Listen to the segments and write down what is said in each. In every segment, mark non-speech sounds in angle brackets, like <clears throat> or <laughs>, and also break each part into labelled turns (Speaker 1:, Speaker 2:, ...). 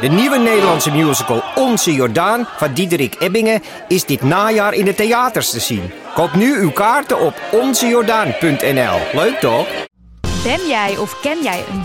Speaker 1: De nieuwe Nederlandse musical Onze Jordaan van Diederik Ebbingen is dit najaar in de theaters te zien. Koop nu uw kaarten op onzejordaan.nl. Leuk toch?
Speaker 2: Ben jij of ken jij een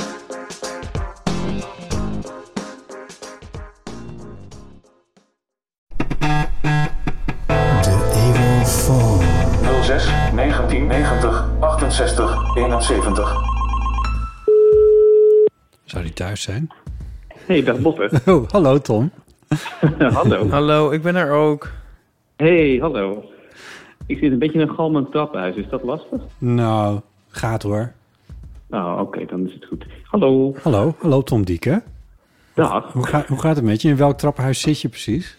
Speaker 3: The Evil Four.
Speaker 4: 06 1990 68 71.
Speaker 5: Zou die thuis
Speaker 6: <laughs>
Speaker 5: zijn?
Speaker 6: Hey, dag Botte.
Speaker 5: Oh, <laughs> hallo Tom.
Speaker 6: <laughs> hallo.
Speaker 7: Hallo, ik ben er ook.
Speaker 6: Hey, hallo. Ik zit een beetje in een galmend trappenhuis. Is dat lastig?
Speaker 5: Nou, gaat hoor.
Speaker 6: Nou, oké, dan is het goed. Hallo.
Speaker 5: Hallo, hallo Tom Dieke.
Speaker 6: Dag.
Speaker 5: Hoe, ga- hoe gaat het met je? In welk trappenhuis zit je precies?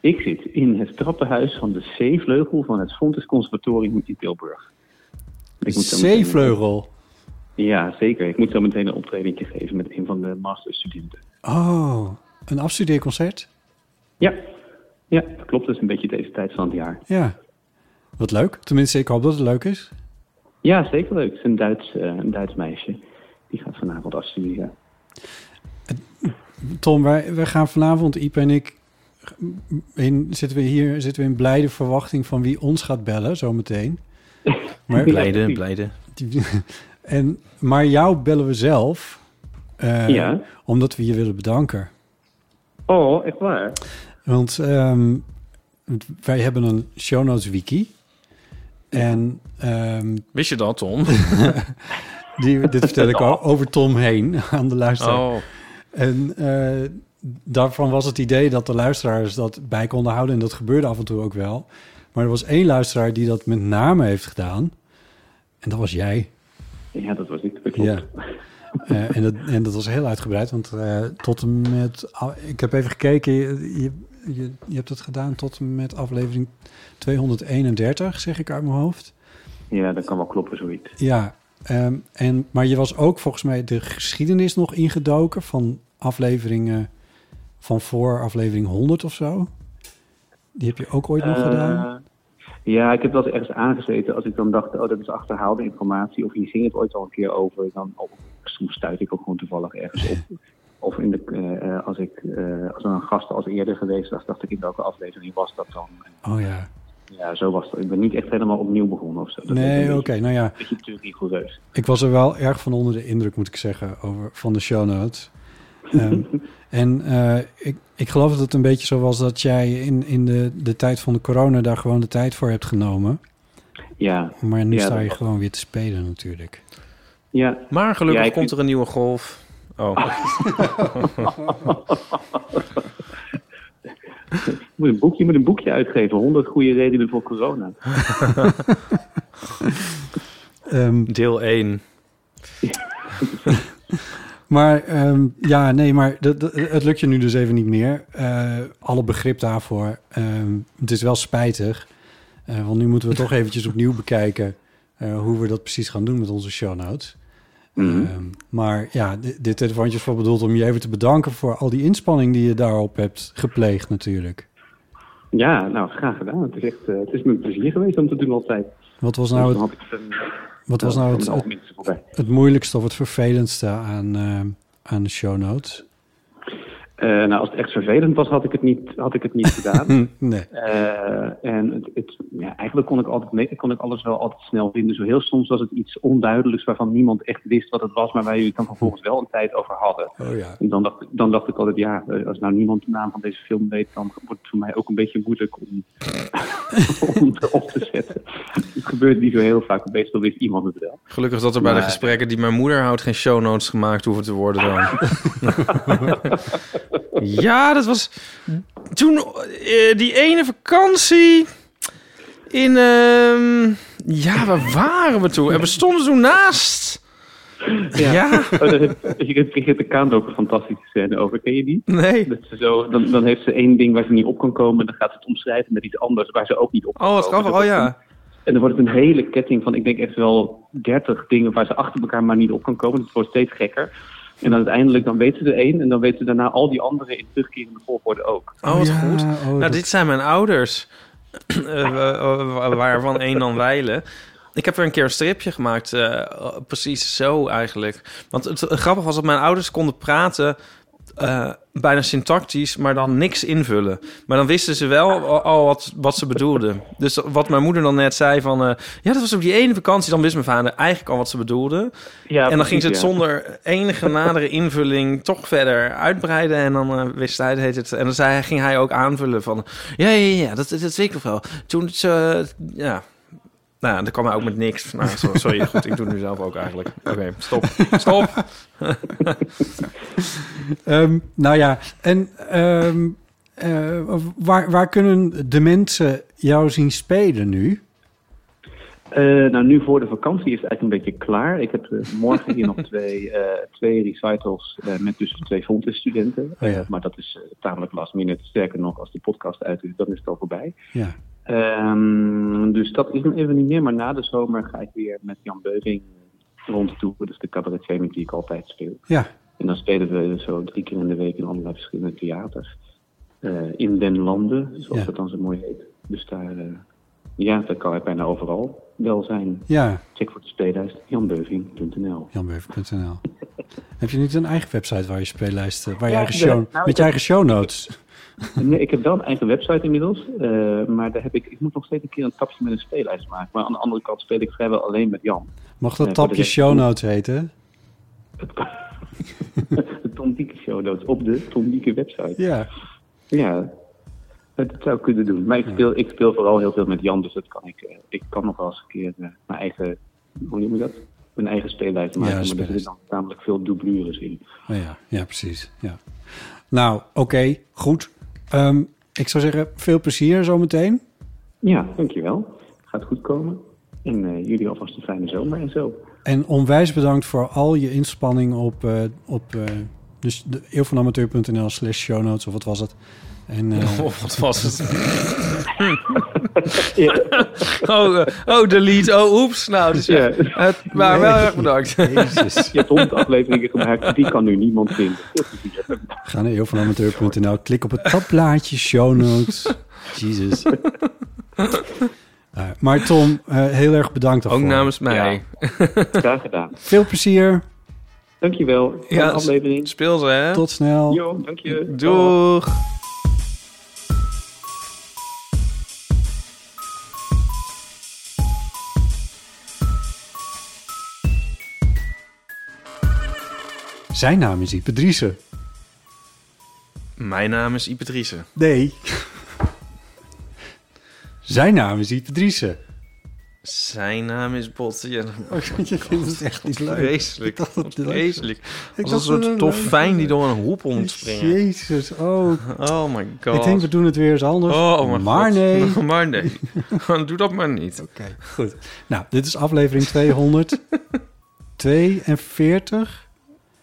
Speaker 6: Ik zit in het trappenhuis van de C-vleugel van het Fontes Conservatorium in Tilburg. Ik moet zo meteen-
Speaker 5: Zeevleugel.
Speaker 6: Ja, zeker. Ik moet zo meteen een optredentje geven met een van de masterstudenten.
Speaker 5: Oh, een afstudeerconcert?
Speaker 6: Ja. Ja, dat klopt. Dat is een beetje deze tijd van het jaar.
Speaker 5: Ja. Wat leuk. Tenminste, ik hoop dat het leuk is.
Speaker 6: Ja, zeker leuk. Het is een Duits, eh, een Duits meisje. Die gaat vanavond afstuderen.
Speaker 5: Tom, wij, wij gaan vanavond, Iep en ik, in, zitten we hier zitten we in blijde verwachting van wie ons gaat bellen zometeen. Maar,
Speaker 7: Blijde, blijde.
Speaker 5: <laughs> en, maar jou bellen we zelf, eh,
Speaker 6: Ja.
Speaker 5: omdat we je willen bedanken.
Speaker 6: Oh, echt waar?
Speaker 5: Want ehm, wij hebben een show notes wiki. En ehm,
Speaker 7: Wist je dat, Tom?
Speaker 5: <laughs> die, dit vertel
Speaker 7: <laughs>
Speaker 5: ik al over Tom heen aan de luisteraar.
Speaker 7: Oh,
Speaker 5: En eh, daarvan was het idee dat de luisteraars dat bij konden houden. En dat gebeurde af en toe ook wel. Maar er was één luisteraar die dat met name heeft gedaan. En dat was jij.
Speaker 6: Ja, dat was ik. Dat klopt.
Speaker 5: Ja. Eh, en, dat, en dat was heel uitgebreid. Want eh, tot en met... ah, ik heb even gekeken. Je, je, je, je hebt dat gedaan tot en met aflevering 231, zeg ik uit mijn hoofd.
Speaker 6: Ja, dat kan wel kloppen, zoiets.
Speaker 5: Ja, ehm, en, maar je was ook volgens mij de geschiedenis nog ingedoken van afleveringen van voor aflevering 100 of zo. Die heb je ook ooit nog gedaan.
Speaker 6: Eh, ja, ik heb wel eens ergens aangezeten als ik dan dacht, oh, dat is achterhaalde informatie. Of hier ging het ooit al een keer over. Dan, oh, soms stuit ik ook gewoon toevallig ergens op. Of in de, eh, eh, als ik eh, als er een gast als eerder geweest was, dacht ik in welke aflevering was dat dan.
Speaker 5: Oh ja.
Speaker 6: Ja, zo was dat. Ik ben niet echt helemaal opnieuw begonnen of zo. Dat is een
Speaker 5: Nee, oké.
Speaker 6: beetje-
Speaker 5: nou ja,
Speaker 6: Een beetje te rigoureus.
Speaker 5: ik was er wel erg van onder de indruk, moet ik zeggen, over, van de show notes.
Speaker 6: <laughs>
Speaker 5: Ehm, en eh, ik, ik geloof dat het een beetje zo was dat jij in, in de, de tijd van de corona daar gewoon de tijd voor hebt genomen.
Speaker 6: Ja,
Speaker 5: Maar nu
Speaker 6: Ja,
Speaker 5: sta
Speaker 6: dat
Speaker 5: je
Speaker 6: was-
Speaker 5: gewoon weer te spelen natuurlijk.
Speaker 6: ja.
Speaker 7: maar gelukkig
Speaker 6: Ja, ik
Speaker 7: komt
Speaker 6: vind- Ah.
Speaker 7: er een nieuwe golf. Oh,
Speaker 6: Je <laughs> moet een boekje, je moet een boekje uitgeven. 100 goede redenen
Speaker 5: <laughs>
Speaker 6: voor corona.
Speaker 5: Ehm,
Speaker 7: deel 1.
Speaker 5: <laughs> Maar ehm, ja, nee, maar dat, dat- het lukt je nu dus even niet meer. Eh, alle begrip daarvoor. Ehm, het is wel spijtig. Eh, want nu moeten we toch eventjes
Speaker 6: <laughs>
Speaker 5: opnieuw bekijken eh, hoe we dat precies gaan doen met onze show notes.
Speaker 6: Mhm.
Speaker 5: Ehm, maar ja, di- dit telefoontje is voor bedoeld om je even te bedanken voor al die inspanning die je daarop hebt gepleegd natuurlijk.
Speaker 6: Ja, nou, graag gedaan. Het is echt, eh, het is me een plezier geweest om te doen altijd.
Speaker 5: Wat was nou
Speaker 6: Dan
Speaker 5: het,
Speaker 6: had ik het, eh,
Speaker 5: wat was nou
Speaker 6: dan
Speaker 5: het,
Speaker 6: kwam
Speaker 5: het,
Speaker 6: minste voorbij.
Speaker 5: het moeilijkste of het vervelendste aan, ehm, aan de show notes?
Speaker 6: Eh, nou, als het echt vervelend was, had ik het niet, had ik het niet
Speaker 5: <laughs>
Speaker 6: gedaan.
Speaker 5: Nee.
Speaker 6: Eh, en het, het- ja, eigenlijk kon ik, altijd mee, kon ik alles wel altijd snel vinden. Zo heel soms was het iets onduidelijks waarvan niemand echt wist wat het was, maar waar jullie het dan vervolgens wel een tijd over hadden.
Speaker 5: Oh ja.
Speaker 6: En dan dacht, dan dacht ik altijd, ja, eh, als nou niemand de naam van deze film weet, dan wordt het voor mij ook een beetje moeilijk om, <laughs> om het op te zetten. Het gebeurt niet zo heel vaak, maar meestal wist iemand het wel.
Speaker 7: <laughs> Gelukkig dat er bij de
Speaker 6: Maar-
Speaker 7: gesprekken die mijn moeder houdt geen show notes gemaakt hoeven te worden dan. ja, dat was toen eh, die ene vakantie in... ehm, ja, waar waren we toen? En we stonden toen naast... Ja.
Speaker 6: Oh, daar
Speaker 7: <laughs>
Speaker 6: heb, je kunt Brigitte de Kaan ook een fantastische scène over. Ken je die?
Speaker 7: Nee.
Speaker 6: Dat ze zo, dan, dan heeft ze één ding waar ze niet op kan komen. En dan gaat ze het omschrijven met iets anders waar ze ook niet op kan
Speaker 7: Oh, wat
Speaker 6: komen.
Speaker 7: grappig. Oh ja.
Speaker 6: En dan wordt het een hele ketting van, ik denk echt wel 30 dingen waar ze achter elkaar maar niet op kan komen. Het wordt steeds gekker. En dan uiteindelijk, dan weten ze er één. En dan weten ze daarna al die andere in terugkerende volgorde ook.
Speaker 7: Oh, wat
Speaker 5: Ja,
Speaker 7: goed.
Speaker 5: oh,
Speaker 7: nou,
Speaker 5: dat-
Speaker 7: dit zijn mijn ouders. <clears throat> Eh, wa- wa- waarvan één dan wijlen. Ik heb er een keer een stripje gemaakt. eh, precies zo eigenlijk. Want het grappig was dat mijn ouders konden praten... eh, bijna syntactisch, maar dan niks invullen. Maar dan wisten ze wel al, al wat, wat ze bedoelden. Dus wat mijn moeder dan net zei van... eh, ja, dat was op die ene vakantie. Dan wist mijn vader eigenlijk al wat ze bedoelden.
Speaker 6: Ja,
Speaker 7: en dan
Speaker 6: precies,
Speaker 7: ging ze het
Speaker 6: ja.
Speaker 7: zonder enige nadere invulling toch verder uitbreiden. En dan eh, wist hij, het heet het. En dan zei, hij- ging hij ook aanvullen van... Ja, ja, ja, dat, dat weet ik nog wel. Toen ze... ja. Nou, ja, dan kwam hij ook met niks. Nou, so- <laughs> sorry, goed, ik doe het nu zelf ook eigenlijk. Oké, <laughs> stop. Stop.
Speaker 5: Ehm, nou ja, en ehm, eh, waar, waar kunnen de mensen jou zien spelen nu?
Speaker 6: Eh, nou, nu voor de vakantie is het eigenlijk een beetje klaar. Ik heb eh, morgen hier nog
Speaker 5: <laughs>
Speaker 6: twee, eh, twee recitals eh, met dus twee Fontes-studenten.
Speaker 5: Oh ja.
Speaker 6: Eh, maar dat is eh, tamelijk last minute. Sterker nog, als de podcast uit is, dan is het al voorbij.
Speaker 5: Ja.
Speaker 6: Ehm, dus dat is nog even niet meer. Maar na de zomer ga ik weer met Jan Beuving rond toe. Dat is de cabaretier met die ik altijd speel.
Speaker 5: Ja,
Speaker 6: En dan spelen we zo drie keer in de week in allerlei verschillende theaters. Eh, in den landen, zoals
Speaker 5: Ja.
Speaker 6: dat dan zo mooi heet. Dus daar, eh, ja, dat kan hij bijna overal wel zijn.
Speaker 5: ja.
Speaker 6: Check voor de speellijst janbeuving.nl.
Speaker 5: janbeuf.nl. Heb je niet een eigen website waar je speellijsten, waar je
Speaker 6: Ja,
Speaker 5: eigen
Speaker 6: ik ben-
Speaker 5: show,
Speaker 6: nou,
Speaker 5: met
Speaker 6: ik
Speaker 5: je eigen show notes?
Speaker 6: Nee, eh, ik heb wel een eigen website inmiddels. eh, maar daar heb ik, ik moet nog steeds een keer een tapje met een speellijst maken. Maar aan de andere kant speel ik vrijwel alleen met
Speaker 5: Mag
Speaker 6: Jan. Nee,
Speaker 5: dat
Speaker 6: voor de
Speaker 5: tapje
Speaker 6: rest-
Speaker 5: show notes heten?
Speaker 6: De Tom Dieke Show Notes op de Tom Dieke website.
Speaker 5: Ja.
Speaker 6: Ja, dat zou ik kunnen doen. Maar ik speel, ik speel vooral heel veel met Jan, dus dat kan ik. eh, Ik kan nog wel eens een keer eh, mijn eigen, hoe noem je dat? Mijn eigen speellijst maken. maar er
Speaker 5: speellijst.
Speaker 6: zitten dan tamelijk veel dublures in.
Speaker 5: Oh ja, ja, precies. Ja. Nou, oké, goed. Ehm, ik zou zeggen, veel plezier zometeen.
Speaker 6: Ja, dankjewel. Gaat goed komen. En eh, jullie alvast een fijne zomer en zo.
Speaker 5: En onwijs bedankt voor al je inspanning op, eh, op eh, dus de eeuwvanamateur.nl slash show notes of wat was het. En eh,
Speaker 7: <laughs> Of wat was het? <laughs> oh, eh, oh, delete. Oh, oeps. Nou, dus ja.
Speaker 6: Ja.
Speaker 7: Het, maar wel erg
Speaker 6: <laughs>
Speaker 7: bedankt. <laughs>
Speaker 5: jezus,
Speaker 6: Je hebt honderd afleveringen gemaakt, die kan nu niemand vinden.
Speaker 5: ga naar eeuwvanamateur.nl, klik op het tabblaadje show
Speaker 7: <laughs>
Speaker 5: notes. Jezus. Eh, maar Tom, eh, heel erg bedankt
Speaker 7: Ook
Speaker 5: daarvoor.
Speaker 7: namens mij.
Speaker 6: Ja. Graag gedaan.
Speaker 5: Veel plezier,
Speaker 6: Dankjewel. Fijne
Speaker 7: Ja,
Speaker 6: aflevering.
Speaker 7: Speel ze, hè?
Speaker 5: tot snel.
Speaker 6: Jo, dank je.
Speaker 7: Doeg.
Speaker 5: Zijn naam is Ipe Driessen.
Speaker 7: Mijn naam is Ipatrice.
Speaker 5: Nee. Zijn naam is Ipe Driessen.
Speaker 7: Zijn naam is Bot. Ja,
Speaker 5: Oh, <laughs> Je vindt het echt niet
Speaker 7: vreselijk.
Speaker 5: dacht dat het leuk was.
Speaker 7: vreselijk. Als een
Speaker 5: dacht dat
Speaker 7: soort
Speaker 5: het <laughs>
Speaker 7: dolfijn die door een hoep ontspringt.
Speaker 5: eh, Jezus, oh.
Speaker 7: Oh my <laughs> god.
Speaker 5: eh, Ik denk, we doen het weer eens anders.
Speaker 7: Oh, oh mijn
Speaker 5: maar
Speaker 7: god.
Speaker 5: nee.
Speaker 7: <laughs> maar nee. <laughs> Doe dat maar niet.
Speaker 5: Oké, goed. Nou, dit is aflevering
Speaker 7: <laughs>
Speaker 5: 242.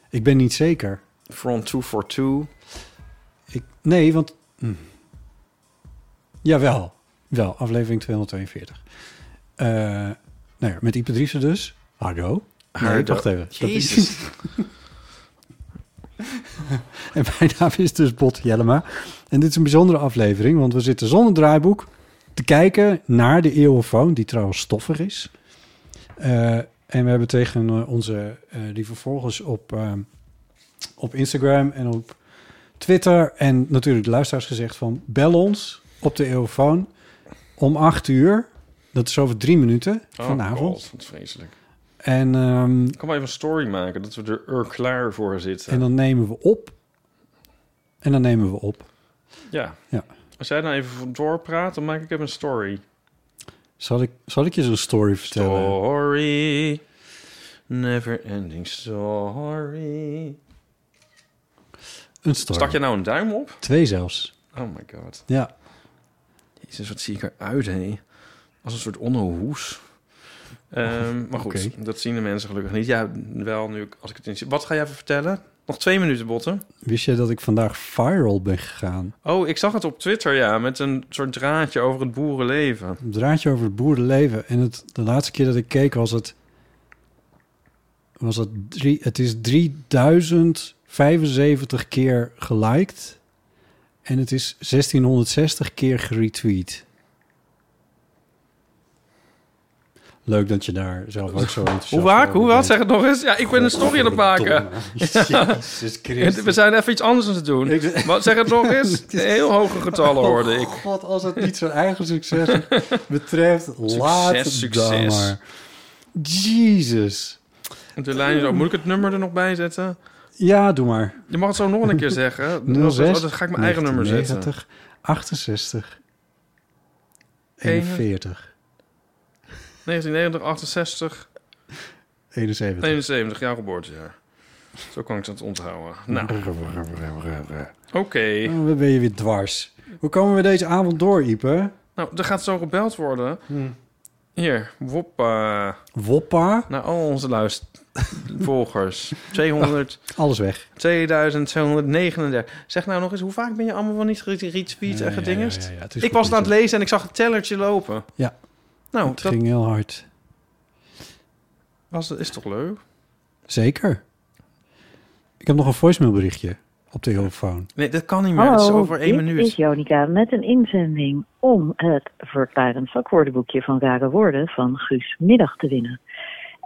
Speaker 5: Ik ben niet zeker.
Speaker 7: From 242.
Speaker 5: Ik, nee, want... hm. Jawel, wel. Aflevering 242. Eh, nou ja, met Ipadrice dus. Hardo. Nee,
Speaker 7: Hardo.
Speaker 5: wacht even. Dat is-
Speaker 7: Jezus.
Speaker 5: <laughs>
Speaker 7: Oh,
Speaker 5: En mijn <laughs> naam is dus Bot Jellema. En dit is een bijzondere aflevering, want we zitten zonder draaiboek te kijken naar de eeuwenfoon, die trouwens stoffig is. Eh, en we hebben tegen eh, onze, eh, die vervolgens op, eh, op Instagram en op Twitter en natuurlijk de luisteraars gezegd van bel ons op de eeuwenfoon om acht uur. Dat is over drie minuten
Speaker 7: Oh
Speaker 5: vanavond.
Speaker 7: god, wat vreselijk.
Speaker 5: en, ehm,
Speaker 7: Ik kan maar even een story maken dat we er, er klaar voor zitten.
Speaker 5: en dan nemen we op. En dan nemen we op.
Speaker 7: Ja.
Speaker 5: Ja.
Speaker 7: Als jij nou even doorpraat, dan maak ik even een story.
Speaker 5: Zal ik, zal ik je zo'n story vertellen?
Speaker 7: Story. Never ending story.
Speaker 5: Een story.
Speaker 7: Stak je nou een duim op?
Speaker 5: Twee zelfs.
Speaker 7: Oh my god.
Speaker 5: Ja.
Speaker 7: Jezus, wat zie ik eruit, hé. Als een soort onnohoes.
Speaker 5: <laughs>
Speaker 7: Ehm, maar goed,
Speaker 5: Oké.
Speaker 7: dat zien de mensen gelukkig niet. Ja, wel nu, ik- als ik het in... Wat ga jij even vertellen? Nog twee minuten, Botten.
Speaker 5: Wist je dat ik vandaag viral ben gegaan?
Speaker 7: Oh, ik zag het op Twitter, ja. Met een soort draadje over het boerenleven.
Speaker 5: Een draadje over het boerenleven. En het, de laatste keer dat ik keek was het... Was het, drie, het is 3075 keer geliked. En het is 1660 keer geretweet. Leuk dat je daar zelf ook zo enthousiast
Speaker 7: Hoe vaak?
Speaker 5: over
Speaker 7: Hoe wat?
Speaker 5: bent.
Speaker 7: Zeg het nog eens. Ja, ik ben een story aan het maken.
Speaker 5: <laughs> Jezus Christus.
Speaker 7: We zijn even iets anders aan het doen.
Speaker 5: Ik-
Speaker 7: Wat zeg het nog
Speaker 5: <laughs>
Speaker 7: eens? Heel hoge getallen hoorde
Speaker 5: Oh
Speaker 7: ik.
Speaker 5: God, als het niet zijn eigen succes betreft, laat het dan
Speaker 7: succes.
Speaker 5: maar. Jezus.
Speaker 7: De lijn is ook. Moet ik het nummer er nog bij zetten?
Speaker 5: Ja, doe maar.
Speaker 7: Je mag het zo nog een keer
Speaker 5: <laughs>
Speaker 7: zeggen.
Speaker 5: 06
Speaker 7: Oh, dan ga ik mijn eigen nummer zetten.
Speaker 5: 90, 68 41
Speaker 7: 41. 1990, 68,
Speaker 5: 71.
Speaker 7: 71 jaar geboortejaar. Zo kan ik dat onthouden. Nou, oké.
Speaker 5: Oh, dan ben je weer dwars. Hoe komen we deze avond door, Ipe?
Speaker 7: Nou, er gaat zo gebeld worden. Hier, woppa.
Speaker 5: Hmm. Woppa,
Speaker 7: Naar al onze
Speaker 5: <laughs>
Speaker 7: luistervolgers. 200,
Speaker 5: alles weg.
Speaker 7: 2239. Zeg nou nog eens, hoe vaak ben je allemaal wel niet geretweet en gedingest?
Speaker 5: Ja, ja, ja, het is
Speaker 7: Ik was het aan het
Speaker 5: goed,
Speaker 7: lezen en ik zag het tellertje lopen.
Speaker 5: Ja.
Speaker 7: Nou,
Speaker 5: Het
Speaker 7: dat
Speaker 5: ging heel hard.
Speaker 7: was, is toch leuk?
Speaker 5: Zeker. Ik heb nog een voicemailberichtje op de telefoon.
Speaker 7: Nee, dat kan niet meer. Het is over één minuut.
Speaker 8: Jonica met een inzending om het verklarend vakwoordenboekje van rare woorden van Guus Middag te winnen.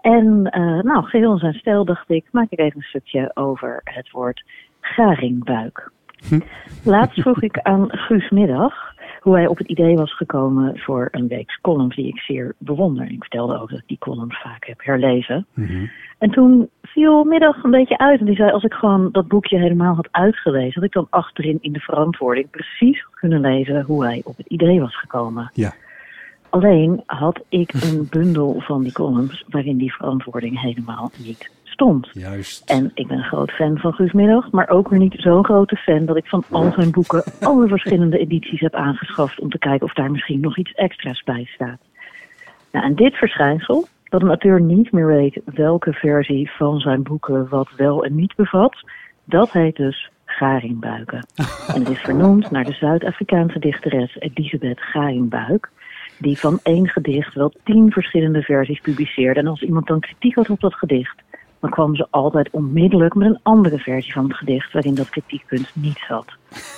Speaker 8: En eh, nou, geheel in zijn stijl dacht ik, maak ik even een stukje over het woord garingbuik.
Speaker 7: Hm.
Speaker 8: Laatst vroeg ik aan Guus Middag hoe hij op het idee was gekomen voor een weeks column die ik zeer bewonder. Ik vertelde ook dat ik die column vaak heb herlezen. En toen viel middag een beetje uit. En die zei, als ik gewoon dat boekje helemaal had uitgelezen, had ik dan achterin in de verantwoording precies had kunnen lezen hoe hij op het idee was gekomen.
Speaker 5: Ja.
Speaker 8: Alleen had ik een bundel van die columns waarin die verantwoording helemaal niet stond.
Speaker 5: Juist.
Speaker 8: En ik ben een groot fan van Guus Middag, maar ook weer niet zo'n grote fan dat ik van al zijn boeken alle verschillende edities heb aangeschaft om te kijken of daar misschien nog iets extra's bij staat. Nou, en dit verschijnsel, dat een auteur niet meer weet welke versie van zijn boeken wat wel en niet bevat, dat heet dus Garingbuiken. En het is vernoemd naar de Zuid-Afrikaanse dichteres Elisabeth Garingbuik, die van één gedicht wel tien verschillende versies publiceerde. En als iemand dan kritiek had op dat gedicht, dan kwam ze altijd onmiddellijk met een andere versie van het gedicht waarin dat kritiekpunt niet zat.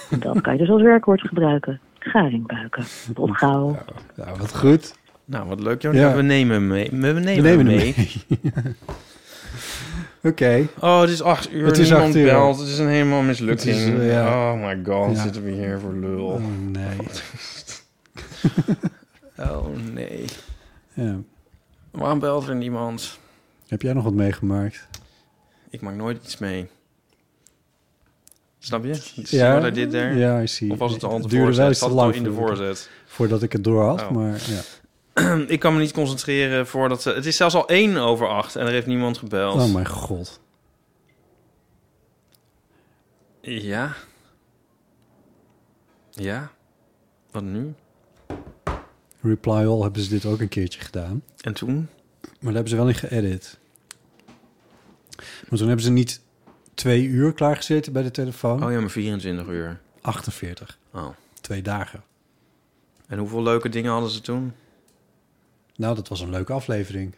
Speaker 8: En dat kan je dus als werkwoord gebruiken. Garingbuiken. Tot gauw.
Speaker 5: Nou, wat goed.
Speaker 7: Nou, wat leuk. Ja,
Speaker 5: Ja.
Speaker 7: We nemen hem mee. We nemen,
Speaker 5: We nemen
Speaker 7: hem
Speaker 5: hem
Speaker 7: mee.
Speaker 5: <laughs> Oké.
Speaker 7: Oh, het is acht uur.
Speaker 5: Het is
Speaker 7: Niemand
Speaker 5: acht uur.
Speaker 7: belt. Het is een helemaal mislukking.
Speaker 5: Het is, eh, ja.
Speaker 7: Oh my god,
Speaker 5: Ja.
Speaker 7: zitten we hier voor lul.
Speaker 5: Oh, nee.
Speaker 7: <laughs> Oh nee.
Speaker 5: Ja.
Speaker 7: Waarom belt er niemand?
Speaker 5: Heb jij nog wat meegemaakt?
Speaker 7: Ik maak nooit iets mee. Snap je? Zie
Speaker 5: Ja.
Speaker 7: wat hij dit daar?
Speaker 5: Ja, ik zie.
Speaker 7: Of was het al aan de
Speaker 5: duurde wel
Speaker 7: voorzet?
Speaker 5: eens te
Speaker 7: Zat het al
Speaker 5: lang
Speaker 7: in de
Speaker 5: voordat ik-
Speaker 7: voorzet?
Speaker 5: Voordat ik het door had,
Speaker 7: Oh.
Speaker 5: maar ja.
Speaker 7: <clears throat> Ik kan me niet concentreren voordat ze... Het is zelfs al één over acht en er heeft niemand gebeld.
Speaker 5: Oh mijn god.
Speaker 7: Ja. Ja. Wat nu?
Speaker 5: Reply All hebben ze dit ook een keertje gedaan.
Speaker 7: En toen?
Speaker 5: Maar daar hebben ze wel in geëdit. Maar toen hebben ze niet twee uur klaargezeten bij de telefoon.
Speaker 7: Oh ja, maar 24 uur.
Speaker 5: 48.
Speaker 7: Oh.
Speaker 5: Twee dagen.
Speaker 7: En hoeveel leuke dingen hadden ze toen?
Speaker 5: Nou, dat was een leuke aflevering.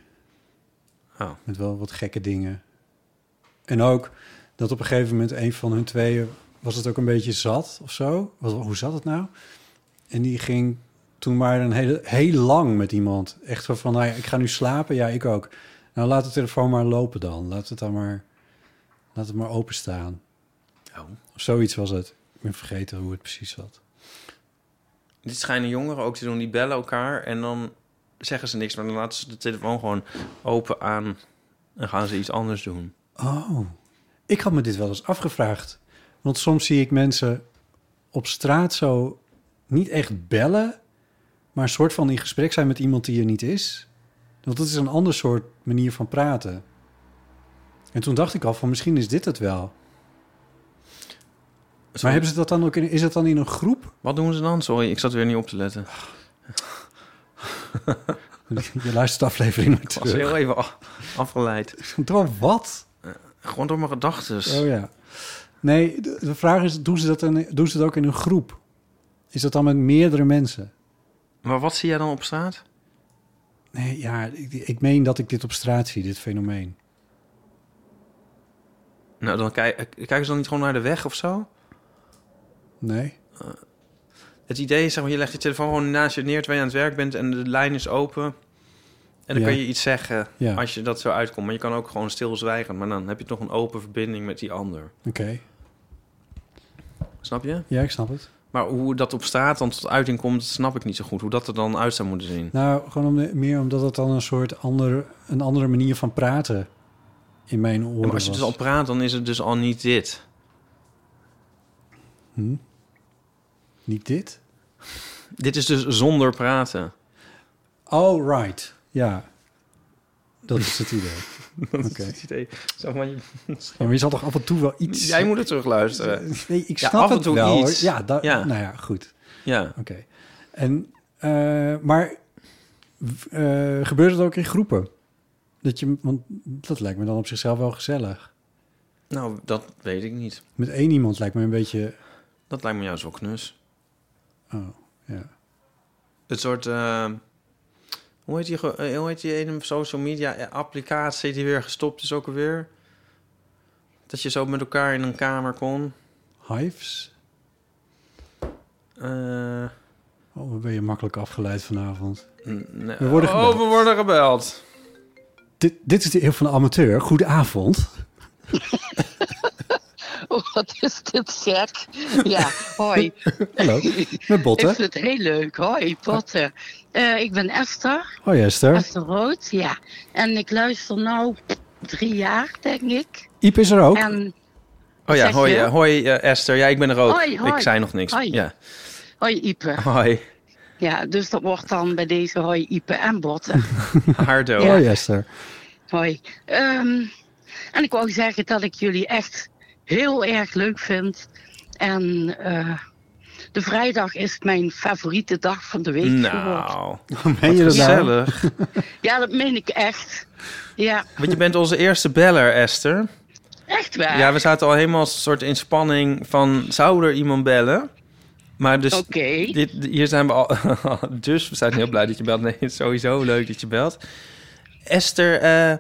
Speaker 7: Oh.
Speaker 5: Met wel wat gekke dingen. En ook dat op een gegeven moment een van hun tweeën... was het ook een beetje zat of zo. Wat, hoe zat het nou? En die ging toen maar een hele, heel lang met iemand. Echt zo van, nou ja, ik ga nu slapen. Ja, ik ook. Nou, laat de telefoon maar lopen dan. Laat het dan maar, laat het maar openstaan.
Speaker 7: Oh.
Speaker 5: Of zoiets was het. Ik ben vergeten hoe het precies zat.
Speaker 7: Dit schijnen jongeren ook te doen. Die bellen elkaar en dan zeggen ze niks. Maar dan laten ze de telefoon gewoon open aan. En gaan ze iets anders doen.
Speaker 5: Oh, ik had me dit wel eens afgevraagd. Want soms zie ik mensen op straat zo niet echt bellen, maar een soort van in gesprek zijn met iemand die er niet is. Want dat is een ander soort manier van praten. En toen dacht ik al van misschien is dit het wel. Maar hebben ze dat dan ook in, is dat dan in een groep?
Speaker 7: Wat doen ze dan? Sorry, ik zat weer niet op te letten.
Speaker 5: Je luistert de aflevering maar
Speaker 7: Ik was
Speaker 5: terug.
Speaker 7: heel even af- afgeleid. Eh,
Speaker 5: Door wat?
Speaker 7: Gewoon door mijn gedachtes.
Speaker 5: Oh ja. Nee, de, de vraag is, doen ze, dat in, doen ze dat ook in een groep? Is dat dan met meerdere mensen?
Speaker 7: Maar wat zie jij dan op straat?
Speaker 5: Nee, ja, ik, ik meen dat ik dit op straat zie, dit fenomeen.
Speaker 7: Nou, dan kijk, kijken ze dan niet gewoon naar de weg of zo? Eh,
Speaker 5: Nee?
Speaker 7: Het idee is, zeg maar, je legt je telefoon gewoon naast je neer terwijl je aan het werk bent en de lijn is open. En dan
Speaker 5: Ja.
Speaker 7: kun je iets zeggen
Speaker 5: Ja.
Speaker 7: als je dat zo uitkomt. Maar je kan ook gewoon stilzwijgen, maar dan heb je toch een open verbinding met die ander.
Speaker 5: Oké.
Speaker 7: Snap je?
Speaker 5: Ja, ik snap het.
Speaker 7: Maar hoe dat op straat dan tot uiting komt, dat snap ik niet zo goed. Hoe dat er dan uit zou moeten zien.
Speaker 5: Nou, gewoon om de- meer omdat het dan een soort andere, een andere manier van praten in mijn oren
Speaker 7: Ja, maar als je dus
Speaker 5: was.
Speaker 7: al praat, dan is het dus al niet dit.
Speaker 5: Hm? Niet dit?
Speaker 7: Dit is dus zonder praten.
Speaker 5: Oh, right.
Speaker 7: <laughs>
Speaker 5: Ja. Dat is het idee. Oké.
Speaker 7: Het idee. Zeg maar, je-
Speaker 5: Ja, maar je zal toch af en toe wel iets...
Speaker 7: jij moet het terugluisteren.
Speaker 5: Nee, ik
Speaker 7: Ja,
Speaker 5: snap
Speaker 7: af en
Speaker 5: het
Speaker 7: toe
Speaker 5: wel.
Speaker 7: iets.
Speaker 5: hoor. Ja, da-
Speaker 7: Ja.
Speaker 5: nou ja, goed.
Speaker 7: Ja.
Speaker 5: Oké. En, eh, maar eh, gebeurt het ook in groepen? Dat je, want dat lijkt me dan op zichzelf wel gezellig.
Speaker 7: Nou, dat weet ik niet.
Speaker 5: Met e- één iemand lijkt me een beetje...
Speaker 7: Dat lijkt me juist wel knus.
Speaker 5: Oh, ja.
Speaker 7: Het soort... eh, hoe, heet die, ge- eh, hoe heet die ene social media applicatie die weer gestopt is ook alweer? Dat je zo met elkaar in een kamer kon.
Speaker 5: Hives?
Speaker 7: Eh,
Speaker 5: Oh, wat ben je makkelijk afgeleid vanavond.
Speaker 7: n- nee.
Speaker 5: We worden gebeld.
Speaker 7: Oh, we worden gebeld.
Speaker 5: Dit, dit is de eeuw van de amateur.
Speaker 7: <laughs>
Speaker 5: Goedenavond.
Speaker 9: Oh, <laughs> wat is dit gek. Ja, hoi.
Speaker 5: <laughs> Hallo, met
Speaker 9: Ik vind
Speaker 5: Botte.
Speaker 9: het heel leuk. Hoi, Potter. Eh, ik ben Esther,
Speaker 5: Hoi Esther.
Speaker 9: Esther Rood, ja. En ik luister nu drie jaar, denk ik.
Speaker 5: Iep is er ook.
Speaker 9: En
Speaker 7: Oh ja,
Speaker 9: Zeg
Speaker 7: hoi,
Speaker 9: je?
Speaker 7: eh, hoi eh, Esther. Ja, ik ben er ook.
Speaker 9: Hoi, hoi.
Speaker 7: Ik zei nog niks.
Speaker 9: Hoi.
Speaker 7: Ja.
Speaker 9: hoi, Ipe.
Speaker 7: Hoi,
Speaker 9: Ja, dus dat wordt dan bij deze hoi, Ipe en
Speaker 5: <laughs>
Speaker 9: Botter.
Speaker 7: Hardo.
Speaker 9: Ja.
Speaker 5: Hoi Esther.
Speaker 9: Hoi. Ehm, en ik wou zeggen dat ik jullie echt heel erg leuk vind. En eh, de vrijdag is mijn favoriete dag van de week geworden.
Speaker 7: Nou,
Speaker 5: Ben je er nou?
Speaker 7: gezellig.
Speaker 9: Ja, dat meen ik echt. Ja,
Speaker 7: Want je bent onze eerste beller, Esther.
Speaker 9: echt waar.
Speaker 7: Ja, we zaten al helemaal een soort in spanning van... zou er iemand bellen? Maar dus...
Speaker 9: Oké.
Speaker 7: Dit, hier zijn we al... <laughs> dus we zijn heel blij dat je belt. Nee, het is sowieso leuk dat je belt. Esther... eh,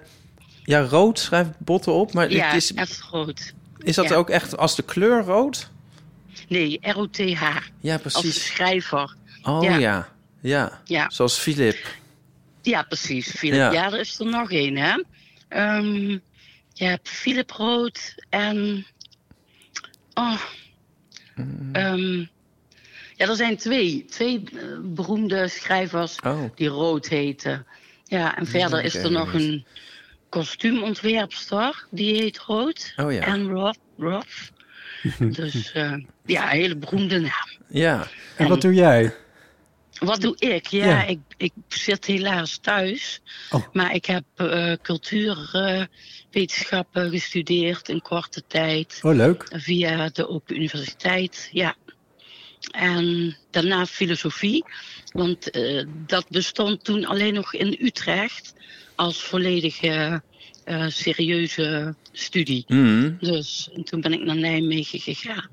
Speaker 7: ja, rood schrijft botten op. Maar
Speaker 9: Ja,
Speaker 7: het is,
Speaker 9: echt groot.
Speaker 7: is dat
Speaker 9: ja.
Speaker 7: ook echt als de kleur rood?
Speaker 9: Nee, ROTH.
Speaker 7: Ja,
Speaker 9: Als
Speaker 7: precies.
Speaker 9: schrijver.
Speaker 7: Oh ja.
Speaker 9: ja.
Speaker 7: ja.
Speaker 9: Ja.
Speaker 7: zoals Filip.
Speaker 9: Ja, precies. Philip.
Speaker 7: Ja.
Speaker 9: Ja, er is er nog één, hè? Ehm, je hebt Philip Rood en. Oh.
Speaker 7: Mm.
Speaker 9: Ehm, ja, er zijn twee, twee eh, beroemde schrijvers
Speaker 7: Oh.
Speaker 9: die Rood heten. Ja, en verder
Speaker 7: ik
Speaker 9: is er
Speaker 7: eigenlijk
Speaker 9: nog
Speaker 7: niet.
Speaker 9: een kostuumontwerpster die heet Rood.
Speaker 7: Oh ja.
Speaker 9: En Roth. Roth.
Speaker 5: <laughs>
Speaker 9: dus eh, ja, een hele beroemde naam.
Speaker 7: Ja.
Speaker 5: En wat doe jij?
Speaker 9: Wat doe ik? Ja,
Speaker 5: Ja.
Speaker 9: Ik, ik zit helaas thuis.
Speaker 5: Oh.
Speaker 9: Maar ik heb eh cultuurwetenschappen gestudeerd in korte tijd.
Speaker 5: Oh, leuk.
Speaker 9: Via de Open Universiteit, ja. En daarna filosofie. Want eh, dat bestond toen alleen nog in Utrecht. Als volledige eh, serieuze studie.
Speaker 7: Mm.
Speaker 5: Hm?
Speaker 9: Dus toen ben ik naar Nijmegen gegaan.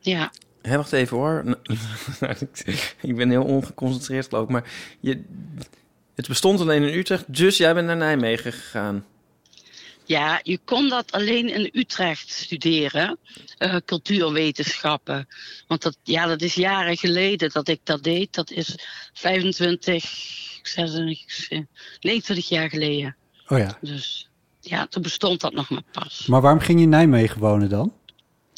Speaker 9: Ja.
Speaker 7: Hé, wacht even hoor. <laughs> Nou, ik ben heel ongeconcentreerd geloof ik. Maar je, het bestond alleen in Utrecht, dus jij bent naar Nijmegen gegaan.
Speaker 9: Ja, je kon dat alleen in Utrecht studeren, eh, cultuurwetenschappen. Want dat, ja, dat is jaren geleden dat ik dat deed. Dat is 25, 26, 29 jaar geleden.
Speaker 5: Oh ja.
Speaker 9: Dus ja, toen bestond dat nog maar pas.
Speaker 5: Maar waarom ging je in Nijmegen wonen dan?
Speaker 9: <laughs>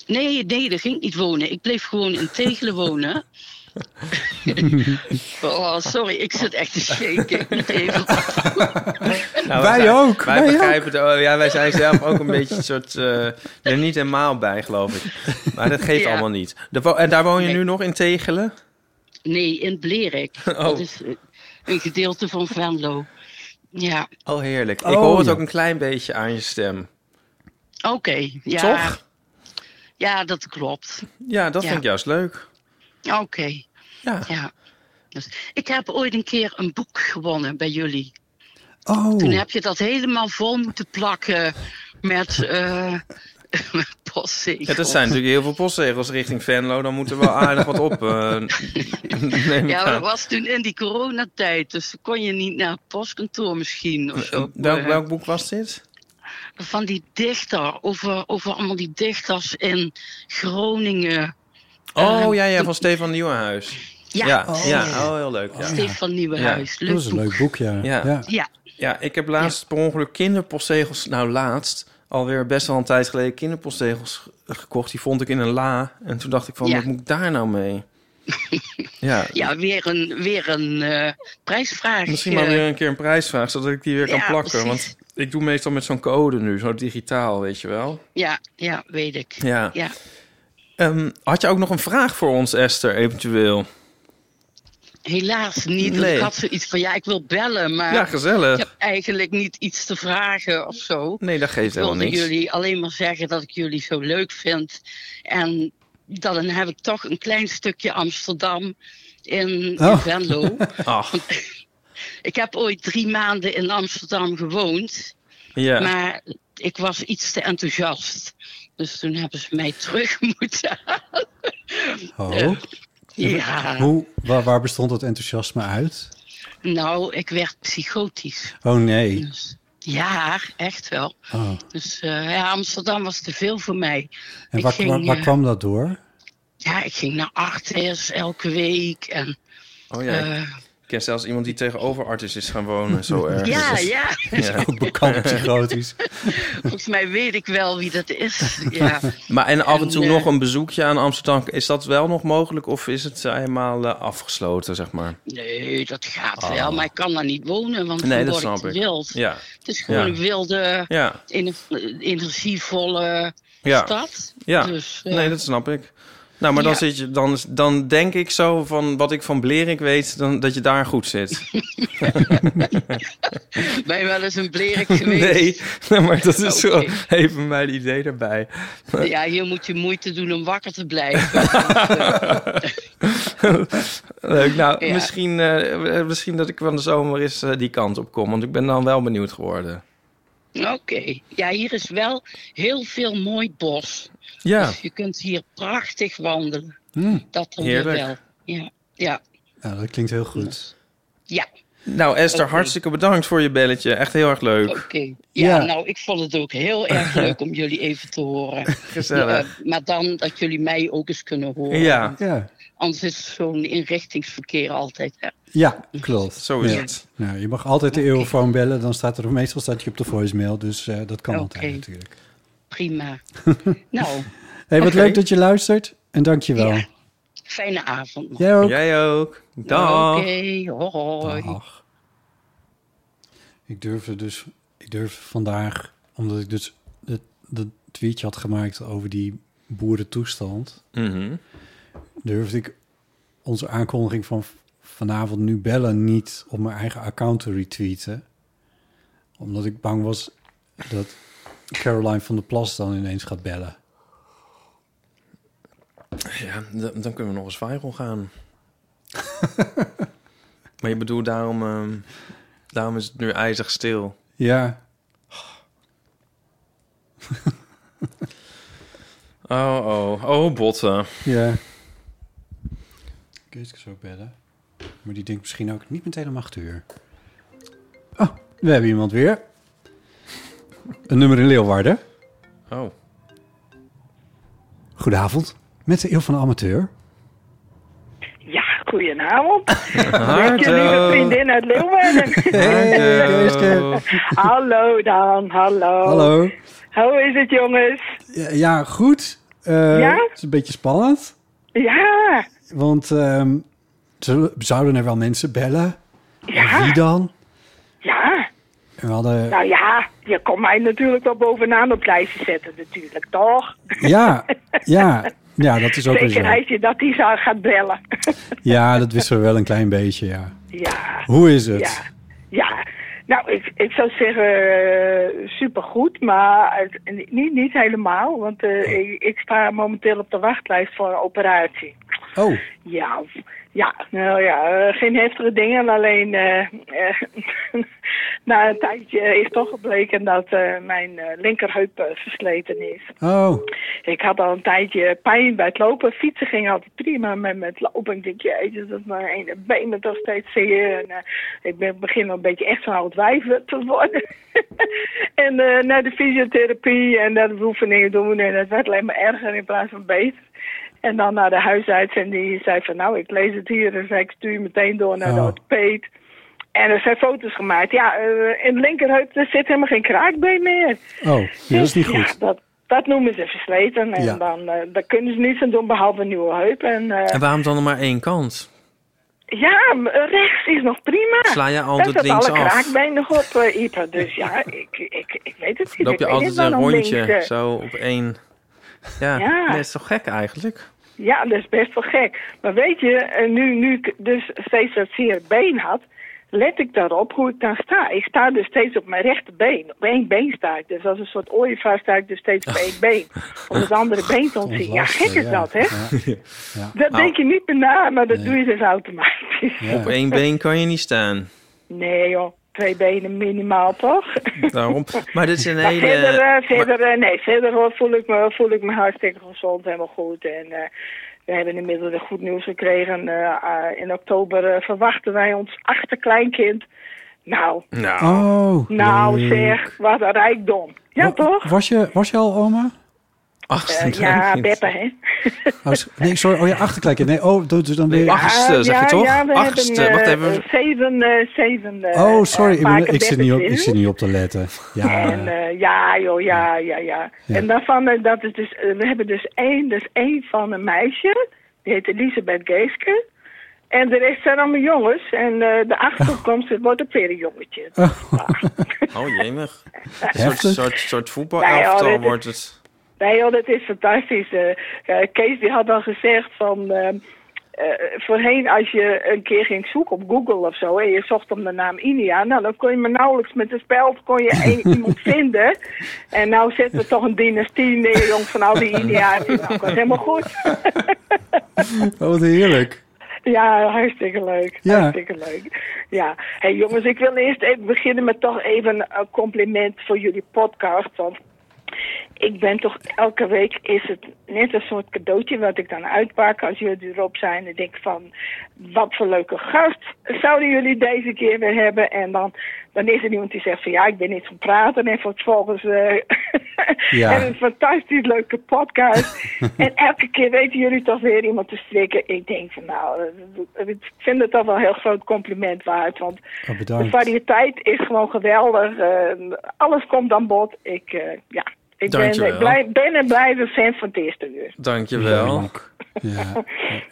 Speaker 9: Nee, nee, daar ging ik niet wonen. Ik bleef gewoon in Tegelen wonen. oh, sorry, ik zit echt te shaken. Ik moet even
Speaker 7: Nou,
Speaker 5: Wij
Speaker 7: zijn-
Speaker 5: ook,
Speaker 7: Wij,
Speaker 5: wij
Speaker 7: begrijpen het. oh, ja, wij zijn zelf ook
Speaker 5: <laughs>
Speaker 7: een beetje een soort. eh, er niet helemaal bij, geloof ik. Maar dat geeft
Speaker 9: <laughs> Ja.
Speaker 7: allemaal niet. De wo- en daar woon je
Speaker 9: Nee.
Speaker 7: nu nog in Tegelen?
Speaker 9: Nee, in Blerik. Dat is eh, een gedeelte van Venlo. Ja,
Speaker 7: Oh, heerlijk. Ik
Speaker 5: Oh,
Speaker 7: hoor het
Speaker 5: ja.
Speaker 7: ook een klein beetje aan je stem.
Speaker 9: oké. Ja,
Speaker 7: Toch?
Speaker 9: Ja, dat klopt.
Speaker 7: Ja, dat
Speaker 9: Ja.
Speaker 7: vind ik juist leuk.
Speaker 9: Oké,
Speaker 7: Ja.
Speaker 9: ja. Dus ik heb ooit een keer een boek gewonnen bij jullie.
Speaker 5: Oh,
Speaker 9: Toen heb je dat helemaal vol moeten plakken met, eh <laughs> met postzegels.
Speaker 7: Ja, dat zijn natuurlijk heel veel postzegels richting Venlo. Dan moet er wel aardig wat op.
Speaker 9: <laughs>
Speaker 7: eh, neem ik
Speaker 9: Ja, maar
Speaker 7: aan.
Speaker 9: dat was toen in die coronatijd, dus toen kon je niet naar het postkantoor misschien of zo.
Speaker 7: Welk,
Speaker 9: Eh,
Speaker 7: welk boek was dit?
Speaker 9: Van die dichter, over, over allemaal die dichters in Groningen.
Speaker 7: Oh
Speaker 9: Eh,
Speaker 7: ja, ja, van Stefan Nieuwenhuis.
Speaker 9: Ja,
Speaker 7: ja, ja, oh, heel leuk. Ja.
Speaker 9: Stefan Nieuwenhuis.
Speaker 5: dat
Speaker 9: Leuk
Speaker 5: was een
Speaker 9: boek.
Speaker 5: leuk boek, ja.
Speaker 7: Ja.
Speaker 5: ja.
Speaker 9: Ja,
Speaker 7: Ja, ik heb laatst per ongeluk kinderpostzegels... Nou, laatst, alweer best wel een tijd geleden... kinderpostzegels ge- gekocht. Die vond ik in een la. En toen dacht ik van,
Speaker 9: Ja.
Speaker 7: wat moet ik daar
Speaker 9: <laughs>
Speaker 7: nou mee? ja,
Speaker 9: ja weer een, weer een eh, prijsvraag.
Speaker 7: misschien
Speaker 9: eh,
Speaker 7: maar weer een keer een prijsvraag... zodat ik die weer kan
Speaker 9: ja,
Speaker 7: plakken.
Speaker 9: precies.
Speaker 7: Want ik doe meestal met zo'n code nu. Zo digitaal, weet je wel.
Speaker 9: Ja, ja, weet ik.
Speaker 7: Ja.
Speaker 9: ja.
Speaker 7: Ehm, had je ook nog een vraag voor ons, Esther, eventueel?
Speaker 9: Helaas niet. want
Speaker 7: Nee.
Speaker 9: Ik had zoiets van, ja, ik wil bellen, maar
Speaker 7: ja, gezellig.
Speaker 9: ik heb eigenlijk niet iets te vragen of zo.
Speaker 7: Nee, dat geeft
Speaker 9: Ik
Speaker 7: helemaal
Speaker 9: wilde
Speaker 7: niks.
Speaker 9: jullie alleen maar zeggen dat ik jullie zo leuk vind. En dan heb ik toch een klein stukje Amsterdam in, in
Speaker 5: Oh. <laughs>
Speaker 9: Venlo.
Speaker 7: <laughs> Ach,
Speaker 9: <laughs> ik heb ooit drie maanden in Amsterdam gewoond,
Speaker 7: ja.
Speaker 9: maar ik was iets te enthousiast. Dus toen hebben ze mij terug <laughs> moeten halen. Eh,
Speaker 5: Oh.
Speaker 9: Ja,
Speaker 5: Hoe, waar, waar bestond dat enthousiasme uit?
Speaker 9: nou, ik werd psychotisch.
Speaker 5: Oh nee.
Speaker 9: Dus, ja, echt wel.
Speaker 5: Oh.
Speaker 9: Dus eh, ja, Amsterdam was te veel voor mij.
Speaker 5: En
Speaker 9: Ik
Speaker 5: waar,
Speaker 9: ging,
Speaker 5: waar, waar
Speaker 9: eh,
Speaker 5: kwam dat door?
Speaker 9: Ja, ik ging naar Artes elke week. En,
Speaker 7: Oh ja, ik
Speaker 9: eh,
Speaker 7: ken zelfs iemand die tegenover artis is gaan wonen. Zo erg.
Speaker 9: ja,
Speaker 7: Dat is-
Speaker 9: ja,
Speaker 7: <laughs> ja.
Speaker 5: <laughs> Ook bekend psychotisch.
Speaker 9: volgens mij weet ik wel wie dat
Speaker 5: <laughs>
Speaker 9: is. <laughs> Ja.
Speaker 7: Maar en af en toe
Speaker 9: En, eh,
Speaker 7: nog een bezoekje aan Amsterdam. Is dat wel nog mogelijk of is het helemaal eh, afgesloten, zeg maar?
Speaker 9: Nee, dat gaat wel, maar ik kan daar niet wonen, want
Speaker 7: Ah. Nee,
Speaker 9: dan
Speaker 7: dat
Speaker 9: word ik
Speaker 7: snap
Speaker 9: te
Speaker 7: ik.
Speaker 9: wild.
Speaker 7: Ja,
Speaker 9: Het is gewoon
Speaker 7: Ja.
Speaker 9: een wilde,
Speaker 7: ja,
Speaker 9: ener- energievolle
Speaker 7: ja.
Speaker 9: stad.
Speaker 7: ja.
Speaker 9: Dus, eh,
Speaker 7: Nee, dat snap ik. Nou, maar dan,
Speaker 9: Ja.
Speaker 7: zit je, dan, is- dan denk ik zo van wat ik van Blerik weet, dan, dat je daar goed
Speaker 9: <laughs>
Speaker 7: zit.
Speaker 9: Ben je wel eens een blerik geweest?
Speaker 7: <laughs> Nee, nee, <laughs> maar dat
Speaker 9: <laughs>
Speaker 7: is zo
Speaker 9: Oké.
Speaker 7: even mijn idee daarbij.
Speaker 9: <laughs> Ja, hier moet je moeite doen om wakker te blijven. eh,
Speaker 7: <laughs> Leuk, nou,
Speaker 9: Ja.
Speaker 7: misschien, eh, misschien dat ik van de zomer eens eh, die kant op kom. Want ik ben dan wel benieuwd geworden.
Speaker 9: Oké. Ja, hier is wel heel veel mooi bos.
Speaker 7: Ja,
Speaker 9: Dus je kunt hier prachtig wandelen.
Speaker 5: Hmm.
Speaker 9: Dat dan
Speaker 7: Heerlijk.
Speaker 9: weer wel. Ja, ja,
Speaker 5: Nou, dat klinkt heel goed.
Speaker 9: ja.
Speaker 7: nou Esther,
Speaker 9: Oké.
Speaker 7: hartstikke bedankt voor je belletje. Echt heel erg leuk.
Speaker 9: Oké. Ja,
Speaker 5: Ja.
Speaker 9: nou, ik vond het ook heel erg leuk om jullie even te horen.
Speaker 7: Gezellig.
Speaker 9: Ja, maar dan dat jullie mij ook eens kunnen horen.
Speaker 7: Ja,
Speaker 5: Ja,
Speaker 9: Anders is zo'n inrichtingsverkeer altijd. hè.
Speaker 5: ja klopt.
Speaker 7: zo is
Speaker 5: Ja.
Speaker 7: het.
Speaker 5: Nou, je mag altijd de eeuwenfoon bellen. Dan staat er meestal staat je op de voicemail. Dus eh, dat kan
Speaker 9: Oké.
Speaker 5: altijd <laughs> natuurlijk.
Speaker 9: Prima. nou,
Speaker 5: hey, wat
Speaker 7: Oké.
Speaker 5: leuk dat je luistert. En dank je wel.
Speaker 9: Ja. fijne avond nog.
Speaker 5: Jij ook.
Speaker 7: Jij ook. Dag.
Speaker 9: Oké, hoi.
Speaker 5: Dag. Ik durfde dus... Ik durfde vandaag... Omdat ik dus dat dat tweetje had gemaakt over die boerentoestand...
Speaker 7: Mhm.
Speaker 5: durfde ik onze aankondiging van v- vanavond nu bellen niet op mijn eigen account te retweeten. Omdat ik bang was dat Caroline van der Plas dan ineens gaat bellen.
Speaker 7: Ja, d- dan kunnen we nog eens viral gaan. <laughs> maar je bedoelt, daarom, ehm, daarom is het nu ijzig stil.
Speaker 5: Ja,
Speaker 7: Oh, oh, oh, botten.
Speaker 5: ja. Kees zo bellen. Maar die denkt misschien ook niet meteen om acht uur. Oh, we hebben iemand weer. Een nummer in Leeuwarden.
Speaker 7: Oh,
Speaker 5: Goedenavond, met de Eeuw van de Amateur.
Speaker 10: Ja,
Speaker 5: <laughs>
Speaker 10: goedenavond. Met je lieve
Speaker 7: hallo.
Speaker 10: vriendin uit Leeuwarden.
Speaker 7: Hallo.
Speaker 5: Keeske.
Speaker 10: <laughs> hallo dan, hallo.
Speaker 5: Hallo.
Speaker 10: Hoe is het jongens?
Speaker 5: Ja, ja, goed. Eh,
Speaker 10: Ja?
Speaker 5: Het is een beetje spannend.
Speaker 10: Ja,
Speaker 5: Want ehm, zullen- zouden er wel mensen bellen? En Wie dan?
Speaker 10: ja.
Speaker 5: En we hadden...
Speaker 10: Nou ja, je kon mij natuurlijk wel bovenaan op het lijstje zetten natuurlijk, toch?
Speaker 5: Ja, ja. Ja, dat is ook weer
Speaker 10: Zeker
Speaker 5: zo.
Speaker 10: als je dat die zou gaan bellen.
Speaker 5: Ja, dat wisten we wel een klein beetje, ja.
Speaker 10: ja,
Speaker 5: Hoe is het?
Speaker 10: ja, ja. Nou, ik, ik zou zeggen eh, supergoed, maar het- niet, niet helemaal. Want eh, ik, ik sta momenteel op de wachtlijst voor een operatie.
Speaker 5: Oh,
Speaker 10: Ja, ja, nou ja, eh, geen heftige dingen. Alleen eh, eh, <laughs> na een tijdje is toch gebleken dat eh, mijn eh, linkerheup eh, versleten is.
Speaker 5: oh.
Speaker 10: Ik had al een tijdje pijn bij het lopen. Fietsen ging altijd prima, maar met lopen ik denk je, jeetje, dat mijn ene been me toch steeds zeer. En, eh, ik ben begin al een beetje echt zo'n oud wijf te worden. <laughs> en eh, naar de fysiotherapie en naar de oefeningen doen. En het werd alleen maar erger in plaats van beter. En dan naar de huisarts en die zei van nou, ik lees het hier. En zei ik stuur je meteen door naar de
Speaker 5: Oh.
Speaker 10: orthopeed. En er zijn foto's gemaakt. Ja, eh, in de linkerheup er zit helemaal geen kraakbeen meer.
Speaker 5: Oh, ja, dat is niet
Speaker 10: Dus Ja,
Speaker 5: goed.
Speaker 10: dat, dat noemen ze versleten. En
Speaker 7: Ja.
Speaker 10: dan eh, daar kunnen ze niets aan doen behalve een nieuwe heup. En, eh,
Speaker 7: En waarom dan maar één kant?
Speaker 10: ja, m- rechts is nog prima.
Speaker 7: Sla je altijd
Speaker 10: Daar staat
Speaker 7: links
Speaker 10: alle
Speaker 7: af?
Speaker 10: kraakbeen nog op, eh, Ipa. Dus
Speaker 7: <laughs>
Speaker 10: ja, ik, ik, ik weet het niet.
Speaker 7: Loop
Speaker 10: Ik
Speaker 7: je
Speaker 10: weet
Speaker 7: altijd
Speaker 10: niet waar
Speaker 7: een
Speaker 10: nog
Speaker 7: rondje
Speaker 10: links, eh,
Speaker 7: zo op één. Ja,
Speaker 10: Ja.
Speaker 7: Nee, dat is toch gek eigenlijk?
Speaker 10: Ja, dat is best wel gek. Maar weet je, eh, nu, nu ik dus steeds dat zeer been had, let ik daarop hoe ik dan sta. Ik sta dus steeds op mijn rechterbeen. Op één been sta ik. Dus als een soort ooievaar sta ik dus steeds op één been. Om het andere been te ontzien. Ja, gek is dat, hè? Dat
Speaker 7: Nou,
Speaker 10: denk je niet meer na, maar dat doe je dus automatisch.
Speaker 7: Op één been kan je niet staan.
Speaker 10: Nee joh, twee benen minimaal toch?
Speaker 7: Daarom. Maar
Speaker 10: <laughs>
Speaker 7: dit is een
Speaker 10: Maar
Speaker 7: hele.
Speaker 10: verder, eh, verder, eh, nee, verder hoor, voel, ik me, voel ik me hartstikke gezond, helemaal goed. En eh, we hebben inmiddels weer goed nieuws gekregen. Eh, eh, in oktober eh, verwachten wij ons achterkleinkind. Nou, Oh,
Speaker 7: Nou,
Speaker 5: Oh.
Speaker 10: nou zeg, wat een rijkdom. Ja toch?
Speaker 5: Was je, was je al oma?
Speaker 10: Eh, ja, Beppe hè.
Speaker 5: Oh, s- nee, sorry. Oh ja, achterkijken. Nee, oh, dus dan weer...
Speaker 10: Ja, ja, Ja, we hebben, eh, Zeven, eh, zeven eh,
Speaker 5: Oh, sorry.
Speaker 10: eh,
Speaker 5: Ik,
Speaker 10: vaker
Speaker 5: bedoel, ik, zit
Speaker 10: Beppe
Speaker 5: niet op,
Speaker 10: zin.
Speaker 5: ik zit niet op te letten. Ja.
Speaker 10: <laughs> En eh, ja, joh, ja, ja, ja. En daarvan, eh, dat is dus, eh, we hebben dus één, dus één van een meisje, die heet Elisabeth Geeske. En de rest zijn allemaal jongens. En eh, de achterkomst <laughs> het wordt ook weer een jongetje. <laughs>
Speaker 7: Oh, jemig. Een
Speaker 10: Heftig.
Speaker 7: soort, soort, soort
Speaker 10: Nou ja,
Speaker 7: voetbalelftal
Speaker 10: dit is-
Speaker 7: wordt het.
Speaker 10: Nee joh, dat is fantastisch. Eh, eh, Kees die had al gezegd van... ehm, eh, voorheen als je een keer ging zoeken op Google of zo... en je zocht om de naam Inia... nou dan kon je maar nauwelijks met een speld kon je één iemand vinden. En nou zetten we toch een dynastie neer, jong, van al die India's. Nou, dat is helemaal goed.
Speaker 5: Oh, wat heerlijk.
Speaker 10: Ja, hartstikke leuk.
Speaker 5: Ja.
Speaker 10: Hartstikke leuk. Ja. hey, jongens, ik wil eerst even beginnen met toch even een compliment voor jullie podcast. Want ik ben toch elke week is het net een soort cadeautje wat ik dan uitpak als jullie erop zijn. En denk ik van wat voor leuke gast zouden jullie deze keer weer hebben. En dan, dan is er iemand die zegt van ja, ik ben niet van praten. En vervolgens eh <laughs>
Speaker 3: Ja.
Speaker 10: hebben we een fantastisch leuke podcast. en elke keer weten jullie toch weer iemand te strikken. Ik denk van nou, eh, ik vind het toch wel een heel groot compliment waard. Want
Speaker 5: Oh,
Speaker 10: de
Speaker 5: bedankt.
Speaker 10: variëteit is gewoon geweldig. Eh, alles komt aan bod. Ik, eh, ja, ik ben,
Speaker 7: Dankjewel.
Speaker 10: eh, blij, ben en blijf een fan van het eerste uur.
Speaker 7: Dankjewel.
Speaker 10: <laughs>
Speaker 5: Ja,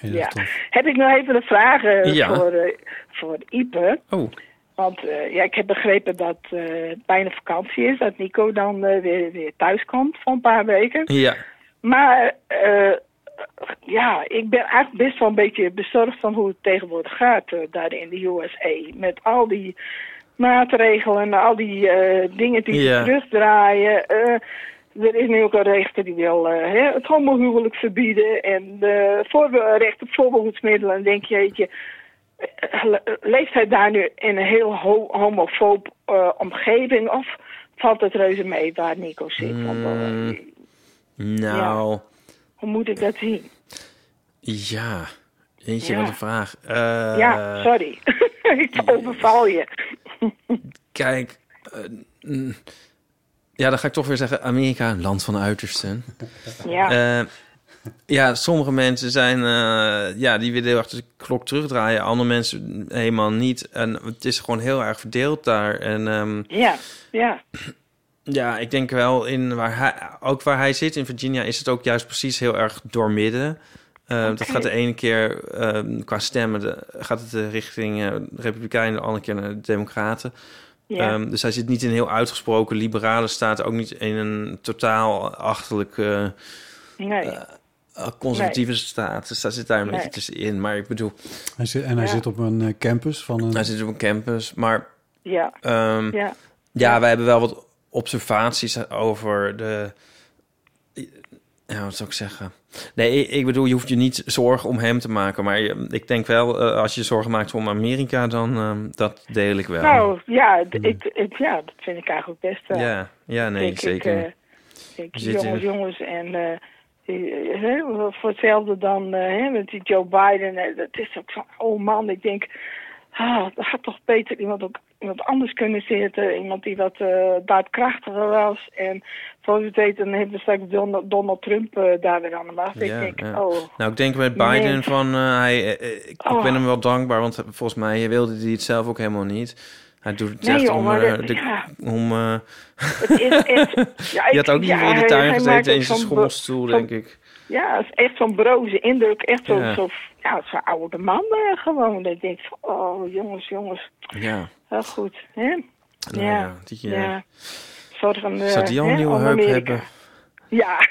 Speaker 10: Ja. Heb ik nog even een vraag eh,
Speaker 7: Ja.
Speaker 10: voor, eh, voor Ipe?
Speaker 7: Oh.
Speaker 10: Want eh, ja, ik heb begrepen dat eh, het bijna vakantie is. Dat Nico dan eh, weer, weer thuis komt voor een paar weken.
Speaker 7: Ja.
Speaker 10: Maar eh, ja, ik ben eigenlijk best wel een beetje bezorgd van hoe het tegenwoordig gaat eh, daar in de USA. Met al die maatregelen en al die eh, dingen die
Speaker 7: Ja.
Speaker 10: ze terugdraaien. Eh, er is nu ook een rechter die wil eh, hè, het homohuwelijk verbieden en eh voorbe- recht op voorbehoedsmiddelen. En denk je, jeetje, eh, le- leeft hij daar nu in een heel ho homofoob eh, omgeving of valt het reuze mee waar Nico zit?
Speaker 7: Mm, nou,
Speaker 10: Hoe moet ik dat zien?
Speaker 7: ja. Eentje,
Speaker 10: Ja.
Speaker 7: wat een vraag. Eh,
Speaker 10: ja, sorry. <laughs> ik overval je. <laughs>
Speaker 7: Kijk. eh, mm, ja, dan ga ik toch weer zeggen: Amerika, een land van uitersten.
Speaker 10: Ja.
Speaker 7: Eh, ja, sommige mensen zijn, eh, ja, die willen heel erg de klok terugdraaien. Andere mensen helemaal niet. En het is gewoon heel erg verdeeld daar. En ehm,
Speaker 10: Ja, ja.
Speaker 7: Ja, ik denk wel in waar hij, ook waar hij zit in Virginia, is het ook juist precies heel erg doormidden. Eh, Dat gaat de ene keer ehm, qua stemmen de, gaat het eh, richting eh, de Republikeinen, de andere keer naar de Democraten.
Speaker 11: Ja.
Speaker 7: Ehm, dus hij zit niet in een heel uitgesproken liberale staat, ook niet in een totaal achterlijke
Speaker 10: Nee.
Speaker 7: eh, conservatieve staat. Dus daar zit daar een
Speaker 5: Nee.
Speaker 7: beetje tussenin. Maar ik bedoel,
Speaker 5: Hij zit, en hij
Speaker 7: Ja.
Speaker 5: zit op een eh, campus van een...
Speaker 7: hij zit op een campus, maar
Speaker 10: Ja.
Speaker 7: Ehm,
Speaker 10: Ja.
Speaker 7: ja. wij hebben wel wat observaties over de Ja, wat zou ik zeggen? Nee, ik, ik bedoel, je hoeft je niet zorgen om hem te maken. Maar je- ik denk wel, eh, als je zorgen maakt om Amerika, dan ehm, dat deel ik wel.
Speaker 10: Nou, ja, d- ik, ik- ja, dat vind ik eigenlijk best wel.
Speaker 7: Hmm. ja, ja, nee,
Speaker 10: denk
Speaker 7: zeker.
Speaker 10: Ik, eh, denk,
Speaker 7: We zitten-
Speaker 10: jongens, jongens, en eh, eh, hè, voor hetzelfde dan eh, hè, met die Joe Biden. eh, dat is ook van, oh man, ik denk, ah, dat had toch beter iemand, ook, iemand anders kunnen zitten. Iemand die wat eh, daadkrachtiger was. En zoals je het weet, dan hebben we straks Don- Donald Trump eh, daar weer aan de macht.
Speaker 7: Ja,
Speaker 10: ik denk,
Speaker 7: ja.
Speaker 10: oh,
Speaker 7: nou, ik denk met Biden
Speaker 10: nee.
Speaker 7: van, eh, hij, eh, eh, ik, ik
Speaker 10: Oh.
Speaker 7: ben hem wel dankbaar, want volgens mij wilde hij het zelf ook helemaal niet. Hij doet het
Speaker 10: Nee,
Speaker 7: echt
Speaker 10: joh,
Speaker 7: om,
Speaker 10: maar
Speaker 7: eh,
Speaker 10: dat-
Speaker 7: de-
Speaker 10: ja.
Speaker 7: om eh,
Speaker 10: het is echt... <laughs>
Speaker 7: <laughs>
Speaker 10: Ja,
Speaker 7: je had ook niet
Speaker 10: ja,
Speaker 7: meer in de
Speaker 10: hij-
Speaker 7: tuin
Speaker 10: hij maakt
Speaker 7: gezeten
Speaker 10: ook
Speaker 7: in zijn
Speaker 10: zo'n be-
Speaker 7: schommelstoel,
Speaker 10: zo'n-
Speaker 7: denk ik.
Speaker 10: Ja, het is echt zo'n broze indruk. Echt zo'n
Speaker 7: Ja.
Speaker 10: zo, ja, zo'n oude man eh, gewoon. Dat ik denk van, oh jongens, jongens.
Speaker 7: Ja. <laughs>
Speaker 10: Heel goed, hè?
Speaker 7: Nou ja, die, eh,
Speaker 10: Zorg een, eh,
Speaker 7: Zou die al een
Speaker 10: hè,
Speaker 7: nieuwe
Speaker 10: om
Speaker 7: heup
Speaker 10: Amerika.
Speaker 7: hebben?
Speaker 10: Ja.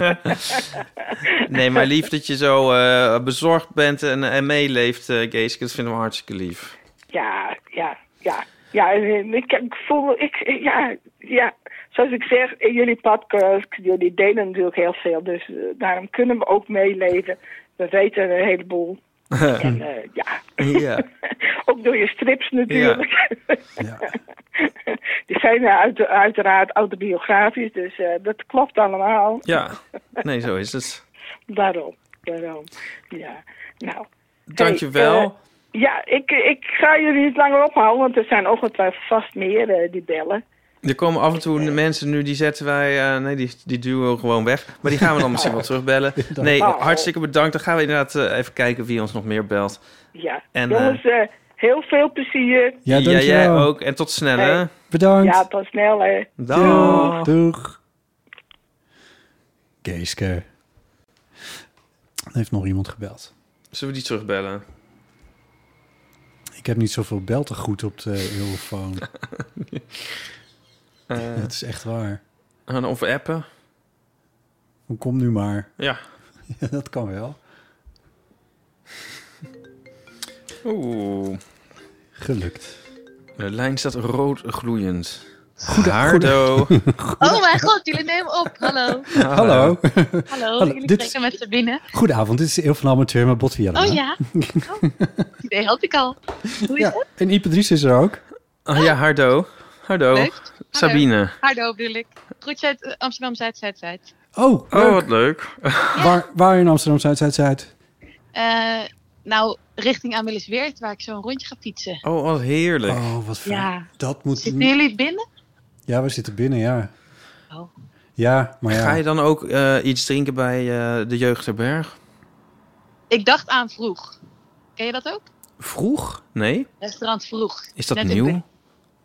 Speaker 7: <laughs> nee, maar lief dat je zo eh, bezorgd bent en, en meeleeft, eh Geeske. Dat vind ik hartstikke lief.
Speaker 10: ja, ja, ja. Ja, en eh, ik, ik voel, ik, ja, ja, zoals ik zeg, in jullie podcast, jullie delen natuurlijk heel veel. Dus eh, daarom kunnen we ook meeleven. We weten een
Speaker 7: <laughs>
Speaker 10: heleboel. En eh, ja,
Speaker 7: ja.
Speaker 10: <laughs> ook door je strips natuurlijk. <laughs> Die zijn eh, uit, uiteraard autobiografisch, dus eh, dat klopt allemaal.
Speaker 7: Ja, nee, zo is het.
Speaker 10: Daarom, daarom. Ja, nou.
Speaker 7: Dankjewel.
Speaker 10: Hey, eh, ja, ik, ik ga jullie niet langer ophouden, want er zijn ongetwijfeld vast meer eh, die bellen.
Speaker 7: Er komen af en toe mensen nu, die zetten wij... eh, nee, die, die duwen we gewoon weg. Maar die gaan we dan
Speaker 5: <laughs>
Speaker 7: misschien wel terugbellen. Nee,
Speaker 5: Nou,
Speaker 10: Oh.
Speaker 7: hartstikke bedankt. Dan gaan we inderdaad eh, even kijken wie ons nog meer belt.
Speaker 10: Ja,
Speaker 7: En,
Speaker 10: jongens, eh, heel veel plezier.
Speaker 7: Ja, jij
Speaker 5: dankjewel.
Speaker 7: ook. En tot snel, hè?
Speaker 10: Hey. Ja, tot snel, hè.
Speaker 7: Dag.
Speaker 5: Doeg. Geeske. Er heeft nog iemand gebeld.
Speaker 7: Zullen we die terugbellen?
Speaker 5: Ik heb niet zoveel beltegoed op de
Speaker 7: <laughs>
Speaker 5: Eurofoon.
Speaker 7: Eh,
Speaker 5: <laughs> Dat is echt waar.
Speaker 7: en of appen?
Speaker 5: Hoe Kom nu maar.
Speaker 7: Ja.
Speaker 5: <laughs> Ja, dat kan wel.
Speaker 7: Oeh.
Speaker 5: Gelukt.
Speaker 7: De lijn staat rood gloeiend.
Speaker 5: Goede-
Speaker 7: Haardo.
Speaker 11: Oh mijn god, jullie nemen op.
Speaker 7: <laughs>
Speaker 11: Hallo.
Speaker 5: Hallo. <laughs>
Speaker 11: Hallo, jullie
Speaker 5: dit-
Speaker 11: spreken met Sabine.
Speaker 5: Goedenavond, dit is Eel van Amateur met Botviella.
Speaker 11: Oh
Speaker 5: <laughs>
Speaker 11: ja. Oh, die idee had ik al. Hoe is het?
Speaker 5: En Ipadries is er ook.
Speaker 7: Oh ja, Hardo. Hardo.
Speaker 11: Leuk.
Speaker 7: Sabine.
Speaker 11: Hardo bedoel ik. Groet uit eh, Amsterdam Zuid, Zuid, Zuid.
Speaker 5: Oh,
Speaker 7: Oh, wat leuk.
Speaker 5: Waar, waar in Amsterdam Zuid-Zuid-Zuid?
Speaker 11: Eh, nou, richting Amelisweert, waar ik zo een rondje ga fietsen.
Speaker 7: Oh, wat heerlijk.
Speaker 5: Oh, wat fijn.
Speaker 11: Ja.
Speaker 5: Dat moet...
Speaker 11: Zitten jullie binnen?
Speaker 5: Ja, we zitten binnen, ja.
Speaker 11: Oh.
Speaker 5: Ja, maar ja.
Speaker 7: Ga je dan ook eh, iets drinken bij eh, de Jeugdherberg?
Speaker 11: Ik dacht aan vroeg. Ken je dat ook?
Speaker 7: Vroeg? Nee.
Speaker 11: Restaurant vroeg.
Speaker 7: Is dat
Speaker 11: Net in
Speaker 7: nieuw?
Speaker 11: Be-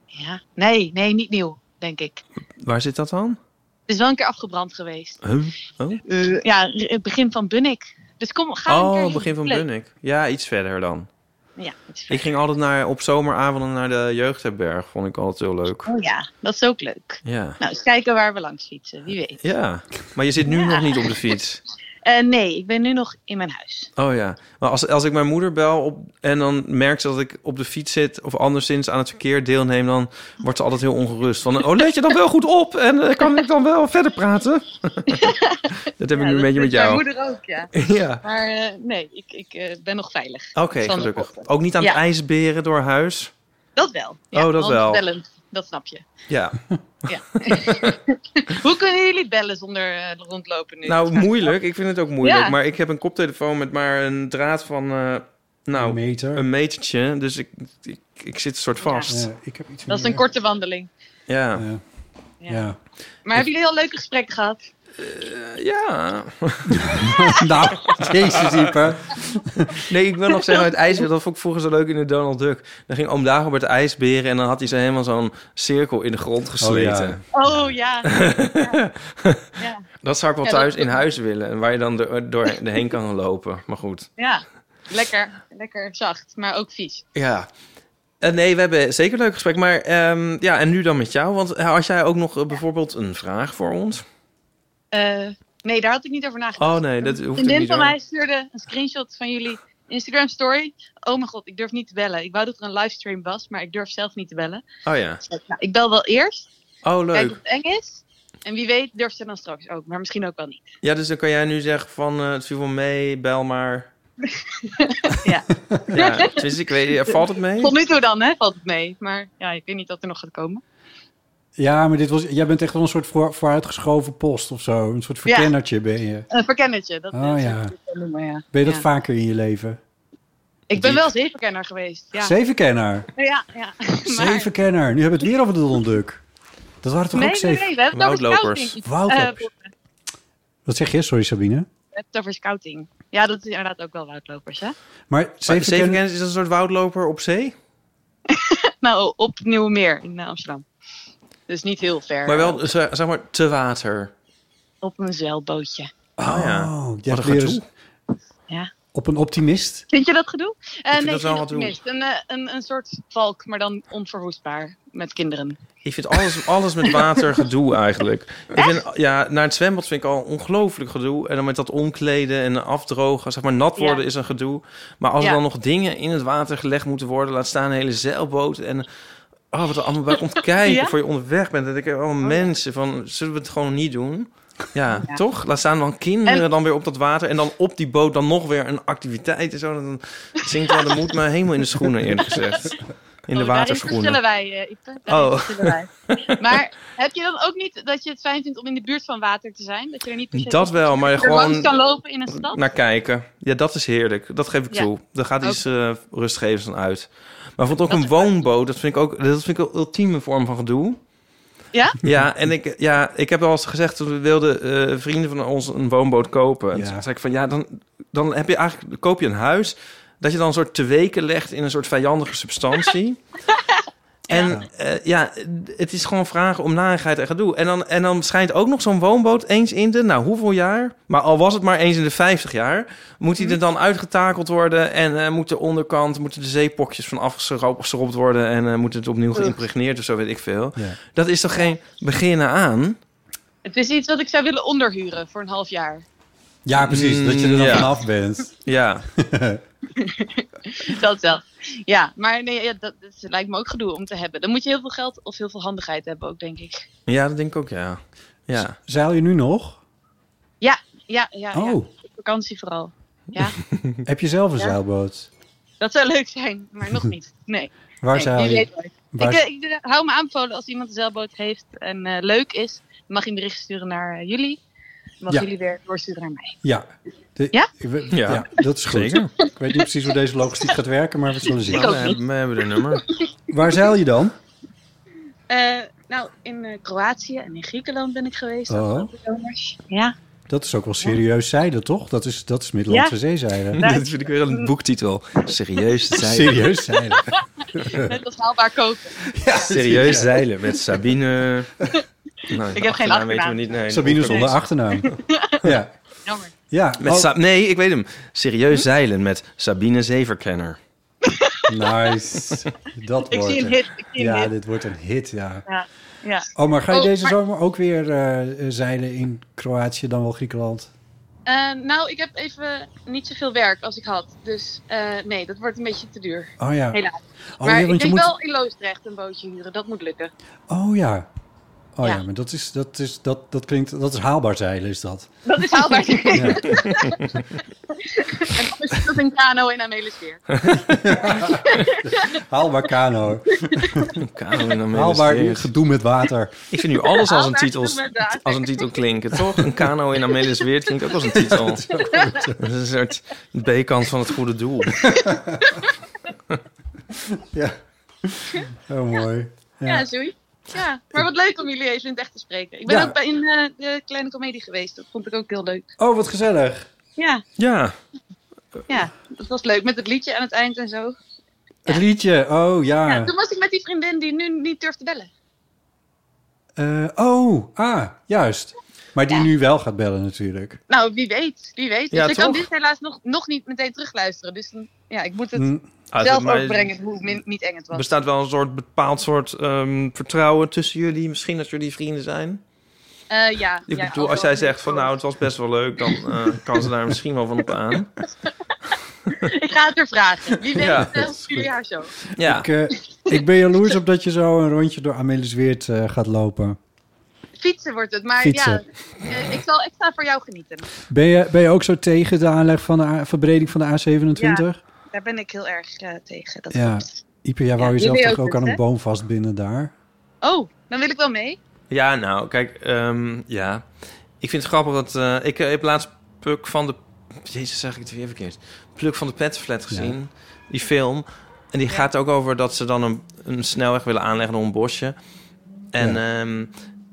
Speaker 11: Ja. Nee, nee, niet nieuw, denk ik.
Speaker 7: Waar zit dat dan?
Speaker 11: Het is wel een keer afgebrand geweest.
Speaker 7: Huh? Oh,
Speaker 11: Eh, ja, r- het begin van Bunnik. Dus kom, ga een keer.
Speaker 7: oh begin van
Speaker 11: Leuk.
Speaker 7: Bunnik. Ja, iets verder dan.
Speaker 11: Ja, het is
Speaker 7: Ik ging altijd naar, op zomeravonden naar de Jeugdherberg. Vond ik altijd heel leuk.
Speaker 11: Oh ja, dat is ook leuk.
Speaker 7: Ja.
Speaker 11: Nou, eens kijken waar we langs fietsen, wie weet.
Speaker 7: Ja, maar je zit nu nog niet op de fiets.
Speaker 11: Eh, nee, ik ben nu nog in mijn huis.
Speaker 7: Oh ja, maar als, als ik mijn moeder bel op, en dan merkt ze dat ik op de fiets zit... of anderszins aan het verkeer deelneem, dan wordt ze altijd heel ongerust. Van, oh, let je dan wel goed op en eh, kan ik dan wel verder
Speaker 11: <laughs>
Speaker 7: praten? dat heb ik nu een beetje met jou.
Speaker 11: Mijn moeder ook, ja.
Speaker 7: <laughs> Ja.
Speaker 11: Maar eh, nee, ik, ik eh, ben nog veilig.
Speaker 7: Oké,
Speaker 11: Van de
Speaker 7: gelukkig.
Speaker 11: koppen.
Speaker 7: Ook niet aan het
Speaker 11: Ja.
Speaker 7: ijsberen door huis?
Speaker 11: Dat wel. Ja,
Speaker 7: Oh, dat
Speaker 11: want
Speaker 7: wel.
Speaker 11: Bellen, dat snap je.
Speaker 7: Ja.
Speaker 11: Ja. Hoe kunnen jullie bellen zonder eh, rondlopen nu?
Speaker 7: Nou, moeilijk. Ik vind het ook moeilijk.
Speaker 11: Ja.
Speaker 7: Maar ik heb een koptelefoon met maar een draad van... eh, nou, een, meter. metertje. Dus ik, ik, ik zit een soort vast.
Speaker 5: Ja, ik heb
Speaker 11: <laughs>
Speaker 5: iets
Speaker 11: Dat is een korte wandeling.
Speaker 7: Ja.
Speaker 11: Ja. Maar hebben jullie al leuke gesprekken gehad?
Speaker 7: Eh, Ja.
Speaker 11: <laughs>
Speaker 7: <laughs>
Speaker 5: nou, jezus, Ieper.
Speaker 7: Nee, ik wil nog zeggen, het ijsbeer, dat vond ik vroeger zo leuk in de Donald Duck. Dan ging oom Dagobert ijsberen en dan had hij zo helemaal zo'n cirkel in de grond gesleten.
Speaker 11: Oh
Speaker 7: <laughs>
Speaker 11: ja. Ja. ja.
Speaker 7: Dat zou ik wel
Speaker 11: Ja, dat-
Speaker 7: thuis in huis willen, en waar je dan door, doorheen kan lopen. Maar goed.
Speaker 11: <laughs> Ja. Lekker, lekker zacht, maar ook vies.
Speaker 7: Ja. Eh, nee, we hebben zeker een leuk gesprek. Maar ehm, ja, en nu dan met jou. Want eh, had jij ook nog eh, bijvoorbeeld een vraag voor ons?
Speaker 11: Eh, nee, daar had ik niet over nagedacht.
Speaker 7: Oh nee, dat
Speaker 11: Een
Speaker 7: hoeft ook
Speaker 11: vriendin
Speaker 7: niet.
Speaker 11: van
Speaker 7: hoor.
Speaker 11: mij stuurde een screenshot van jullie Instagram story. Oh mijn god, ik durf niet te bellen. Ik wou dat er een livestream was, maar ik durf zelf niet te bellen.
Speaker 7: Oh ja.
Speaker 11: Nou, ik bel wel eerst.
Speaker 7: Oh
Speaker 11: Kijk of
Speaker 7: leuk.
Speaker 11: het eng is. En wie weet durft ze dan straks ook, maar misschien ook wel niet.
Speaker 7: Ja, dus dan kan jij nu zeggen van eh, het viel wel mee, bel maar.
Speaker 11: ja.
Speaker 7: Ja, tenminste, ik
Speaker 11: <laughs>
Speaker 7: weet niet, valt het mee?
Speaker 11: Tot nu toe dan, hè? Valt het mee. Maar ja, ik weet niet wat er nog gaat komen.
Speaker 5: Ja, maar dit was, jij bent echt wel een soort voor, vooruitgeschoven post of zo. Een soort
Speaker 11: Ja.
Speaker 5: verkennertje ben je.
Speaker 11: Een verkennertje, dat
Speaker 5: Oh,
Speaker 11: eh, zou
Speaker 5: ja.
Speaker 11: ik het wel noemen, ja.
Speaker 5: Ben je dat
Speaker 11: Ja.
Speaker 5: vaker in je leven?
Speaker 11: Ik ben wel zevenkenner geweest. Ja. <laughs>
Speaker 5: Zevenkenner.
Speaker 11: Ja, ja.
Speaker 5: Zevenkenner. Nu hebben we het weer over de donduk. Dat waren toch
Speaker 11: nee,
Speaker 5: ook
Speaker 11: nee,
Speaker 5: zeven?
Speaker 11: nee, we hebben het over Eh, scouting.
Speaker 5: Woudlopers.
Speaker 11: Eh,
Speaker 5: Wat zeg je? Sorry Sabine.
Speaker 11: we hebben het over scouting. Ja, dat is inderdaad ook wel woudlopers, hè? <laughs>
Speaker 5: Maar
Speaker 7: zeven,
Speaker 5: zevenkenner...
Speaker 7: kennis is een soort woudloper op zee?
Speaker 11: nou, op Nieuwe Meer in eh, Amsterdam. Dus niet heel ver.
Speaker 7: Maar wel, eh, zeg zeg maar, te water.
Speaker 11: Op een zeilbootje.
Speaker 7: Oh, ja.
Speaker 5: Oh, jij
Speaker 7: Wat
Speaker 5: hebt
Speaker 7: een
Speaker 5: weer
Speaker 7: gedoe.
Speaker 11: Ja.
Speaker 5: Op een optimist?
Speaker 11: Vind je dat gedoe? Eh,
Speaker 7: vind
Speaker 11: nee,
Speaker 7: dat wel
Speaker 11: vind ik
Speaker 7: gedoe.
Speaker 11: niet. Een, eh, een, een soort valk, maar dan onverwoestbaar met kinderen.
Speaker 7: Ik vind alles, alles met water gedoe eigenlijk. Ik vind, ja, naar het zwembad vind ik al ongelooflijk gedoe. En dan met dat omkleden en afdrogen. Zeg maar nat worden
Speaker 11: Ja.
Speaker 7: is een gedoe. Maar als
Speaker 11: Ja.
Speaker 7: er dan nog dingen in het water gelegd moeten worden... laat staan een hele zeilboot en... Oh, wat er allemaal bij
Speaker 11: <laughs>
Speaker 7: komt kijken
Speaker 11: Ja?
Speaker 7: voor je onderweg bent. Dat ik denk, oh, mensen, van, zullen we het gewoon niet doen? Ja,
Speaker 11: Ja.
Speaker 7: toch? Laat staan dan kinderen
Speaker 11: En-
Speaker 7: dan weer op dat water... en dan op die boot dan nog weer een activiteit en zo. Dan zinkt wel de moed maar helemaal in de schoenen, eerlijk gezegd. In de
Speaker 11: Oh,
Speaker 7: waterschoenen.
Speaker 11: Daarin verschillen wij, eh Ipe. Daarin
Speaker 7: Oh.
Speaker 11: verschillen
Speaker 7: <laughs>
Speaker 11: wij. Maar heb je dan ook niet dat je het fijn vindt om in de buurt van water te zijn? Dat je er niet per se
Speaker 7: Dat wel, maar
Speaker 11: er
Speaker 7: gewoon
Speaker 11: langs kan lopen in een stad?
Speaker 7: naar kijken. Ja, dat is heerlijk. Dat geef ik
Speaker 11: Ja.
Speaker 7: toe. Daar gaat iets eh rustgevends aan uit. Maar vond ook een woonboot. Dat vind ik ook. Dat vind ik een ultieme vorm van gedoe.
Speaker 11: Ja?
Speaker 7: Ja, en ik, ja, ik heb al eens gezegd toen we wilden eh, vrienden van ons een woonboot kopen.
Speaker 5: Ja.
Speaker 7: Toen zei ik van ja, dan, dan heb je eigenlijk koop je een huis dat je dan een soort te weken legt in een soort vijandige substantie. En eh, ja, het is gewoon vragen om narigheid en gedoe. En dan, en dan schijnt ook nog zo'n woonboot eens in de, nou hoeveel jaar, maar al was het maar eens in de 50 jaar, moet die er dan uitgetakeld worden en eh, moet de onderkant, moeten de zeepokjes van afgeschropt worden en eh, moet het opnieuw geïmpregneerd of zo, weet ik veel. Dat is toch geen beginnen aan?
Speaker 11: Het is iets wat ik zou willen onderhuren voor een half jaar.
Speaker 5: Ja, precies. dat je er dan
Speaker 7: Mm, Ja.
Speaker 5: vanaf bent. <laughs>
Speaker 7: Ja.
Speaker 11: <laughs> dat wel. Ja, maar nee, ja, dat, dat lijkt me ook gedoe om te hebben. Dan moet je heel veel geld of heel veel handigheid hebben ook, denk ik.
Speaker 7: Ja, dat denk ik ook, ja. Ja.
Speaker 5: Zeil je nu nog?
Speaker 11: Ja, ja, ja. ja.
Speaker 5: Oh.
Speaker 11: Op vakantie vooral. Ja,
Speaker 5: <laughs> Heb je zelf een
Speaker 11: Ja.
Speaker 5: zeilboot?
Speaker 11: dat zou leuk zijn, maar nog niet. Nee.
Speaker 5: Waar
Speaker 11: nee,
Speaker 5: zeil
Speaker 11: wie
Speaker 5: je?
Speaker 11: weet ooit.
Speaker 5: Waar-
Speaker 11: Ik, eh, ik, eh, hou me aanbevolen als iemand een zeilboot heeft en eh, leuk is. Mag je een bericht sturen naar eh, jullie. Mag
Speaker 5: Ja.
Speaker 11: jullie weer doorsturen naar mij. <laughs>
Speaker 5: Ja. De-
Speaker 11: Ja?
Speaker 5: Ik we-
Speaker 7: Ja.
Speaker 5: ja, dat is goed.
Speaker 7: Zeker.
Speaker 5: Ik weet niet precies hoe deze logistiek gaat werken, maar we zullen zien.
Speaker 11: Ik ook
Speaker 7: We hebben- we hebben de nummer.
Speaker 5: Waar zeil je dan?
Speaker 11: Eh, nou, in eh, Kroatië en in Griekenland ben ik geweest.
Speaker 5: Oh.
Speaker 11: afgelopen zomers.
Speaker 5: <laughs>
Speaker 11: Ja.
Speaker 5: Dat is ook wel serieus zeilen, toch? Dat is, dat is Middellandse
Speaker 11: Ja.
Speaker 5: zeezeilen.
Speaker 11: Ja.
Speaker 7: <laughs> Dat vind ik weer een boektitel. Serieus zeilen.
Speaker 5: Serieus zeilen.
Speaker 11: Net als haalbaar koken. <laughs>
Speaker 7: Serieus zeilen met Sabine. Nou,
Speaker 11: Ik heb geen achternaam.
Speaker 7: weten we niet. Nee,
Speaker 5: Sabine zonder achternaam.
Speaker 7: <laughs>
Speaker 5: Ja.
Speaker 11: Jammer.
Speaker 5: ja.
Speaker 7: Met
Speaker 5: oh,
Speaker 7: Sa- nee, ik weet hem. Serieus zeilen met Sabine
Speaker 11: <laughs>
Speaker 7: Zeverkenner.
Speaker 5: Nice. Dat
Speaker 11: Ik
Speaker 5: wordt
Speaker 11: zie een
Speaker 5: het.
Speaker 11: hit. Ik zie een
Speaker 5: Ja,
Speaker 11: hit.
Speaker 5: dit wordt een hit, ja.
Speaker 11: Ja. ja.
Speaker 5: Oh, maar ga je
Speaker 11: Oh,
Speaker 5: deze
Speaker 11: maar-
Speaker 5: zomer ook weer eh, zeilen in Kroatië, dan wel Griekenland?
Speaker 11: Eh, nou, ik heb even niet zoveel werk als ik had. Dus eh, nee, dat wordt een beetje te duur.
Speaker 5: Oh ja.
Speaker 11: Helaas.
Speaker 5: Oh,
Speaker 11: maar
Speaker 5: ja, want
Speaker 11: ik
Speaker 5: je
Speaker 11: denk
Speaker 5: moet...
Speaker 11: wel in Loosdrecht een bootje huren. Dat moet lukken.
Speaker 5: Oh ja. Oh ja,
Speaker 11: Ja.
Speaker 5: maar dat is, dat is, dat, dat klinkt, dat is haalbaar zeilen is
Speaker 11: <laughs>
Speaker 5: dat.
Speaker 11: Dat is haalbaar.
Speaker 5: <laughs> Ja.
Speaker 11: en dan is dat een kano in Amelisweer.
Speaker 5: Haalbaar
Speaker 11: <laughs>
Speaker 5: kano.
Speaker 7: Kano in de
Speaker 5: Haalbaar
Speaker 7: Amelisweert.
Speaker 5: gedoe met water.
Speaker 7: Ik vind nu alles als een
Speaker 11: Haalbaar
Speaker 7: titel,
Speaker 11: doen we daar.
Speaker 7: als een titel klinken, toch? Een kano in Amelisweert klinkt ook als een
Speaker 11: <laughs>
Speaker 7: titel. Dat is een soort B-kant van het goede doel.
Speaker 5: Ja. Oh, <laughs> mooi.
Speaker 11: Ja,
Speaker 5: Ja.
Speaker 11: zoei. Ja, maar wat leuk om jullie even in het echt te spreken. Ik ben
Speaker 5: Ja.
Speaker 11: ook bij in eh, de kleine komedie geweest. Dat vond ik ook heel leuk.
Speaker 5: Oh, wat gezellig.
Speaker 11: Ja,
Speaker 7: Ja,
Speaker 11: ja, dat was leuk. Met het liedje aan het eind en zo.
Speaker 5: Het liedje. Oh, ja.
Speaker 11: Ja, toen was ik met die vriendin die nu niet durft te bellen.
Speaker 5: Eh, oh, ah, juist. Maar die nu wel gaat bellen natuurlijk.
Speaker 11: Nou, wie weet, wie weet. Dus
Speaker 7: Ja,
Speaker 11: ik kan
Speaker 7: toch?
Speaker 11: dit helaas nog, nog niet meteen terugluisteren. Dus dan- ja, ik moet het
Speaker 5: Mm,
Speaker 7: Ah,
Speaker 11: zelf
Speaker 7: maar-
Speaker 11: overbrengen hoe min- niet eng het
Speaker 7: Er
Speaker 11: was.
Speaker 7: bestaat wel een soort bepaald soort ehm, vertrouwen tussen jullie. Misschien dat jullie vrienden zijn.
Speaker 11: Eh, ja,
Speaker 7: Ik
Speaker 11: ja,
Speaker 7: bedoel,
Speaker 11: ook
Speaker 7: als
Speaker 11: wel.
Speaker 7: jij zegt van nou, het was best wel leuk, dan eh, kan ze daar misschien wel van op aan.
Speaker 11: <laughs> Ik ga het er vragen. Wie weet,
Speaker 7: Ja,
Speaker 11: ja, jullie haar zo.
Speaker 7: Ja,
Speaker 5: Ik, eh, ik ben jaloers op dat je zo een rondje door Amelisweert eh gaat lopen.
Speaker 11: Fietsen wordt het, maar
Speaker 5: Fietsen.
Speaker 11: ja, eh, ik, zal, ik sta voor jou genieten.
Speaker 5: Ben je, ben je ook zo tegen de aanleg van de A- verbreding van de A27?
Speaker 11: Ja, daar ben ik heel erg eh, tegen. Dat
Speaker 5: Ja. Ieper, jij wou
Speaker 11: Ja,
Speaker 5: jezelf
Speaker 11: jullie
Speaker 5: toch
Speaker 11: ook
Speaker 5: ook
Speaker 11: dus,
Speaker 5: aan een
Speaker 11: hè?
Speaker 5: boom vastbinden daar?
Speaker 11: Oh, dan wil ik wel mee.
Speaker 7: Ja, nou, kijk, ehm, ja. Ik vind het grappig dat... eh, ik eh, heb laatst Puk van de... Jezus, zeg ik het weer verkeerd. Pluk van de Petflat gezien, die film. En die gaat ook over dat ze dan een, een snelweg willen aanleggen door een bosje. En ehm,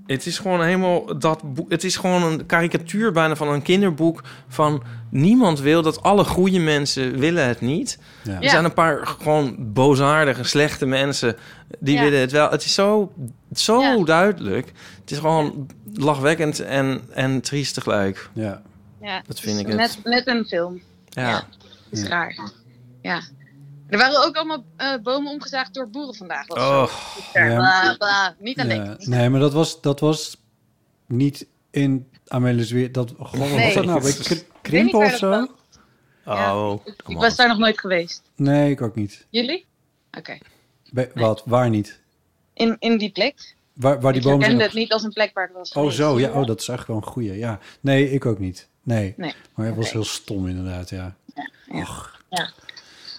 Speaker 7: het is gewoon helemaal dat boek. Het is gewoon een karikatuur bijna van een kinderboek. Van niemand wil dat. Alle goede mensen willen het niet. Er
Speaker 11: Ja.
Speaker 7: zijn een paar gewoon boosaardige, slechte mensen die
Speaker 11: Ja.
Speaker 7: willen het wel. Het is zo, zo duidelijk. Het is gewoon lachwekkend en, en triest tegelijk.
Speaker 5: Ja.
Speaker 11: Ja,
Speaker 7: Dat vind ik het.
Speaker 11: net, net een film.
Speaker 7: Ja.
Speaker 11: Dat is raar. Ja. Er waren ook allemaal eh, bomen omgezaagd door boeren vandaag. Dat
Speaker 7: Oh.
Speaker 11: was
Speaker 5: Och.
Speaker 11: zo. Bla,
Speaker 5: Oh. Ja.
Speaker 11: bla. Niet aan
Speaker 5: Ja,
Speaker 11: denken.
Speaker 5: Nee, maar dat was, dat was niet in Amelie's weer. Dat, god, wat
Speaker 11: Nee.
Speaker 5: was dat nou? Bij
Speaker 11: Ik weet
Speaker 5: kri-
Speaker 11: niet
Speaker 5: krimpen
Speaker 11: waar
Speaker 5: of
Speaker 11: dat
Speaker 5: zo?
Speaker 11: was.
Speaker 7: Oh.
Speaker 11: Ik was daar nog nooit geweest.
Speaker 5: Nee, ik ook niet.
Speaker 11: Jullie? Oké.
Speaker 5: Bij- Wat? Waar niet?
Speaker 11: In, in die plek.
Speaker 5: Waar, waar die
Speaker 11: ik
Speaker 5: bomen zijn
Speaker 11: herkende het niet als een plek waar ik was
Speaker 5: Oh,
Speaker 11: geweest.
Speaker 5: zo. Ja, oh, dat is echt wel een goeie. Ja. Nee, ik ook niet. Nee.
Speaker 11: Nee.
Speaker 5: Maar het was
Speaker 11: Oké.
Speaker 5: heel stom inderdaad, ja. Och, <laughs>
Speaker 11: Ja.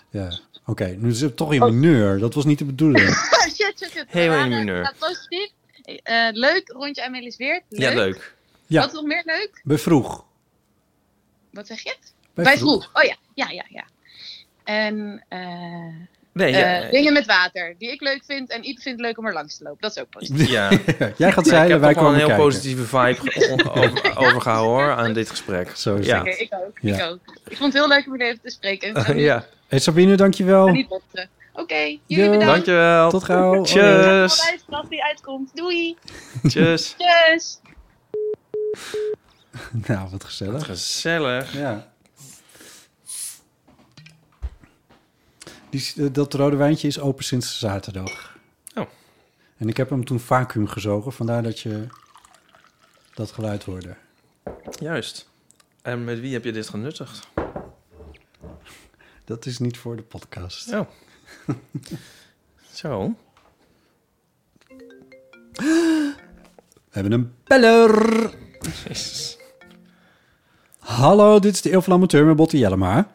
Speaker 5: ja. Oké, nu is het toch
Speaker 11: Oh.
Speaker 5: in mineur. Dat was niet de
Speaker 11: <laughs>
Speaker 5: bedoeling.
Speaker 11: shit, shit, shit.
Speaker 5: Heel
Speaker 11: We
Speaker 5: in
Speaker 11: waren-
Speaker 5: mineur.
Speaker 11: gaat positief. Eh, leuk, rondje Amelie's Weert. Leuk.
Speaker 5: Ja,
Speaker 11: Wat nog meer leuk?
Speaker 5: bij vroeg.
Speaker 11: Wat zeg je?
Speaker 5: Bij
Speaker 11: Bij,
Speaker 5: vroeg.
Speaker 11: vroeg. Oh ja, ja, ja, ja. En eh,
Speaker 5: Nee,
Speaker 11: eh,
Speaker 5: ja, ja.
Speaker 11: dingen met water, die ik leuk vind en Iep vindt leuk om er langs te lopen. Dat is ook positief. <laughs>
Speaker 7: Ja.
Speaker 5: <laughs> Jij gaat zeilen,
Speaker 7: ik
Speaker 5: wij
Speaker 7: heb toch wel een
Speaker 5: komen
Speaker 7: heel
Speaker 5: kijken.
Speaker 7: positieve vibe
Speaker 5: <laughs>
Speaker 7: ge- over, overgehouden hoor, aan dit gesprek.
Speaker 5: Zo is
Speaker 7: ja.
Speaker 11: Oké, ik ook. Ik
Speaker 5: Ja.
Speaker 11: ook. Ik vond het heel leuk om jullie even te spreken. En
Speaker 5: <laughs>
Speaker 11: niet-
Speaker 7: ja.
Speaker 5: Hey Sabine, dankjewel.
Speaker 11: en niet botsen. Oké, jullie
Speaker 5: Jo.
Speaker 11: bedankt.
Speaker 7: Dankjewel.
Speaker 5: Tot gauw.
Speaker 11: Ik
Speaker 7: Tjus.
Speaker 11: ga luisteren als die uitkomt. Doei.
Speaker 7: <laughs> Tjus.
Speaker 11: Tjus.
Speaker 5: <laughs> Nou, wat gezellig.
Speaker 7: Gezellig.
Speaker 5: Ja. Die, eh, dat rode wijntje is open sinds zaterdag.
Speaker 7: Oh.
Speaker 5: En ik heb hem toen vacuüm gezogen, vandaar dat je dat geluid hoorde.
Speaker 7: Juist. En met wie heb je dit
Speaker 5: <laughs>
Speaker 7: genuttigd?
Speaker 5: Dat is niet voor de podcast. <laughs>
Speaker 7: Oh. Zo.
Speaker 5: We hebben een <laughs> beller. Hallo, dit is de Eeuw van de Amateur met Botte Jellema.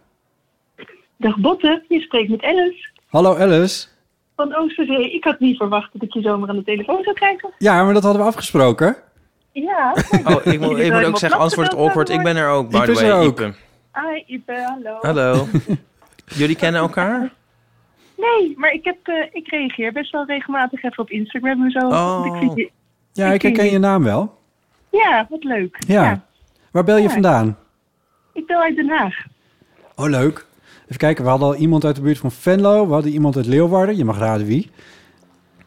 Speaker 12: Dag Botte, je spreekt met Alice
Speaker 5: Hallo Alice.
Speaker 12: van Oosterzee. Ik had niet verwacht dat ik je zomaar aan de telefoon zou krijgen.
Speaker 5: Ja, maar dat hadden we afgesproken.
Speaker 12: Ja.
Speaker 11: <laughs>
Speaker 7: Oh, ik moet, ik moet ook zeggen, anders wordt het awkward. Ik ben er ook, by
Speaker 5: Iep
Speaker 7: the
Speaker 5: is er
Speaker 7: way.
Speaker 5: ook.
Speaker 7: Iep.
Speaker 12: Hi Ipe, hallo.
Speaker 5: <laughs>
Speaker 7: Hallo. Jullie kennen elkaar?
Speaker 12: Nee, maar ik, heb, eh, ik reageer best wel regelmatig even op Instagram en zo.
Speaker 7: Oh.
Speaker 12: want Ik vind je...
Speaker 5: Ja, ik herken je naam wel.
Speaker 12: Ja, wat leuk.
Speaker 5: Ja. Waar bel je
Speaker 12: Ja.
Speaker 5: vandaan?
Speaker 12: Ik bel uit Den Haag.
Speaker 5: Oh, leuk. Even kijken, we hadden al iemand uit de buurt van Venlo. We hadden iemand uit Leeuwarden. Je mag raden wie.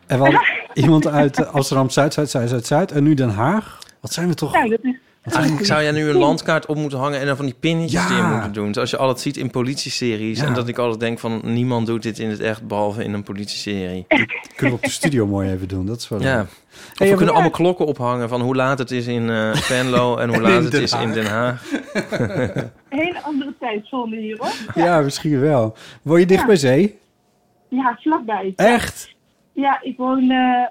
Speaker 5: En we hadden
Speaker 12: <laughs>
Speaker 5: iemand uit eh, Amsterdam Zuid, Zuid, Zuid, Zuid, Zuid. En nu Den Haag. Wat zijn we toch?
Speaker 12: Nou, dat is...
Speaker 7: Eigenlijk zou jij
Speaker 5: <laughs>
Speaker 7: nu een landkaart op moeten hangen en dan van die pinnetjes die je
Speaker 5: Ja.
Speaker 7: moet doen. Zoals je altijd ziet in politieseries.
Speaker 5: Ja.
Speaker 7: En dat ik altijd denk van niemand doet dit in het echt behalve in een politieserie.
Speaker 5: Kunnen we op de studio mooi even doen. Dat is wel
Speaker 7: Ja.
Speaker 5: leuk.
Speaker 7: Of we
Speaker 5: Hey,
Speaker 7: kunnen
Speaker 5: ja.
Speaker 7: allemaal klokken ophangen van hoe laat het is in eh, Venlo en hoe
Speaker 5: En
Speaker 7: laat
Speaker 5: in
Speaker 7: het
Speaker 5: Den
Speaker 7: is in
Speaker 5: Haag.
Speaker 7: Den Haag.
Speaker 12: Een hele andere tijdzone hier hoor.
Speaker 5: Ja, misschien wel. Woon je dicht bij zee?
Speaker 12: Ja, vlakbij.
Speaker 5: Echt?
Speaker 12: Ja, ik woon eh,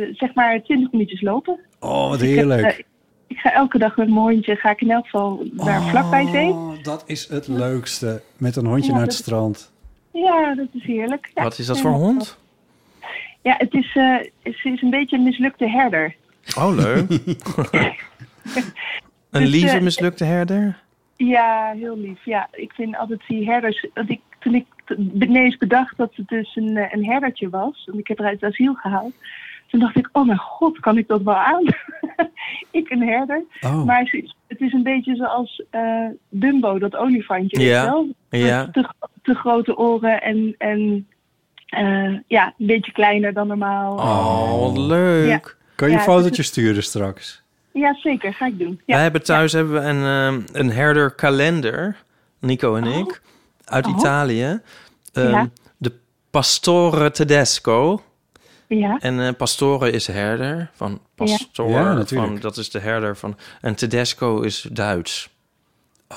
Speaker 12: eh, zeg maar 20 minuutjes lopen.
Speaker 5: Oh, wat
Speaker 12: Ik heb, eh,
Speaker 5: heerlijk.
Speaker 12: ik ga elke dag met mijn hondje, ga ik in elk geval naar
Speaker 7: Oh.
Speaker 12: vlakbij zee.
Speaker 5: Oh, Dat is het leukste. Met een hondje
Speaker 12: Ja,
Speaker 5: naar het
Speaker 12: dat-
Speaker 5: strand.
Speaker 12: Ja, dat is heerlijk. Ja, eh,
Speaker 7: Wat is dat voor hond?
Speaker 12: Ja, het is, eh, ze is een beetje een mislukte herder.
Speaker 7: Oh, leuk. een
Speaker 12: Dus,
Speaker 7: lieve
Speaker 12: eh,
Speaker 7: mislukte herder?
Speaker 12: Ja, heel lief. Ja, ik vind altijd die herders... Want ik, toen ik t- ineens bedacht dat het dus een, eh, een herdertje was... want ik heb haar uit het asiel gehaald... toen dacht ik, oh mijn god, kan ik dat wel aan? <laughs> ik een herder.
Speaker 5: Oh.
Speaker 12: Maar ze- het is een beetje zoals eh, Dumbo, dat olifantje. weet
Speaker 7: Ja,
Speaker 12: je wel? Met
Speaker 7: ja.
Speaker 12: Te, gro- te grote oren en... en eh, ja, een beetje kleiner dan normaal.
Speaker 7: Oh, wat leuk.
Speaker 12: Kan je Ja, een het is- fotootje
Speaker 5: sturen straks?
Speaker 12: Ja, zeker. Ga ik doen. Ja.
Speaker 7: Wij hebben thuis hebben we een, ehm, een herderkalender, Nico en ik, uit
Speaker 12: Oh.
Speaker 7: Italië. Ehm,
Speaker 12: Ja.
Speaker 7: De Pastore Tedesco.
Speaker 12: Ja.
Speaker 7: En eh, Pastore is herder, van Pastore.
Speaker 5: Ja, natuurlijk.
Speaker 7: van, dat is de herder van... En Tedesco is Duits.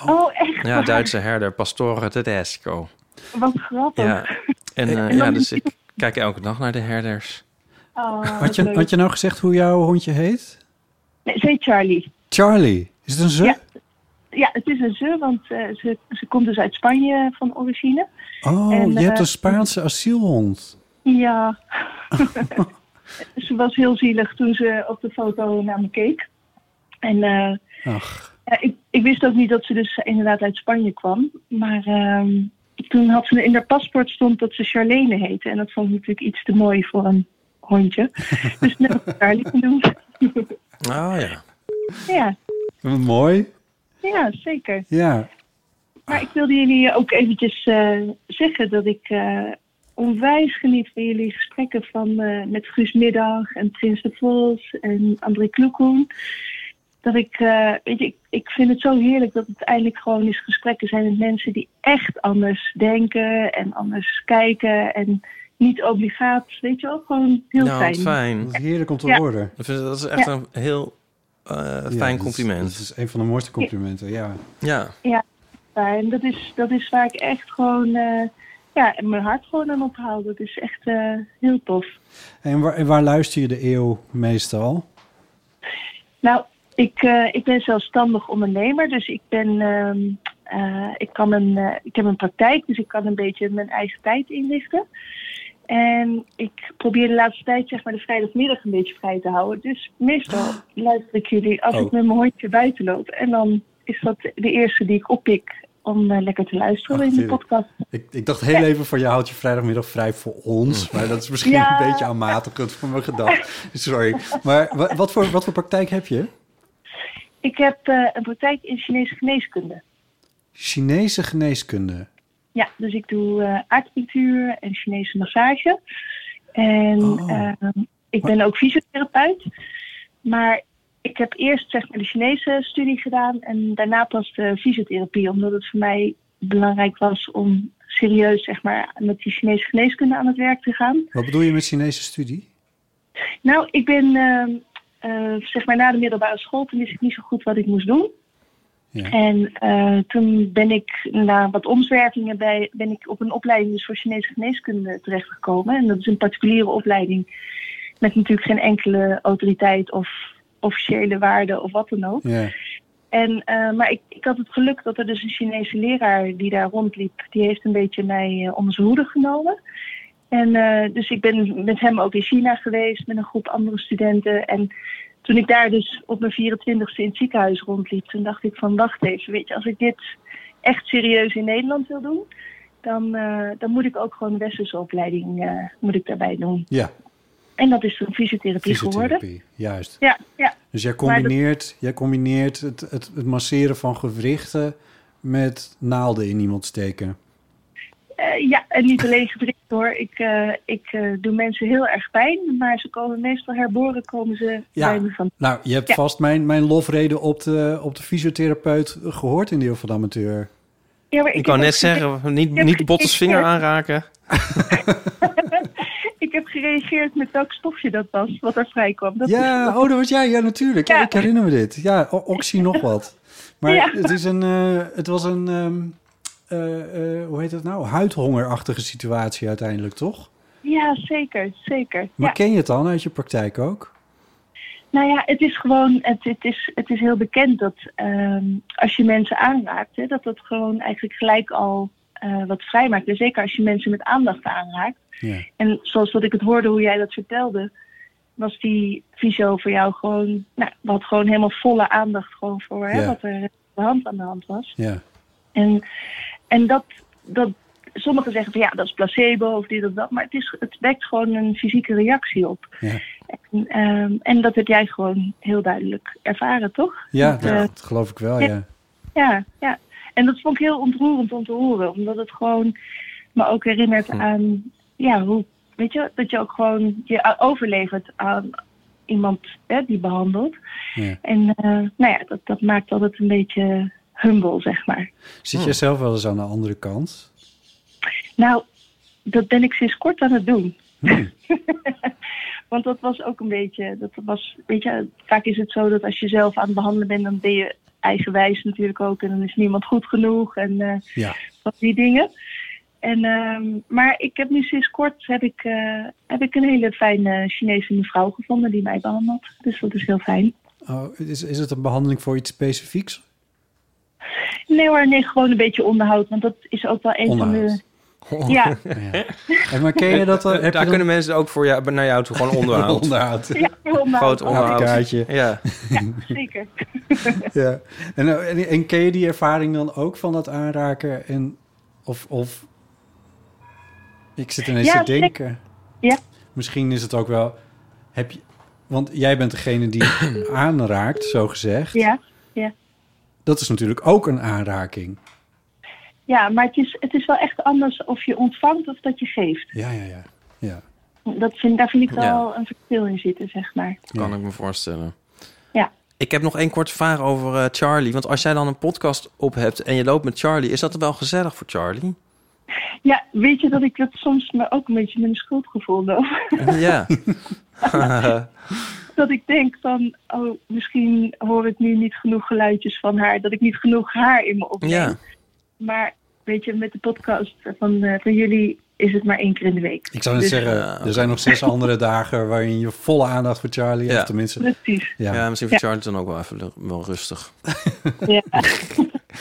Speaker 12: Oh, echt?
Speaker 7: Ja,
Speaker 12: waar?
Speaker 10: <laughs>
Speaker 7: Duitse herder, Pastore Tedesco.
Speaker 12: Wat grappig.
Speaker 7: Ja. En eh,
Speaker 12: Oh. En dan
Speaker 7: ja,
Speaker 12: is-
Speaker 7: dus ik kijk elke dag naar de herders.
Speaker 12: Oh,
Speaker 5: Eh, Had je, nou-
Speaker 12: leuk.
Speaker 5: had je nou gezegd hoe jouw hondje heet?
Speaker 12: Nee, zij Charlie.
Speaker 5: Charlie, is het een ze?
Speaker 12: Ja. Ja, het is een ze, want eh, ze, ze komt dus uit Spanje van origine.
Speaker 5: Oh,
Speaker 12: En,
Speaker 5: je hebt
Speaker 12: eh,
Speaker 5: een Spaanse asielhond. <laughs>
Speaker 12: Ja. ze was heel zielig toen ze op de foto naar me keek. En eh,
Speaker 5: Ach,
Speaker 12: ja, ik, ik wist ook niet dat ze dus inderdaad uit Spanje kwam. Maar ehm, toen had ze in haar paspoort stond dat ze Charlene heette. En dat vond ik natuurlijk iets te mooi voor een
Speaker 5: <laughs>
Speaker 12: hondje. dus net heb ik Charlie genoemd.
Speaker 7: Ah ja.
Speaker 12: <laughs> ja,
Speaker 5: mooi.
Speaker 12: ja, zeker.
Speaker 5: Ja,
Speaker 12: Maar ik wilde jullie ook eventjes eh, zeggen dat ik eh, onwijs geniet van jullie gesprekken van, eh, met Guus Middag en Prins de Vos en André Kloekoen. Dat ik, eh, weet je, ik, ik vind het zo heerlijk dat het eindelijk gewoon eens gesprekken zijn met mensen die echt anders denken en anders kijken en niet obligaat, weet je wel, gewoon heel
Speaker 7: nou,
Speaker 12: fijn.
Speaker 7: wat fijn.
Speaker 5: heerlijk om te
Speaker 12: Ja.
Speaker 5: horen.
Speaker 7: Ik vind- Dat is echt
Speaker 12: Ja.
Speaker 7: een heel eh,
Speaker 5: Ja,
Speaker 7: fijn
Speaker 5: dat is-
Speaker 7: compliment.
Speaker 5: Dat is een van de mooiste complimenten, ja.
Speaker 7: Ja.
Speaker 12: Ja, fijn. Dat is, dat is waar ik echt gewoon, eh ja, mijn hart gewoon aan ophoud. Dat is echt eh, heel tof.
Speaker 5: En waar, en waar luister je de eeuw meestal?
Speaker 12: Nou, ik, eh, ik ben zelfstandig ondernemer, dus ik ben. ehm, eh, ik, kan een, eh, ik heb een praktijk, dus ik kan een beetje mijn eigen tijd inrichten. En ik probeer de laatste tijd, zeg maar, de vrijdagmiddag een beetje vrij te houden. Dus
Speaker 5: <gasps>
Speaker 12: meestal luister ik jullie als
Speaker 7: Oh.
Speaker 12: ik met mijn hondje buiten loop. En dan is dat de eerste die ik oppik om eh, lekker te luisteren
Speaker 5: Ach,
Speaker 12: in de
Speaker 5: tuurlijk.
Speaker 12: podcast.
Speaker 5: Ik, ik dacht heel even van, je houdt je vrijdagmiddag vrij voor ons.
Speaker 7: Mm.
Speaker 5: Maar dat is misschien
Speaker 12: Ja.
Speaker 5: een beetje aanmatigend voor mijn gedacht. Sorry. Maar wa- wat voor, wat voor praktijk heb je?
Speaker 12: Ik heb eh, een praktijk in Chinese geneeskunde.
Speaker 5: Chinese geneeskunde.
Speaker 12: Ja, dus ik doe eh acupunctuur en Chinese massage. En ehm, ik ben ook fysiotherapeut. Maar ik heb eerst zeg maar, de Chinese studie gedaan en daarna pas de fysiotherapie. Omdat het voor mij belangrijk was om serieus zeg maar, met die Chinese geneeskunde aan het werk te gaan.
Speaker 5: Wat bedoel je met Chinese studie?
Speaker 12: Nou, ik ben ehm, eh, zeg maar na de middelbare school, toen wist ik niet zo goed wat ik moest doen.
Speaker 5: Ja.
Speaker 12: En eh, toen ben ik na wat omzwervingen bij, ben ik op een opleiding dus voor Chinese geneeskunde terechtgekomen. En dat is een particuliere opleiding met natuurlijk geen enkele autoriteit of officiële waarde of wat dan ook.
Speaker 5: Ja.
Speaker 12: En, eh, maar ik, ik had het geluk dat er dus een Chinese leraar die daar rondliep, die heeft een beetje mij eh, onder zijn hoede genomen. En eh, dus ik ben met hem ook in China geweest met een groep andere studenten. En toen ik daar dus op mijn 24ste in het ziekenhuis rondliep, toen dacht ik van wacht even, weet je, als ik dit echt serieus in Nederland wil doen, dan, eh, dan moet ik ook gewoon een westerse opleiding eh, moet ik daarbij doen.
Speaker 5: Ja,
Speaker 12: En dat is toen fysiotherapie, geworden.
Speaker 5: fysiotherapie. Juist.
Speaker 12: Ja, ja.
Speaker 5: Dus jij
Speaker 12: Maar dat-
Speaker 5: combineert, jij combineert het, het, het masseren van gewrichten met naalden in iemand steken.
Speaker 12: Eh, ja, en niet alleen gedrikt hoor. Ik, eh, ik eh, doe mensen heel erg pijn, maar ze komen meestal herboren komen ze
Speaker 5: Ja.
Speaker 12: bij me van.
Speaker 5: Nou, je hebt
Speaker 12: Ja.
Speaker 5: vast mijn, mijn lofrede op de, op de fysiotherapeut gehoord in deel van de amateur.
Speaker 12: Ja, maar
Speaker 7: Ik,
Speaker 12: heb
Speaker 7: wou
Speaker 12: ook
Speaker 7: net
Speaker 12: gere-
Speaker 7: zeggen, niet,
Speaker 12: Ik heb
Speaker 7: niet Bottes vinger
Speaker 12: gereageerd-
Speaker 7: aanraken.
Speaker 12: <laughs> Ik heb gereageerd met welk stofje dat was, wat er vrij kwam. Dat
Speaker 5: ja,
Speaker 12: is-
Speaker 5: oh, dat was jij. Ja, natuurlijk. Ja, ik herinner me dit. Ja, o- oxy nog wat. Maar
Speaker 12: Ja.
Speaker 5: het, is een, eh, het was een, ehm, eh, eh, hoe heet dat nou? Huidhongerachtige situatie uiteindelijk, toch?
Speaker 12: ja, zeker, zeker.
Speaker 5: Maar
Speaker 12: Ja.
Speaker 5: ken je het dan uit je praktijk ook?
Speaker 12: Nou ja, het is gewoon, het, het, is, het is heel bekend dat ehm, als je mensen aanraakt, hè, dat dat gewoon eigenlijk gelijk al eh, wat vrijmaakt. En zeker als je mensen met aandacht aanraakt.
Speaker 5: Ja.
Speaker 12: En zoals dat ik het hoorde hoe jij dat vertelde, was die visio voor jou gewoon, nou, had gewoon helemaal volle aandacht gewoon voor hè,
Speaker 5: Ja.
Speaker 12: wat er aan de hand aan de hand was.
Speaker 5: Ja.
Speaker 12: En, en dat, dat, sommigen zeggen van ja, dat is placebo of dit of dat, maar het, is, het wekt gewoon een fysieke reactie op.
Speaker 5: Ja.
Speaker 12: En, ehm, en dat heb jij gewoon heel duidelijk ervaren, toch?
Speaker 5: Ja,
Speaker 12: Dat, eh,
Speaker 5: dat geloof ik wel, ja.
Speaker 12: ja, ja. En dat vond ik heel ontroerend om te horen. Omdat het gewoon me ook herinnert aan... Ja, hoe, weet je, dat je ook gewoon je overlevert aan iemand hè, die behandelt.
Speaker 5: Ja.
Speaker 12: En eh, nou ja, dat, dat maakt altijd een beetje humble, zeg maar.
Speaker 5: Zit jij zelf wel eens aan de andere kant?
Speaker 12: Nou, dat ben ik sinds kort aan het doen. <laughs> Want dat was ook een beetje, dat was, weet je, vaak is het zo dat als je zelf aan het behandelen bent, dan ben je eigenwijs natuurlijk ook en dan is niemand goed genoeg en eh,
Speaker 5: Ja.
Speaker 12: van die dingen. En, ehm, maar ik heb nu sinds kort heb ik, eh, heb ik een hele fijne Chinese mevrouw gevonden die mij behandelt. Dus dat is heel fijn.
Speaker 5: Oh, is, is het een behandeling voor iets specifieks?
Speaker 12: Nee hoor, nee, gewoon een beetje onderhoud. Want dat is ook wel een van de... Ja.
Speaker 5: <laughs> En maar ken je dat?
Speaker 7: <laughs>
Speaker 5: eh, heb je
Speaker 7: Oh. Daar
Speaker 5: dat-
Speaker 7: kunnen mensen ook voor jou, naar jou
Speaker 5: <laughs>
Speaker 7: toe gewoon onderhoud.
Speaker 5: Onderhoud.
Speaker 12: Ja, onderhoud.
Speaker 7: Groot onderhoud.
Speaker 5: Kaartje.
Speaker 7: Ja.
Speaker 12: Zeker.
Speaker 5: ja. En, eh, en, en ken je die ervaring dan ook van dat aanraken? En, of, of ik zit ineens
Speaker 12: Ja,
Speaker 5: te
Speaker 12: zeker.
Speaker 5: denken.
Speaker 12: Ja.
Speaker 5: Misschien is het ook wel. Heb je, want jij bent degene die aanraakt, zo gezegd.
Speaker 12: Ja, ja.
Speaker 5: Dat is natuurlijk ook een aanraking.
Speaker 12: ja maar het is, het is wel echt anders of je ontvangt of dat je geeft.
Speaker 5: Ja, ja, ja. ja.
Speaker 12: Dat vind, daar vind ik wel
Speaker 7: Ja.
Speaker 12: een verschil in zitten, zeg maar.
Speaker 7: Kan ik me voorstellen.
Speaker 12: Ja.
Speaker 7: Ik heb nog één korte vraag over eh, Charlie. Want als jij dan een podcast op hebt en je loopt met Charlie, is dat wel gezellig voor
Speaker 5: <laughs>
Speaker 7: Charlie?
Speaker 12: Ja, weet je dat ik dat soms me ook een beetje mijn schuldgevoel loop?
Speaker 7: <laughs> ja.
Speaker 12: <laughs> dat ik denk van, oh, misschien hoor ik nu niet genoeg geluidjes van haar, dat ik niet genoeg haar in me opneem.
Speaker 7: ja.
Speaker 12: Maar weet je, met de podcast van, eh, van jullie is het maar één keer in de week.
Speaker 5: Ik zou net
Speaker 12: Dus-
Speaker 5: zeggen, er zijn nog
Speaker 12: <laughs>
Speaker 5: zes andere dagen waarin je volle aandacht voor Charlie hebt. Tenminste,
Speaker 12: Precies.
Speaker 7: Ja.
Speaker 5: Ja.
Speaker 7: misschien voor Charlie dan ook wel even lu- wel rustig.
Speaker 12: Ja.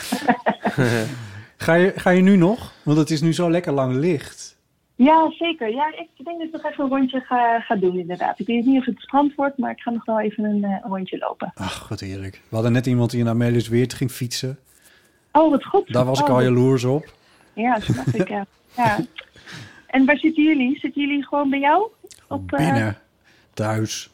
Speaker 7: <laughs>
Speaker 5: Ga je, ga je nu nog? Want het is nu zo lekker lang licht.
Speaker 12: ja, zeker. Ja, ik denk dat ik nog even een rondje ga, ga doen inderdaad. Ik weet niet of het strand wordt, maar ik ga nog wel even een eh, rondje lopen.
Speaker 5: Ach, wat heerlijk. We hadden net iemand die in Amelius Weert ging fietsen.
Speaker 12: Oh, wat goed.
Speaker 5: Daar was ik
Speaker 12: Oh,
Speaker 5: al
Speaker 12: wat-
Speaker 5: jaloers op.
Speaker 12: Ja, snap ik. Ja. ja. En waar zitten jullie? Zitten jullie gewoon bij jou?
Speaker 5: Oh,
Speaker 12: Op, eh,
Speaker 5: Binnen, thuis.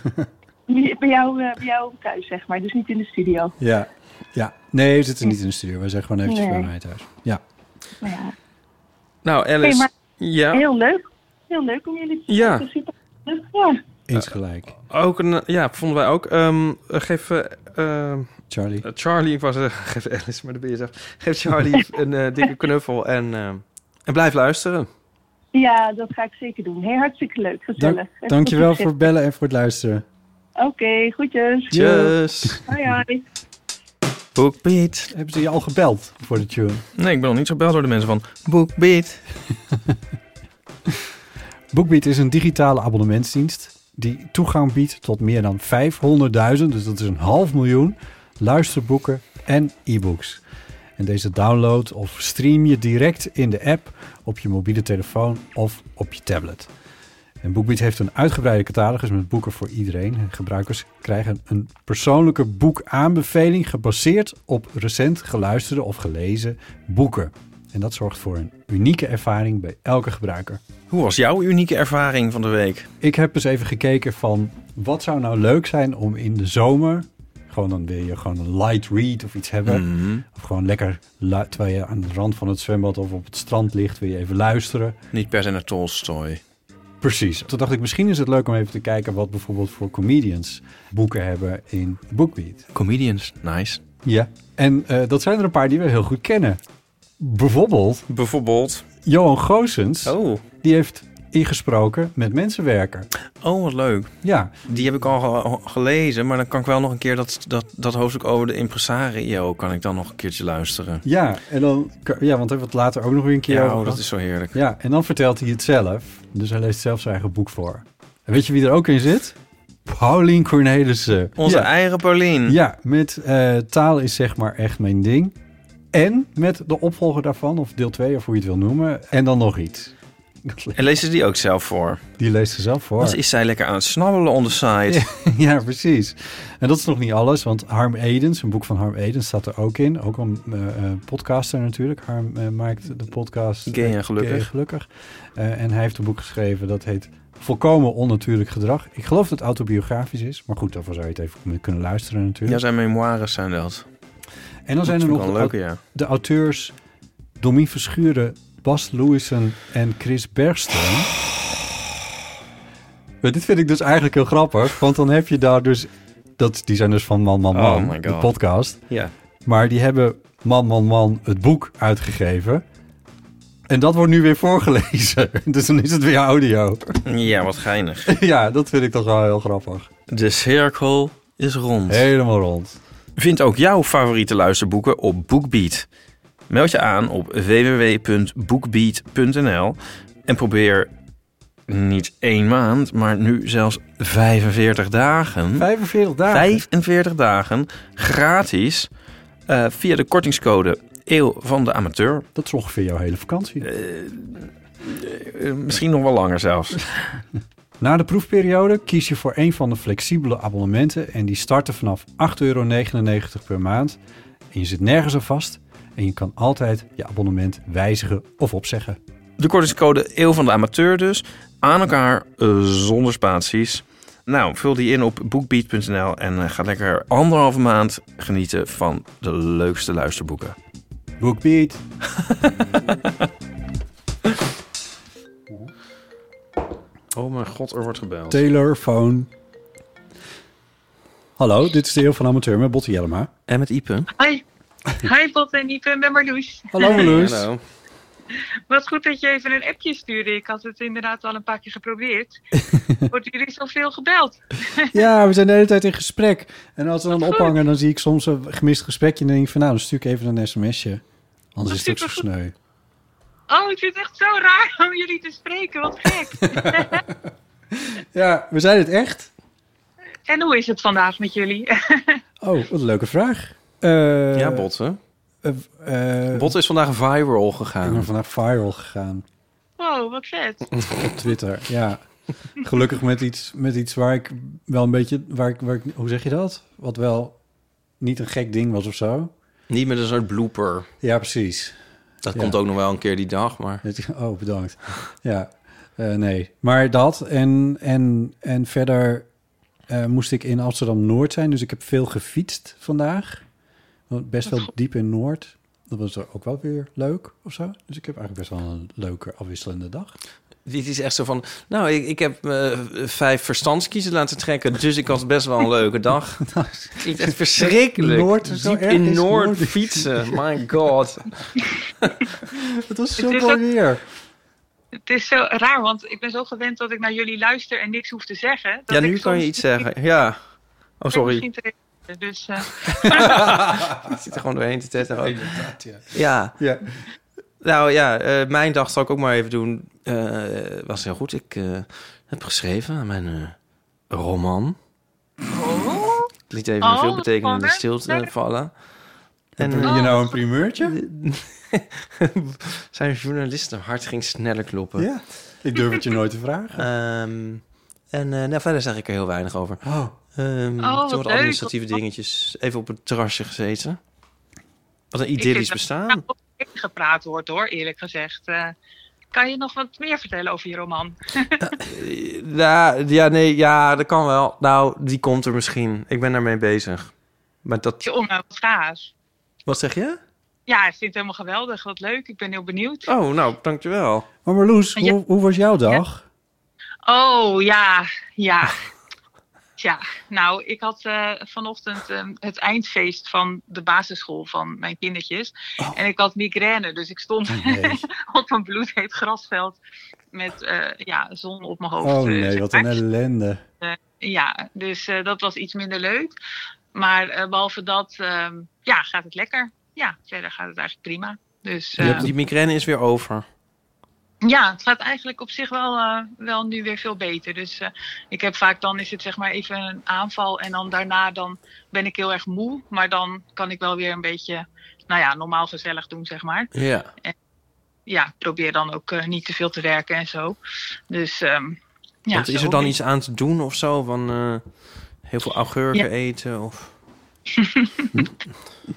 Speaker 5: <laughs>
Speaker 12: bij, jou eh, bij jou thuis, zeg maar. Dus niet in de studio.
Speaker 5: Ja. ja. Nee, we zitten niet in de studio. Wij zijn gewoon eventjes
Speaker 12: Nee.
Speaker 5: bij mij thuis. Ja.
Speaker 12: Maar ja.
Speaker 7: Nou, Alice.
Speaker 12: Hey, maar
Speaker 7: ja.
Speaker 12: Heel leuk. Heel leuk om jullie te
Speaker 7: Ja.
Speaker 12: te zitten. Ja.
Speaker 5: Eens gelijk.
Speaker 7: Ook een, ja, vonden wij ook. Ehm, eh, geef eh, ehm,
Speaker 5: Charlie.
Speaker 7: eh, Charlie, ik was, eh, <laughs> geef Alice, maar dat ben je zelf. Geef
Speaker 12: <laughs>
Speaker 7: Charlie een eh, dikke knuffel en, ehm, en blijf luisteren.
Speaker 12: ja, dat ga ik zeker doen. Heel hartstikke leuk. Gezellig.
Speaker 5: Dank,
Speaker 12: Echt
Speaker 5: dankjewel
Speaker 12: goed
Speaker 5: voor het bellen en voor het luisteren.
Speaker 12: Oké, goedjes.
Speaker 7: Tjus.
Speaker 12: Hoi, hoi.
Speaker 7: Bookbeat.
Speaker 5: Hebben ze je al gebeld voor de tune?
Speaker 7: Nee, ik ben nog niet gebeld door de mensen van
Speaker 5: <laughs>
Speaker 7: Bookbeat.
Speaker 5: BookBeat is een digitale abonnementsdienst die toegang biedt tot meer dan 500.000, dus dat is een half miljoen, luisterboeken en e-books. En deze download of stream je direct in de app op je mobiele telefoon of op je tablet. En BookBeat heeft een uitgebreide catalogus met boeken voor iedereen. En gebruikers krijgen een persoonlijke boekaanbeveling gebaseerd op recent geluisterde of gelezen boeken. En dat zorgt voor een unieke ervaring bij elke gebruiker.
Speaker 7: Hoe was jouw unieke ervaring van de week?
Speaker 5: Ik heb eens even gekeken van wat zou nou leuk zijn om in de zomer. Gewoon dan wil je gewoon een light read of iets hebben.
Speaker 7: Mhm.
Speaker 5: Of gewoon lekker lu- terwijl je aan de rand van het zwembad of op het strand ligt, wil je even luisteren.
Speaker 7: Niet per se naar Tolstoy.
Speaker 5: Precies. Toen dacht ik, misschien is het leuk om even te kijken wat bijvoorbeeld voor comedians boeken hebben in BookBeat.
Speaker 7: Comedians, nice.
Speaker 5: Ja. En eh, dat zijn er een paar die we heel goed kennen. Bijvoorbeeld
Speaker 7: Bijvoorbeeld.
Speaker 5: Johan Goossens.
Speaker 7: Oh.
Speaker 5: Die heeft ingesproken met mensen werken.
Speaker 7: Oh, wat leuk.
Speaker 5: Ja.
Speaker 7: Die heb ik al ge- gelezen, maar dan kan ik wel nog een keer dat, dat, dat hoofdstuk over de impresario... kan ik dan nog een keertje luisteren.
Speaker 5: Ja, en dan, ja, want daar hebben we het later ook nog weer een keer
Speaker 7: Ja,
Speaker 5: over
Speaker 7: oh,
Speaker 5: gehad.
Speaker 7: dat is zo
Speaker 5: <laughs>
Speaker 7: heerlijk.
Speaker 5: Ja, en dan vertelt hij het zelf. Dus hij leest zelf zijn eigen boek voor. En weet je wie er ook in zit? Paulien Cornelissen.
Speaker 7: Onze
Speaker 5: ja.
Speaker 7: eigen Paulien.
Speaker 5: Ja, met eh, taal is zeg maar echt mijn ding. En met de opvolger daarvan, of deel 2, of hoe je het wil noemen. En dan nog iets.
Speaker 7: En lezen ze die ook zelf voor?
Speaker 5: Die leest ze zelf voor.
Speaker 7: Wat is zij lekker aan het snabbelen on the side?
Speaker 5: <laughs> ja, precies. En dat is nog niet alles, want Harm Edens, een boek van Harm Edens, staat er ook in. Ook een eh, eh, podcaster natuurlijk. Harm eh, maakt de podcast
Speaker 7: Gay en
Speaker 5: eh,
Speaker 7: Gelukkig.
Speaker 5: Gelukkig. Eh, en hij heeft een boek geschreven dat heet Volkomen Onnatuurlijk Gedrag. Ik geloof dat het autobiografisch is, maar goed, daarvoor zou je het even kunnen luisteren
Speaker 7: Ja,
Speaker 5: natuurlijk.
Speaker 7: zijn memoires zijn dat.
Speaker 5: en dan zijn er
Speaker 7: vind ik
Speaker 5: nog
Speaker 7: wel
Speaker 5: de,
Speaker 7: een leuke,
Speaker 5: au-
Speaker 7: ja.
Speaker 5: de auteurs Domien Verschuren, Bas Lewison en Chris Bergström. Maar dit vind ik dus eigenlijk heel grappig. Want dan heb je daar dus... Dat, die zijn dus van Man, Man,
Speaker 7: Oh
Speaker 5: Man,
Speaker 7: my
Speaker 5: de
Speaker 7: God.
Speaker 5: podcast.
Speaker 7: Ja.
Speaker 5: Maar die hebben Man, Man, Man het boek uitgegeven. En dat wordt nu weer voorgelezen. <laughs> Dus dan is het weer audio.
Speaker 7: Ja, wat geinig.
Speaker 5: ja, dat vind ik toch wel heel grappig.
Speaker 7: De cirkel is rond.
Speaker 5: Helemaal rond.
Speaker 7: Vind ook jouw favoriete luisterboeken op BookBeat. Meld je aan op www.bookbeat.nl en probeer niet één maand, maar nu zelfs 45 dagen.
Speaker 5: 45 dagen?
Speaker 7: 45 dagen, gratis, eh, via de kortingscode Eeuw van de Amateur. Eh,
Speaker 5: Dat is ongeveer jouw hele vakantie.
Speaker 7: misschien nog wel langer zelfs.
Speaker 5: <laughs> Na de proefperiode kies je voor een van de flexibele abonnementen en die starten vanaf 8,99 euro per maand. En je zit nergens aan vast en je kan altijd je abonnement wijzigen of opzeggen.
Speaker 7: De kortingscode Eeuw van de Amateur dus. Aan elkaar eh, zonder spaties. Nou, vul die in op boekbeat.nl en eh, ga lekker anderhalve maand genieten van de leukste luisterboeken.
Speaker 5: Boekbeat.
Speaker 7: Oh mijn god, er wordt gebeld.
Speaker 5: Telefoon. Hallo, dit is de Eeuw van de Amateur met Botte Jellema.
Speaker 7: En met Ipe.
Speaker 13: Hi. Hi Bot en Ipe, ik ben Marloes.
Speaker 5: Hallo Marloes.
Speaker 13: Wat goed dat je even een appje stuurde. Ik had het inderdaad al een paar keer
Speaker 14: <laughs>
Speaker 13: geprobeerd. Wordt jullie zoveel gebeld? <laughs>
Speaker 5: Ja, we zijn de hele tijd in gesprek. En als we dan ophangen, dan zie ik soms een gemist gesprekje. En dan denk ik van, nou, dan stuur ik even een sms'je. Anders is het ook zo sneu.
Speaker 13: Oh, ik vind het echt zo raar om jullie te spreken. Wat gek.
Speaker 5: Ja, we zijn het echt.
Speaker 13: en hoe is het vandaag
Speaker 14: <laughs>
Speaker 13: met jullie?
Speaker 5: Oh, wat een leuke vraag. Eh,
Speaker 14: ja, Bot, hè?
Speaker 5: eh,
Speaker 14: Bot is vandaag viral
Speaker 5: Ik
Speaker 14: gegaan.
Speaker 5: ben vandaag viral gegaan
Speaker 13: wow, Oh, wat vet.
Speaker 5: <laughs> op Twitter. Ja, gelukkig met iets, met iets waar ik wel een beetje... Waar ik, waar ik, hoe zeg je dat? Wat wel niet een gek ding was of zo.
Speaker 14: Niet met een soort blooper.
Speaker 5: Ja, precies.
Speaker 14: Dat
Speaker 5: Ja.
Speaker 14: komt ook nog wel een keer die dag, maar...
Speaker 5: Oh, bedankt. Ja, eh, nee. Maar dat en, en, en verder eh, moest ik in Amsterdam-Noord zijn. Dus ik heb veel gefietst vandaag. Want Best wel diep in Noord. Dat was er ook wel weer leuk of zo. Dus ik heb eigenlijk best wel een leuke afwisselende dag.
Speaker 14: Dit is echt zo van, nou, ik, ik heb eh, vijf verstandskiezen laten trekken, dus ik had best wel een leuke dag.
Speaker 5: <laughs>
Speaker 14: Klinkt echt verschrikkelijk.
Speaker 5: Nou, Noord is zo
Speaker 14: Diep
Speaker 5: erg,
Speaker 14: in
Speaker 5: is
Speaker 14: Noord,
Speaker 5: Noord.
Speaker 14: fietsen, my god.
Speaker 5: Het was
Speaker 13: zo Het is mooi ook-
Speaker 5: weer.
Speaker 13: Het is zo raar, want ik ben zo gewend dat ik naar jullie luister en niks hoef te zeggen. Dat
Speaker 14: Ja,
Speaker 13: ik
Speaker 14: nu kan je
Speaker 13: soms
Speaker 14: iets zeggen. Ja. Oh, sorry.
Speaker 13: misschien te reageren. Dus eh,
Speaker 14: <laughs>
Speaker 13: <laughs>
Speaker 14: Ik zit er gewoon doorheen te tetteren. ook.
Speaker 5: ja.
Speaker 14: Ja.
Speaker 5: ja.
Speaker 14: Nou ja, eh, mijn dag zal ik ook maar even doen. Eh, was heel goed. Ik eh, heb geschreven aan mijn eh, roman. Ik liet even
Speaker 13: Oh,
Speaker 14: een
Speaker 13: wat
Speaker 14: veelbetekenende
Speaker 13: spannend.
Speaker 14: stilte vallen. eh,
Speaker 5: En je nou een primeurtje?
Speaker 14: <laughs> Zijn journalisten hart ging sneller kloppen.
Speaker 5: Ja, ik durf het je nooit te vragen.
Speaker 14: Ehm, en eh, nou, verder zeg ik er heel weinig over.
Speaker 5: Oh.
Speaker 14: Ehm,
Speaker 13: Oh, wat
Speaker 14: toen wat
Speaker 13: leuk.
Speaker 14: administratieve dingetjes. Even op het terrasje gezeten. Wat een idyllisch
Speaker 13: dat-
Speaker 14: bestaan.
Speaker 13: nou, ook in gepraat wordt hoor, eerlijk gezegd. Eh, kan je nog wat meer vertellen over je roman?
Speaker 14: Eh, Ja, ja, nee, ja, dat kan wel. Nou, die komt er misschien. Ik ben daarmee bezig. Maar dat...
Speaker 13: <laughs> Je onhoudt gaaf.
Speaker 14: Wat zeg je?
Speaker 13: Ja, ik vind het helemaal geweldig. Wat leuk. Ik ben heel benieuwd.
Speaker 14: Oh, nou, dankjewel.
Speaker 5: Maar Marloes,
Speaker 13: Ja.
Speaker 5: hoe, hoe was jouw dag?
Speaker 13: Oh, ja, ja. Tja, nou, ik had eh, vanochtend eh, het eindfeest van de basisschool van mijn kindertjes. En ik had migraine, dus ik stond
Speaker 5: nee.
Speaker 13: <laughs> op een bloedheet grasveld met eh, ja, zon op mijn hoofd.
Speaker 5: Oh
Speaker 13: eh,
Speaker 5: nee,
Speaker 13: zeg
Speaker 5: wat
Speaker 13: maar.
Speaker 5: een ellende.
Speaker 13: Eh, ja, dus eh, dat was iets minder leuk. Maar eh, behalve dat, ehm, ja, gaat het lekker. Ja, verder gaat het eigenlijk prima. Dus eh,
Speaker 14: Die migraine is weer over.
Speaker 13: ja, het gaat eigenlijk op zich wel, eh, wel nu weer veel beter. Dus eh, ik heb vaak dan is het zeg maar even een aanval en dan daarna dan ben ik heel erg moe. Maar dan kan ik wel weer een beetje, nou ja, normaal gezellig doen zeg maar.
Speaker 14: Ja.
Speaker 13: Ja, ik probeer dan ook eh, niet te veel te werken en zo. Dus ehm, ja.
Speaker 14: Want is
Speaker 13: zo
Speaker 14: er dan
Speaker 13: is-
Speaker 14: iets aan te doen of zo? Van eh, heel veel augurken
Speaker 13: Ja.
Speaker 14: eten of...
Speaker 13: <laughs>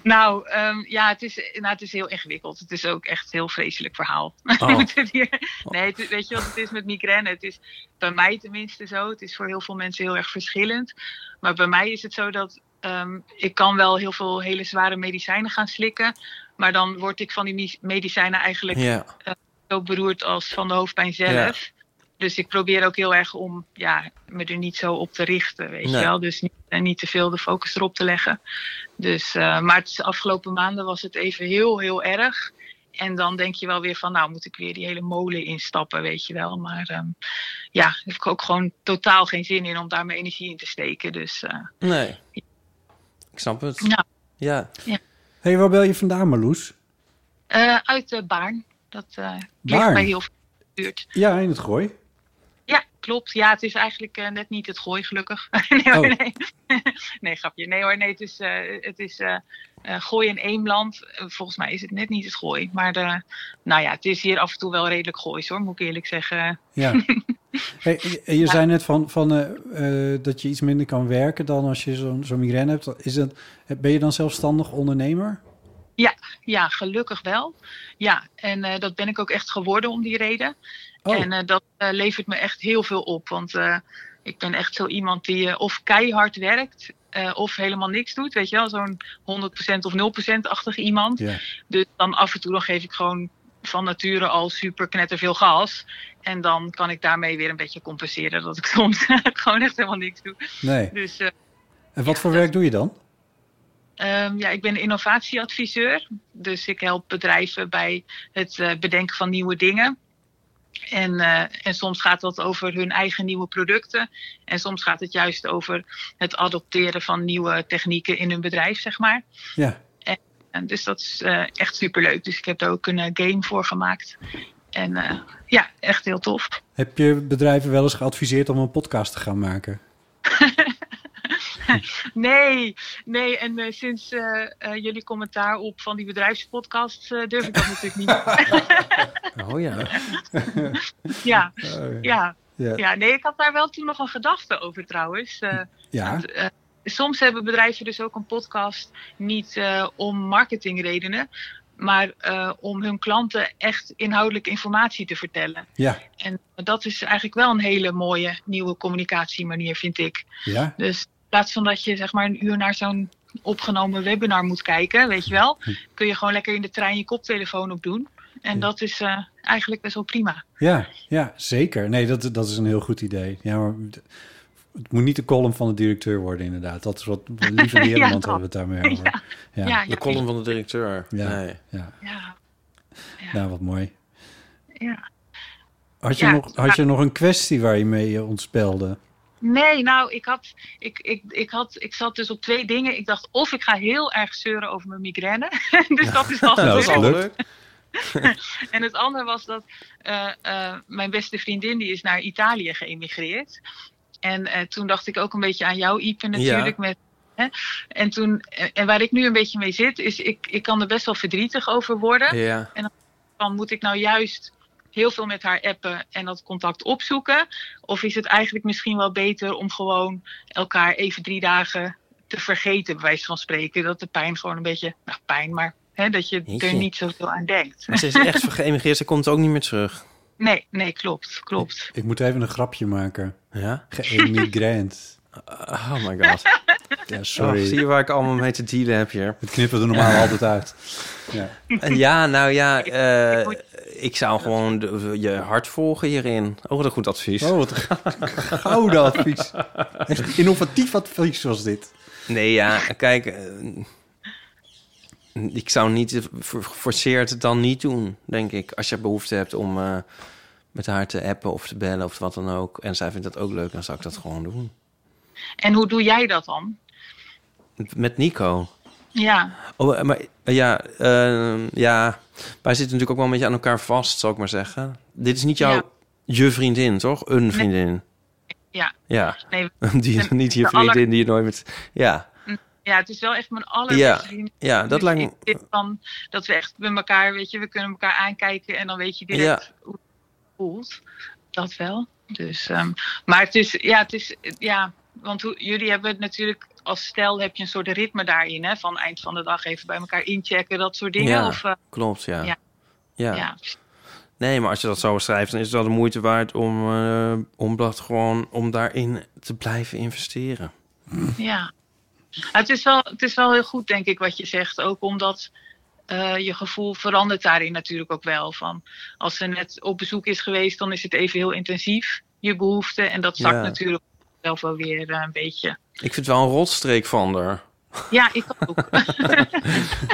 Speaker 13: Nou, ehm, ja, het is, nou, het is heel ingewikkeld. Het is ook echt een heel vreselijk verhaal. <laughs>
Speaker 14: Oh.
Speaker 13: Je moet het hier- nee, het is- weet je wat het is met migraine? Het is bij mij tenminste zo. Het is voor heel veel mensen heel erg verschillend. Maar bij mij is het zo dat ehm, ik kan wel heel veel hele zware medicijnen gaan slikken. Maar dan word ik van die mi- medicijnen eigenlijk
Speaker 14: Ja.
Speaker 13: eh, zo beroerd als van de hoofdpijn zelf. Dus ik probeer ook heel erg om ja, me er niet zo op te richten, weet
Speaker 14: Nee.
Speaker 13: je wel. Dus niet, en niet te veel de focus erop te leggen. Dus, eh, maar het is- afgelopen maanden was het even heel, heel erg. En dan denk je wel weer van, nou moet ik weer die hele molen instappen, weet je wel. Maar ehm, ja, daar heb ik ook gewoon totaal geen zin in om daar mijn energie in te steken. Dus eh,
Speaker 14: Nee. Ik snap het.
Speaker 13: Ja.
Speaker 14: Ja.
Speaker 5: Hé, hey, waar bel je vandaan, Marloes?
Speaker 13: eh, uit de Baarn. Dat eh ligt
Speaker 5: Baarn?
Speaker 13: bij heel veel buurt.
Speaker 5: Ja, in het gooi.
Speaker 13: klopt. Ja, het is eigenlijk eh, net niet het gooi, gelukkig. <laughs> nee, hoor, nee. nee, grapje. Nee hoor, nee, het is, eh, het is eh, eh, gooi in Eemland. Eh, Volgens mij is het net niet het gooi. Maar de, nou ja, het is hier af en toe wel redelijk goois hoor, moet ik eerlijk zeggen. <laughs>
Speaker 5: Ja. Hey, je je zei net van, van, eh, eh, dat je iets minder kan werken dan als je zo'n zo'n migraine hebt. Is dat, ben je dan zelfstandig ondernemer?
Speaker 13: Ja, ja, gelukkig wel. Ja, en eh, dat ben ik ook echt geworden om die reden. En eh, dat eh, levert me echt heel veel op. Want eh, ik ben echt zo iemand die eh, of keihard werkt eh, of helemaal niks doet. Weet je wel, zo'n 100% of 0%-achtig iemand.
Speaker 15: Ja.
Speaker 13: Dus dan af en toe dan geef ik gewoon van nature al super knetterveel gas. En dan kan ik daarmee weer een beetje compenseren dat ik <laughs> soms gewoon echt helemaal niks doe.
Speaker 5: Nee.
Speaker 13: Dus eh,
Speaker 5: En wat voor werk doe je dan?
Speaker 13: Ehm, ja, ik ben innovatieadviseur. Dus ik help bedrijven bij het eh, bedenken van nieuwe dingen. En, eh, en soms gaat dat over hun eigen nieuwe producten. En soms gaat het juist over het adopteren van nieuwe technieken in hun bedrijf, zeg maar.
Speaker 5: Ja.
Speaker 13: En, en dus dat is eh, echt superleuk. Dus ik heb daar ook een eh, game voor gemaakt. En eh, ja, echt heel tof.
Speaker 5: Heb je bedrijven wel eens geadviseerd om een podcast te gaan maken?
Speaker 13: Nee, nee. En eh, sinds eh, eh, jullie commentaar op van die bedrijfspodcast eh, durf ik dat natuurlijk niet.
Speaker 7: Oh ja.
Speaker 14: <laughs>
Speaker 13: Ja,
Speaker 7: <laughs> Oh, ja.
Speaker 13: ja.
Speaker 7: Ja.
Speaker 13: Ja. nee, ik had daar wel toen nog een gedachte over trouwens. Eh,
Speaker 5: Ja.
Speaker 13: want, eh, soms hebben bedrijven dus ook een podcast niet eh, om marketingredenen, maar eh, om hun klanten echt inhoudelijk informatie te vertellen.
Speaker 5: Ja.
Speaker 13: En dat is eigenlijk wel een hele mooie nieuwe communicatiemanier, vind ik.
Speaker 5: Ja.
Speaker 13: Dus in plaats van dat je zeg maar een uur naar zo'n opgenomen webinar moet kijken, weet je wel, kun je gewoon lekker in de trein je koptelefoon op doen. En dat is eh, eigenlijk best wel prima.
Speaker 5: Ja, ja zeker. Nee, dat, dat is een heel goed idee. Ja, maar d- het moet niet de column van de directeur worden, inderdaad. Dat is wat
Speaker 13: <laughs>
Speaker 5: liever
Speaker 13: Ja,
Speaker 5: Nederland
Speaker 13: dat.
Speaker 5: hebben we het daarmee over.
Speaker 13: Ja. Ja, ja,
Speaker 7: De column van de directeur.
Speaker 5: Ja,
Speaker 7: Nee.
Speaker 5: ja.
Speaker 13: Ja,
Speaker 5: Nou, wat mooi.
Speaker 13: ja.
Speaker 5: Had je,
Speaker 13: Ja,
Speaker 5: nog, had je
Speaker 13: ja.
Speaker 5: nog een kwestie waar je mee eh, ontspelde?
Speaker 13: Nee, nou, ik, had, ik, ik, ik, had, ik zat dus op twee dingen. Ik dacht, of ik ga heel erg zeuren over mijn migraine. <laughs> dus dat is al
Speaker 7: Nou, dat is al
Speaker 13: gelukt.
Speaker 7: gelukt.
Speaker 13: <laughs> en het andere was dat eh, eh, mijn beste vriendin die is naar Italië geëmigreerd. En eh, toen dacht ik ook een beetje aan jou, Ipe, natuurlijk.
Speaker 16: Ja.
Speaker 13: Met, hè? En, toen, eh, en waar ik nu een beetje mee zit, is ik, ik kan er best wel verdrietig over worden.
Speaker 7: Ja.
Speaker 13: En dan van, moet ik nou juist heel veel met haar appen en dat contact opzoeken? Of is het eigenlijk misschien wel beter om gewoon elkaar even drie dagen te vergeten, bij wijze van spreken? Dat de pijn gewoon een beetje, nou pijn, maar hè, dat je
Speaker 7: Jeetje.
Speaker 13: er niet zoveel aan denkt.
Speaker 7: Maar ze is echt geëmigreerd. Ze komt ook niet meer
Speaker 13: <laughs>
Speaker 7: terug.
Speaker 13: Nee, nee, klopt, klopt.
Speaker 5: Ik moet even een grapje maken.
Speaker 7: Ja?
Speaker 5: Geëmigrant.
Speaker 7: Oh my god.
Speaker 5: <laughs> Ja, sorry.
Speaker 7: Oh, zie je waar ik allemaal mee te dealen heb hier.
Speaker 5: Het knippen we er normaal altijd uit. Ja.
Speaker 7: Ja, nou ja, eh, ik zou gewoon de- je hart volgen hierin. Oh, wat een goed advies.
Speaker 5: Oh, wat een
Speaker 7: <laughs>
Speaker 5: gouden advies. Echt innovatief advies was dit.
Speaker 7: Nee, ja, kijk, eh, ik zou niet voor- geforceerd het dan niet doen, denk ik. Als je behoefte hebt om eh, met haar te appen of te bellen of wat dan ook. En zij vindt dat ook leuk, dan zou ik dat gewoon doen.
Speaker 13: En hoe doe jij dat dan?
Speaker 7: Met Nico.
Speaker 13: Ja,
Speaker 7: Oh, eh, maar eh, ja, ehm, ja, wij zitten natuurlijk ook wel een beetje aan elkaar vast, zal ik maar zeggen. Dit is niet jouw
Speaker 13: Ja.
Speaker 7: je vriendin, toch? Een vriendin.
Speaker 13: ja.
Speaker 7: Ja.
Speaker 13: Nee,
Speaker 7: <laughs> die,
Speaker 13: en
Speaker 7: niet je
Speaker 13: de
Speaker 7: vriendin
Speaker 13: aller-
Speaker 7: die je nooit met. Ja.
Speaker 13: Ja, het is wel echt mijn
Speaker 7: Ja.
Speaker 13: allerbeste vriendin.
Speaker 7: Ja, dat
Speaker 13: Dus
Speaker 7: lijkt me-
Speaker 13: ik zit Van, dat we echt met elkaar, weet je, we kunnen elkaar aankijken en dan weet je direct hoe het voelt. Dat wel. Dus, ehm, maar het is, ja, het is, ja, want hoe, jullie hebben het natuurlijk als stel heb je een soort ritme daarin, hè, van eind van de dag even bij elkaar inchecken, dat soort dingen.
Speaker 7: ja
Speaker 13: Of, eh,
Speaker 7: klopt, ja.
Speaker 13: ja.
Speaker 7: ja.
Speaker 13: Ja.
Speaker 7: Nee, maar als je dat zo schrijft, dan is het wel de moeite waard om, eh, om dat gewoon om daarin te blijven investeren.
Speaker 13: Ja. Maar Het is, wel, het is wel heel goed, denk ik, wat je zegt. Ook omdat eh, je gevoel verandert daarin natuurlijk ook wel. Van als ze net op bezoek is geweest, dan is het even heel intensief, je behoefte. En dat zakt
Speaker 7: Ja.
Speaker 13: natuurlijk zelf wel weer eh, een beetje. <laughs>
Speaker 7: Ik vind het wel een rotstreek van haar.
Speaker 13: Ja, ik
Speaker 7: <laughs>
Speaker 13: ook.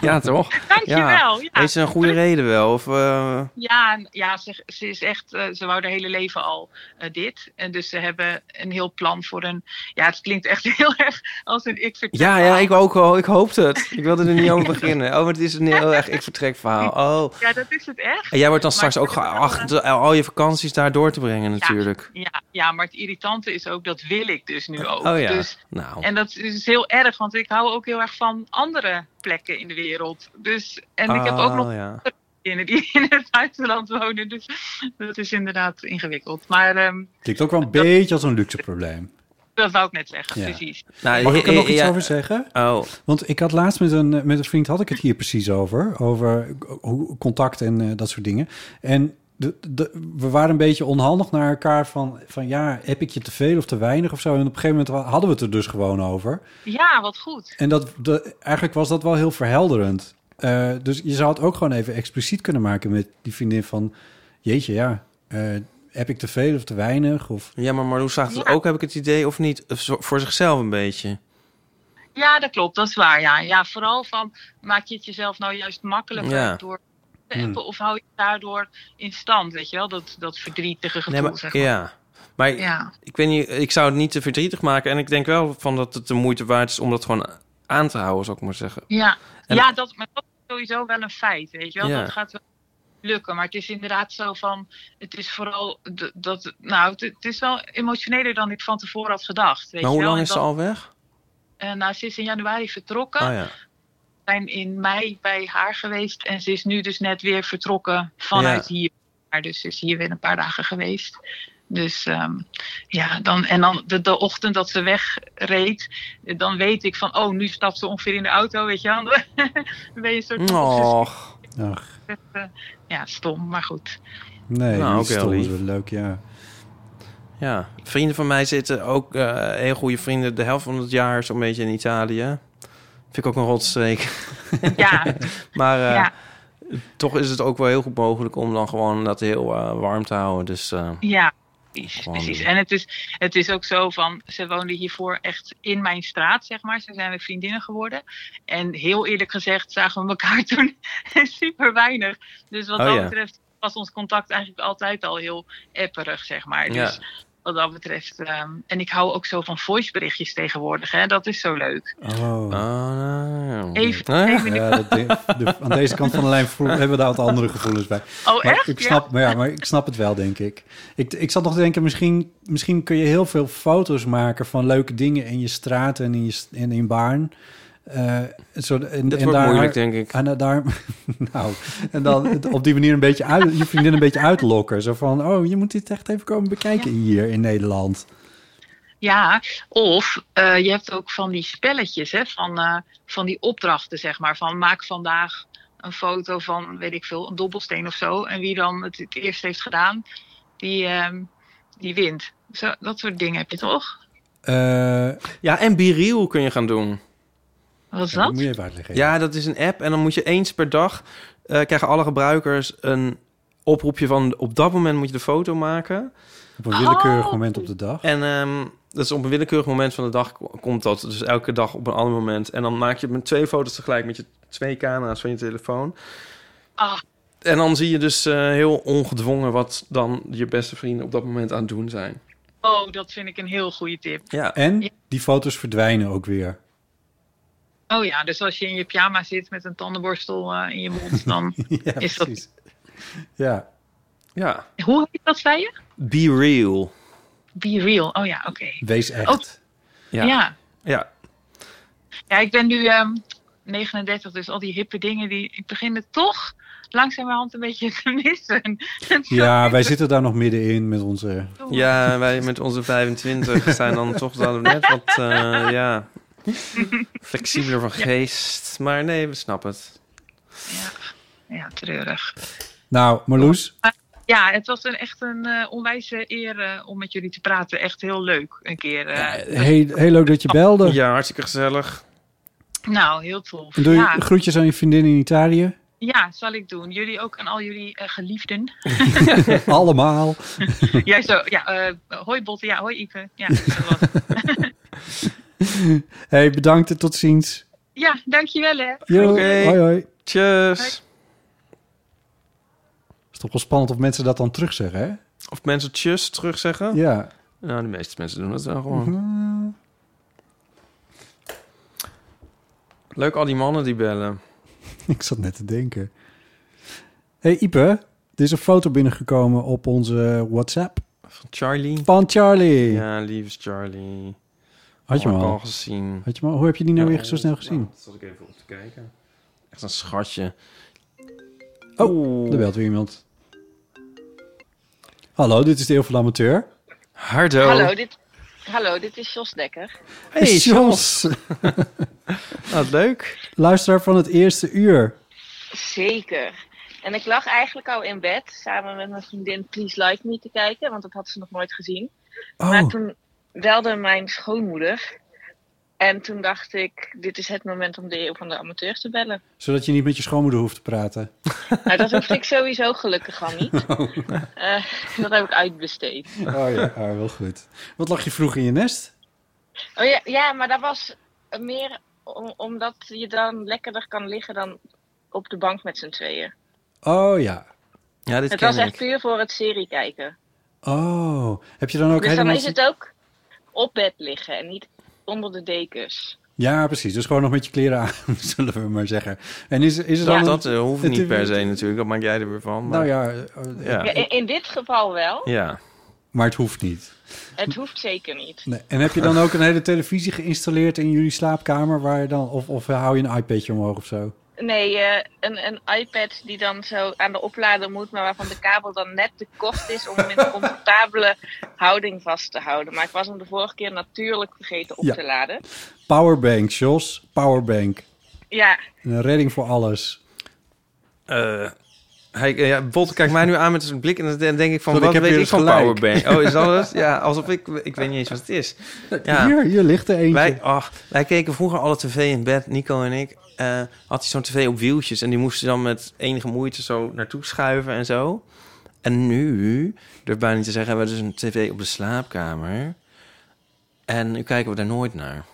Speaker 7: ja, toch?
Speaker 13: Dankjewel, ja.
Speaker 7: Heeft ze een goede reden wel? Of, eh,
Speaker 13: Ja, en- ja ze, ze is echt, eh, ze wou haar hele leven al eh, dit. En dus ze hebben een heel plan voor een. Ja, het klinkt echt <laughs> heel erg als een ik vertel.
Speaker 7: Ja, ja, ik wou ook wel. Ik hoopte het. Ik wilde er niet over beginnen. Oh, maar het is een heel erg ik vertrek verhaal. Oh.
Speaker 13: Ja, dat is het echt.
Speaker 7: En jij wordt dan straks ook geacht al je vakanties daar door te brengen natuurlijk.
Speaker 13: Ja, ja, maar het irritante is ook, dat wil ik dus nu ook.
Speaker 7: Oh ja,
Speaker 13: Dus,
Speaker 7: nou.
Speaker 13: En dat is heel erg, want ik hou ook heel erg van andere plekken in de wereld. Dus, en ik heb ook
Speaker 7: Oh,
Speaker 13: nog
Speaker 7: ja.
Speaker 13: andere vriendinnen die in het <laughs> buitenland wonen. Dus dat is inderdaad ingewikkeld. Maar ehm,
Speaker 5: Klinkt ook wel een beetje als een luxe probleem.
Speaker 13: dat wou ik net zeggen,
Speaker 5: Ja.
Speaker 13: precies.
Speaker 5: Mag ik er nog iets
Speaker 7: Nou, ja.
Speaker 5: over zeggen?
Speaker 7: Oh.
Speaker 5: Want ik had laatst met een, eh, met een vriend had ik het hier precies over. Over hoe- contact en eh, dat soort dingen. En de, de, we waren een beetje onhandig naar elkaar van, van ja, heb ik je te veel of te weinig of zo. En op een gegeven moment hadden we het er dus gewoon over.
Speaker 13: Ja, wat goed.
Speaker 5: En dat, de, eigenlijk was dat wel heel verhelderend. Eh, dus je zou het ook gewoon even expliciet kunnen maken met die vriendin van... Jeetje, ja, eh, heb ik te veel of te weinig? Of...
Speaker 7: Ja, maar Marloes zag het ook, heb ik het idee, of niet? Of zo- Voor zichzelf een beetje.
Speaker 13: Ja, dat klopt, dat is waar. Ja, ja vooral van, maak je het jezelf nou juist makkelijker
Speaker 7: Ja.
Speaker 13: door te appen,
Speaker 7: Hmm.
Speaker 13: of hou je het daardoor in stand, weet je wel? Dat, dat verdrietige gevoel,
Speaker 7: maar,
Speaker 13: zeg maar.
Speaker 7: ja. Maar ik-
Speaker 13: Ja.
Speaker 7: ik weet niet, ik zou het niet te verdrietig maken. En ik denk wel van dat het de moeite waard is om dat gewoon aan te houden, zou ik maar zeggen.
Speaker 13: Ja,
Speaker 7: En-
Speaker 13: ja dat, maar dat is sowieso wel een feit, weet je wel.
Speaker 7: Ja.
Speaker 13: Dat gaat wel lukken, maar het is inderdaad zo van... Het is vooral, d- dat, nou, het, het is wel emotioneler dan ik van tevoren had gedacht, weet
Speaker 7: Maar
Speaker 13: je
Speaker 7: hoe
Speaker 13: wel.
Speaker 7: lang
Speaker 13: En
Speaker 7: is ze
Speaker 13: dat-
Speaker 7: al weg?
Speaker 13: eh, nou, ze is in januari vertrokken.
Speaker 7: Oh ja.
Speaker 13: We zijn in mei bij haar geweest en ze is nu dus net weer vertrokken vanuit hier. Maar dus ze is hier weer een paar dagen geweest. Dus ehm, ja, dan, en dan de, de ochtend dat ze wegreed, eh, dan weet ik van, oh, nu stapt ze ongeveer in de auto, weet je wel. <laughs> Dan ben je een soort van
Speaker 7: Och.
Speaker 5: Ach,
Speaker 13: opgezet, eh, Ja, stom, maar goed.
Speaker 5: nee,
Speaker 7: Nou,
Speaker 5: nou,
Speaker 7: ook heel
Speaker 5: dat is
Speaker 7: lief.
Speaker 5: wel leuk, ja.
Speaker 7: Ja, vrienden van mij zitten ook eh, heel goede vrienden. De helft van het jaar zo'n beetje in Italië. Vind ik ook een rotstreek.
Speaker 13: <laughs> Ja.
Speaker 7: <laughs> maar eh,
Speaker 13: Ja.
Speaker 7: toch is het ook wel heel goed mogelijk om dan gewoon dat heel eh, warm te houden. Dus eh,
Speaker 13: Ja, precies.
Speaker 7: Gewoon
Speaker 13: precies.
Speaker 7: doen.
Speaker 13: En het is, het is ook zo van, ze woonde hiervoor echt in mijn straat, zeg maar. Ze zijn weer vriendinnen geworden. En heel eerlijk gezegd zagen we elkaar <laughs> toen super weinig. Dus wat
Speaker 7: Oh
Speaker 13: dat
Speaker 7: ja.
Speaker 13: betreft was ons contact eigenlijk altijd al heel epperig, zeg maar. Dus
Speaker 7: Ja.
Speaker 13: wat dat betreft. ehm, en ik hou ook zo van voiceberichtjes tegenwoordig, hè. Dat is zo leuk.
Speaker 5: Oh.
Speaker 7: nou.
Speaker 13: Even- Huh? even-
Speaker 5: Ja, dat ding- de- aan deze kant van de lijn voel- hebben we daar wat andere gevoelens bij.
Speaker 13: Oh,
Speaker 5: maar
Speaker 13: echt?
Speaker 5: Ik snap, Maar ja, maar ik snap het wel, denk ik. Ik, ik zat nog te denken, misschien, misschien kun je heel veel foto's maken... van leuke dingen in je straat en in, je, s- en in Baarn. Eh, een soort- en,
Speaker 7: Dit
Speaker 5: en
Speaker 7: wordt
Speaker 5: daar-
Speaker 7: moeilijk, denk ik.
Speaker 5: En daar, <laughs> nou, en dan het op die manier een beetje uit, je vriendin een beetje uitlokken. Zo van, oh, je moet dit echt even komen bekijken hier in Nederland.
Speaker 13: Ja, of eh, je hebt ook van die spelletjes, hè, van, eh, van die opdrachten, zeg maar. Van maak vandaag een foto van, weet ik veel, een dobbelsteen of zo. En wie dan het, het eerst heeft gedaan, die, ehm, die wint. Zo, dat soort dingen heb je toch?
Speaker 7: Eh, ja, en Biriel kun je gaan doen.
Speaker 13: Wat is Ja, dat dat? moet
Speaker 5: je even uitleggen.
Speaker 7: Ja, dat is een app en dan moet je eens per dag... eh, krijgen alle gebruikers een oproepje van... op dat moment moet je de foto maken.
Speaker 5: Op een
Speaker 13: Oh.
Speaker 5: willekeurig moment op de dag.
Speaker 7: En ehm, dat is op een willekeurig moment van de dag ko- komt dat. Dus elke dag op een ander moment. En dan maak je het met twee foto's tegelijk met je twee camera's van je telefoon.
Speaker 13: Ah.
Speaker 7: En dan zie je dus eh, heel ongedwongen wat dan je beste vrienden op dat moment aan het doen zijn.
Speaker 13: Oh, dat vind ik een heel goede tip.
Speaker 7: Ja.
Speaker 5: En die foto's verdwijnen ook weer.
Speaker 13: Oh ja, dus als je in je pyjama zit met een tandenborstel eh, in je mond, dan
Speaker 5: <laughs> Ja,
Speaker 13: is dat...
Speaker 5: Ja.
Speaker 7: Ja.
Speaker 13: Hoe heet dat, zei je?
Speaker 7: Be real.
Speaker 13: Be real. Oh ja, oké.
Speaker 5: Wees echt.
Speaker 13: Oh, ja.
Speaker 7: Ja.
Speaker 13: Ja, ik ben nu ehm 39, dus al die hippe dingen, die, ik begin het toch langzamerhand een beetje te <laughs> missen. <laughs>
Speaker 5: Ja, wij zitten daar nog middenin met onze...
Speaker 7: Ja, wij met onze 25 zijn dan toch dan net wat eh,
Speaker 13: <laughs>
Speaker 7: ja, flexibeler van geest. Maar nee, we snappen het.
Speaker 13: Ja, treurig.
Speaker 5: Nou, Marloes,
Speaker 13: Ja, het was een, echt een eh, onwijze eer eh, om met jullie te praten. Echt heel leuk een keer. eh.
Speaker 5: heel, heel leuk dat je belde.
Speaker 7: Oh, Ja, hartstikke gezellig.
Speaker 13: Nou, heel tof.
Speaker 5: En doe je
Speaker 13: ja.
Speaker 5: groetjes aan je vriendin in
Speaker 7: <laughs>
Speaker 5: Italië?
Speaker 13: ja, zal ik doen. Jullie ook aan al jullie eh,
Speaker 5: <laughs>
Speaker 13: geliefden. <laughs>
Speaker 7: <laughs>
Speaker 5: Allemaal.
Speaker 13: Jij zo, ja, eh, hoi Botte, ja, hoi Ipe. Ja, dat was-
Speaker 5: hey, bedankt en tot ziens.
Speaker 13: <laughs> Ja, dankjewel hè.
Speaker 5: Jo, hoi, hoi.
Speaker 7: Tjus.
Speaker 5: is toch wel spannend of mensen dat dan terugzeggen, hè? <laughs>
Speaker 7: Of mensen tjus terugzeggen?
Speaker 5: Ja. Mhm.
Speaker 7: Nou, de meeste mensen doen dat wel gewoon. Leuk al die mannen die bellen.
Speaker 5: Ik zat net te denken. hey, Ipe, er is een foto binnengekomen op onze WhatsApp.
Speaker 7: Van Charlie.
Speaker 5: Van Charlie.
Speaker 7: Ja, lieve Charlie.
Speaker 5: Had je hem
Speaker 7: Oh, heb ik
Speaker 5: al?
Speaker 7: al gezien.
Speaker 5: Had je hem al? Hoe heb je die nou
Speaker 7: Ja,
Speaker 5: weer zo snel gezien?
Speaker 7: Dat zat ik even op te kijken. Echt een schatje.
Speaker 5: Oh, er belt weer iemand. Hallo, dit is de Heel veel Amateur.
Speaker 7: Hardo.
Speaker 17: Hallo, dit, hallo, dit is Jos Dekker.
Speaker 5: Hey, Jos. <laughs>
Speaker 7: Wat leuk.
Speaker 5: Luisteraar van het eerste uur.
Speaker 17: Zeker. En ik lag eigenlijk al in bed samen met mijn vriendin Please Like Me te kijken, want dat had ze nog nooit gezien.
Speaker 5: Oh.
Speaker 17: Maar toen belde mijn schoonmoeder. En toen dacht ik, dit is het moment om de eeuw van de amateur te bellen.
Speaker 5: Zodat je niet met je schoonmoeder hoeft te
Speaker 7: <laughs>
Speaker 5: praten.
Speaker 17: Nou, dat hoefde ik sowieso gelukkig al niet.
Speaker 5: <laughs> Oh.
Speaker 17: Eh, dat heb ik uitbesteed.
Speaker 5: Oh ja, ah, wel goed. Wat lag je vroeg in je nest?
Speaker 17: Oh ja, ja, maar dat was meer om- omdat je dan lekkerder kan liggen dan op de bank met z'n tweeën.
Speaker 5: Oh ja.
Speaker 7: Ja,
Speaker 17: het was echt puur voor het serie kijken.
Speaker 5: Oh, heb je dan ook
Speaker 17: dus dan
Speaker 5: helemaal...
Speaker 17: is het ook op bed liggen en niet onder de dekens.
Speaker 5: Ja, precies. Dus gewoon nog met je kleren aan, <laughs> zullen we maar zeggen. En is, is het
Speaker 7: dat,
Speaker 5: dan...
Speaker 7: dat eh, hoeft
Speaker 5: het-
Speaker 7: niet per se natuurlijk. Dat maak jij er weer van.
Speaker 5: Nou
Speaker 7: Maar...
Speaker 5: ja, eh, eh,
Speaker 7: Ja.
Speaker 17: Ja, in, in dit geval wel.
Speaker 7: Ja.
Speaker 5: Maar het hoeft niet.
Speaker 17: Het hoeft zeker niet.
Speaker 5: Nee. En heb je dan ook een hele televisie geïnstalleerd in jullie slaapkamer? Waar je dan, of, of hou je een iPadje omhoog of zo?
Speaker 17: Nee, eh, een, een iPad die dan zo aan de oplader moet, maar waarvan de kabel dan net te kort is om hem in een comfortabele houding vast te houden. Maar ik was hem de vorige keer natuurlijk vergeten op
Speaker 5: Ja.
Speaker 17: te laden.
Speaker 5: Powerbank, Jos. Powerbank.
Speaker 17: Ja,
Speaker 5: Een redding voor alles.
Speaker 7: Eh, hij, eh, ja, Botte kijkt mij nu aan met zijn blik en dan denk ik van,
Speaker 5: Zo, ik
Speaker 7: wat
Speaker 5: heb
Speaker 7: weet
Speaker 5: weer
Speaker 7: ik
Speaker 5: eens
Speaker 7: van
Speaker 5: gelijk.
Speaker 7: Powerbank? Oh, is dat
Speaker 5: <laughs>
Speaker 7: het? Ja, alsof ik, ik weet niet eens wat het is. Ja.
Speaker 5: Hier, hier ligt er eentje.
Speaker 7: Wij, ach, wij keken vroeger alle tv in bed, Nico en ik. eh, had hij zo'n tv op wieltjes en die moest je dan met enige moeite zo naartoe schuiven en zo. En nu, durf bijna niet te zeggen, hebben we dus een tv op de slaapkamer. En nu kijken we daar nooit naar.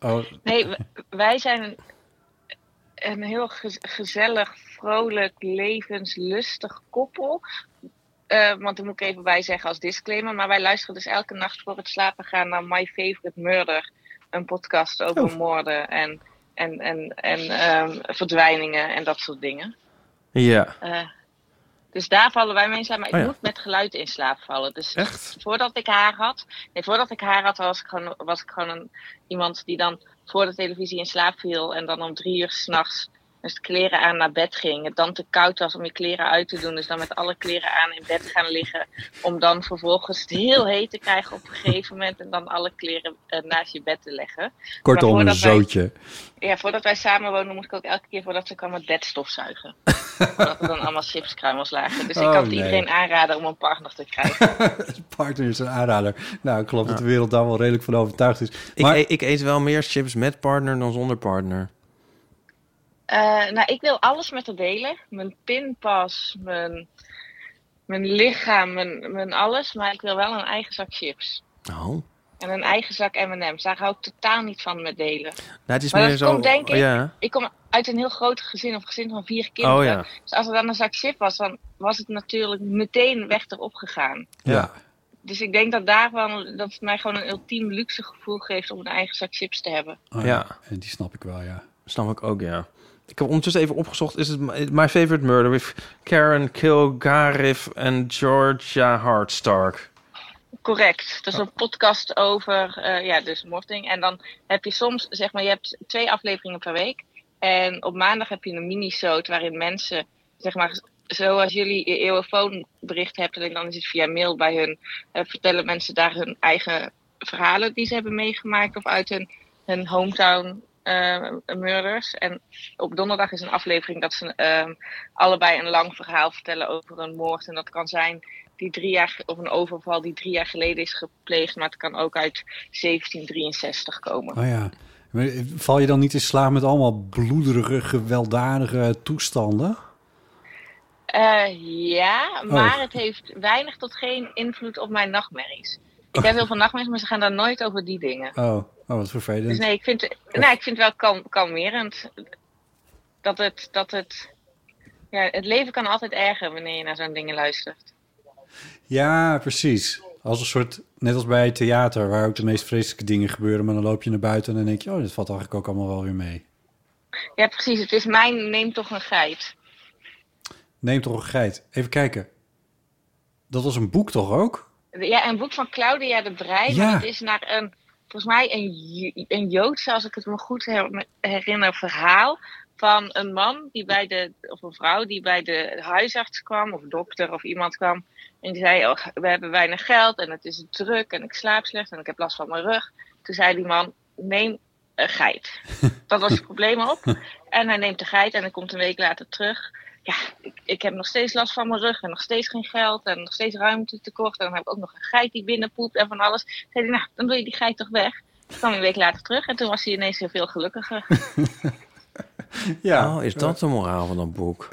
Speaker 5: Oh,
Speaker 17: nee, w- wij zijn een, een heel gez- gezellig, vrolijk, levenslustig koppel. Eh, want daar moet ik even bij zeggen als disclaimer. Maar wij luisteren dus elke nacht voor het slapen gaan naar My Favorite Murder. Een podcast over
Speaker 7: Oh.
Speaker 17: moorden en, en, en, en ehm, verdwijningen en dat soort dingen.
Speaker 7: Ja.
Speaker 17: Eh, dus daar vallen wij mee in slaap. Maar ik
Speaker 7: Oh ja.
Speaker 17: moet met geluid in slaap vallen. Dus
Speaker 7: Echt?
Speaker 17: voordat ik haar had. Nee, voordat ik haar had, was ik gewoon, was ik gewoon een, iemand die dan voor de televisie in slaap viel. En dan om drie uur s'nachts dus de kleren aan naar bed ging. Het dan te koud was om je kleren uit te doen. Dus dan met alle kleren aan in bed gaan liggen. Om dan vervolgens het heel heet te krijgen op een gegeven moment. En dan alle kleren eh, naast je bed te leggen.
Speaker 5: Kortom,
Speaker 17: Maar
Speaker 5: een
Speaker 17: voordat wij-
Speaker 5: zootje.
Speaker 17: ja, voordat wij samen woonden, moest ik ook elke keer voordat ze kwam het bed <laughs> stofzuigen. Omdat er dan allemaal chipskruimels lagen. Dus ik
Speaker 5: Oh,
Speaker 17: kan het
Speaker 5: nee.
Speaker 17: iedereen aanraden om een partner te krijgen.
Speaker 5: Partner is een aanrader. Nou, ik geloof dat de wereld daar wel redelijk van overtuigd is. Maar
Speaker 7: Ik, e- ik eet wel meer chips met partner dan zonder partner.
Speaker 17: Eh, nou, ik wil alles met haar delen. Mijn pinpas, mijn, mijn lichaam, mijn, mijn alles. Maar ik wil wel een eigen zak chips.
Speaker 7: Oh.
Speaker 17: En een eigen zak M&M's. Daar hou ik totaal niet van met delen.
Speaker 7: Nou, het is
Speaker 17: maar
Speaker 7: meer
Speaker 17: dat
Speaker 7: zo- oh,
Speaker 17: komt denk ik...
Speaker 7: ja.
Speaker 17: Ik kom uit een heel groot gezin, of gezin van vier kinderen.
Speaker 7: Oh, ja.
Speaker 17: Dus als er dan een zak chip was, dan was het natuurlijk meteen weg erop gegaan.
Speaker 7: Ja.
Speaker 17: Dus ik denk dat daarvan dat het mij gewoon een ultiem luxe gevoel geeft om een eigen zak chips te hebben.
Speaker 5: Oh,
Speaker 7: ja.
Speaker 5: En die snap ik wel, ja.
Speaker 7: Snap ik ook, ja. Ik heb ondertussen even opgezocht. Is het My- My Favorite Murder with Karen Kilgariff en Georgia Hardstark?
Speaker 17: Correct. Dat is een podcast over eh, ja, dus moording. En dan heb je soms, zeg maar, je hebt twee afleveringen per week. En op maandag heb je een mini-shoot waarin mensen, zeg maar, zoals jullie je eeuwenfoonbericht hebben, en dan is het via mail bij hun, eh, vertellen mensen daar hun eigen verhalen die ze hebben meegemaakt of uit hun, hun hometown eh, murders. En op donderdag is een aflevering dat ze ehm, allebei een lang verhaal vertellen over een moord. En dat kan zijn die drie jaar, of een overval die drie jaar geleden is gepleegd, maar het kan ook uit 1763 komen.
Speaker 5: Oh ja. Maar Val je dan niet in slaap met allemaal bloederige, gewelddadige toestanden?
Speaker 17: Eh, ja,
Speaker 5: Oh.
Speaker 17: Eh, maar het heeft weinig tot geen invloed op mijn nachtmerries. Ik heb heel veel nachtmerries, maar ze gaan daar nooit over die dingen.
Speaker 5: Oh, oh wat vervelend.
Speaker 17: Dus nee, ik vind, nou, ik vind het wel kalm, kalmerend. Dat het, dat het, ja, het leven kan altijd erger wanneer je naar zo'n dingen luistert.
Speaker 5: Ja, precies. Als een soort, net als bij theater, waar ook de meest vreselijke dingen gebeuren. Maar dan loop je naar buiten en dan denk je, oh, dit valt eigenlijk ook allemaal wel weer mee.
Speaker 17: Ja, precies. Het is mijn neem toch een geit.
Speaker 5: Neem toch een geit. Even kijken. Dat was een boek toch ook?
Speaker 17: Ja, een boek van Claudia de Breij.
Speaker 5: Ja.
Speaker 17: maar Het is naar een, volgens mij een, Ju- een Joodse, als ik het me goed her- herinner, verhaal. Van een man die bij de, of een vrouw die bij de huisarts kwam, of dokter of iemand kwam. En die zei: oh, We hebben weinig geld en het is druk en ik slaap slecht en ik heb last van mijn rug. Toen zei die man: Neem een geit. Dat was het probleem op. En hij neemt de geit en hij komt een week later terug. Ja, ik, ik heb nog steeds last van mijn rug en nog steeds geen geld en nog steeds ruimte tekort. En dan heb ik ook nog een geit die binnenpoept en van alles. Toen Zei hij, nou, dan doe je die geit toch weg. Toen kwam hij een week later terug en toen was hij ineens heel veel gelukkiger.
Speaker 5: Ja.
Speaker 14: Oh, is dat de moraal van dat
Speaker 5: <laughs>
Speaker 14: boek?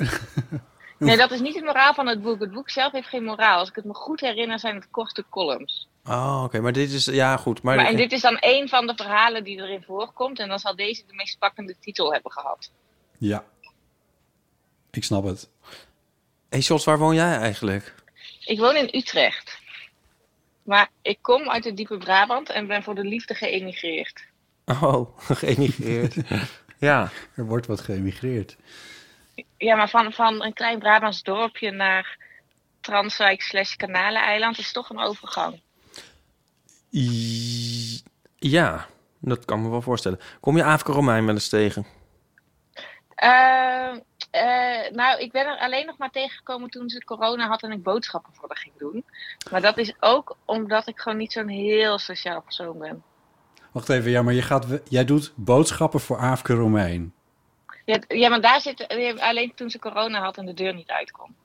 Speaker 17: Nee, dat is niet het moraal van het boek. Het boek zelf heeft geen moraal. Als ik het me goed herinner zijn het korte columns.
Speaker 14: Oh, oké. Maar dit is... Ja, goed. Maar,
Speaker 17: Maar, en dit is dan één van de verhalen die erin voorkomt. En dan zal deze de meest pakkende titel hebben gehad.
Speaker 5: Ja. Ik snap het.
Speaker 14: Hey, Sjors, waar woon jij eigenlijk?
Speaker 17: Ik woon in Utrecht. Maar ik kom uit het diepe Brabant en ben voor de liefde geëmigreerd.
Speaker 14: Oh, <laughs> geëmigreerd. ja.
Speaker 5: Er wordt wat geëmigreerd.
Speaker 17: Ja, maar van, van een klein Brabants dorpje naar Transwijk slash Kanaleneiland is toch een overgang.
Speaker 14: I- Ja, dat kan me wel voorstellen. Kom je Afrika Romein wel eens tegen?
Speaker 17: Eh, eh, nou, ik ben er alleen nog maar tegengekomen toen ze corona had en ik boodschappen voor haar ging doen. Maar dat is ook omdat ik gewoon niet zo'n heel sociaal persoon ben.
Speaker 5: Wacht even, ja, maar je gaat, we- jij doet boodschappen voor Aafke Romein.
Speaker 17: Ja, ja, maar daar zit eh, alleen toen ze corona had en de deur niet uitkwam.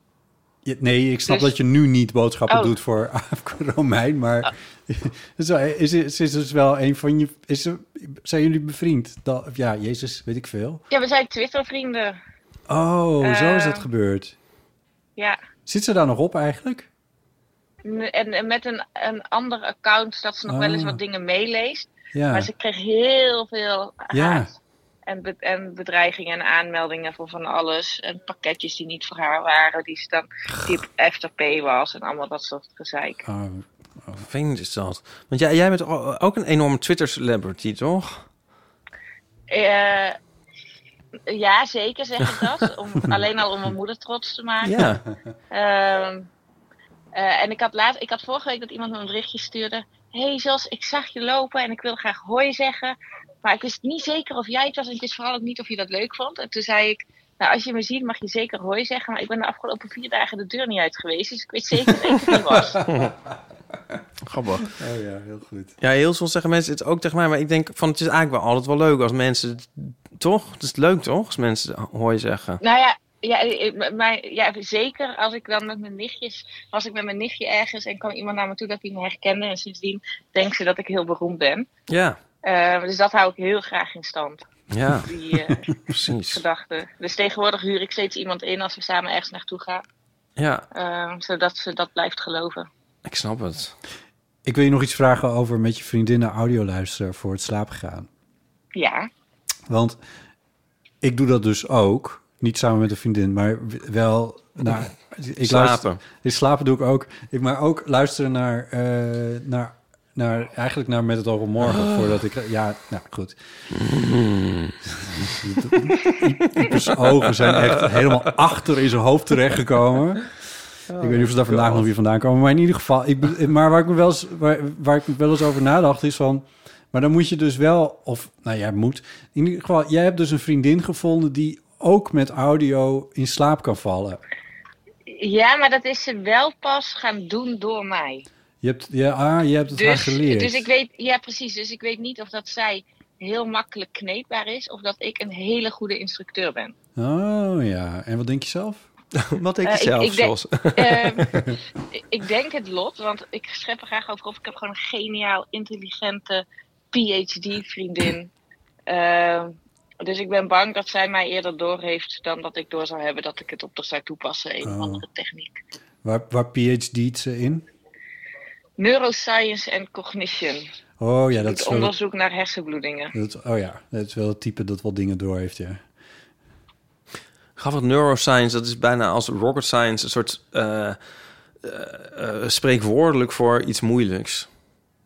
Speaker 5: Je- nee, ik snap
Speaker 17: Dus-
Speaker 5: dat je nu niet boodschappen
Speaker 17: Oh.
Speaker 5: doet voor Aafke Romein, <laughs> maar is, is, is, is dus wel een van je... Is, ze- zijn jullie bevriend? Dat, ja, Jezus, weet ik veel.
Speaker 17: Ja, we zijn Twittervrienden.
Speaker 5: Oh, zo is dat
Speaker 17: Eh.
Speaker 5: gebeurd.
Speaker 17: Ja.
Speaker 5: Zit ze daar nog op eigenlijk?
Speaker 17: En, en met een, een ander account dat ze nog wel eens
Speaker 5: Ah.
Speaker 17: wat dingen meeleest.
Speaker 5: Ja.
Speaker 17: Maar ze kreeg heel veel
Speaker 5: Ja.
Speaker 17: En, be- en bedreigingen en aanmeldingen voor van alles. En pakketjes die niet voor haar waren, die ze dan tip FTP was en allemaal dat soort gezeik.
Speaker 14: Oh, Vervelend is dat. Want jij, jij bent o- ook een enorme Twitter-celebrity, toch?
Speaker 17: Eh, ja, zeker zeg ik dat. Om, alleen al om mijn moeder trots te maken.
Speaker 14: Ja.
Speaker 17: Ehm, eh, en ik had, laat, ik had vorige week dat iemand me een berichtje stuurde. hey Jos, ik zag je lopen en ik wil graag hoi zeggen. Maar ik wist niet zeker of jij het was en ik wist vooral ook niet of je dat leuk vond. En toen zei ik, nou als je me ziet mag je zeker hoi zeggen. Maar ik ben de afgelopen vier dagen de deur niet uit geweest. Dus ik weet zeker dat ik het niet was.
Speaker 14: Grappig.
Speaker 5: Oh ja, heel goed.
Speaker 14: Ja, heel soms zeggen mensen het ook tegen mij. Maar ik denk van, het is eigenlijk wel altijd wel leuk als mensen... het- Toch? Het is leuk, toch? Als mensen hooi zeggen.
Speaker 17: Nou ja, ja, ik- m- mijn- ja, zeker als ik dan met mijn nichtjes... Was ik met mijn nichtje ergens en kwam iemand naar me toe dat hij me herkende. En sindsdien denkt ze dat ik heel beroemd ben.
Speaker 14: Ja.
Speaker 17: Eh, dus dat hou ik heel graag in stand.
Speaker 14: Ja.
Speaker 17: Die eh,
Speaker 14: <laughs> Precies.
Speaker 17: gedachte. Dus tegenwoordig huur ik steeds iemand in als we samen ergens naartoe gaan.
Speaker 14: Ja,
Speaker 17: Eh, zodat ze dat blijft geloven.
Speaker 14: ik snap het.
Speaker 5: Ik wil je nog iets vragen over met je vriendin naar audio luisteren voor het slapen gaan.
Speaker 17: Ja.
Speaker 5: Want ik doe dat dus ook. Niet samen met een vriendin, maar w- wel... Nou, ik
Speaker 14: Slapen.
Speaker 5: Luister, ik slapen doe ik ook. Ik, maar ook luisteren naar, eh, naar, naar... Eigenlijk naar Met het Oog op Morgen. Voordat ik... Ja, nou goed. Zijn ogen zijn echt helemaal achter in zijn hoofd terechtgekomen. ik weet niet of ze daar vandaag nog weer vandaan komen. Maar in ieder geval... Ik, be- maar waar ik, me wel eens, waar, waar ik wel eens over nadacht is van... Maar dan moet je dus wel... Of, nou ja, moet... In ieder geval, jij hebt dus een vriendin gevonden... die ook met audio in slaap kan vallen.
Speaker 17: Ja, maar dat is ze wel pas gaan doen door mij.
Speaker 5: Je hebt, ja, ah, je hebt het haar
Speaker 17: Dus,
Speaker 5: geleerd.
Speaker 17: dus ik weet, ja precies, dus ik weet niet of dat zij heel makkelijk kneedbaar is of dat ik een hele goede instructeur ben.
Speaker 5: Oh ja, en wat denk je zelf?
Speaker 14: wat
Speaker 17: Eh, denk- <laughs>
Speaker 5: <laughs>
Speaker 17: ehm, ik- ik denk het lot, want ik schep er graag over op. Ik heb gewoon een geniaal, intelligente PhD-vriendin. Ehm, dus ik ben bang dat zij mij eerder door heeft dan dat ik door zou hebben dat ik het op haar zou toepassen, een of
Speaker 5: Oh.
Speaker 17: andere techniek.
Speaker 5: Waar, waar PhD't ze in?
Speaker 17: Neuroscience and Cognition.
Speaker 5: Oh ja, dat is
Speaker 17: Het
Speaker 5: wel...
Speaker 17: onderzoek naar hersenbloedingen.
Speaker 5: Dat, oh ja, dat is wel het type dat wel dingen door heeft, ja.
Speaker 7: Grappig, neuroscience, dat is bijna als rocket science een soort eh, eh, eh, spreekwoordelijk voor iets moeilijks.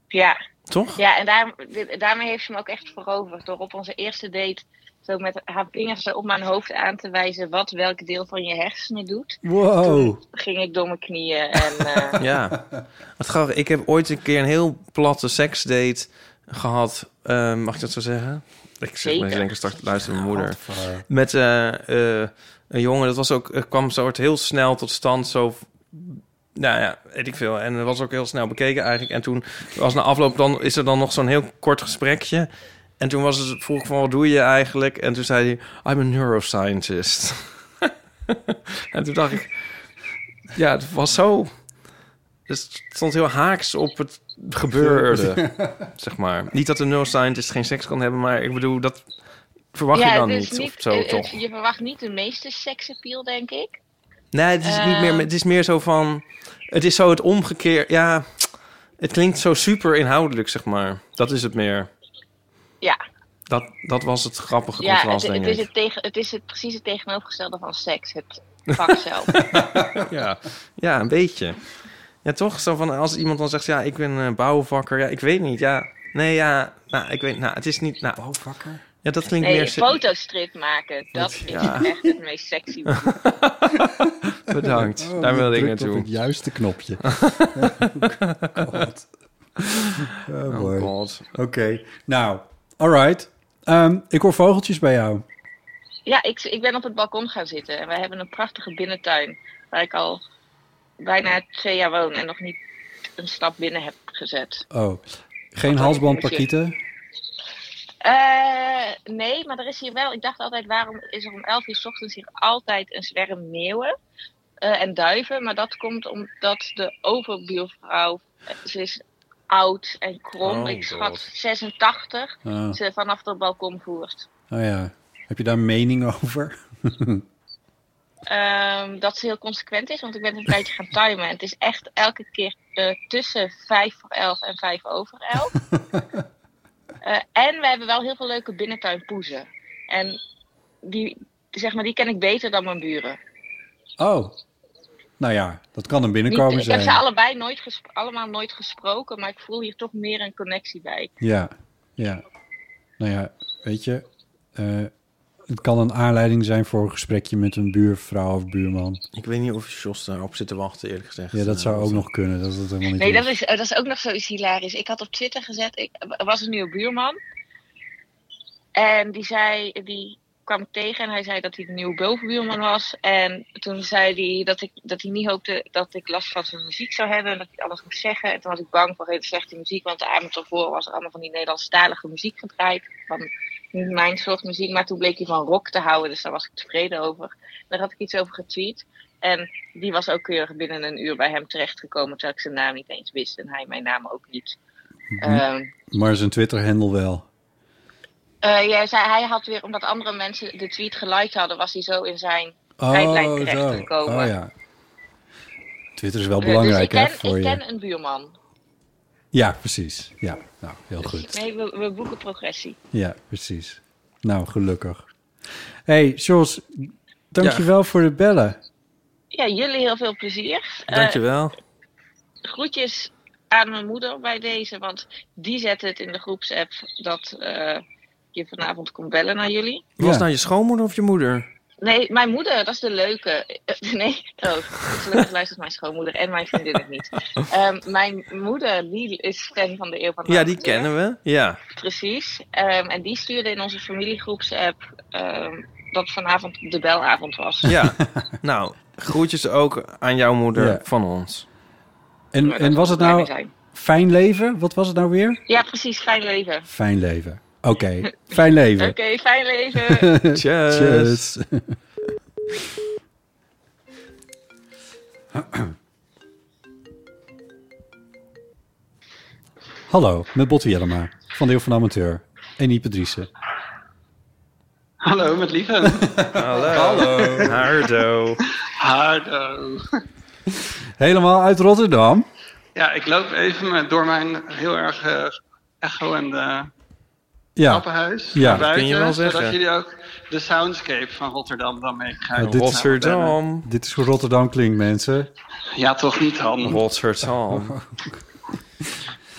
Speaker 17: Ja.
Speaker 7: Toch?
Speaker 17: Ja, en daar, dit- daarmee heeft ze me ook echt veroverd. Door op onze eerste date zo met haar vingers zo op mijn hoofd aan te wijzen wat welk deel van je hersenen doet.
Speaker 5: Wow.
Speaker 17: Ging ik door mijn knieën
Speaker 7: <laughs>
Speaker 17: en eh,
Speaker 7: Ja. Wat grappig, ik heb ooit een keer een heel platte seksdate gehad. Eh, mag ik dat zo zeggen? Ik zeg
Speaker 17: Zeker.
Speaker 7: maar, denk ik straks luister mijn moeder. Met eh, eh, een jongen, dat was ook, eh, kwam soort heel snel tot stand. Zo, nou ja, weet ik veel. En dat was ook heel snel bekeken eigenlijk. En toen was na afloop, dan is er dan nog zo'n heel kort gesprekje. En toen was het, vroeg ik van, wat doe je eigenlijk? En toen zei hij, I'm a neuroscientist. <laughs> en toen dacht ik, ja, het was zo... Het stond heel haaks op het gebeurde, zeg maar. Niet dat een neuroscientist geen seks kan hebben, maar ik bedoel, dat verwacht
Speaker 17: ja,
Speaker 7: je dan
Speaker 17: het
Speaker 7: niet,
Speaker 17: is
Speaker 7: of zo,
Speaker 17: eh, eh,
Speaker 7: toch?
Speaker 17: Je verwacht niet de meeste seksappeal, denk ik.
Speaker 7: Nee, het is niet meer.
Speaker 17: Ehm.
Speaker 7: Het is meer zo van. Het is zo het omgekeerd. Ja, het klinkt zo super inhoudelijk, zeg maar. Dat is het meer.
Speaker 17: Ja,
Speaker 7: Dat, dat was het grappige
Speaker 17: ja het,
Speaker 7: contrast,
Speaker 17: het
Speaker 7: denk
Speaker 17: is
Speaker 7: ik.
Speaker 17: het, tegen, het is het, precies het tegenovergestelde van seks. Het vak zelf.
Speaker 7: ja. ja, een beetje. Ja, toch? Zo van als iemand dan zegt, ja, ik ben eh bouwvakker. Ja, ik weet niet. Ja, nee, ja, nou, ik weet, nou, het is niet. Nou, bouwvakker? Ja, dat <laughs> klinkt
Speaker 17: Nee,
Speaker 7: meer.
Speaker 17: een
Speaker 7: se-
Speaker 17: fotostrip maken, dat is
Speaker 7: Ja.
Speaker 17: echt het meest sexy.
Speaker 7: <laughs> Bedankt.
Speaker 5: Oh,
Speaker 7: Daar
Speaker 5: je
Speaker 7: wilde ik
Speaker 5: drukt op
Speaker 7: naartoe.
Speaker 5: het juiste knopje.
Speaker 7: <laughs>
Speaker 5: Oh, God. Oh,
Speaker 7: Oh,
Speaker 5: boy.
Speaker 7: God.
Speaker 5: Oké, nou, alright. Ehm, ik hoor vogeltjes bij jou.
Speaker 17: Ja, ik, ik ben op het balkon gaan zitten en wij hebben een prachtige binnentuin waar ik al bijna twee jaar woon en nog niet een stap binnen heb gezet.
Speaker 5: Oh, geen halsband parkieten?
Speaker 17: Eh, nee, maar er is hier wel. Ik dacht altijd, waarom is er om 11 uur 's ochtends hier altijd een zwerm meeuwen eh, en duiven? Maar dat komt omdat de overbuurvrouw, eh, ze is oud en krom,
Speaker 5: Oh,
Speaker 17: ik
Speaker 5: God.
Speaker 17: schat 86,
Speaker 5: Ah.
Speaker 17: ze vanaf het balkon voert.
Speaker 5: Oh ja, heb je daar mening over? <laughs>
Speaker 17: Ehm, dat ze heel consequent is, want ik ben een tijdje gaan timen. En het is echt elke keer eh, tussen 5 voor 11 en 5 over <laughs> 11. Eh, en we hebben wel heel veel leuke binnentuinpoezen. En die, zeg maar, die ken ik beter dan mijn buren.
Speaker 5: oh, nou ja, dat kan een
Speaker 17: Niet-
Speaker 5: binnenkomen
Speaker 17: ik heb
Speaker 5: zijn.
Speaker 17: ze allebei nooit gespro- allemaal nooit gesproken, maar ik voel hier toch meer een connectie bij.
Speaker 5: Ja, ja. Nou ja, weet je, eh, het kan een aanleiding zijn voor een gesprekje met een buurvrouw of buurman.
Speaker 7: Ik weet niet of Jos daarop zit te wachten, eerlijk gezegd.
Speaker 5: Ja, dat
Speaker 7: Eh,
Speaker 5: zou
Speaker 7: wat
Speaker 5: ook
Speaker 7: dan-
Speaker 5: nog kunnen. Dat het helemaal niet
Speaker 17: Nee, dat is, eh, dat is ook nog zoiets hilarisch. Ik had op Twitter gezet, ik, er was een nieuwe buurman. En die zei, die kwam ik tegen en hij zei dat hij de nieuwe bovenbuurman was. En toen zei hij dat, ik, dat hij niet hoopte dat ik last van zijn muziek zou hebben en dat ik alles moest zeggen. En toen was ik bang voor hele slechte muziek, want de avond ervoor was er allemaal van die Nederlandstalige muziek gedraaid. Van niet mijn soort muziek, maar toen bleek hij van rock te houden, dus daar was ik tevreden over. Daar had ik iets over getweet. En die was ook keurig binnen een uur bij hem terechtgekomen, terwijl ik zijn naam niet eens wist en hij mijn naam ook niet. Ehm,
Speaker 5: Hm? Maar zijn Twitter-handle wel.
Speaker 17: eh, jij zei, hij had weer, omdat andere mensen de tweet geliked hadden, was hij zo in zijn tijdlijn
Speaker 5: Oh, zo.
Speaker 17: terechtgekomen.
Speaker 5: Oh ja. Twitter is wel
Speaker 17: Eh,
Speaker 5: belangrijk,
Speaker 17: dus ik
Speaker 5: hè,
Speaker 17: ken,
Speaker 5: voor
Speaker 17: ik
Speaker 5: je.
Speaker 17: ken een buurman.
Speaker 5: Ja, precies. Ja, nou, heel goed.
Speaker 17: Nee, we, we boeken progressie.
Speaker 5: Ja, precies. Nou, gelukkig. hey, Jos, dankjewel voor het bellen.
Speaker 17: Ja, jullie heel veel plezier. Eh,
Speaker 7: Dankjewel.
Speaker 17: groetjes aan mijn moeder bij deze, want die zette het in de groepsapp dat eh, je vanavond komt bellen naar jullie.
Speaker 7: Was het nou je schoonmoeder of je moeder?
Speaker 17: Nee, mijn moeder, dat is de leuke. Eh, <laughs> Nee, oh, gelukkig luistert mijn schoonmoeder en mijn vriendin het niet. Ehm, mijn moeder, die is fan van de Eeuw van de
Speaker 18: nou?
Speaker 7: Ja, die
Speaker 17: Amateur.
Speaker 7: kennen we. Ja.
Speaker 17: Precies. Ehm, en die stuurde in onze familiegroepsapp ehm, dat vanavond de belavond was.
Speaker 5: <laughs>
Speaker 7: Ja. nou, groetjes ook aan jouw moeder
Speaker 5: Ja.
Speaker 7: van ons.
Speaker 5: En, en was het
Speaker 17: blij
Speaker 5: nou
Speaker 17: mee
Speaker 5: fijn leven? Wat was het nou weer?
Speaker 17: Ja, precies. Fijn leven.
Speaker 5: Fijn leven. Oké, fijn leven.
Speaker 17: Oké, fijn
Speaker 5: <laughs>
Speaker 17: leven.
Speaker 5: Tjus. Hallo, met Botte Jellema van Deel van de Amateur en Ipe Driessen.
Speaker 18: Hallo, met lieve.
Speaker 5: <laughs>
Speaker 7: Hallo. Hardo.
Speaker 18: Hardo.
Speaker 5: Helemaal uit Rotterdam.
Speaker 18: Ja, ik loop even eh, door mijn heel erg eh echo en de
Speaker 5: Ja.
Speaker 18: trappenhuis.
Speaker 5: Ja,
Speaker 18: naar
Speaker 5: dat kun je wel
Speaker 18: buiten, Zodat
Speaker 5: zeggen.
Speaker 18: jullie ook de soundscape van Rotterdam dan mee
Speaker 5: Ja,
Speaker 18: krijgen.
Speaker 5: dit- Dit is hoe Rotterdam klinkt, mensen.
Speaker 18: Ja, toch niet, Han.
Speaker 19: Rotterdam.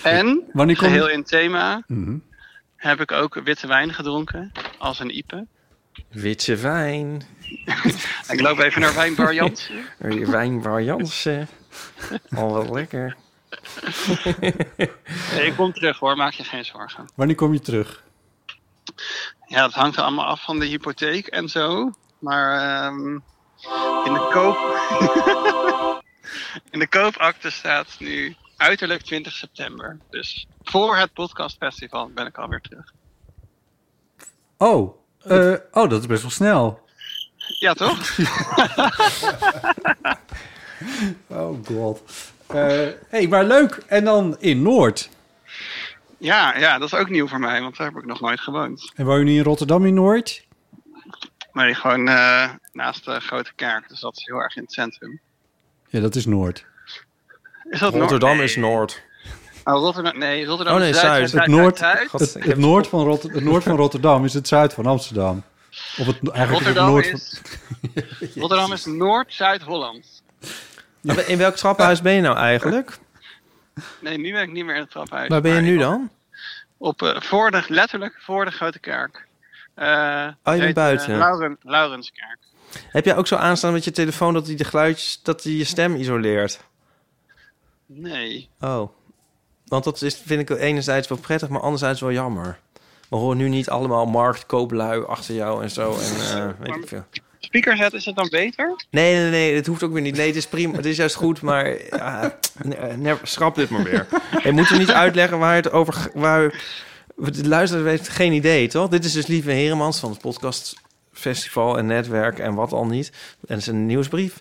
Speaker 18: En,
Speaker 5: Wanneer komt-
Speaker 18: geheel in thema,
Speaker 5: Mhm.
Speaker 18: heb ik ook witte wijn gedronken. Als een Ipe.
Speaker 19: Witje wijn.
Speaker 18: Ik loop even <laughs> naar Wijnbar
Speaker 5: <laughs>
Speaker 7: <laughs>
Speaker 18: Jansen.
Speaker 19: Wijnbar Jansen. Al wel
Speaker 5: <laughs>
Speaker 19: lekker.
Speaker 18: Nee, ik kom terug hoor, maak je geen zorgen.
Speaker 5: Wanneer kom je terug?
Speaker 18: Ja, dat hangt er allemaal af van de hypotheek en zo. Maar ehm, in de koop... <laughs> in de koopakte staat nu uiterlijk 20 september. Dus voor het podcastfestival ben ik alweer terug.
Speaker 5: Oh, eh, oh, dat is best wel snel.
Speaker 18: Ja,
Speaker 5: <laughs>
Speaker 18: toch?
Speaker 5: Oh god. Hé, hey, maar leuk. En dan in Noord.
Speaker 18: ja, ja, dat is ook nieuw voor mij, want daar heb ik nog nooit gewoond.
Speaker 5: En woon je nu in Rotterdam in Noord?
Speaker 18: Nee, gewoon eh, naast de grote kerk, dus dat is heel erg in het centrum.
Speaker 5: Ja, dat is Noord.
Speaker 18: Is dat
Speaker 7: Rotterdam
Speaker 18: Noord?
Speaker 7: is Noord.
Speaker 18: Oh, Rotterdam, nee, Rotterdam
Speaker 7: Oh, nee,
Speaker 18: is Zuid.
Speaker 7: Zuid.
Speaker 5: Het
Speaker 18: Zuid,
Speaker 5: noord,
Speaker 18: Zuid, Zuid.
Speaker 5: het, het noord van Rotter- het noord van Rotterdam is het zuid van Amsterdam. Of het, eigenlijk
Speaker 18: Rotterdam
Speaker 5: het noord
Speaker 18: is- Rotterdam is Noord-Zuid-Holland.
Speaker 7: Maar In welk trappenhuis ben je nou eigenlijk?
Speaker 18: Nee, nu ben ik niet meer in het traphuis.
Speaker 7: Waar ben je
Speaker 18: maar
Speaker 7: nu
Speaker 18: ik-
Speaker 7: dan?
Speaker 18: Op, eh, voor de, letterlijk voor de Grote Kerk. Eh,
Speaker 7: Oh, bent
Speaker 18: heet, eh,
Speaker 7: buiten.
Speaker 18: Lauren, Laurenskerk.
Speaker 7: Heb jij ook zo aanstaan met je telefoon dat hij de geluidjes, dat hij je stem isoleert?
Speaker 18: Nee.
Speaker 7: Oh. Want dat is, vind ik enerzijds wel prettig, maar anderzijds wel jammer. We horen nu niet allemaal marktkooplui achter jou en zo. En, eh, weet ik veel.
Speaker 18: Speakerset, is het dan beter?
Speaker 7: Nee, nee, nee, het hoeft ook weer niet. Nee, het is prima. Het is juist goed, maar ja, ne- eh, never- schrap dit maar weer. Je moet er niet uitleggen waar het over... g- Waar, de luisteraar heeft geen idee, toch? Dit is dus Lieve Heremans van het podcastfestival en netwerk en wat al niet. En zijn nieuwsbrief.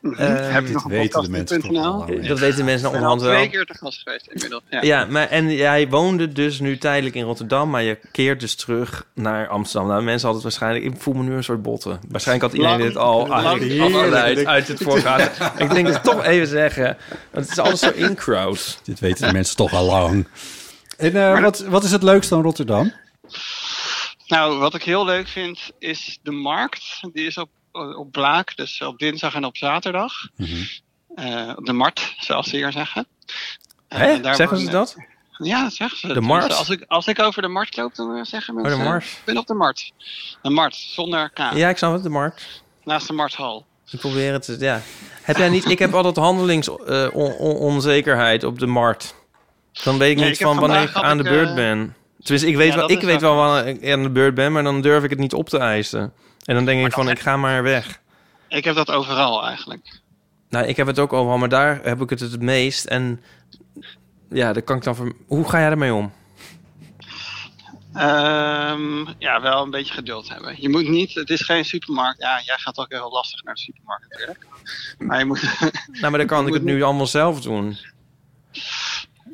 Speaker 18: Mhm.
Speaker 7: Eh,
Speaker 18: Heb je nog een Dit weten de mensen toch al, hè?
Speaker 7: Dat weten de mensen
Speaker 18: Ik ben al
Speaker 7: onderhand wel.
Speaker 18: twee keer te gast geweest inmiddels. Ja.
Speaker 7: Ja, maar, en jij woonde dus nu tijdelijk in Rotterdam, maar je keert dus terug naar Amsterdam. Nou, mensen hadden het waarschijnlijk... Ik voel me nu een soort botten. Waarschijnlijk had iedereen
Speaker 19: Lang-
Speaker 7: dit al
Speaker 19: lang-
Speaker 7: uit-
Speaker 19: heerlijk.
Speaker 7: afgeleid uit het voorgaande. ik denk het toch even zeggen, want het is alles zo in-crowd.
Speaker 5: Dit weten de mensen toch al lang. En eh, wat, wat is het leukste aan Rotterdam?
Speaker 18: Nou, wat ik heel leuk vind is de markt. Die is op, op Blaak, dus op dinsdag en op zaterdag.
Speaker 7: Mhm.
Speaker 18: Eh, op de Mart, zoals ze hier zeggen. Eh,
Speaker 7: Hè?
Speaker 18: daar
Speaker 7: Zeggen
Speaker 18: wonen-
Speaker 7: ze dat?
Speaker 18: Ja, dat zeggen ze.
Speaker 7: De
Speaker 18: Tenminste,
Speaker 7: Mart?
Speaker 18: Als ik, als ik over de Mart loop, dan eh, zeggen
Speaker 7: de
Speaker 18: mensen...
Speaker 7: Mart.
Speaker 18: Ik ben op de Mart. De Mart, zonder K.
Speaker 7: Ja, ik snap het, de markt.
Speaker 18: Naast de Marthal.
Speaker 7: Dus Ik probeer het, ja. Heb jij niet... Ik heb altijd eh, handelingsonzekerheid op de markt. Dan weet ik
Speaker 18: Nee,
Speaker 7: niet
Speaker 18: ik heb
Speaker 7: van wanneer ik
Speaker 18: vandaag had
Speaker 7: aan
Speaker 18: ik,
Speaker 7: de beurt
Speaker 18: eh,
Speaker 7: ben. Tenminste, ik weet,
Speaker 18: Ja,
Speaker 7: wel,
Speaker 18: dat
Speaker 7: ik
Speaker 18: is
Speaker 7: weet
Speaker 18: wel-
Speaker 7: wel wanneer ik aan de beurt ben, maar dan durf ik het niet op te eisen. En dan denk ik van, ik ga maar weg.
Speaker 18: Ik heb dat overal eigenlijk.
Speaker 7: Nou, ik heb het ook overal, maar daar heb ik het het meest. En ja, daar kan ik dan van. Hoe ga jij ermee om?
Speaker 18: Ehm, ja, wel een beetje geduld hebben. Je moet niet... Het is geen supermarkt. Ja, jij gaat ook heel lastig naar de supermarkt natuurlijk. Maar je moet... <laughs>
Speaker 7: Nou, maar dan kan ik het nu allemaal zelf doen.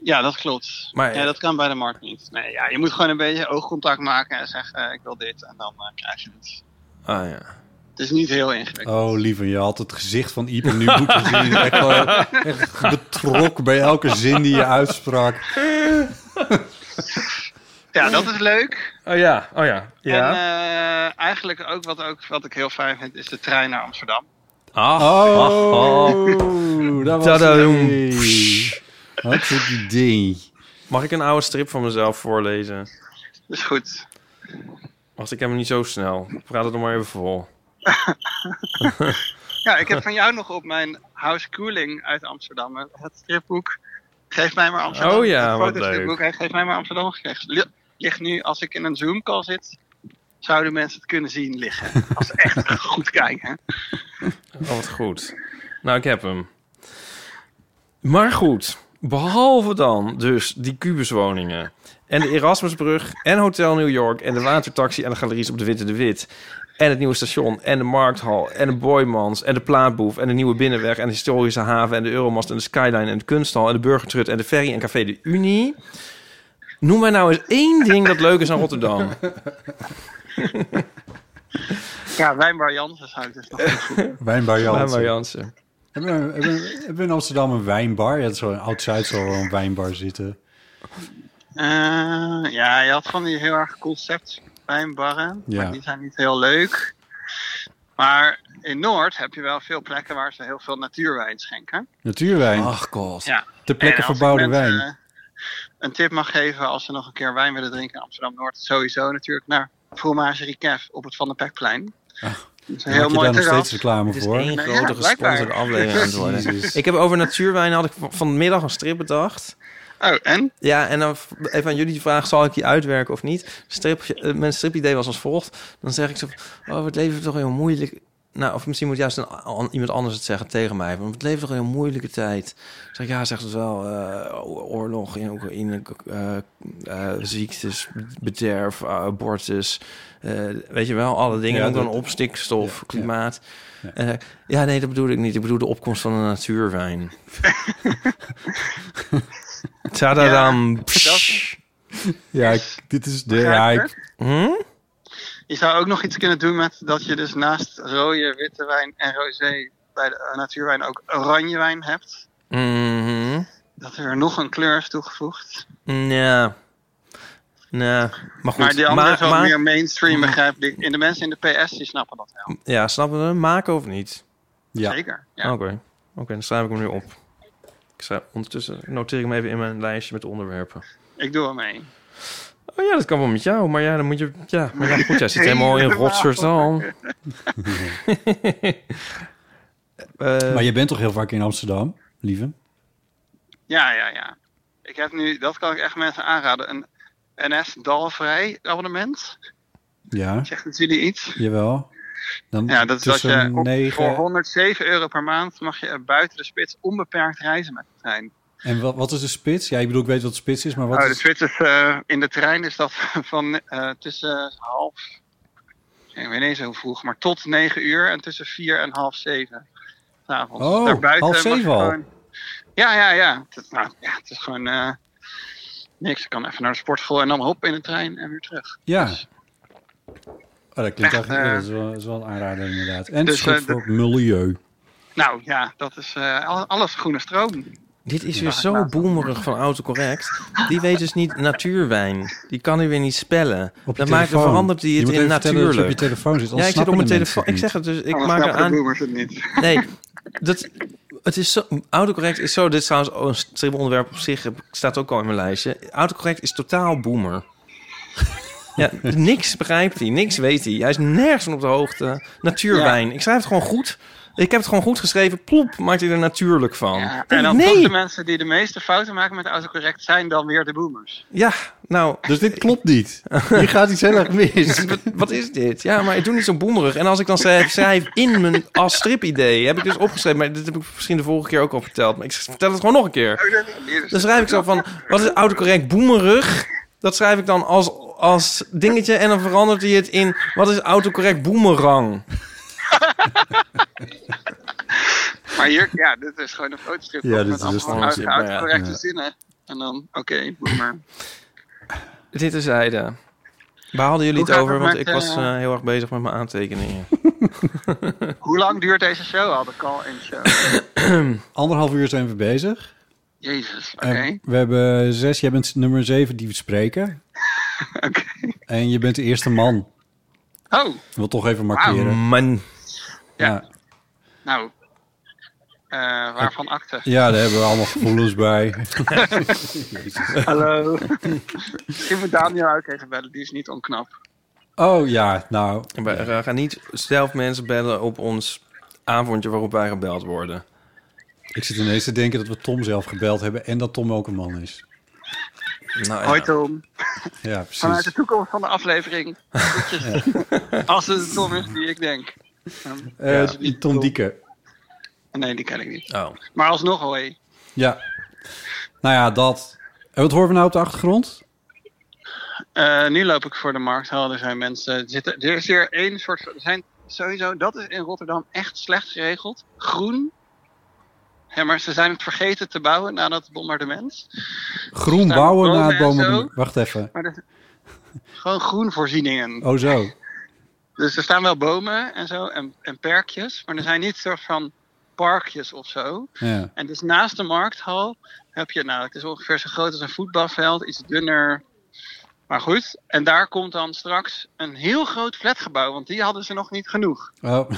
Speaker 18: ja, dat klopt.
Speaker 7: Maar-
Speaker 18: ja, dat kan bij de Mart niet. Nee, ja, je moet gewoon een beetje oogcontact maken en zeggen... eh, ik wil dit en dan eh, krijg je het.
Speaker 7: Ah ja.
Speaker 18: Het is niet heel
Speaker 7: <laughs>
Speaker 18: ingewikkeld.
Speaker 5: Oh, lieve, je had het gezicht van Iep nu moeten
Speaker 18: <laughs>
Speaker 5: zien. Echt, gewoon echt betrokken bij elke zin die je uitsprak.
Speaker 18: Ja, dat is leuk.
Speaker 7: Oh ja, oh ja.
Speaker 18: En eh, eigenlijk ook wat, ook wat ik heel fijn vind, is de trein naar Amsterdam.
Speaker 7: Ach,
Speaker 5: oh,
Speaker 7: ach,
Speaker 5: <laughs> dat was
Speaker 7: Tadadoem.
Speaker 5: het. Wat een idee.
Speaker 7: Mag ik een oude strip van mezelf voorlezen?
Speaker 18: Is goed.
Speaker 7: Wacht, ik heb hem niet zo snel. Ik praat het nog maar even vol.
Speaker 18: Ja, ik heb van jou nog op mijn House Cooling uit Amsterdam eh, het stripboek. Geef mij maar Amsterdam.
Speaker 7: Oh ja,
Speaker 18: het
Speaker 7: wat
Speaker 18: fotostripboek heeft Geef mij maar Amsterdam gekregen. Li- Ligt nu, als ik in een Zoom-call zit, zouden mensen het kunnen zien liggen. Als ze echt <laughs> goed kijken.
Speaker 7: Oh, wat goed. Nou, ik heb hem. Maar goed, behalve dan dus die kubuswoningen... en de Erasmusbrug en Hotel New York... en de watertaxi en de galeries op de Witte de Wit... en het nieuwe station en de Markthal en de Boymans... en de Plaatboef en de Nieuwe Binnenweg... en de historische haven en de Euromast en de Skyline... en de Kunsthal en de Burgertrut en de Ferry en Café de Unie... Noem mij nou eens één ding dat leuk is aan Rotterdam.
Speaker 18: Ja, Wijnbar Jansen zou ik dus nog goed.
Speaker 7: <laughs>
Speaker 5: Wijnbar Jansen.
Speaker 7: Wijnbar Jansen.
Speaker 5: Hebben we, hebben, we- hebben we in Amsterdam een wijnbar? Ja, dat is wel een oud-Zuid zal wel een wijnbar zitten.
Speaker 18: Eh, ja, je had van die heel erg concept wijnbarren.
Speaker 5: Ja.
Speaker 18: Maar die zijn niet heel leuk. Maar in Noord heb je wel veel plekken waar ze heel veel natuurwijn schenken.
Speaker 5: Natuurwijn.
Speaker 14: Ach god.
Speaker 18: Ja.
Speaker 5: De plekken
Speaker 18: En als
Speaker 5: verbouwde
Speaker 18: ik mensen,
Speaker 5: wijn.
Speaker 18: eh, Een tip mag geven als ze nog een keer wijn willen drinken in Amsterdam Noord. Sowieso natuurlijk naar Fromage Ricaf op het Van der Pekplein. Dat is
Speaker 5: Ah, Maak je daar nog
Speaker 18: terras.
Speaker 5: steeds reclame
Speaker 18: Het is
Speaker 5: voor?
Speaker 18: één
Speaker 7: Een
Speaker 18: Ja,
Speaker 7: grote
Speaker 18: blijkbaar.
Speaker 7: gesponsorde aflevering aan het worden.
Speaker 14: Jezus.
Speaker 7: Ik heb over natuurwijn had ik van- vanmiddag een strip bedacht.
Speaker 18: Oh, en?
Speaker 7: Ja, en dan v- even aan jullie de vraag, zal ik die uitwerken of niet? Strip, eh, mijn stripidee was als volgt. Dan zeg ik zo, van, oh, het leven is toch heel moeilijk. Nou, of misschien moet juist een, an- iemand anders het zeggen tegen mij. Want het leven is toch een heel moeilijke tijd. Ik Zeg, ja, zegt het wel, eh, o- oorlog in Oekraïne, k- eh, eh, ziektes, bederf, abortus. eh, weet je wel, alle dingen.
Speaker 14: Ja,
Speaker 7: ook dan
Speaker 14: dat-
Speaker 7: op stikstof, klimaat. Eh, Ja. nee, dat bedoel ik niet. Ik bedoel de opkomst van de
Speaker 18: <laughs>
Speaker 7: natuurwijn. Tadadam. Psh.
Speaker 5: Ja, ik- dit is de... Ja,
Speaker 18: Begrijp
Speaker 5: ik,
Speaker 7: Hm?
Speaker 18: Je zou ook nog iets kunnen doen met dat je dus naast rode, witte wijn en rosé bij de eh, natuurwijn ook oranje wijn hebt.
Speaker 7: Mhm.
Speaker 18: Dat er nog een kleur is toegevoegd.
Speaker 7: Ja. Nee, maar goed.
Speaker 18: maar die andere is wel
Speaker 7: ma-
Speaker 18: meer
Speaker 5: Mhm.
Speaker 18: mainstream, begrijp ik. In de mensen in de PS die snappen dat wel.
Speaker 7: Ja, snappen we? Maken of niet?
Speaker 5: Ja.
Speaker 18: Zeker,
Speaker 7: Oké, Oké, dan schrijf ik hem nu op. Ik schrijf, ondertussen noteer ik hem even in mijn lijstje met onderwerpen.
Speaker 18: Ik doe wel mee.
Speaker 7: Oh ja, dat kan wel met jou, maar ja, dan moet je... Ja, maar ja goed, jij zit helemaal in Rotterdam.
Speaker 18: Eh,
Speaker 5: maar je bent toch heel vaak in Amsterdam, lieve?
Speaker 18: Ja, ja, ja. Ik heb nu, dat kan ik echt mensen aanraden, een NS-dalvrij abonnement.
Speaker 5: Ja.
Speaker 18: Zegt het jullie iets?
Speaker 5: Jawel. Dan
Speaker 18: Ja, dat is dat
Speaker 5: tussen
Speaker 18: je op- voor
Speaker 5: 9...
Speaker 18: 107 euro per maand mag je eh, buiten de spits onbeperkt reizen met de trein.
Speaker 5: En wat, wat is de spits? Ja, ik bedoel, ik weet wat de spits is, maar wat
Speaker 18: Nou, de
Speaker 5: is...
Speaker 18: spits is, eh, in de trein is dat <laughs> van eh, tussen half, ik weet niet eens hoe vroeg, maar tot 9 uur en tussen 4 en half 7. 's avonds.
Speaker 5: Oh,
Speaker 18: Daarbuiten
Speaker 5: half
Speaker 18: mag je
Speaker 5: zeven al?
Speaker 18: gewoon- Ja, ja, ja. Het, is- nou, ja. het is gewoon eh, niks. Ik kan even naar de sportschool en dan hop in de trein en weer terug.
Speaker 5: Ja. Oh, dat klinkt
Speaker 18: Echt,
Speaker 5: eigenlijk... ja,
Speaker 18: eh,
Speaker 5: dat, is wel, dat is wel een aanrader inderdaad. En het
Speaker 18: dus,
Speaker 5: is goed
Speaker 18: eh,
Speaker 5: voor het milieu.
Speaker 18: Nou ja, dat is eh, al- alles groene stroom.
Speaker 7: Dit is weer zo boomerig van autocorrect. Die weet dus niet natuurwijn. Die kan hij weer niet spellen.
Speaker 5: Op je
Speaker 7: Dan maakt, dan
Speaker 5: telefoon.
Speaker 7: verandert hij
Speaker 5: Je
Speaker 7: het
Speaker 5: moet
Speaker 7: in
Speaker 5: even vertellen dat je
Speaker 7: natuurlijk.
Speaker 5: op je telefoon zit,
Speaker 7: Ja,
Speaker 5: anders
Speaker 7: ik zit op
Speaker 5: snappen
Speaker 7: mijn
Speaker 5: de
Speaker 7: telefoon.
Speaker 5: mensen
Speaker 7: Ik
Speaker 5: het
Speaker 7: zeg het dus. Ik maak er
Speaker 18: snappen de
Speaker 7: aan.
Speaker 18: boomers het niet.
Speaker 7: Nee, dat, het is zo, autocorrect is zo... Dit is trouwens oh, een stribbelonderwerp op zich. heb- staat ook al in mijn lijstje. Autocorrect is totaal
Speaker 18: <laughs>
Speaker 7: boomer. Ja, niks begrijpt hij, niks weet hij. Hij is nergens van op de hoogte. Natuurwijn. Ik schrijf het gewoon goed. Ik heb het gewoon goed geschreven. Plop, maakt hij er natuurlijk van.
Speaker 18: <laughs> En dan
Speaker 7: nee.
Speaker 18: toch de mensen die de meeste fouten maken met autocorrect zijn dan weer de boomers.
Speaker 7: Ja, nou...
Speaker 5: Dus dit klopt niet. Hier gaat iets heel erg mis.
Speaker 7: <laughs> Wat is dit? Ja, maar ik doe niet zo boemerig. En als ik dan schrijf, schrijf in mijn als stripidee, heb ik dus opgeschreven, maar dit heb ik misschien de vorige keer ook al verteld, maar ik vertel het gewoon nog een
Speaker 18: Oh,
Speaker 7: keer.
Speaker 18: dus-
Speaker 7: Dan schrijf ik zo van, wat is autocorrect boemerig? Dat schrijf ik dan als, als dingetje en dan verandert hij het in, wat is autocorrect boemerang?
Speaker 18: Maar hier, ja, dit is gewoon een fotostrip.
Speaker 7: Ja, dit
Speaker 18: met
Speaker 7: is een
Speaker 18: allemaal
Speaker 7: standje, maar ja.
Speaker 18: autocorrecte
Speaker 7: Ja.
Speaker 18: zinnen. En dan, oké, maar... <laughs>
Speaker 7: Dit is zijde. Waar hadden jullie
Speaker 18: Hoe
Speaker 7: het
Speaker 18: gaat
Speaker 7: over?
Speaker 18: het
Speaker 7: Want
Speaker 18: met,
Speaker 7: ik was
Speaker 18: eh,
Speaker 7: eh, heel erg bezig met mijn aantekeningen.
Speaker 18: Hoe lang duurt deze show al, de call-in
Speaker 7: <laughs>
Speaker 18: show?
Speaker 5: Anderhalf uur zijn we bezig.
Speaker 18: Jezus, oké.
Speaker 5: En we hebben zes, jij bent nummer zeven die we
Speaker 18: <laughs>
Speaker 5: spreken. En je bent de eerste man.
Speaker 18: Oh,
Speaker 5: Ik wil toch even markeren.
Speaker 7: Man.
Speaker 5: Ja.
Speaker 18: nou. Eh, waarvan akte?
Speaker 5: ja, daar hebben we allemaal gevoelens
Speaker 7: <laughs>
Speaker 5: bij.
Speaker 18: <laughs> Hallo. Misschien moet Daniel ook even bellen, die is niet onknap.
Speaker 5: Oh ja, nou.
Speaker 7: We eh, gaan niet zelf mensen bellen op ons avondje waarop wij gebeld worden.
Speaker 5: Ik zit ineens te denken dat we Tom zelf gebeld hebben en dat Tom ook een man is.
Speaker 7: Nou,
Speaker 18: Hoi Tom.
Speaker 5: Ja, precies.
Speaker 18: Vanuit de toekomst van de
Speaker 5: <laughs>
Speaker 18: aflevering. Groetjes. Als het de Tom is die ik denk. Um,
Speaker 5: Eh, Tom Dieke.
Speaker 18: Nee, die ken ik niet.
Speaker 7: Oh.
Speaker 18: Maar alsnog, hoi.
Speaker 5: Ja. Nou ja, dat. En wat horen we nou op de achtergrond?
Speaker 18: Eh, nu loop ik voor de markt. Oh, er zijn mensen. er Zitten, er is weer één soort. van- Er zijn sowieso. Dat is in Rotterdam echt slecht geregeld. Groen. Ja, maar ze zijn het vergeten te bouwen na dat bombardement.
Speaker 5: Groen
Speaker 18: Staan
Speaker 5: bouwen
Speaker 18: bomen
Speaker 5: na het
Speaker 18: en
Speaker 5: bomen.
Speaker 18: Nou, oh, zo.
Speaker 5: Wacht even.
Speaker 18: Maar dat, gewoon groenvoorzieningen.
Speaker 5: Oh zo.
Speaker 18: Dus er staan wel bomen en zo en, en perkjes. Maar er zijn niet soort van parkjes of zo.
Speaker 5: Ja.
Speaker 18: En dus naast de markthal heb je, nou, het is ongeveer zo groot als een voetbalveld, iets dunner. Maar goed, en daar komt dan straks een heel groot flatgebouw, want die hadden ze nog niet genoeg.
Speaker 5: Oh.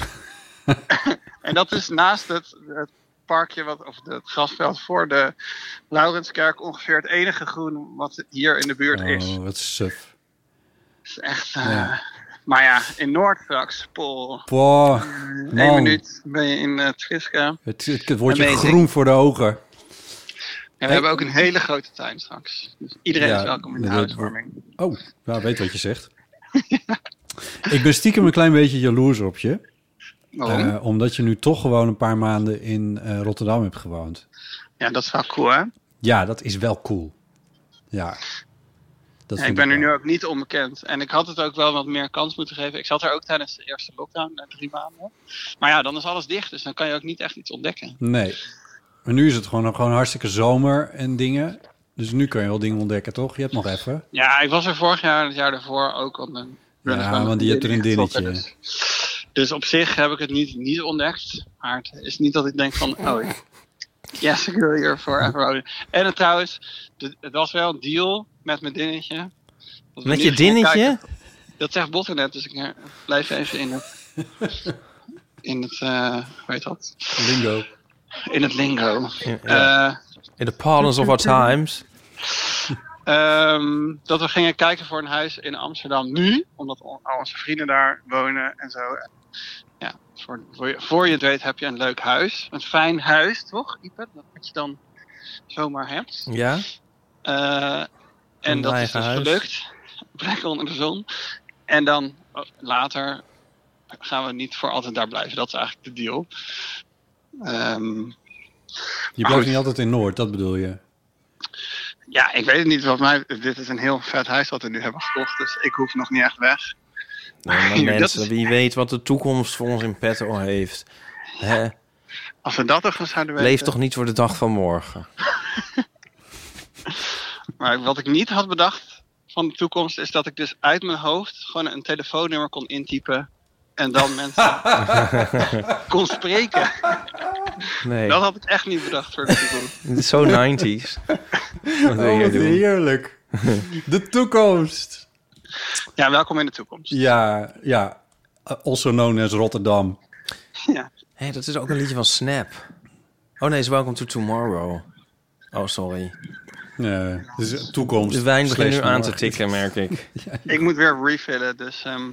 Speaker 18: En dat is naast het, het parkje, wat, of het grasveld voor de Laurenskerk, ongeveer het enige groen wat hier in de buurt is.
Speaker 5: Oh, wat suf.
Speaker 18: Het is echt, eh,
Speaker 5: Ja.
Speaker 18: maar ja, in Noord straks, Paul.
Speaker 5: Boah,
Speaker 18: Eén
Speaker 5: man.
Speaker 18: minuut ben je in eh Triska.
Speaker 5: Het, het, het wordt je
Speaker 18: Amazing.
Speaker 5: groen voor de ogen.
Speaker 18: En we hebben ook een hele grote tuin straks. Dus iedereen
Speaker 5: Ja,
Speaker 18: is welkom in de
Speaker 5: dat-
Speaker 18: huiswarming.
Speaker 5: Oh, nou, weet wat je zegt. <laughs> ik ben stiekem een klein beetje jaloers op je.
Speaker 18: Waarom?
Speaker 5: Eh, omdat je nu toch gewoon een paar maanden in eh, Rotterdam hebt gewoond.
Speaker 18: Ja, dat is wel cool, hè?
Speaker 5: Ja, dat is wel cool. Ja. Dat
Speaker 18: Ja,
Speaker 5: vind
Speaker 18: ik ben
Speaker 5: ik
Speaker 18: er nu ook niet onbekend. En ik had het ook wel wat meer kans moeten geven. Ik zat er ook tijdens de eerste lockdown, eh, drie maanden. Maar ja, dan is alles dicht, dus dan kan je ook niet echt iets ontdekken.
Speaker 5: Nee. Maar nu is het gewoon, gewoon hartstikke zomer en dingen. Dus nu kun je wel dingen ontdekken, toch? Je hebt nog even.
Speaker 18: Ja, ik was er vorig jaar en het jaar daarvoor ook. Want dan ben ik
Speaker 5: Ja,
Speaker 18: gewoon
Speaker 5: want je hebt er een
Speaker 18: ingetrokken,
Speaker 5: dinnetje.
Speaker 18: Dus, dus op zich heb ik het niet, niet ontdekt. Maar het is niet dat ik denk van, oh, yes, ik wil hier forever wonen. En het, trouwens, de- het was wel een deal met mijn dinnetje. Dat we
Speaker 15: Met
Speaker 18: in
Speaker 15: je
Speaker 18: ieder geval
Speaker 15: dinnetje?
Speaker 18: kijken- Dat zegt Botten net, dus ik eh, blijf even in het... In het, eh, hoe heet dat?
Speaker 5: Lingo.
Speaker 18: In het lingo. Eh,
Speaker 7: In the pardons of our
Speaker 18: <laughs>
Speaker 7: times.
Speaker 18: Ehm, dat we gingen kijken voor een huis in Amsterdam nu. Omdat al al onze vrienden daar wonen en zo. En Ja, voor, voor, je, voor je het weet heb je een leuk huis. Een fijn huis, toch, Ipe? Dat wat je dan zomaar hebt.
Speaker 7: Ja?
Speaker 18: Eh, en
Speaker 7: Een
Speaker 18: dat is
Speaker 7: eigen
Speaker 18: dus
Speaker 7: huis.
Speaker 18: gelukt. <laughs> Plek onder de zon. En dan oh, later gaan we niet voor altijd daar blijven. Dat is eigenlijk de deal. Ehm,
Speaker 5: Je
Speaker 18: Oh.
Speaker 5: blijft niet altijd in Noord, dat bedoel je.
Speaker 18: Ja, ik weet het niet. Wat mij, dit is een heel vet huis dat we nu hebben gekocht. Dus ik hoef nog niet echt weg.
Speaker 7: Nee, Nou, maar
Speaker 18: <laughs> Dat
Speaker 7: mensen,
Speaker 18: is-
Speaker 7: wie weet wat de toekomst voor ons in petto heeft. Hè?
Speaker 18: Als we dat toch eens zouden weten.
Speaker 7: Leef toch niet voor de dag van
Speaker 18: <laughs>
Speaker 7: morgen.
Speaker 18: Maar wat ik niet had bedacht van de toekomst is dat ik dus uit mijn hoofd gewoon een telefoonnummer kon intypen. En
Speaker 7: <laughs>
Speaker 18: dan mensen kon spreken.
Speaker 7: nee,
Speaker 18: Dat had ik echt niet bedacht voor de toekomst.
Speaker 7: het is zo 90s. Wat wil
Speaker 5: Oh,
Speaker 7: jij
Speaker 5: wat
Speaker 7: doen?
Speaker 5: heerlijk. <laughs> De toekomst.
Speaker 18: Ja, welkom in de toekomst.
Speaker 5: Ja, ja. Eh, Also known as Rotterdam.
Speaker 7: Hé, dat is ook een liedje van Snap. Oh nee, is Welcome to Tomorrow. Oh, sorry.
Speaker 5: Nee, dus toekomst.
Speaker 7: De wijn begint nu
Speaker 5: Slash
Speaker 7: aan te
Speaker 5: morgen.
Speaker 7: tikken, merk ik.
Speaker 18: Ik moet weer refillen, dus... ehm,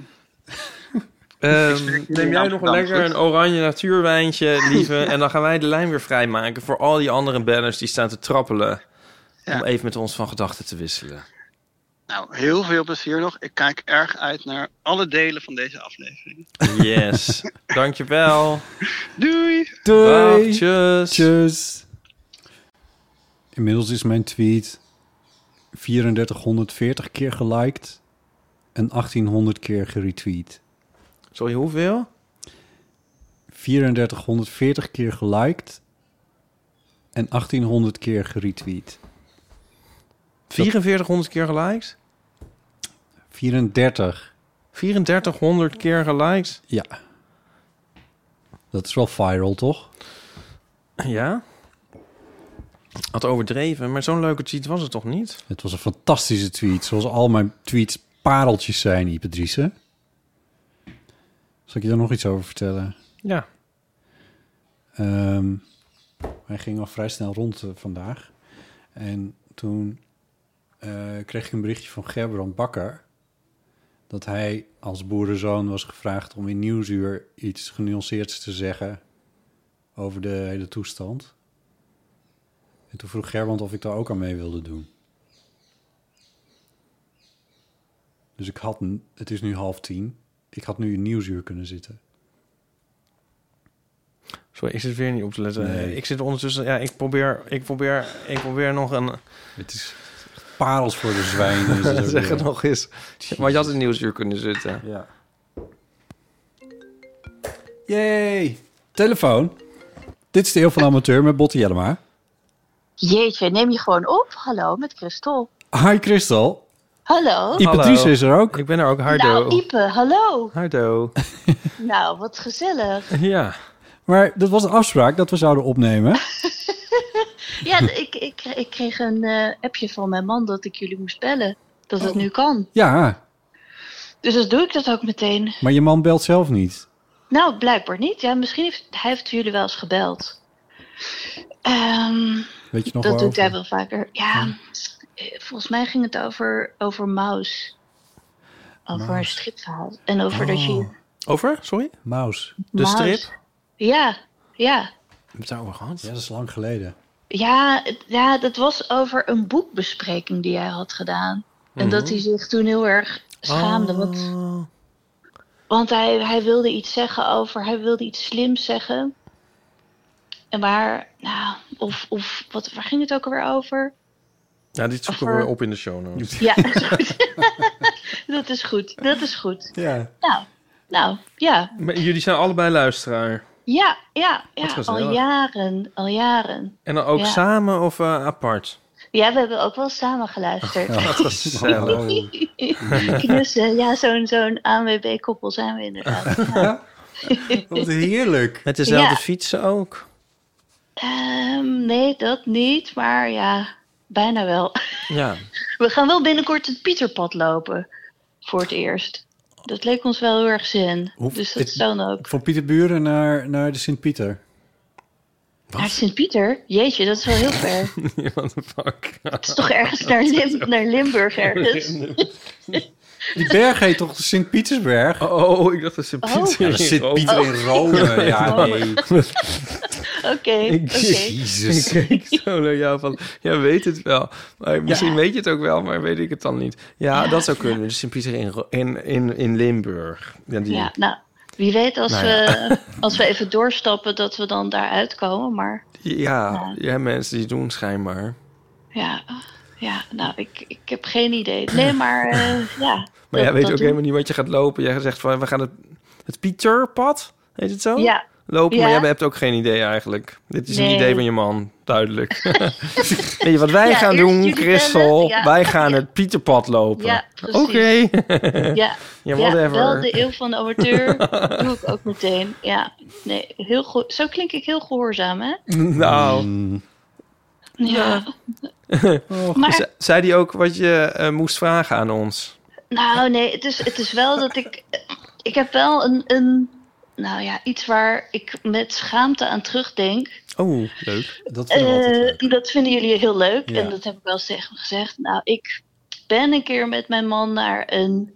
Speaker 7: Ehm, neem jij nog een lekker een oranje natuurwijntje, lieve. en dan gaan wij de lijn weer vrijmaken voor al die andere banners die staan te trappelen. Om even met ons van gedachten te wisselen.
Speaker 18: nou, heel veel plezier nog. Ik kijk erg uit naar alle delen van deze aflevering.
Speaker 7: Yes. Dankjewel.
Speaker 18: Doei!
Speaker 5: Doei.
Speaker 7: Dag, tjus.
Speaker 5: Inmiddels is mijn tweet 3440 keer geliked en 1800 keer geretweet.
Speaker 7: Sorry, hoeveel?
Speaker 5: 3440 keer geliked en 1800 keer geretweet.
Speaker 7: 4400 keer geliked?
Speaker 5: 34,
Speaker 7: 3400 keer geliked?
Speaker 5: ja. Dat is wel viral, toch?
Speaker 7: Ja. Had overdreven, maar zo'n leuke cheat was het toch niet?
Speaker 5: Het was een fantastische tweet. Zoals al mijn tweets pareltjes zijn, Ipe Driessen. Zal ik je daar nog iets over vertellen?
Speaker 7: Ja.
Speaker 5: Ehm, hij ging al vrij snel rond eh, vandaag. En toen eh, kreeg ik een berichtje van Gerbrand Bakker... dat hij als boerenzoon was gevraagd om in Nieuwsuur iets genuanceerds te zeggen... over de hele toestand. En toen vroeg Gerbrand of ik daar ook aan mee wilde doen. Dus ik had, n- het is nu half tien, ik had nu in Nieuwsuur kunnen zitten.
Speaker 7: Sorry, ik zit weer niet op te letten.
Speaker 5: Nee.
Speaker 7: eh, Ik zit ondertussen... Ja, ik probeer, ik probeer, ik probeer nog een...
Speaker 5: Het is parels voor de zwijnen. is het ook
Speaker 7: <laughs> zeg het
Speaker 5: weer.
Speaker 7: nog eens. Maar je had in nieuwsuur kunnen zitten.
Speaker 5: Ja. Yay! Telefoon. Dit is de Eeuw van de Amateur met Botte Jellema.
Speaker 20: Jeetje, neem je gewoon op. Hallo, met Christel.
Speaker 5: Hi Christel.
Speaker 20: Hallo.
Speaker 5: Ipe Dries is er ook.
Speaker 7: Ik ben er ook.
Speaker 20: Nou, Oh. Ipe, hallo.
Speaker 7: Hardo.
Speaker 20: Nou, wat gezellig.
Speaker 7: <laughs> Ja.
Speaker 5: Maar dat was de afspraak dat we zouden opnemen.
Speaker 20: Ja, ik, ik, ik kreeg een eh, appje van mijn man dat ik jullie moest bellen. Dat het nu kan.
Speaker 5: Ja,
Speaker 20: Dus dat doe ik dat ook meteen.
Speaker 5: maar je man belt zelf niet.
Speaker 20: Nou, blijkbaar niet. Ja, misschien heeft hij heeft jullie wel eens gebeld. Ehm,
Speaker 5: Weet je nog
Speaker 20: dat doet
Speaker 5: waarover?
Speaker 20: hij wel vaker. Ja, eh, volgens mij ging het over, over Maus. Over een
Speaker 7: Maus. Oh.
Speaker 20: stripverhaal. En over dat je...
Speaker 7: Over? Sorry?
Speaker 5: Maus.
Speaker 7: De
Speaker 20: Maus.
Speaker 7: strip?
Speaker 20: Ja, ja.
Speaker 7: Hebben we het over gehad?
Speaker 5: Ja, dat is lang geleden.
Speaker 20: Ja, het- ja, dat was over een boekbespreking die hij had gedaan. En dat
Speaker 7: Mhm. Oh.
Speaker 20: hij zich toen heel erg schaamde. Want, want hij, hij wilde iets zeggen over, hij wilde iets slims zeggen. En waar, nou, of, of wat, waar ging het ook alweer over?
Speaker 7: Ja, dit zoeken
Speaker 20: Over-
Speaker 7: we op in de show notes. <laughs>
Speaker 20: Ja, <laughs> dat is goed. dat is goed, dat is goed.
Speaker 7: Ja.
Speaker 20: Nou, nou, ja.
Speaker 7: Maar jullie zijn allebei luisteraar.
Speaker 20: Ja, ja,
Speaker 7: Wat
Speaker 20: ja,
Speaker 7: gezellig.
Speaker 20: al jaren, al jaren.
Speaker 7: En dan ook
Speaker 20: Ja.
Speaker 7: samen of
Speaker 20: <laughs>
Speaker 7: eh, apart?
Speaker 20: Ja, we hebben ook wel samen geluisterd.
Speaker 7: Wat
Speaker 20: <laughs>
Speaker 7: gezellig.
Speaker 20: Knussen, ja, zo'n zo'n ANWB-koppel zijn we
Speaker 7: <laughs>
Speaker 20: inderdaad.
Speaker 5: Wat heerlijk.
Speaker 7: Met dezelfde
Speaker 20: Ja.
Speaker 7: fietsen ook.
Speaker 20: Ehm, nee, dat niet, maar ja, bijna wel. <laughs>
Speaker 7: Ja.
Speaker 20: We gaan wel binnenkort het Pieterpad lopen, voor het eerst. Dat leek ons wel heel erg zin,
Speaker 5: Hoe-
Speaker 20: dus dat
Speaker 5: het-
Speaker 20: is dan ook.
Speaker 5: Van Pieterburen naar, naar de Sint-Pieter.
Speaker 20: Naar Sint-Pieter? Jeetje, dat is wel heel ver.
Speaker 7: <laughs> Ja, what the fuck.
Speaker 20: Het is toch ergens
Speaker 7: <laughs>
Speaker 20: naar, Lim- naar Limburg ergens?
Speaker 5: Die berg heet toch de Sint-Pietersberg?
Speaker 7: Oh, ik dacht dat Sint-Pieter Oh.
Speaker 5: Ja,
Speaker 7: in
Speaker 5: de Sint-Pieter
Speaker 7: Rome.
Speaker 5: in
Speaker 7: <laughs>
Speaker 5: Rome. Ja,
Speaker 7: Oh.
Speaker 5: nee.
Speaker 20: <laughs> Oké,
Speaker 7: Ik-
Speaker 20: oké.
Speaker 5: Jezus.
Speaker 7: Ik keek zo naar jou van, ja, weet het wel. Maar misschien weet je het ook wel, maar weet ik het dan niet. Ja, dat zou kunnen. Dus Sint-Pieter in, Ro- in, in, in Limburg. Ja, die,
Speaker 20: Ja, nou, wie weet als,
Speaker 7: Nou ja.
Speaker 20: we, als we even doorstappen dat we dan daar uitkomen, maar...
Speaker 7: ja, ja, mensen die doen schijnbaar.
Speaker 20: Ja, ja nou, ik, ik heb geen idee. Nee, maar eh, ja.
Speaker 7: Maar
Speaker 20: dat-
Speaker 7: jij weet
Speaker 20: dat
Speaker 7: ook
Speaker 20: doen-
Speaker 7: helemaal niet wat je gaat lopen. Jij zegt van, we gaan het, het Pieterpad, heet het zo?
Speaker 20: Ja.
Speaker 7: Lopen,
Speaker 20: Ja.
Speaker 7: maar jij hebt ook geen idee eigenlijk. Dit is een
Speaker 20: Nee.
Speaker 7: idee van je man,
Speaker 20: <laughs>
Speaker 7: duidelijk. <laughs> Weet je wat wij
Speaker 20: Ja,
Speaker 7: gaan
Speaker 20: eerst
Speaker 7: doen,
Speaker 20: jullie
Speaker 7: Christel?
Speaker 20: bellen, ja.
Speaker 7: Wij
Speaker 20: <laughs>
Speaker 7: gaan het Pieterpad lopen.
Speaker 20: Ja,
Speaker 7: Oké.
Speaker 20: precies. <laughs> Ja,
Speaker 7: <laughs> Ja, whatever.
Speaker 20: wel de eeuw van de
Speaker 7: <laughs>
Speaker 20: amateur doe ik ook meteen. Ja, nee, heel goed. Zo klink ik heel gehoorzaam, hè?
Speaker 7: Nou.
Speaker 5: Mm.
Speaker 20: Ja. Maar-
Speaker 7: Ze- Zei die ook wat je eh, moest vragen aan ons?
Speaker 20: Nou, nee, het is, het is wel dat ik... Ik heb wel een, een... Nou ja, iets waar ik met schaamte aan terugdenk.
Speaker 7: Oh, leuk.
Speaker 5: Dat
Speaker 20: Eh, dat vinden jullie heel leuk.
Speaker 5: Ja.
Speaker 20: En dat heb ik wel eens tegen hem gezegd. Nou, ik ben een keer met mijn man naar een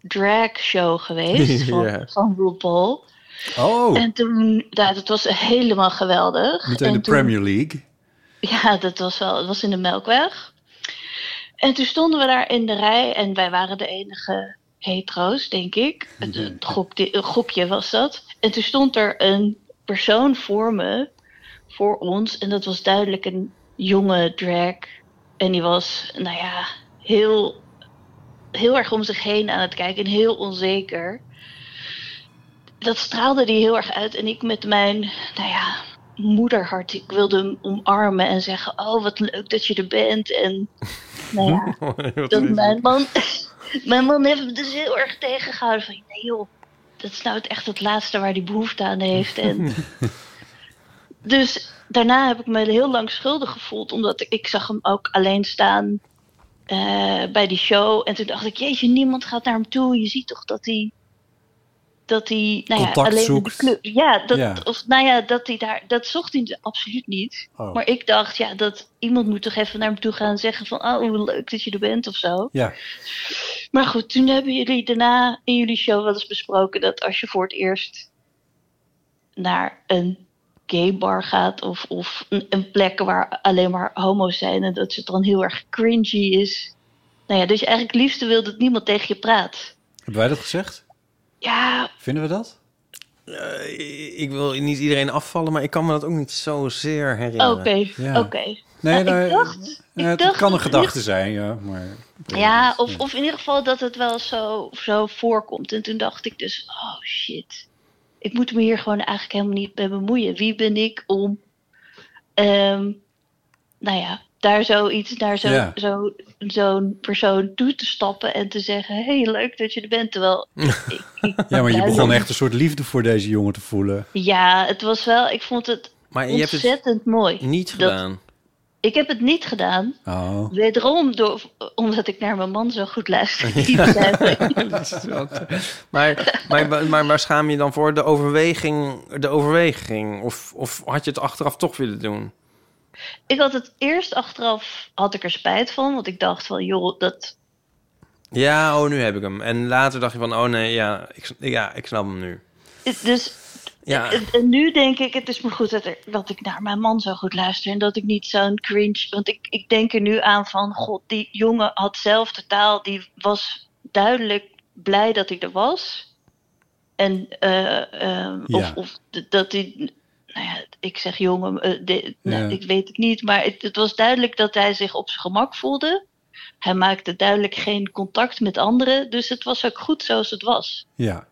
Speaker 20: drag show geweest van,
Speaker 5: <laughs> Ja.
Speaker 20: van RuPaul.
Speaker 5: Oh,
Speaker 20: En toen, nou, dat was helemaal geweldig.
Speaker 5: meteen
Speaker 20: en
Speaker 5: de
Speaker 20: toen-
Speaker 5: Premier League.
Speaker 20: Ja, dat was wel, dat was in de Melkweg. En toen stonden we daar in de rij en wij waren de enige hetero's, denk ik. Het, het groep- een groepje was dat. En toen stond er een persoon voor me, voor ons, en dat was duidelijk een jonge drag. En die was, nou ja, heel, heel erg om zich heen aan het kijken en heel onzeker. Dat straalde die heel erg uit en ik met mijn, nou ja, moederhart. Ik wilde hem omarmen en zeggen: Oh, wat leuk dat je er bent. En nou
Speaker 7: <laughs>
Speaker 20: ja,
Speaker 7: Oh,
Speaker 16: <laughs>
Speaker 7: Wat
Speaker 20: dat
Speaker 7: lief.
Speaker 20: mijn man, <laughs> mijn man heeft hem dus heel erg tegengehouden. Van nee, joh, dat is nou het echt het laatste waar hij behoefte aan
Speaker 15: <laughs>
Speaker 20: heeft. En dus daarna heb ik me heel lang schuldig gevoeld, omdat ik, ik zag hem ook alleen staan eh, bij die show. En toen dacht ik: Jeetje, niemand gaat naar hem toe. Je ziet toch dat hij. Dat hij, nou ja,
Speaker 15: Contact
Speaker 20: alleen in de
Speaker 15: zoekt.
Speaker 20: club. Ja, dat,
Speaker 15: Ja.
Speaker 20: of nou ja, dat hij daar, dat zocht hij dus absoluut niet.
Speaker 15: Oh.
Speaker 20: Maar ik dacht, ja, dat iemand moet toch even naar hem toe gaan en zeggen van, oh, hoe leuk dat je er bent of zo.
Speaker 5: Ja.
Speaker 20: Maar goed, toen hebben jullie daarna in jullie show wel eens besproken dat als je voor het eerst naar een gay bar gaat of, of een, een plek waar alleen maar homo's zijn en dat het dan heel erg cringy is. Nou ja, dus je eigenlijk het liefste wil dat niemand tegen je praat.
Speaker 5: Hebben wij dat gezegd?
Speaker 20: Ja,
Speaker 5: Vinden we dat?
Speaker 7: Eh, ik wil niet iedereen afvallen, maar ik kan me dat ook niet zozeer herinneren.
Speaker 20: oké,
Speaker 5: Ja.
Speaker 20: oké.
Speaker 5: Nee,
Speaker 20: Nou,
Speaker 5: nou,
Speaker 20: ik dacht,
Speaker 5: ja,
Speaker 20: ik
Speaker 5: het
Speaker 20: dacht
Speaker 5: kan een
Speaker 20: dat-
Speaker 5: gedachte zijn, ja. Maar,
Speaker 20: Ja,
Speaker 7: <laughs>
Speaker 20: of, of in ieder geval dat het wel zo, zo voorkomt. En toen dacht ik dus, oh shit. Ik moet me hier gewoon eigenlijk helemaal niet mee bemoeien. Wie ben ik om ehm, nou ja, daar zoiets, daar zo,
Speaker 5: Ja.
Speaker 20: zo, zo'n persoon toe te stappen en te zeggen: hé, hey, leuk dat je er bent. Terwijl,
Speaker 5: Ja, maar je
Speaker 20: Ja,
Speaker 5: begon
Speaker 20: dan-
Speaker 5: echt een soort liefde voor deze jongen te voelen.
Speaker 20: ja, het was wel, ik vond het
Speaker 5: Maar je hebt het
Speaker 20: ontzettend mooi.
Speaker 5: Niet gedaan.
Speaker 20: Ik heb het niet gedaan.
Speaker 5: Oh.
Speaker 20: Wederom door, omdat ik naar mijn man zo goed luister.
Speaker 5: <laughs>
Speaker 20: Die
Speaker 7: Dat is wel- maar, maar, maar waar schaam je je dan voor? De overweging, de overweging? Of, of had je het achteraf toch willen doen?
Speaker 20: Ik had het eerst achteraf, had ik er spijt van. Want ik dacht van, joh, dat...
Speaker 7: Ja, oh, nu heb ik hem. En later dacht je van, oh nee, ja, ik, ja, ik snap hem nu.
Speaker 20: het- Dus
Speaker 11: Ah.
Speaker 7: Ja,
Speaker 20: En, en nu denk ik, het is maar goed dat, er, dat ik naar mijn man zo goed luister. En dat ik niet zo'n cringe. Want ik, ik denk er nu aan van: God, die jongen had zelf de taal. Die was duidelijk blij dat hij er was. En, eh, ehm,
Speaker 11: Ja.
Speaker 20: of, of d- dat hij. Nou ja, ik zeg jongen, eh, de- nou,
Speaker 11: Ja.
Speaker 20: ik weet het niet. Maar het, het was duidelijk dat hij zich op zijn gemak voelde. Hij maakte duidelijk geen contact met anderen. Dus het was ook goed zoals het was.
Speaker 5: Ja.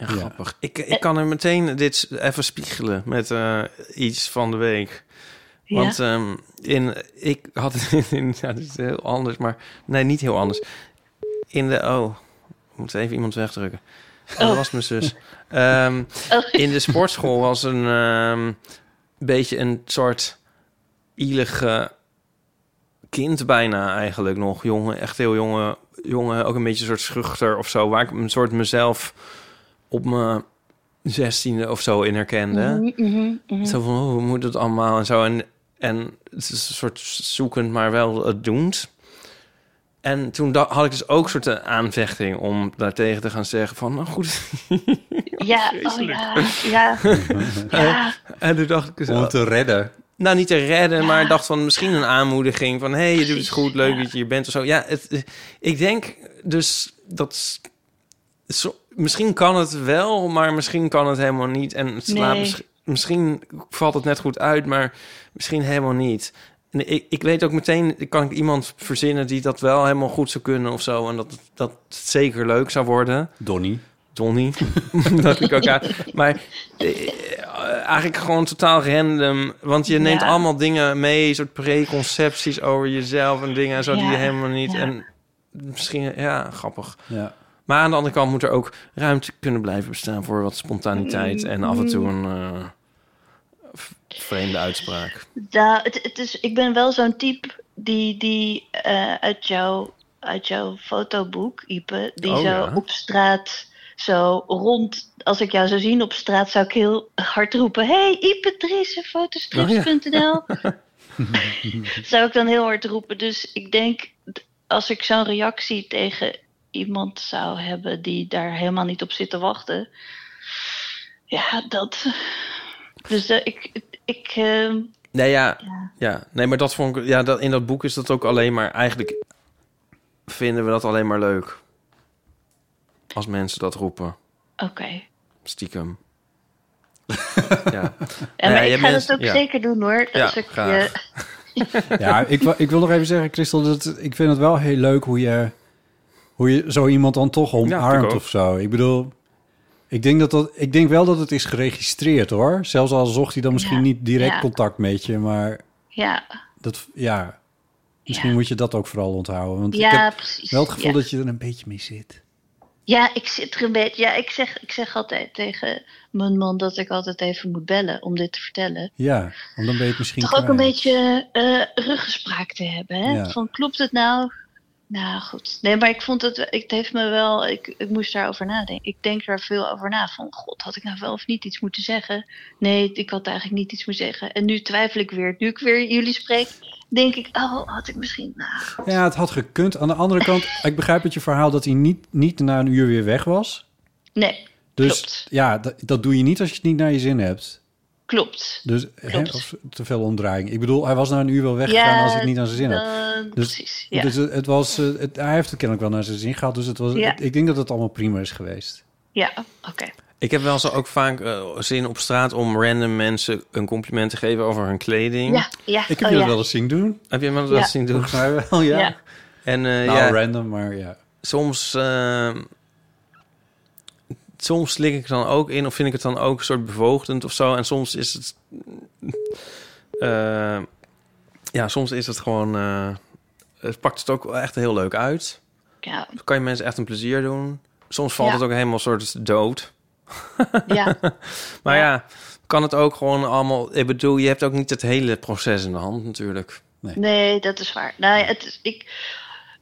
Speaker 7: Ja, grappig. Ik, ik kan er meteen dit even spiegelen met eh, iets van de week.
Speaker 20: Ja.
Speaker 7: Want ehm, in, ik had <laughs> in, ja, dit is heel anders, maar nee, niet heel anders. In de, oh, ik moet even iemand wegdrukken. Dat
Speaker 20: Oh.
Speaker 7: was mijn zus. Ehm, In de sportschool was een ehm, beetje een soort ielige kind bijna eigenlijk nog. Jongen, echt heel jonge jongen. Ook een beetje een soort schuchter of zo. Waar ik een soort mezelf op mijn zestiende of zo in herkende.
Speaker 20: Mhm, mhm, mhm.
Speaker 7: Zo van, oh, hoe moet het allemaal en zo. En, en het is een soort zoekend, maar wel het doend. En toen da- had ik dus ook soort een aanvechting om daartegen te gaan zeggen van... Nou goed,
Speaker 20: Ja, oh ja, ja.
Speaker 11: <laughs>
Speaker 20: Ja.
Speaker 7: <laughs> en toen dacht ik...
Speaker 5: Om het te
Speaker 7: redden. Nou, niet te redden, maar ik dacht van misschien een aanmoediging van... hé, hey, je doet het goed, leuk dat je hier bent of zo. Ja, het, ik denk dus dat... s- zo- misschien kan het wel, maar misschien kan het helemaal niet. En het slaat
Speaker 12: Nee.
Speaker 7: misschien, misschien valt het net goed uit, maar misschien helemaal niet. En ik, ik weet ook meteen, kan ik iemand verzinnen die dat wel helemaal goed zou kunnen of zo. En dat, dat het zeker leuk zou worden.
Speaker 5: Donnie.
Speaker 7: Donnie. <laughs> dat ik ook uit. Maar eh, eigenlijk gewoon totaal random. Want je neemt
Speaker 12: Ja.
Speaker 7: allemaal dingen mee, soort preconcepties over jezelf en dingen en zo die
Speaker 12: Ja,
Speaker 7: je helemaal niet.
Speaker 12: ja.
Speaker 7: En misschien, ja, grappig.
Speaker 5: Ja.
Speaker 7: Maar aan de andere kant moet er ook ruimte kunnen blijven bestaan voor wat spontaniteit en af en toe een
Speaker 20: Mm.
Speaker 7: eh, v- vreemde uitspraak.
Speaker 20: Nou, het, het is, ik ben wel zo'n type die, die eh, uit, jouw, uit jouw fotoboek, Ipe, die
Speaker 11: Oh,
Speaker 20: zo
Speaker 11: ja.
Speaker 20: op straat zo rond, als ik jou zou zien op straat, zou ik heel hard roepen: Hey, Ipe Driessen, fotostrips.nl. <laughs>
Speaker 11: Oh, <laughs>
Speaker 20: zou ik dan heel hard roepen. Dus ik denk, d- als ik zo'n reactie tegen iemand zou hebben die daar helemaal niet op zit te wachten. Ja, dat. Dus eh, ik. ik eh,
Speaker 11: Nou
Speaker 7: Nee, ja, ja. Nee, maar dat vond ik... Ja, dat, in dat boek is dat ook alleen maar... Eigenlijk vinden we dat alleen maar leuk. Als mensen dat roepen.
Speaker 20: Oké.
Speaker 7: Stiekem. ja.
Speaker 20: En
Speaker 7: Nou ja,
Speaker 20: maar
Speaker 7: je
Speaker 20: ik ga
Speaker 7: mensen-
Speaker 20: dat ook
Speaker 7: ja.
Speaker 20: zeker doen hoor.
Speaker 7: Ja,
Speaker 20: Als ik, eh,
Speaker 7: graag.
Speaker 5: Ja, ik, wil- ik wil nog even zeggen, Christel, dat, ik vind het wel heel leuk hoe je, hoe je zo iemand dan toch
Speaker 7: vind ik
Speaker 5: omarmt
Speaker 7: ook.
Speaker 5: of zo. Ik bedoel, ik denk, dat dat, ik denk wel dat het is geregistreerd hoor. Zelfs al zocht hij dan misschien
Speaker 20: Ja,
Speaker 5: niet direct
Speaker 20: ja.
Speaker 5: contact met je, maar
Speaker 20: <laughs> ja,
Speaker 5: dat, ja, misschien moet je dat ook vooral onthouden. Want ik
Speaker 20: Ja,
Speaker 5: heb
Speaker 20: precies,
Speaker 5: wel het gevoel
Speaker 20: ja.
Speaker 5: dat je er een beetje mee zit.
Speaker 20: ja, ik zit er een beetje. Ja, ik zeg, ik zeg altijd tegen mijn man dat ik altijd even moet bellen om dit te vertellen.
Speaker 5: Ja, want dan ben je het misschien
Speaker 20: Toch ook een
Speaker 5: kwijt.
Speaker 20: beetje eh ruggespraak te hebben. Hè?
Speaker 5: Ja.
Speaker 20: Van klopt het nou? Nou goed. Nee, maar ik vond het. Ik, het heeft me wel. Ik, ik moest daarover nadenken. Ik denk daar veel over na. Van god, had ik nou wel of niet iets moeten zeggen? Nee, ik had eigenlijk niet iets moeten zeggen. En nu twijfel ik weer. Nu ik weer jullie spreek, denk ik. Oh, had ik misschien. Nou,
Speaker 5: Ja, het had gekund. Aan de andere kant, ik begrijp het je verhaal dat hij niet, niet na een uur weer weg was.
Speaker 20: nee,
Speaker 5: Dus ja, dat, dat doe je niet als je het niet naar je zin hebt.
Speaker 20: klopt.
Speaker 5: Dus hè,
Speaker 20: Klopt.
Speaker 5: of te veel omdraaiing. Ik bedoel, hij was na een uur wel weggegaan
Speaker 20: Ja,
Speaker 5: als hij het niet naar zijn zin had.
Speaker 20: dan-
Speaker 5: dus,
Speaker 20: precies, ja.
Speaker 5: dus het, het was, eh, het, hij heeft het kennelijk wel naar zijn zin gehad. Dus het was,
Speaker 20: Ja.
Speaker 5: ik denk dat het allemaal prima is geweest.
Speaker 20: Ja, oké.
Speaker 7: Ik heb wel zo ook vaak eh, zin op straat om random mensen een compliment te geven over hun kleding.
Speaker 20: Ja, ja.
Speaker 5: Ik heb je dat wel eens zien doen.
Speaker 7: Heb je me dat wel
Speaker 5: Ja.
Speaker 7: eens zien doen?
Speaker 5: Volgens mij wel, ja. Ja.
Speaker 7: En, eh,
Speaker 5: Nou,
Speaker 7: ja,
Speaker 5: random, maar ja.
Speaker 7: Soms, eh, soms slik ik dan ook in of vind ik het dan ook een soort bevoogdend of zo. En soms is het... eh, Ja, soms is het gewoon... eh, het pakt het ook wel echt heel leuk uit.
Speaker 20: Ja.
Speaker 7: Dan kan je mensen echt een plezier doen. Soms valt
Speaker 20: Ja.
Speaker 7: het ook helemaal soort dood.
Speaker 20: Ja.
Speaker 7: Maar ja. kan het ook gewoon allemaal... Ik bedoel, je hebt ook niet het hele proces in de hand natuurlijk.
Speaker 20: Nee, dat is waar. Nou ja, het is, ik,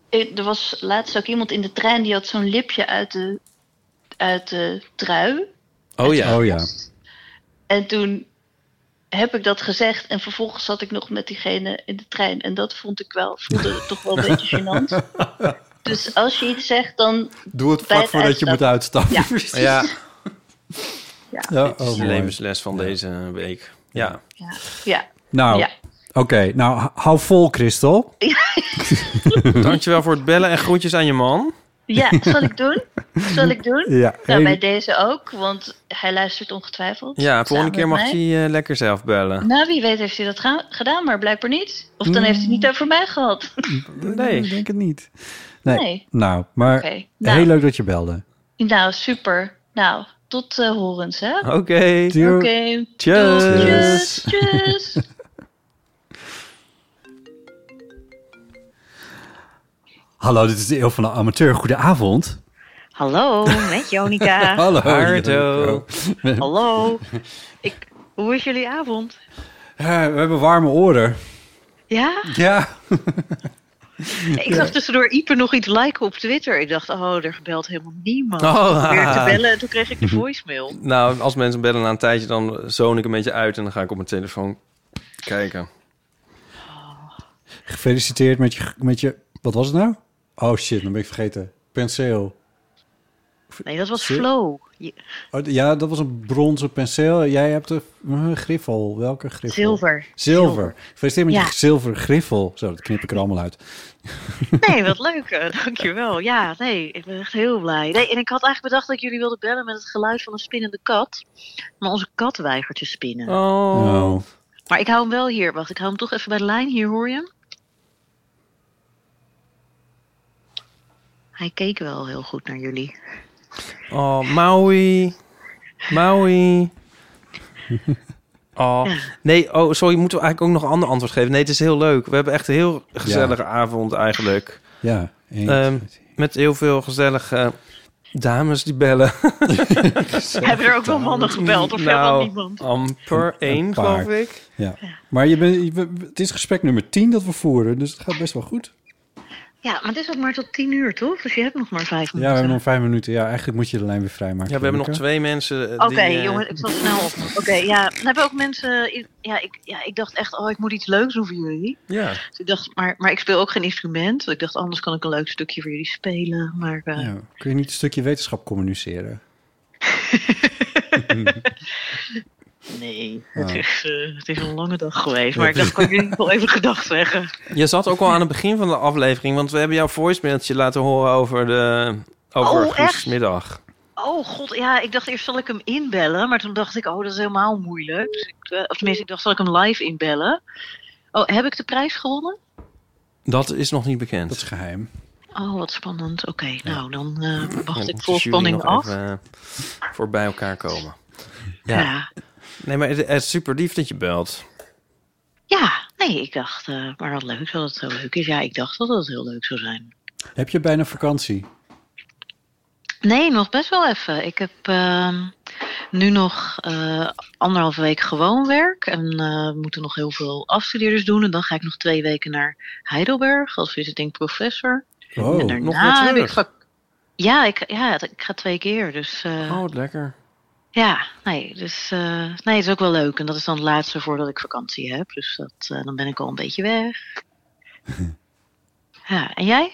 Speaker 20: ik- er was laatst ook iemand in de trein die had zo'n lipje uit de, uit de trui.
Speaker 7: Oh ja. Oh ja.
Speaker 20: En toen heb ik dat gezegd en vervolgens zat ik nog met diegene in de trein. En dat vond ik wel, voelde het toch wel een
Speaker 7: <laughs>
Speaker 20: beetje gênant. Dus als je iets zegt, dan...
Speaker 5: Doe het
Speaker 20: bij
Speaker 5: vlak voordat je
Speaker 20: uitstappen.
Speaker 5: moet uitstappen. <laughs>
Speaker 20: Ja,
Speaker 7: Ja.
Speaker 20: Ja.
Speaker 7: Dit is
Speaker 5: oh,
Speaker 7: de
Speaker 5: mooi.
Speaker 7: levensles van deze week. Ja.
Speaker 20: ja.
Speaker 5: Nou,
Speaker 20: Ja.
Speaker 5: oké. nou, h- hou vol, Christel. <laughs>
Speaker 7: Dankjewel voor het bellen en groetjes aan je man.
Speaker 20: Ja, zal ik doen? Zal ik doen?
Speaker 7: Ja,
Speaker 20: nou,
Speaker 7: heel-
Speaker 20: bij deze ook, want hij luistert ongetwijfeld.
Speaker 7: Ja, volgende
Speaker 20: Samen
Speaker 7: keer
Speaker 20: met
Speaker 7: mag hij
Speaker 20: mij.
Speaker 7: eh, lekker zelf bellen.
Speaker 20: Nou, wie weet heeft hij dat ga- gedaan, maar blijkbaar niet. Of dan heeft hij het niet over mij gehad.
Speaker 7: <laughs> Nee.
Speaker 5: Ik denk het niet. Nee.
Speaker 20: Nee.
Speaker 5: Nou, maar
Speaker 20: Oké, nou.
Speaker 5: heel leuk dat je belde.
Speaker 20: Nou, super. Nou, tot eh, horens, hè?
Speaker 5: Oké.
Speaker 20: Oké.
Speaker 5: Doei.
Speaker 20: Doeg.
Speaker 5: Tjus.
Speaker 20: Tjus. Tjus.
Speaker 5: Hallo, dit is de Eeuw van de Amateur. Goedenavond.
Speaker 15: Hallo, met
Speaker 20: Ah.
Speaker 15: Jonica.
Speaker 5: <laughs> Hallo.
Speaker 7: Hardo.
Speaker 15: Hallo. Ik, hoe is jullie avond?
Speaker 5: <laughs> Eh, we hebben warme oren.
Speaker 15: Ja?
Speaker 5: Ja.
Speaker 15: Ik zag tussendoor Ieper nog iets liken op Twitter. Ik dacht, oh, er gebeld helemaal niemand.
Speaker 7: Oh,
Speaker 15: Ik probeerde te
Speaker 7: ah.
Speaker 15: bellen en toen kreeg
Speaker 7: <laughs>
Speaker 15: ik de voicemail.
Speaker 7: Nou, als mensen bellen na een tijdje, dan zoon ik een beetje uit en dan ga ik op mijn telefoon kijken.
Speaker 5: Gefeliciteerd met je, met je... Wat was het nou? Oh shit, dan ben ik vergeten. Penseel.
Speaker 15: Nee, dat was
Speaker 5: Zie-
Speaker 15: Flow. Je-
Speaker 5: Oh, d- ja, dat was een bronzen penseel. Jij hebt een eh, griffel. Welke griffel?
Speaker 15: Zilver.
Speaker 5: Zilver. Gefeliciteerd met
Speaker 15: Ja.
Speaker 5: je zilver griffel. Zo, dat knip ik er allemaal uit.
Speaker 15: Nee, wat leuk. eh, Dankjewel. Ja, nee, ik ben echt heel blij. Nee, en ik had eigenlijk bedacht dat ik jullie wilden bellen met het geluid van een spinnende kat. Maar onze kat weigert te spinnen. Nou,
Speaker 5: Oh.
Speaker 15: Maar ik hou hem wel hier. Wacht, ik hou hem toch even bij de lijn. Hier hoor je hem. Hij keek wel heel goed naar jullie.
Speaker 7: Oh, Maui.
Speaker 5: <laughs>
Speaker 7: Maui. Oh, nee, oh, sorry, moeten we eigenlijk ook nog een ander antwoord geven? Nee, het is heel leuk. We hebben echt een heel gezellige avond eigenlijk.
Speaker 5: Ja. eens.
Speaker 7: Ehm, met heel veel gezellige dames die bellen.
Speaker 15: <laughs>
Speaker 7: Nou,
Speaker 15: Hebben er ook wel mannen gebeld of helemaal niemand?
Speaker 7: amper één, geloof
Speaker 5: paar.
Speaker 7: ik.
Speaker 5: Ja. Maar je bent, je bent- het is gesprek nummer 10 dat we voeren, dus het gaat best wel goed.
Speaker 15: Ja, maar het is ook maar tot tien uur, toch? Dus je hebt nog maar vijf
Speaker 5: Ja, we
Speaker 15: minuten.
Speaker 5: hebben nog vijf minuten. Ja, eigenlijk moet je de lijn weer vrijmaken.
Speaker 7: Ja, we hebben nog
Speaker 5: Janneke.
Speaker 7: twee mensen eh,
Speaker 15: Oké,
Speaker 7: die... eh,
Speaker 15: jongen, ik zal snel op. Oké, ja. Dan hebben ook mensen... in- Ja ik, ja, ik dacht echt, oh, ik moet iets leuks doen voor jullie.
Speaker 7: Ja.
Speaker 15: Dus ik dacht, maar, maar ik speel ook geen instrument. Want Ik dacht, anders kan ik een leuk stukje voor jullie spelen. Maar eh,
Speaker 5: Ja. Kun je niet een stukje wetenschap communiceren?
Speaker 15: nee,
Speaker 5: Oh.
Speaker 15: het, is, eh, het is een lange dag geweest. Maar ik
Speaker 5: <laughs>
Speaker 15: dacht, ik kan jullie wel even gedacht zeggen.
Speaker 7: Je zat ook al aan het begin van de aflevering, want we hebben jouw voicemailtje laten horen over de over
Speaker 15: Oh, echt?
Speaker 7: Goesmiddag.
Speaker 15: Oh god, ja, ik dacht eerst zal ik hem inbellen, maar toen dacht ik, oh, dat is helemaal moeilijk. Dus ik, eh, of tenminste, ik dacht zal ik hem live inbellen. Oh, heb ik de prijs gewonnen?
Speaker 7: Dat is nog niet bekend. Dat is
Speaker 5: geheim.
Speaker 15: Oh, wat spannend. Oké, nou dan eh,
Speaker 7: Dan
Speaker 15: wacht ik
Speaker 7: moet
Speaker 15: vol
Speaker 7: de jury
Speaker 15: spanning
Speaker 7: nog
Speaker 15: af.
Speaker 7: even, eh, voor bij elkaar komen. Ja.
Speaker 15: Ja.
Speaker 7: Nee, maar het, het is super lief dat je belt.
Speaker 15: Ja, nee, ik dacht, eh, maar wat leuk dat het zo leuk is. Ja, ik dacht wel dat het heel leuk zou zijn.
Speaker 5: Heb je bijna vakantie?
Speaker 15: Nee, nog best wel even. Ik heb ehm, nu nog eh anderhalve week gewoon werk. En eh, we moeten nog heel veel afstudeerders doen. En dan ga ik nog twee weken naar Heidelberg als visiting professor.
Speaker 7: Oh,
Speaker 15: en
Speaker 7: nog weer
Speaker 15: daarna heb ik
Speaker 7: terug.
Speaker 15: vak- ja, ik, ja, ik ga twee keer. Dus, eh,
Speaker 7: Oh, wat lekker.
Speaker 15: Ja, nee, dus, eh, nee, het is ook wel leuk. En dat is dan het laatste voordat ik vakantie heb. Dus dat, eh, dan ben ik al een beetje
Speaker 7: <laughs>
Speaker 15: weg. ja, en jij?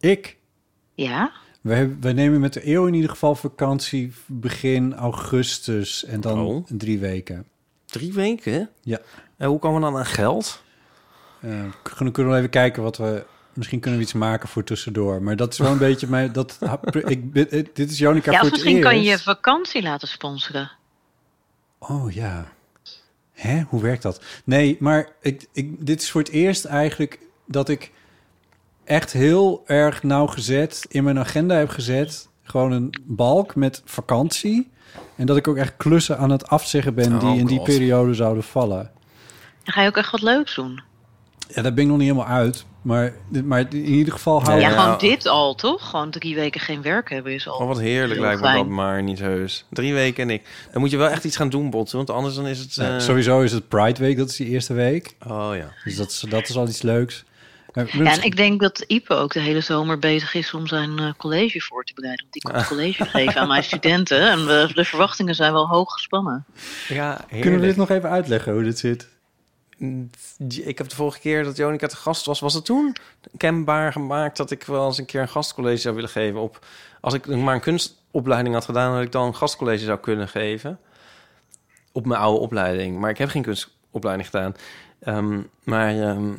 Speaker 5: Ik?
Speaker 15: Ja?
Speaker 5: We, hebben- we nemen met de eeuw in ieder geval vakantie begin augustus en dan drie weken.
Speaker 7: Oh. Drie weken?
Speaker 5: Ja. Eh,
Speaker 7: En hoe komen we dan aan geld?
Speaker 5: kunnen we wel even kijken wat we... Misschien kunnen we iets maken voor tussendoor. Maar dat is wel een <laughs> beetje mijn... Dat, ik, ben- eh, dit is Jonica
Speaker 15: Ja,
Speaker 5: voor
Speaker 15: of
Speaker 5: het
Speaker 15: misschien kan je je
Speaker 5: eerst.
Speaker 15: vakantie laten sponsoren.
Speaker 5: Oh ja. Hè? Hoe werkt dat? Nee, maar ik, ik, dit is voor het eerst eigenlijk dat ik echt heel erg nauwgezet in mijn agenda heb gezet. Gewoon een balk met vakantie. En dat ik ook echt klussen aan het afzeggen ben die
Speaker 15: Oh,
Speaker 5: in die
Speaker 15: God.
Speaker 5: periode zouden vallen.
Speaker 15: Dan ga je ook echt wat leuks doen.
Speaker 5: Ja, daar ben ik nog niet helemaal uit. Maar, maar in ieder geval
Speaker 15: Ja,
Speaker 5: hou
Speaker 15: gewoon dit al, toch? Gewoon drie weken geen werk hebben is al...
Speaker 7: Oh, wat heerlijk
Speaker 15: heel
Speaker 7: lijkt me dat,
Speaker 15: fijn.
Speaker 7: maar niet heus. Drie weken en ik. Dan moet je wel echt iets gaan doen, Botsen, want anders dan is het... eh,
Speaker 5: Nee, sowieso is het Pride Week, dat is die eerste week.
Speaker 7: Oh ja.
Speaker 5: Dus dat is, dat is al iets leuks. Eh,
Speaker 7: Dus-
Speaker 15: Ja, en ik denk dat Ipe ook de hele zomer bezig is om zijn eh, college voor te bereiden. Want die kan college geven aan
Speaker 7: <laughs>
Speaker 15: mijn studenten. En we- de verwachtingen zijn wel hoog gespannen.
Speaker 7: Ja,
Speaker 5: Kunnen we dit
Speaker 7: heerlijk.
Speaker 5: nog even uitleggen hoe dit zit?
Speaker 7: Ik heb de vorige keer dat Jonica te gast was, was het toen kenbaar gemaakt dat ik wel eens een keer een gastcollege zou willen geven. Op, als ik maar een kunstopleiding had gedaan, dat ik dan een gastcollege zou kunnen geven. Op mijn oude opleiding. Maar ik heb geen kunstopleiding gedaan. Ehm, maar ehm,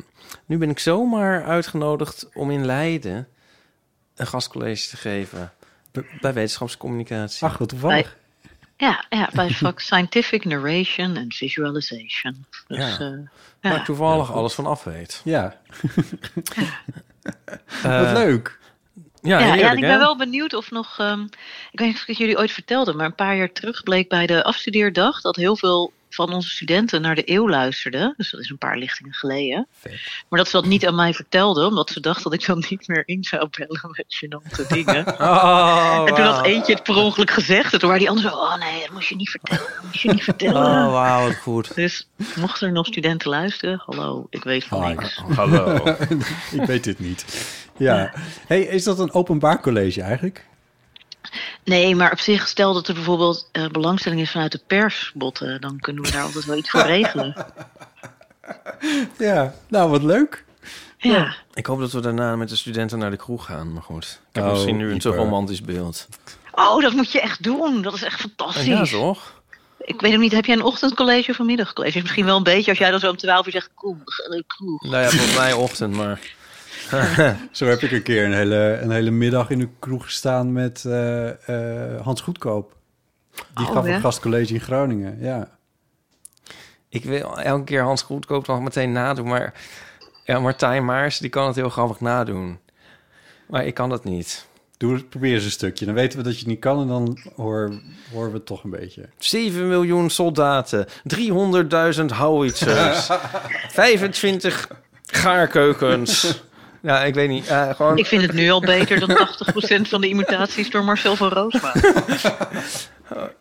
Speaker 7: nu ben ik zomaar uitgenodigd om in Leiden een gastcollege te geven. Bij wetenschapscommunicatie.
Speaker 5: Ach, wat toevallig.
Speaker 15: Ja, ja bij het vak Scientific Narration and Visualization. Dus,
Speaker 7: Ja.
Speaker 15: eh, ja.
Speaker 7: Waar ik toevallig alles van af weet.
Speaker 5: Ja.
Speaker 7: Eh,
Speaker 5: wat leuk.
Speaker 7: Ja,
Speaker 15: ja,
Speaker 7: heerlijk,
Speaker 15: en ik
Speaker 7: hè?
Speaker 15: ben wel benieuwd of nog. ehm, ik weet niet of ik het jullie ooit vertelde, maar een paar jaar terug bleek bij de afstudeerdag dat heel veel van onze studenten naar de eeuw luisterden. Dus dat is een paar lichtingen geleden. Maar dat ze dat niet aan mij vertelden, omdat ze dachten dat ik dan niet meer in zou bellen met gênante dingen.
Speaker 7: <laughs> Oh,
Speaker 15: en toen
Speaker 7: wauw.
Speaker 15: had eentje het per ongeluk gezegd. En toen waren die anderen zo, oh nee, dat moest je niet vertellen. Dat moest je niet vertellen.
Speaker 7: Oh, wauw, wat goed.
Speaker 15: Dus mochten er nog studenten luisteren, hallo, ik weet
Speaker 7: Oh,
Speaker 15: van niks.
Speaker 5: <laughs> ik weet dit niet. Ja. Hey, is dat een openbaar college eigenlijk?
Speaker 15: Nee, maar op zich, stel dat er bijvoorbeeld eh, belangstelling is vanuit de pers, Botte, dan kunnen we daar altijd wel iets voor regelen.
Speaker 5: Ja. Nou, wat leuk.
Speaker 15: Ja.
Speaker 7: Ik hoop dat we daarna met de studenten naar de kroeg gaan. Maar goed, ik heb
Speaker 5: Oh,
Speaker 7: misschien nu een te
Speaker 5: Ieper.
Speaker 7: romantisch beeld.
Speaker 15: Oh, dat moet je echt doen. Dat is echt fantastisch.
Speaker 7: Ja, toch?
Speaker 15: Ik weet ook niet, heb jij een ochtendcollege of een middagcollege? Misschien wel een beetje als jij dan zo om 12 uur zegt, eh, kom, we gaan naar de kroeg.
Speaker 7: Nou ja, volgens mij ochtend, maar...
Speaker 5: <laughs> Zo heb ik een keer een hele, een hele middag in de kroeg gestaan met eh, eh, Hans Goedkoop. Die
Speaker 7: Oh,
Speaker 5: gaf
Speaker 7: ja?
Speaker 5: een gastcollege in Groningen, ja.
Speaker 7: Ik wil elke keer Hans Goedkoop nog meteen nadoen, maar... Ja, Martijn Maars, die kan het heel grappig nadoen. Maar ik kan dat niet.
Speaker 5: Doe, probeer eens een stukje. Dan weten we dat je het niet kan en dan hoor- horen we het toch een beetje.
Speaker 7: 7 miljoen soldaten, 300.000
Speaker 5: <laughs>
Speaker 7: howitzers, 25 gaarkeukens. Ja, ik weet niet. eh, gewoon...
Speaker 15: Ik vind het nu al beter dan 80% van de imitaties door Marcel van Roosma.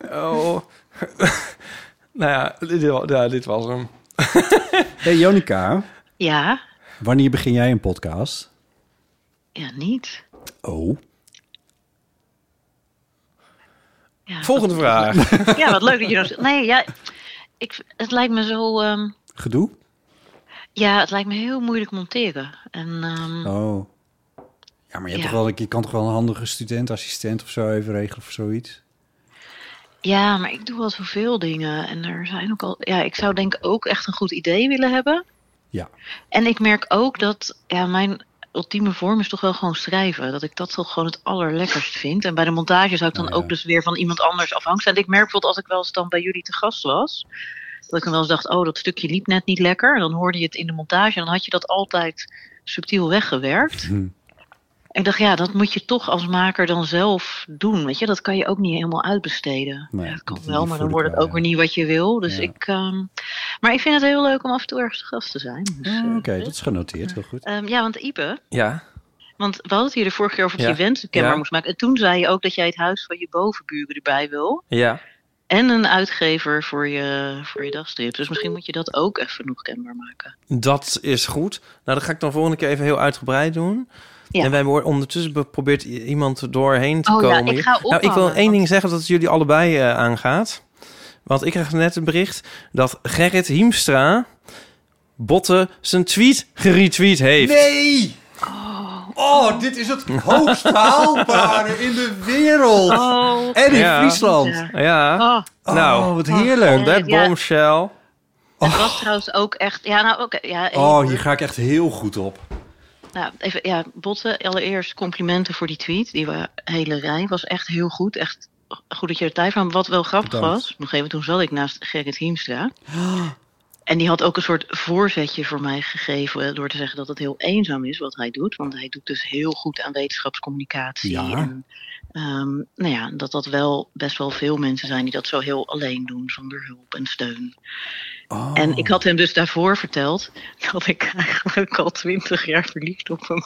Speaker 7: Oh. <laughs> nou ja, dit, ja, dit was hem.
Speaker 5: Hey Jonica,
Speaker 15: Ja,
Speaker 5: wanneer begin jij een podcast?
Speaker 15: ja, niet.
Speaker 5: Oh.
Speaker 7: Volgende vraag.
Speaker 15: Ja, wat leuk dat je dan zegt. Nee, ja, ik, het lijkt me zo... ehm,
Speaker 5: Gedoe?
Speaker 15: ja, het lijkt me heel moeilijk monteren. En, ehm,
Speaker 5: Oh. Ja, maar je, hebt
Speaker 15: Ja.
Speaker 5: toch wel, je kan toch wel een handige studentassistent of zo even regelen of zoiets?
Speaker 15: Ja, maar ik doe wel zoveel dingen. En er zijn ook al. Ja, ik zou denk ik ook echt een goed idee willen hebben.
Speaker 5: Ja.
Speaker 15: En ik merk ook dat ja, mijn ultieme vorm is toch wel gewoon schrijven. Dat ik dat toch gewoon het allerlekkerst vind. En bij de montage zou ik dan ook dus weer van iemand anders afhankelijk zijn. Ik merk bijvoorbeeld als ik wel eens dan bij jullie te gast was. Dat ik dan wel eens dacht, oh, dat stukje liep net niet lekker. En dan hoorde je het in de montage. En dan had je dat altijd subtiel weggewerkt. En ik dacht, ja, dat moet je toch als maker dan zelf doen. Weet je, dat kan je ook niet helemaal uitbesteden.
Speaker 5: Nee,
Speaker 15: ja, dat kan
Speaker 5: dat-
Speaker 15: wel,
Speaker 5: die
Speaker 15: maar
Speaker 5: voel
Speaker 15: dan
Speaker 5: ik
Speaker 15: wordt het
Speaker 5: wel,
Speaker 15: ook weer niet wat je wil. Dus
Speaker 5: Ja.
Speaker 15: ik, ehm, maar ik vind het heel leuk om af en toe ergens te gast te zijn. Dus, eh,
Speaker 5: Oké, dat is genoteerd. Heel goed.
Speaker 15: ehm, ja, want Ipe,
Speaker 7: Ja.
Speaker 15: want we hadden het hier de vorige keer over dat
Speaker 7: Ja.
Speaker 15: je wensenkamer
Speaker 7: Ja.
Speaker 15: moest maken. En toen zei je ook dat jij het huis van je bovenburen erbij wil.
Speaker 7: Ja.
Speaker 15: En een uitgever voor je, voor je dagstrip. Dus misschien moet je dat ook even nog kenbaar maken.
Speaker 7: Dat is goed. Nou, dat ga ik dan volgende keer even heel uitgebreid doen. En wij hebben ondertussen geprobeerd i- iemand er doorheen te
Speaker 15: Oh ja,
Speaker 7: komen.
Speaker 15: ik
Speaker 7: hier.
Speaker 15: ga
Speaker 7: nou, ik wil
Speaker 15: ophangen,
Speaker 7: één ding zeggen dat het jullie allebei eh, aangaat. Want ik kreeg net een bericht dat Gerrit Hiemstra Botte zijn tweet geretweet heeft.
Speaker 5: Nee! Oh, dit is het hoogst haalbare in de wereld. en in
Speaker 7: Ja.
Speaker 5: Friesland.
Speaker 7: Oh. Ja.
Speaker 5: Oh,
Speaker 7: nou,
Speaker 5: wat heerlijk.
Speaker 7: op Dat
Speaker 15: Ja.
Speaker 7: bombshell.
Speaker 15: Het was trouwens ook echt... Ja, nou oké. ja, even-
Speaker 5: Oh, hier ga ik echt heel goed op.
Speaker 15: Nou, even, ja, Botte, allereerst complimenten voor die tweet. Die wa- hele rij was echt heel goed. Echt goed dat je er tijd van had. Wat wel grappig
Speaker 8: Bedankt.
Speaker 15: was, nog even toen zat ik naast Gerrit Hiemstra. En die had ook een soort voorzetje voor mij gegeven eh, door te zeggen dat het heel eenzaam is wat hij doet. Want hij doet dus heel goed aan wetenschapscommunicatie.
Speaker 8: Ja.
Speaker 15: En, ehm, nou ja, dat dat wel best wel veel mensen zijn die dat zo heel alleen doen zonder hulp en steun. En ik had hem dus daarvoor verteld dat ik eigenlijk al twintig jaar verliefd op hem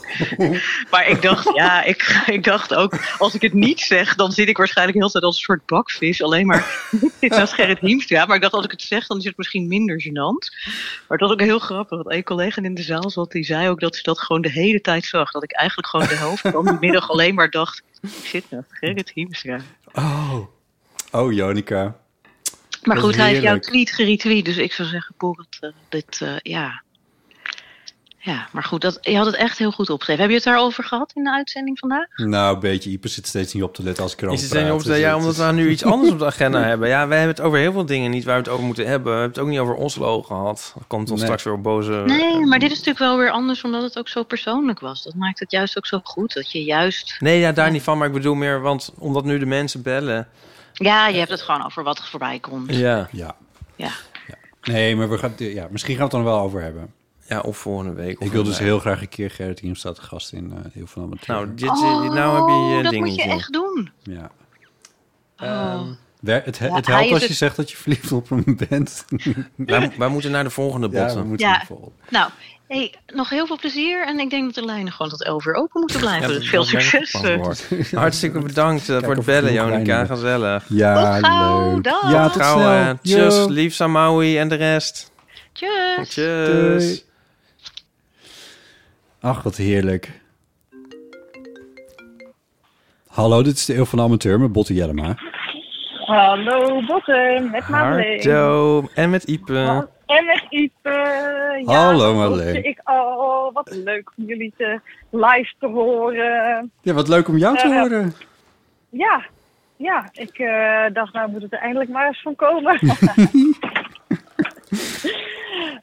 Speaker 15: ben. Maar ik dacht, ja, ik, <laughs> ik dacht ook, als ik het niet zeg, dan zit ik waarschijnlijk heel tijd als een soort bakvis. Alleen maar <laughs> dit naast Gerrit Hiemstra. Maar ik dacht, als ik het zeg, dan is het misschien minder gênant. Maar dat was ook heel grappig. Want een collega in de zaal zat, die zei ook dat ze dat gewoon de hele tijd zag. Dat ik eigenlijk gewoon de helft van de middag alleen maar dacht, ik zit naast Gerrit Hiemstra.
Speaker 5: Oh, oh Jonica.
Speaker 15: Maar
Speaker 5: Dat
Speaker 15: goed,
Speaker 5: is
Speaker 15: hij heeft jouw
Speaker 5: heerlijk.
Speaker 15: tweet geretweet, dus ik zou zeggen, Borrelt, eh, dit, eh, ja. Ja, maar goed, dat, je had het echt heel goed opgeschreven. Heb je het daarover gehad in de uitzending vandaag?
Speaker 5: Nou, een beetje. Ieper zit steeds niet op te letten als ik erover
Speaker 7: Is het dan op
Speaker 5: praat.
Speaker 7: de, ja,
Speaker 5: Dus het
Speaker 7: omdat we nu iets anders op de
Speaker 5: <laughs>
Speaker 7: agenda hebben. Ja, wij hebben het over heel veel dingen niet waar we het over moeten hebben. We hebben het ook niet over Oslo gehad. Dan komt ons
Speaker 15: Nee.
Speaker 7: straks weer op boze... Eh,
Speaker 15: Nee, maar dit is natuurlijk wel weer anders, omdat het ook zo persoonlijk was. Dat maakt het juist ook zo goed, dat je juist...
Speaker 7: Nee, ja, daar niet van. Maar ik bedoel meer, want omdat nu de mensen bellen.
Speaker 15: Ja, je hebt het gewoon over wat er voorbij komt.
Speaker 7: Eh, Ja.
Speaker 5: ja.
Speaker 15: Ja.
Speaker 5: Nee, maar we gaan, ja, misschien gaan we het dan wel over hebben.
Speaker 7: Ja, of volgende week.
Speaker 5: Ik wil dus heel graag een keer Gerrit Hiemstra te gast in eh Heel van Amateur.
Speaker 7: Nou, dit, eh, nou heb je
Speaker 15: Oh, dat
Speaker 7: je
Speaker 15: moet
Speaker 7: dingetje.
Speaker 15: je echt doen.
Speaker 5: Ja. Eh,
Speaker 7: Ehm,
Speaker 15: Oh.
Speaker 5: Wer- Het, he-
Speaker 15: Ja,
Speaker 5: het
Speaker 15: hij
Speaker 5: helpt
Speaker 15: is
Speaker 5: als je
Speaker 15: het-
Speaker 5: zegt dat je verliefd op hem
Speaker 7: <laughs>
Speaker 5: bent.
Speaker 7: wij, wij moeten naar de volgende bot.
Speaker 5: Ja, we moeten
Speaker 15: Ja, nou, hey, nog heel veel plezier. En ik denk dat de lijnen gewoon tot 11 uur open moeten blijven.
Speaker 7: Ja,
Speaker 15: dus veel
Speaker 7: dat ben ik
Speaker 15: succes.
Speaker 7: bang voor.
Speaker 5: <laughs>
Speaker 7: Hartstikke bedankt eh, voor het bellen,
Speaker 5: genoeg
Speaker 7: Jonica.
Speaker 5: lijnen.
Speaker 7: Gezellig.
Speaker 5: <laughs> Ja, leuk.
Speaker 15: dag.
Speaker 5: Ja, tot
Speaker 7: Trouw, eh,
Speaker 5: snel. Yo.
Speaker 7: Tjus, liefs aan Maui en de rest.
Speaker 15: Tjus.
Speaker 7: Tjus.
Speaker 5: Doei. Ach, wat heerlijk. Hallo, dit is de Eeuw van de Amateur met Botte Jellema.
Speaker 16: Hallo Botten, met Marleen.
Speaker 7: Hardo. En met Ipe.
Speaker 16: En met Ipe. Ja,
Speaker 7: Hallo,
Speaker 16: dat
Speaker 7: Madeleine.
Speaker 16: hoorde Ik al, wat leuk om jullie te, live te horen.
Speaker 5: Ja, wat leuk om jou te
Speaker 16: Eh,
Speaker 5: horen.
Speaker 16: Ja, ja ik eh, dacht nou moet het er eindelijk maar eens van komen.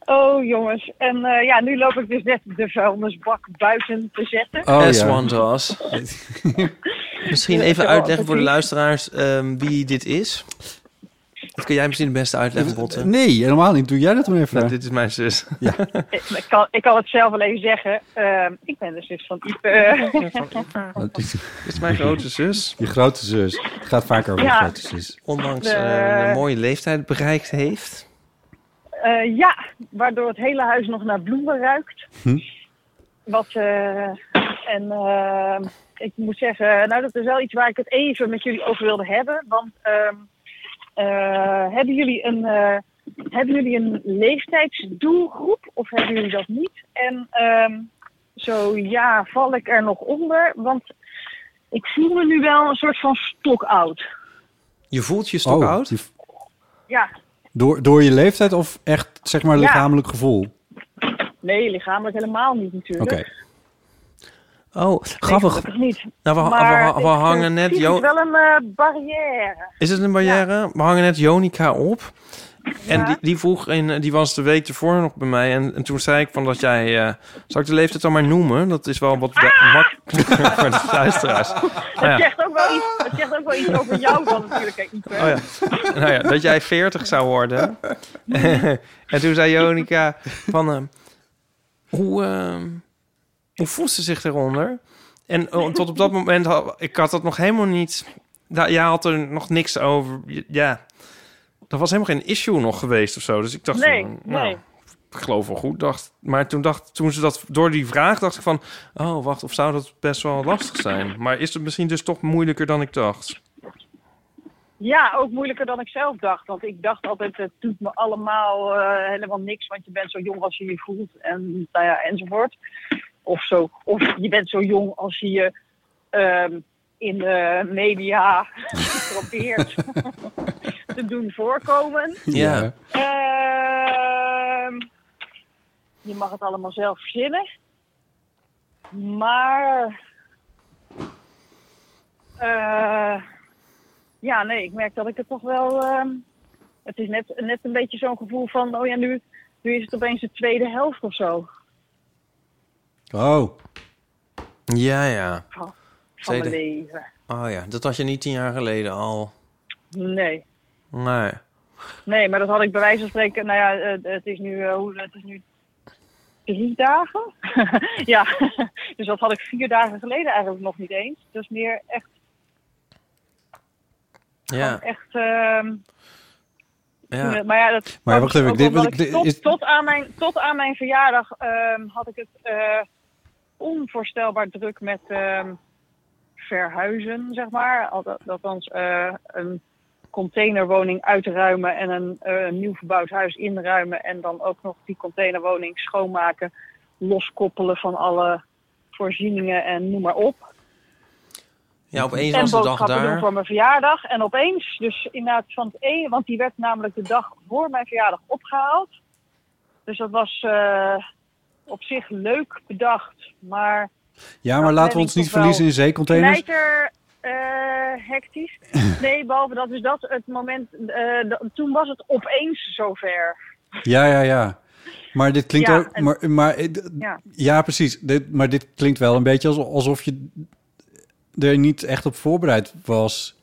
Speaker 16: oh jongens, en eh, ja, nu loop ik dus net de vuilnisbak buiten te zetten.
Speaker 7: S Wandras. misschien
Speaker 16: Ja, ik
Speaker 7: even
Speaker 16: heb
Speaker 7: uitleggen
Speaker 16: al
Speaker 7: voor de
Speaker 16: gezien.
Speaker 7: luisteraars ehm, wie dit is. Dat kun jij misschien het beste uitleggen, Botte.
Speaker 5: Nee, helemaal niet. Doe jij dat maar even.
Speaker 7: Nou, dit is mijn zus.
Speaker 16: Ik, <laughs> ik kan, ik kan het zelf alleen zeggen. Ehm, ik ben de zus van Ipe.
Speaker 5: Wat is-
Speaker 7: Dit is mijn grote zus.
Speaker 5: <laughs> Je grote zus. Het gaat vaak over
Speaker 16: Ja.
Speaker 5: je grote zus.
Speaker 7: Ondanks
Speaker 16: De-
Speaker 7: eh, een mooie leeftijd bereikt heeft.
Speaker 16: Eh, ja, waardoor het hele huis nog naar bloemen ruikt.
Speaker 7: Hm.
Speaker 16: Wat, eh, en eh, ik moet zeggen, nou dat is wel iets waar ik het even met jullie over wilde hebben. Want ehm, eh, hebben, jullie een, eh, hebben jullie een leeftijdsdoelgroep of hebben jullie dat niet? En ehm, zo ja, val ik er nog onder? Want ik voel me nu wel een soort van stokoud.
Speaker 7: Je voelt je
Speaker 5: stokoud?
Speaker 16: Ja,
Speaker 5: Oh, door, door je leeftijd of echt, zeg maar,
Speaker 16: Ja.
Speaker 5: lichamelijk gevoel?
Speaker 16: nee, lichamelijk helemaal niet natuurlijk.
Speaker 5: Oké.
Speaker 7: Oh, grappig.
Speaker 16: gelukkig niet.
Speaker 7: Nou, we, we-
Speaker 16: Maar
Speaker 7: we,
Speaker 16: ik,
Speaker 7: we
Speaker 16: eh,
Speaker 7: hangen net...
Speaker 16: zie
Speaker 7: Jo-
Speaker 16: het wel een eh, barrière.
Speaker 7: Is het een barrière? We hangen net Jonica op. En die, die vroeg, in, eh, die was de week ervoor nog bij mij. En, en toen zei ik van dat jij... eh, zal ik de leeftield dan maar noemen? Dat is wel wat <laughs> we-
Speaker 16: Ah!
Speaker 7: makkelijker voor de luisteraars. Nou
Speaker 16: Het,
Speaker 7: ja.
Speaker 16: zegt ook wel iets, het zegt ook wel iets over jou dan natuurlijk, hè, Ipe.
Speaker 7: Oh ja. <laughs> Nou ja, dat jij 40 zou
Speaker 16: <laughs>
Speaker 7: worden. en toen zei Jonica van... ehm, hoe, ehm, hoe voelt ze zich eronder? En eh, tot op dat moment, had, ik had dat nog helemaal niet... Nou, jij had er nog niks over. Je- Ja, dat was helemaal geen issue nog geweest of zo. Dus ik dacht,
Speaker 16: Nee,
Speaker 7: van, nou,
Speaker 16: nee.
Speaker 7: ik geloof wel goed. Dacht, maar toen, dacht, toen ze dat door die vraag dacht ik van... Oh, wacht, of zou dat best wel lastig zijn? Maar is het misschien dus toch moeilijker dan ik dacht?
Speaker 16: Ja, ook moeilijker dan ik zelf dacht. Want ik dacht altijd, het doet me allemaal eh, helemaal niks. Want je bent zo jong als je je voelt. En nou ja, enzovoort. Of, zo, of je bent zo jong als je je ehm, in de media <laughs> probeert <laughs> te doen voorkomen.
Speaker 7: Ja.
Speaker 16: Ehm, je mag het allemaal zelf verzinnen. Maar. eh, ja, nee, ik merk dat ik het toch wel. ehm, het is net, net een beetje zo'n gevoel van. Oh ja, nu, nu is het opeens de tweede helft of zo.
Speaker 5: Oh.
Speaker 7: Ja, ja.
Speaker 16: Van van
Speaker 7: Tweede-
Speaker 16: mijn leven.
Speaker 7: Oh ja, dat had je niet tien jaar geleden al.
Speaker 16: Nee.
Speaker 7: Nee.
Speaker 16: Nee, maar dat had ik bij wijze van spreken. Nou ja, eh, het is nu. eh, hoe, het is nu drie dagen? <laughs> ja, dus dat had ik vier dagen geleden eigenlijk nog niet eens. Dus meer echt.
Speaker 7: Ja.
Speaker 16: echt ehm,
Speaker 7: Ja.
Speaker 16: Maar ja, dat
Speaker 5: Maar wacht even,
Speaker 16: ook
Speaker 5: dit-
Speaker 16: omdat
Speaker 5: dit-
Speaker 16: ik tot,
Speaker 5: is-
Speaker 16: tot, aan mijn, tot aan mijn verjaardag ehm, had ik het eh, onvoorstelbaar druk met ehm, verhuizen, zeg maar. Al- dat- Althans, eh, een containerwoning uitruimen en een, eh, een nieuw verbouwd huis inruimen. En dan ook nog die containerwoning schoonmaken, loskoppelen van alle voorzieningen en noem maar op.
Speaker 7: Ja, opeens
Speaker 16: en
Speaker 7: was de dag
Speaker 16: boodschappen doen
Speaker 7: daar.
Speaker 16: voor mijn verjaardag. En opeens, dus inderdaad van het een, want die werd namelijk de dag voor mijn verjaardag opgehaald. Dus dat was eh, op zich leuk bedacht, maar...
Speaker 5: Ja, maar laten we ons niet verliezen in zeecontainers.
Speaker 16: Knijter eh,
Speaker 5: <laughs>
Speaker 16: hectisch. Nee, behalve dat is dat het moment... eh, dat- toen was het opeens zover.
Speaker 5: Ja, ja, ja. Maar dit klinkt
Speaker 16: Ja,
Speaker 5: ook.
Speaker 16: en-
Speaker 5: maar, maar, eh, d-
Speaker 16: Ja.
Speaker 5: ja, precies. Dit, maar dit klinkt wel een beetje alsof, alsof je er niet echt op voorbereid was.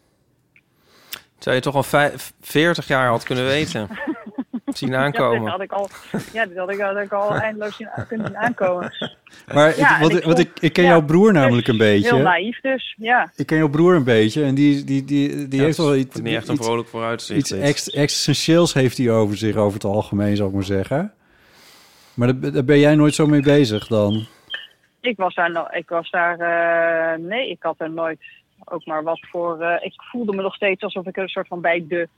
Speaker 7: Zou je toch al vijf- 40 jaar had kunnen weten.
Speaker 16: <laughs>
Speaker 7: Zien
Speaker 16: Ja, dit
Speaker 7: aankomen.
Speaker 16: had ik al, ja, dit had ik, had
Speaker 5: <laughs>
Speaker 16: ik al eindeloos zien, kunnen zien aankomen.
Speaker 5: Maar
Speaker 16: Ja, en
Speaker 5: ik, wat,
Speaker 16: ik
Speaker 5: ik, wat
Speaker 16: vond-
Speaker 5: ik, ik ken jouw broer namelijk een beetje.
Speaker 16: Heel naïef dus, ja.
Speaker 5: Ik ken jouw broer een beetje en die, die, die, die heeft wel iets.
Speaker 7: niet echt een
Speaker 5: iets-
Speaker 7: vrolijk vooruitzicht,
Speaker 5: Iets
Speaker 7: dit.
Speaker 5: ex- essentieels heeft hij over zich over het algemeen, zou ik maar zeggen. Maar daar, daar ben jij nooit zo mee bezig dan.
Speaker 16: Ik was daar, no- ik was daar eh, nee, ik had er nooit ook maar wat voor. eh, ik voelde me nog steeds alsof ik een soort van bij de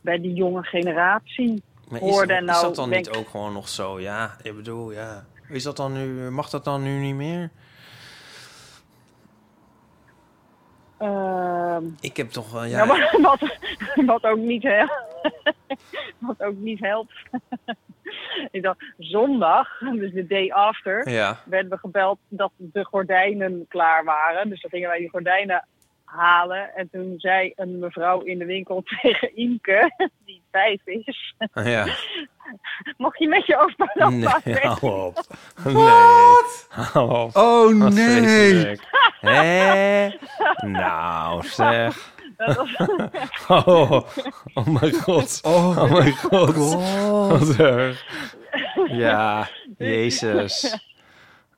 Speaker 16: bij die jonge generatie
Speaker 7: Maar is,
Speaker 16: hoorde. En
Speaker 7: is
Speaker 16: nou,
Speaker 7: dat dan
Speaker 16: denk
Speaker 7: niet ook gewoon nog zo? Ja, ik bedoel, ja. Is dat dan nu, mag dat dan nu niet meer?
Speaker 16: ehm,
Speaker 7: Ik heb toch wel, ja.
Speaker 16: ja, <laughs> maar wat, wat ook niet helpt. <laughs> wat ook niet helpt. <laughs> ik dacht, zondag, dus de day after,
Speaker 7: Ja.
Speaker 16: werden we gebeld dat de gordijnen klaar waren. Dus dan gingen wij die gordijnen halen. En toen zei een mevrouw in de winkel <laughs> tegen Imke, die vijf is.
Speaker 7: Oh,
Speaker 16: <laughs>
Speaker 7: Ja.
Speaker 16: Mocht je met je overballon
Speaker 7: Nee, oh,
Speaker 16: pakken?
Speaker 7: hou op. Nee. Hou op.
Speaker 5: Oh,
Speaker 7: Wat
Speaker 5: nee.
Speaker 7: vreselijk. Hé? Nou,
Speaker 5: <laughs>
Speaker 7: zeg.
Speaker 16: Dat was-
Speaker 7: <laughs> Oh, oh mijn god. Oh, mijn god. Wat erg.
Speaker 5: <laughs>
Speaker 7: Ja, jezus.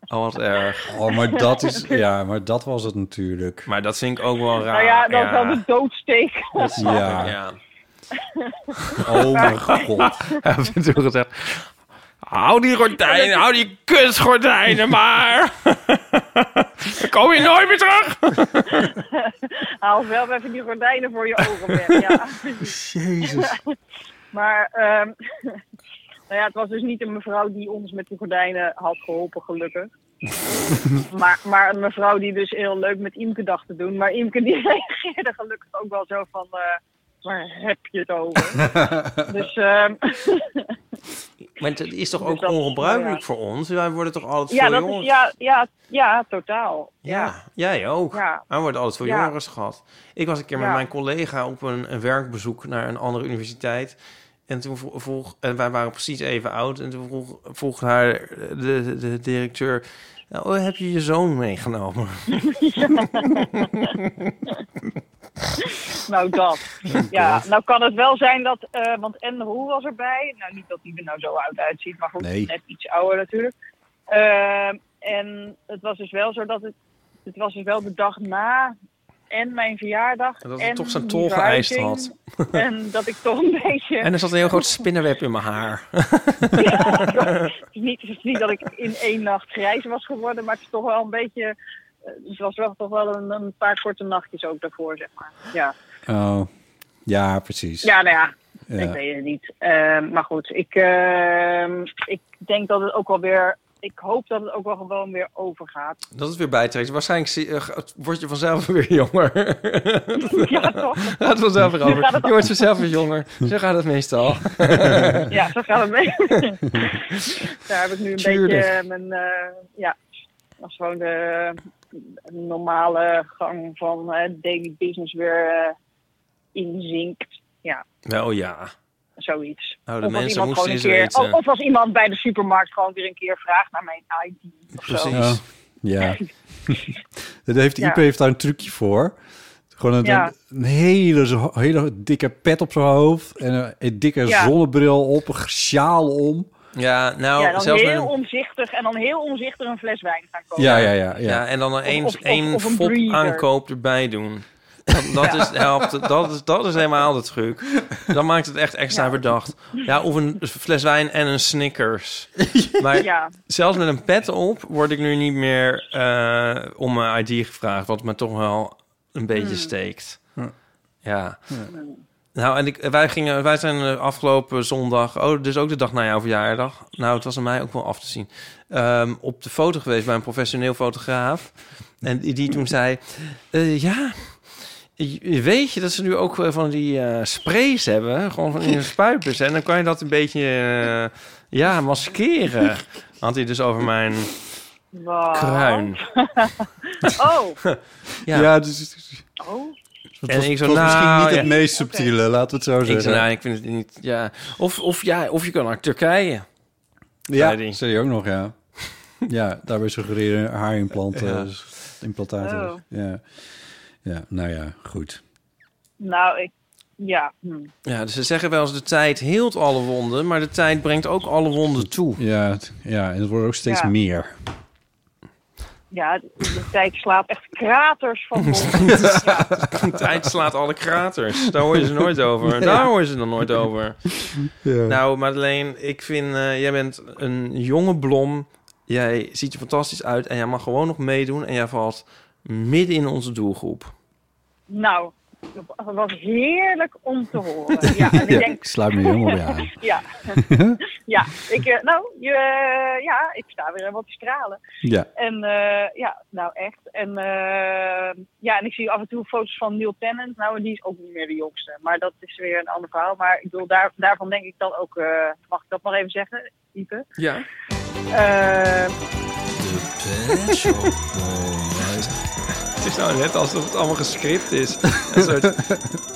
Speaker 7: Oh, wat erg.
Speaker 5: Oh, maar dat is. Ja, maar dat was het natuurlijk.
Speaker 7: Maar dat vind ik ook wel raar.
Speaker 16: nou ja, dat was wel de doodsteek.
Speaker 7: Dat snap ik,
Speaker 16: <laughs>
Speaker 5: Ja.
Speaker 7: ja.
Speaker 5: Oh mijn god.
Speaker 7: Heb je toen gezegd... Hou die gordijnen, hou die kutgordijnen maar. <laughs> Dan kom je nooit meer
Speaker 16: <laughs>
Speaker 7: terug.
Speaker 16: Haal wel even die gordijnen voor je ogen weg. Ja.
Speaker 5: Jezus.
Speaker 16: <laughs> maar ehm, <laughs> nou ja, het was dus niet een mevrouw die ons met die gordijnen had geholpen, gelukkig. maar, maar een mevrouw die dus heel leuk met Imke dacht te doen. Maar Imke die <laughs> reageerde gelukkig ook wel zo van... eh, waar heb je het over? dus ehm,
Speaker 7: Maar het is toch ook ongebruikelijk voor ons? Wij worden toch altijd
Speaker 16: ja,
Speaker 7: voor
Speaker 16: dat
Speaker 7: jongeren...
Speaker 16: is, ja, ja, ja, totaal.
Speaker 7: Ja, jij ook.
Speaker 16: Ja.
Speaker 7: Hij wordt altijd voor
Speaker 16: Ja.
Speaker 7: jongeren geschat. Ik was een keer met
Speaker 16: Ja.
Speaker 7: mijn collega op een, een werkbezoek naar een andere universiteit. En toen vro- vroeg, en wij waren precies even oud. En toen vroeg, vroeg haar eh, de, de, de directeur: "Nou, oh, Heb je je zoon
Speaker 16: <laughs>
Speaker 7: meegenomen?
Speaker 16: Nou, dat. Ja, nou kan het wel zijn dat, eh, want en Roel was erbij. Nou, niet dat hij er nou zo oud uitziet, maar goed,
Speaker 5: Nee.
Speaker 16: net iets ouder natuurlijk. Ehm, en het was dus wel zo dat het, het was dus wel de dag na en mijn verjaardag.
Speaker 7: En dat het toch zijn
Speaker 16: die
Speaker 7: tol geëist
Speaker 16: verhuizing.
Speaker 7: had.
Speaker 16: <laughs> En dat ik toch een beetje...
Speaker 7: <laughs> en er zat een heel groot spinnenweb in mijn haar. <laughs>
Speaker 16: Het is <laughs> niet, het is niet dat ik in één nacht grijs was geworden, maar het is toch wel een beetje... eh, Het was wel, toch wel een, een paar korte nachtjes ook daarvoor, zeg maar. Ja.
Speaker 5: Oh. Ja, precies.
Speaker 16: Ja, nou ja,
Speaker 5: Ja.
Speaker 16: ik weet het niet. Ehm, maar goed, ik, ehm, ik denk dat het ook wel weer. Ik hoop dat het ook wel gewoon weer
Speaker 5: <laughs>
Speaker 16: overgaat.
Speaker 7: Dat het weer bijtrekt. Waarschijnlijk zie- eh, gaat- word je vanzelf <laughs> weer jonger.
Speaker 16: Ja, toch?
Speaker 7: <laughs> gaat vanzelf weer
Speaker 16: Nu gaat
Speaker 7: over.
Speaker 16: het-
Speaker 7: Je wordt vanzelf weer jonger. Zo gaat het meestal.
Speaker 16: <laughs>
Speaker 7: <laughs>
Speaker 16: Ja, zo gaat het mee.
Speaker 5: <laughs>
Speaker 16: Daar heb ik nu een
Speaker 7: Tuurlijk.
Speaker 16: beetje eh, mijn. eh, ja, als gewoon de normale gang van eh, daily business weer eh, inzinkt. Ja,
Speaker 7: Wel ja.
Speaker 16: zoiets.
Speaker 7: Nou, de
Speaker 16: als
Speaker 7: mensen
Speaker 16: iemand gewoon
Speaker 7: moesten
Speaker 16: een
Speaker 7: eens
Speaker 16: keer-
Speaker 7: weten.
Speaker 16: Of, of als iemand bij de supermarkt gewoon weer een keer vraagt naar mijn ID. of zo.
Speaker 7: Precies.
Speaker 5: Ja. ja. <laughs> dat heeft,
Speaker 16: Ja.
Speaker 5: Ipe heeft daar een trucje voor. Gewoon een,
Speaker 16: Ja.
Speaker 5: een hele, zo- hele dikke pet op zijn hoofd. En een, een dikke
Speaker 16: Ja.
Speaker 5: zonnebril op. Een sjaal om.
Speaker 7: Ja, nou,
Speaker 16: ja, dan
Speaker 7: zelfs
Speaker 16: heel
Speaker 7: met een-
Speaker 16: omzichtig en dan heel omzichtig een fles wijn gaan kopen.
Speaker 5: Ja, ja, ja. ja.
Speaker 7: en dan een,
Speaker 16: of- of-
Speaker 7: één
Speaker 16: of een
Speaker 7: fop
Speaker 16: breeder.
Speaker 7: aankoop erbij doen. Dat, dat, is, helpt, dat, is, dat is helemaal de truc. Dan maakt het echt extra verdacht. Ja, of een fles wijn en een
Speaker 5: <laughs>
Speaker 7: Snickers. Maar
Speaker 10: Ja.
Speaker 7: zelfs met een pet op word ik nu niet meer eh, om mijn ID gevraagd. Wat me toch wel een beetje
Speaker 14: Hmm.
Speaker 7: steekt. Ja. Nou, en ik, wij, gingen, wij zijn eh, afgelopen zondag, oh, dus ook de dag na jouw verjaardag. Nou, het was aan mij ook wel af te zien. Ehm, op de foto geweest bij een professioneel fotograaf. En die, die toen zei: eh, Ja, je- weet je dat ze nu ook eh, van die eh, sprays hebben? Gewoon van <laughs> die spuitbus. En dan kan je dat een beetje, eh, ja, maskeren. Had hij dus over mijn
Speaker 16: Wat?
Speaker 7: kruin.
Speaker 16: <laughs>
Speaker 7: <laughs>
Speaker 16: oh.
Speaker 5: Ja, dus
Speaker 16: oh.
Speaker 5: Het was- het was
Speaker 7: nou,
Speaker 5: misschien niet het meest subtiele, laten we het zo
Speaker 7: Ik
Speaker 5: zeggen.
Speaker 7: zei, nou, ik vind het niet, ja. Of, of, ja, of je kan naar Turkije.
Speaker 5: Ja, dat zei je ook nog,
Speaker 7: <laughs>
Speaker 5: ja. ja, daarbij suggereren haarimplanten,
Speaker 7: Ja.
Speaker 5: eh, implantaten.
Speaker 16: Oh.
Speaker 5: Ja. ja, nou ja,
Speaker 7: <laughs>
Speaker 5: goed.
Speaker 16: Nou, ik... Ja. hm.
Speaker 7: Ja, dus ze zeggen wel eens de tijd heelt alle wonden, maar de tijd brengt ook alle wonden toe.
Speaker 5: Ja, het- ja en het wordt ook steeds
Speaker 16: Ja.
Speaker 5: meer.
Speaker 16: Ja, de, de tijd slaat echt kraters
Speaker 5: <laughs>
Speaker 16: van
Speaker 7: wonden. Ja. <laughs> De tijd slaat alle kraters. Daar hoor je ze nooit over. Daar hoor je ze dan nooit over. Nou, Madeleine, ik vind... eh, jij bent een jonge blom. Jij ziet er fantastisch uit. En jij mag gewoon nog meedoen. En jij valt midden in onze doelgroep.
Speaker 16: Nou, dat was heerlijk om te horen.
Speaker 5: <laughs>
Speaker 16: Ja, en ik
Speaker 5: Ja,
Speaker 16: denk...
Speaker 5: ik sluit me helemaal bij aan.
Speaker 16: <laughs> ja. ja, ik, eh, nou, je, eh, ja, ik sta weer wat te stralen.
Speaker 5: Ja.
Speaker 16: En eh, ja, nou echt. En, eh, ja, en ik zie af en toe foto's van Neil Tennant. Nou, die is ook niet meer de jongste. Maar dat is weer een ander verhaal. Maar ik bedoel, daar, daarvan denk ik dan ook... eh, mag ik dat nog even zeggen, Ipe?
Speaker 7: Ja.
Speaker 16: Eh,
Speaker 7: Het is nou net alsof het allemaal gescript is. Een soort...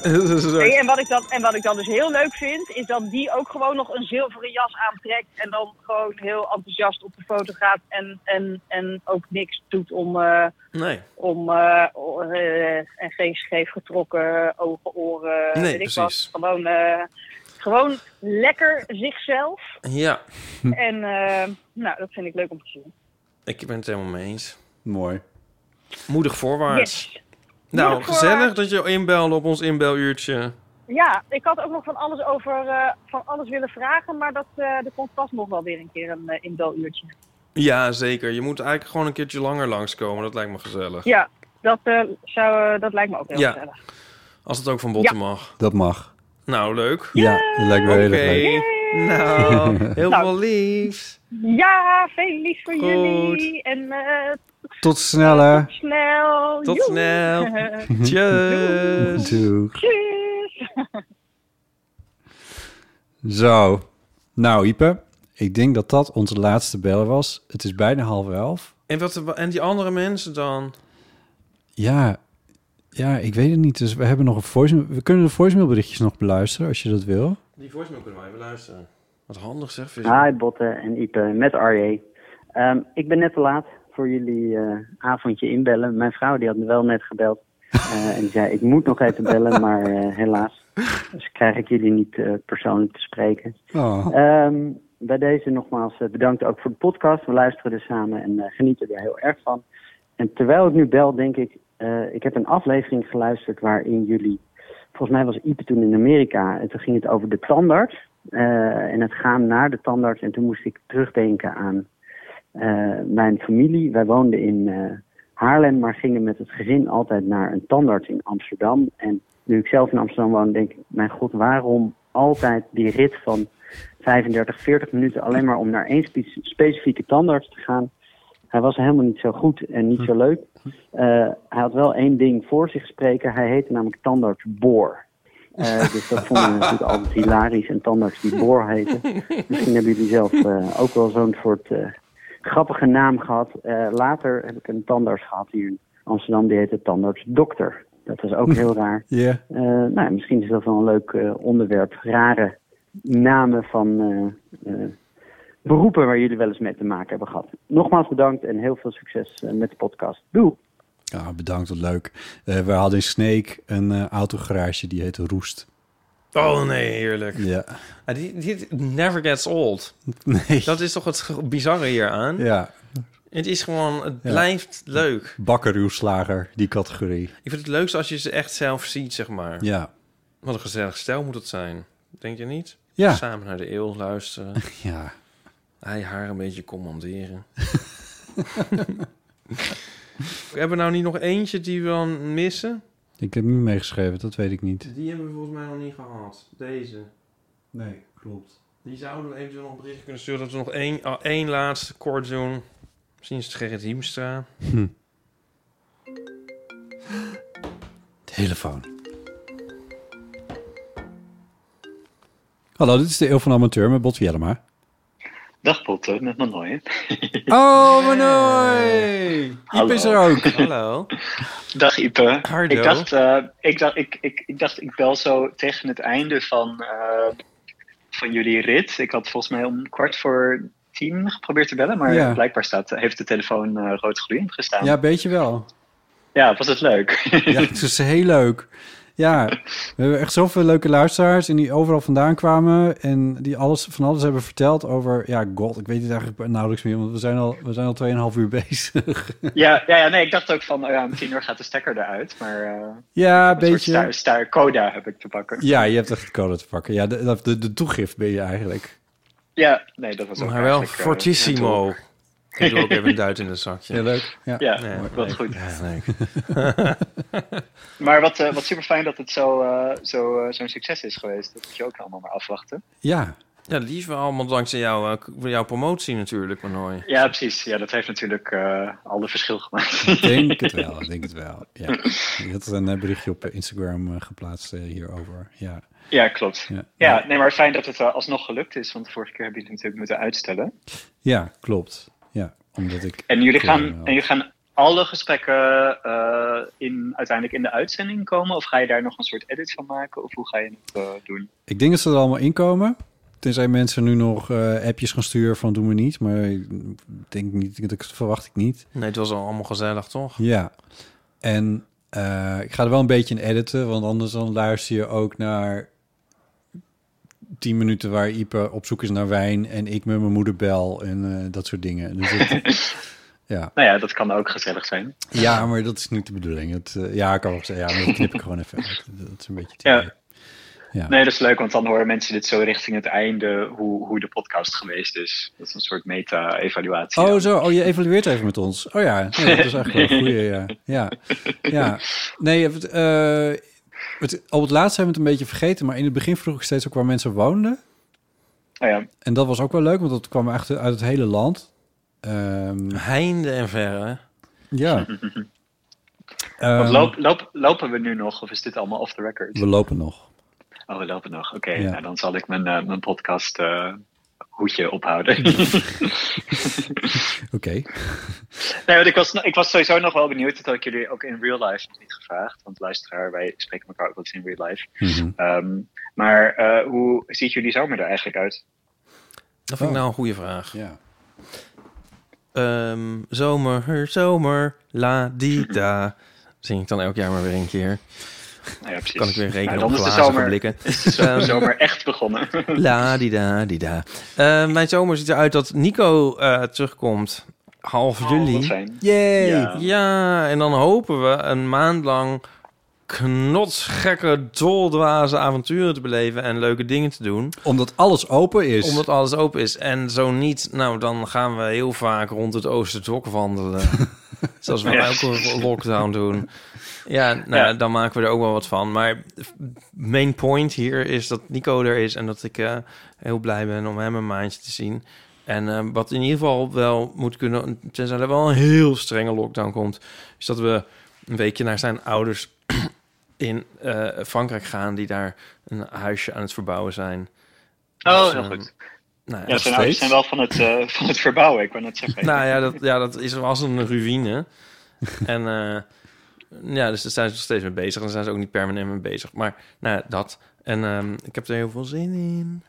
Speaker 7: een soort-
Speaker 16: Nee, en, wat ik dan, en wat ik dan dus heel leuk vind, is dat die ook gewoon nog een zilveren jas aantrekt. En dan gewoon heel enthousiast op de foto gaat. En, en, en ook niks doet om. eh,
Speaker 7: Nee.
Speaker 16: om eh, o- eh, en geen scheef getrokken ogen, oren.
Speaker 7: Nee,
Speaker 16: weet ik
Speaker 7: precies.
Speaker 16: wat. Gewoon, eh, gewoon lekker zichzelf.
Speaker 7: Ja,
Speaker 16: En eh, nou, dat vind ik leuk om te zien.
Speaker 7: ik ben het helemaal mee eens.
Speaker 5: Mooi.
Speaker 7: Moedig voorwaarts.
Speaker 16: Yes.
Speaker 7: Nou,
Speaker 16: Moedig
Speaker 7: gezellig dat
Speaker 16: voorwaarts.
Speaker 7: je inbelde op ons inbeluurtje.
Speaker 16: Ja, ik had ook nog van alles over eh, van alles willen vragen, maar dat, eh er komt vast nog wel weer een keer een eh, inbeluurtje.
Speaker 7: Ja, zeker. Je moet eigenlijk gewoon een keertje langer langskomen. Dat lijkt me gezellig.
Speaker 16: Ja, dat, eh, zou, eh, dat lijkt me ook heel
Speaker 7: Ja.
Speaker 16: gezellig.
Speaker 7: Als het ook van botten
Speaker 16: Ja.
Speaker 7: mag.
Speaker 5: Dat mag.
Speaker 7: Nou, leuk.
Speaker 5: Ja, dat lijkt me
Speaker 7: Oké.
Speaker 5: heel erg leuk. <laughs>
Speaker 7: Nou, heel
Speaker 16: Nou.
Speaker 7: veel liefs.
Speaker 16: Ja, veel lief voor
Speaker 7: Goed.
Speaker 16: jullie. En eh,
Speaker 5: Tot
Speaker 7: <laughs>
Speaker 5: sneller.
Speaker 16: snel.
Speaker 7: Tot
Speaker 16: Joe.
Speaker 7: snel.
Speaker 16: <laughs>
Speaker 7: Tjus.
Speaker 5: Doeg.
Speaker 16: Tjus. <laughs>
Speaker 5: Zo. Nou, Ipe, ik denk dat dat onze laatste bel was. Het is bijna half elf.
Speaker 7: En, wat, en die andere mensen dan?
Speaker 5: Ja, ja, ik weet het niet. Dus we hebben nog een voicemail. We kunnen de voicemailberichtjes nog beluisteren als je dat wil.
Speaker 7: Die voicemail kunnen we even luisteren. Wat handig zeg. Vis.
Speaker 21: Eh,
Speaker 7: <laughs>
Speaker 21: Hi Botte en Ipe, met Arje. Ehm, ik ben net te laat voor jullie eh, avondje inbellen. Mijn vrouw die had me wel net gebeld.
Speaker 7: <laughs>
Speaker 21: eh, en die zei, ik moet nog even bellen, maar eh, helaas. Dus krijg ik jullie niet eh, persoonlijk te spreken.
Speaker 20: eh,
Speaker 5: Oh.
Speaker 21: Ehm, bij deze nogmaals eh, bedankt ook voor de podcast. We luisteren er samen en eh, genieten er heel erg van. En terwijl ik nu bel, denk ik, eh, ik heb een aflevering geluisterd waarin jullie, volgens mij was Ipe toen in Amerika, en toen ging het over de tandarts eh, en het gaan naar de tandarts. En toen moest ik terugdenken aan eh, mijn familie. Wij woonden in eh, Haarlem, maar gingen met het gezin altijd naar een tandarts in Amsterdam. En nu ik zelf in Amsterdam woon, denk ik, mijn god, waarom altijd die rit van 35, 40 minuten alleen maar om naar één spe- specifieke tandarts te gaan. Hij was helemaal niet zo goed en niet zo leuk. Eh, hij had wel één ding voor zich spreken. Hij heette namelijk tandarts Boor. Eh, dus dat vonden we natuurlijk altijd hilarisch. En tandarts die Boor heette. Misschien hebben jullie zelf eh, ook wel zo'n soort eh, grappige naam gehad. Eh, later heb ik een tandarts gehad hier in Amsterdam. Die heette tandarts Dokter. Dat was ook heel raar.
Speaker 5: Ja.
Speaker 21: Eh, nou, ja, misschien is dat wel een leuk eh, onderwerp. Rare namen van eh, eh, beroepen waar jullie wel eens mee te maken hebben gehad. Nogmaals bedankt en heel veel succes eh, met de podcast. Doe!
Speaker 5: Ja, bedankt, wat leuk. Eh, we hadden in Sneek een eh, autogarage die heette Roest.
Speaker 7: Oh nee, heerlijk.
Speaker 5: Ja.
Speaker 7: Ah, die, die, never gets old.
Speaker 5: <laughs> Nee.
Speaker 7: Dat is toch het bizarre hieraan?
Speaker 5: Ja.
Speaker 7: Het is gewoon, het blijft leuk.
Speaker 5: Bakker uw slager, die categorie.
Speaker 7: Ik vind het leukst als je ze echt zelf ziet, zeg maar.
Speaker 5: Ja.
Speaker 7: Wat een gezellig stijl moet het zijn. Denk je niet?
Speaker 5: Ja.
Speaker 7: Samen naar de eeuw luisteren.
Speaker 5: <laughs> Ja.
Speaker 7: Hij haar een beetje commanderen. <laughs> Hebben we nou niet nog eentje die we dan missen?
Speaker 5: Ik heb niet meegeschreven, dat weet ik niet.
Speaker 7: Die hebben we volgens mij nog niet gehad. Deze.
Speaker 5: Nee, klopt.
Speaker 7: Die zouden we eventueel nog een berichtje kunnen sturen... dat we nog één, ah, één laatste kort doen. Misschien is het Gerrit Hiemstra.
Speaker 5: Hm. Telefoon. Hallo, dit is de Eeuw van de Amateur met Bot Jellema.
Speaker 1: Dag Potter, met Manoy.
Speaker 5: <laughs> Oh, Manoy! Iep is er
Speaker 1: <laughs>
Speaker 5: ook.
Speaker 7: Hallo.
Speaker 1: Dag Ipe.
Speaker 7: Hardo.
Speaker 1: Ik dacht, eh, ik, dacht ik, ik, ik dacht, ik bel zo tegen het einde van, eh, van jullie rit. Ik had volgens mij om kwart voor tien geprobeerd te bellen, maar
Speaker 5: Ja.
Speaker 1: blijkbaar staat, heeft de telefoon eh, rood gloeiend gestaan.
Speaker 5: Ja, beetje wel.
Speaker 1: Ja, was het leuk. <laughs>
Speaker 5: Ja, het is heel leuk. Ja, we hebben echt zoveel leuke luisteraars en die overal vandaan kwamen en die alles, van alles hebben verteld over, ja, god, ik weet het eigenlijk nauwelijks meer, want we zijn al, we zijn al 2,5 uur <laughs> bezig.
Speaker 1: ja, ja, ja, nee, ik dacht ook van, oh ja, om tien uur gaat de stekker eruit, maar eh,
Speaker 5: Ja, een
Speaker 1: een soort
Speaker 5: beetje.
Speaker 1: sta, sta- coda heb ik te pakken.
Speaker 5: Ja, je hebt echt de code te pakken. Ja, de, de, de toegift ben je
Speaker 1: <laughs>
Speaker 5: eigenlijk.
Speaker 1: Ja, nee, dat was ook
Speaker 7: Maar wel
Speaker 1: eigenlijk, eh,
Speaker 7: fortissimo. ik doe ook
Speaker 1: <laughs>
Speaker 7: even een duit in het zakje.
Speaker 5: Ja, leuk. Ja,
Speaker 1: Ja,
Speaker 7: Nee,
Speaker 1: wat
Speaker 7: leuk.
Speaker 1: goed.
Speaker 7: Ja, leuk.
Speaker 1: Maar wat, eh, wat super fijn dat het zo, eh, zo, eh, zo'n succes is geweest. Dat moet je ook allemaal maar afwachten.
Speaker 5: <laughs> Ja.
Speaker 7: Ja, lief allemaal dankzij jou, eh, k- jouw promotie natuurlijk, Manoy.
Speaker 1: Ja, precies. Ja, dat heeft natuurlijk eh, al de verschil gemaakt.
Speaker 5: Ik denk het wel, ik denk het wel. Ja. Je had een eh, berichtje op eh, Instagram eh, geplaatst eh, hierover. Ja.
Speaker 1: Ja, klopt.
Speaker 5: Ja.
Speaker 1: Ja, nee, maar fijn dat het eh, alsnog gelukt is. Want de vorige keer hebben jullie het natuurlijk moeten uitstellen.
Speaker 5: ja, klopt. Ja, omdat ik... eh,
Speaker 1: En jullie gaan,
Speaker 5: corona
Speaker 1: en
Speaker 5: had.
Speaker 1: jullie gaan alle gesprekken eh, in, uiteindelijk in de uitzending komen? Of ga je daar nog een soort edit van maken? Of hoe ga je het eh, doen?
Speaker 5: Ik denk dat ze er allemaal inkomen. Tenzij mensen nu nog eh, appjes gaan sturen van doen we niet. Maar ik denk niet, dat verwacht ik niet.
Speaker 7: Nee, het was al allemaal gezellig, toch?
Speaker 5: Ja. En eh, ik ga er wel een beetje in editen, want anders dan luister je ook naar 10 minuten waar Ipe op zoek is naar wijn en ik met mijn moeder bel en eh, dat soort dingen. Dus het- ja.
Speaker 1: Nou ja, dat kan ook gezellig zijn.
Speaker 5: ja, maar dat is niet de bedoeling. Het, eh, ja, ik kan wel zeggen, ja, maar dat knip ik gewoon even uit. Dat is een beetje...
Speaker 1: Ja.
Speaker 5: Ja.
Speaker 1: Nee, dat is leuk, want dan horen mensen dit zo richting het einde, hoe, hoe de podcast geweest is. Dat is een soort meta-evaluatie.
Speaker 5: Oh, zo. Oh, je evalueert even met ons. Oh ja, nee, dat is eigenlijk wel een goede.
Speaker 1: <laughs>
Speaker 5: Ja. Ja. ja. Nee, het, eh, het, op het laatst hebben we het een beetje vergeten. Maar in het begin vroeg ik steeds ook waar mensen woonden.
Speaker 1: Oh ja.
Speaker 5: En dat was ook wel leuk, want dat kwam echt uit het hele land. Ehm,
Speaker 7: Heinde en
Speaker 1: <laughs>
Speaker 7: verre.
Speaker 5: ja.
Speaker 1: Want
Speaker 5: Ehm,
Speaker 1: loop, loop, lopen we nu nog, of is dit allemaal off the record?
Speaker 5: We lopen nog.
Speaker 1: Oh, we lopen nog. Oké,
Speaker 5: Ja.
Speaker 1: nou, dan zal ik mijn, eh, mijn podcast eh, hoedje
Speaker 5: <laughs>
Speaker 1: ophouden. <laughs>
Speaker 5: Oké.
Speaker 7: <laughs>
Speaker 1: nee, want ik was, ik was sowieso nog wel benieuwd. Dat had ik jullie ook in real life nog niet gevraagd. Want luisteraar, wij spreken elkaar ook wel eens in real life.
Speaker 5: Mhm.
Speaker 1: Ehm, maar eh, hoe ziet jullie zomer er eigenlijk uit?
Speaker 7: Dat vind ik nou een goede vraag. Ehm,
Speaker 5: Ja.
Speaker 7: zomer, her, zomer, la di da. Zing ik dan elk jaar maar weer een keer.
Speaker 1: Nou ja, precies.
Speaker 7: Kan ik weer
Speaker 1: Nou,
Speaker 7: rekenen
Speaker 1: dan
Speaker 7: op
Speaker 1: is de
Speaker 7: glazige
Speaker 1: zomer-
Speaker 7: blikken.
Speaker 1: <laughs> is de zo-
Speaker 7: Ehm,
Speaker 1: zomer echt begonnen.
Speaker 7: <laughs> La di da di da. Eh, mijn zomer ziet eruit dat Nico eh, terugkomt. Half juli.
Speaker 1: Oh, fijn.
Speaker 7: Yay.
Speaker 1: Ja.
Speaker 7: Ja. en dan hopen we een maand lang knotsgekke, doldwaze avonturen te beleven en leuke dingen te doen.
Speaker 5: Omdat alles open is.
Speaker 7: Omdat alles open is. En zo niet, nou dan gaan we heel vaak rond het Oosterdok
Speaker 5: <laughs>
Speaker 7: wandelen. Zoals we
Speaker 1: Ja.
Speaker 7: elke lockdown doen. Ja, nou,
Speaker 1: Ja.
Speaker 7: dan maken we er ook wel wat van. Maar main point hier is dat Nico er is en dat ik eh, heel blij ben om hem een maandje te zien. En eh, wat in ieder geval wel moet kunnen, tenzij er wel een heel strenge lockdown komt, is dat we een weekje naar zijn ouders <clears throat> in eh, Frankrijk gaan, die daar een huisje aan het verbouwen zijn.
Speaker 1: Oh,
Speaker 7: Dus,
Speaker 1: heel
Speaker 7: ehm,
Speaker 1: goed.
Speaker 7: nou
Speaker 1: ja, zijn ouders zijn wel van het, eh, <laughs> van het verbouwen, ik wou net zeggen.
Speaker 7: nou ja, dat, ja, dat is, was een ruïne. en eh, ja, dus daar zijn ze nog steeds mee bezig. En daar zijn ze ook niet permanent mee bezig. Maar nou, ja, dat. En ehm, ik heb er heel veel zin in.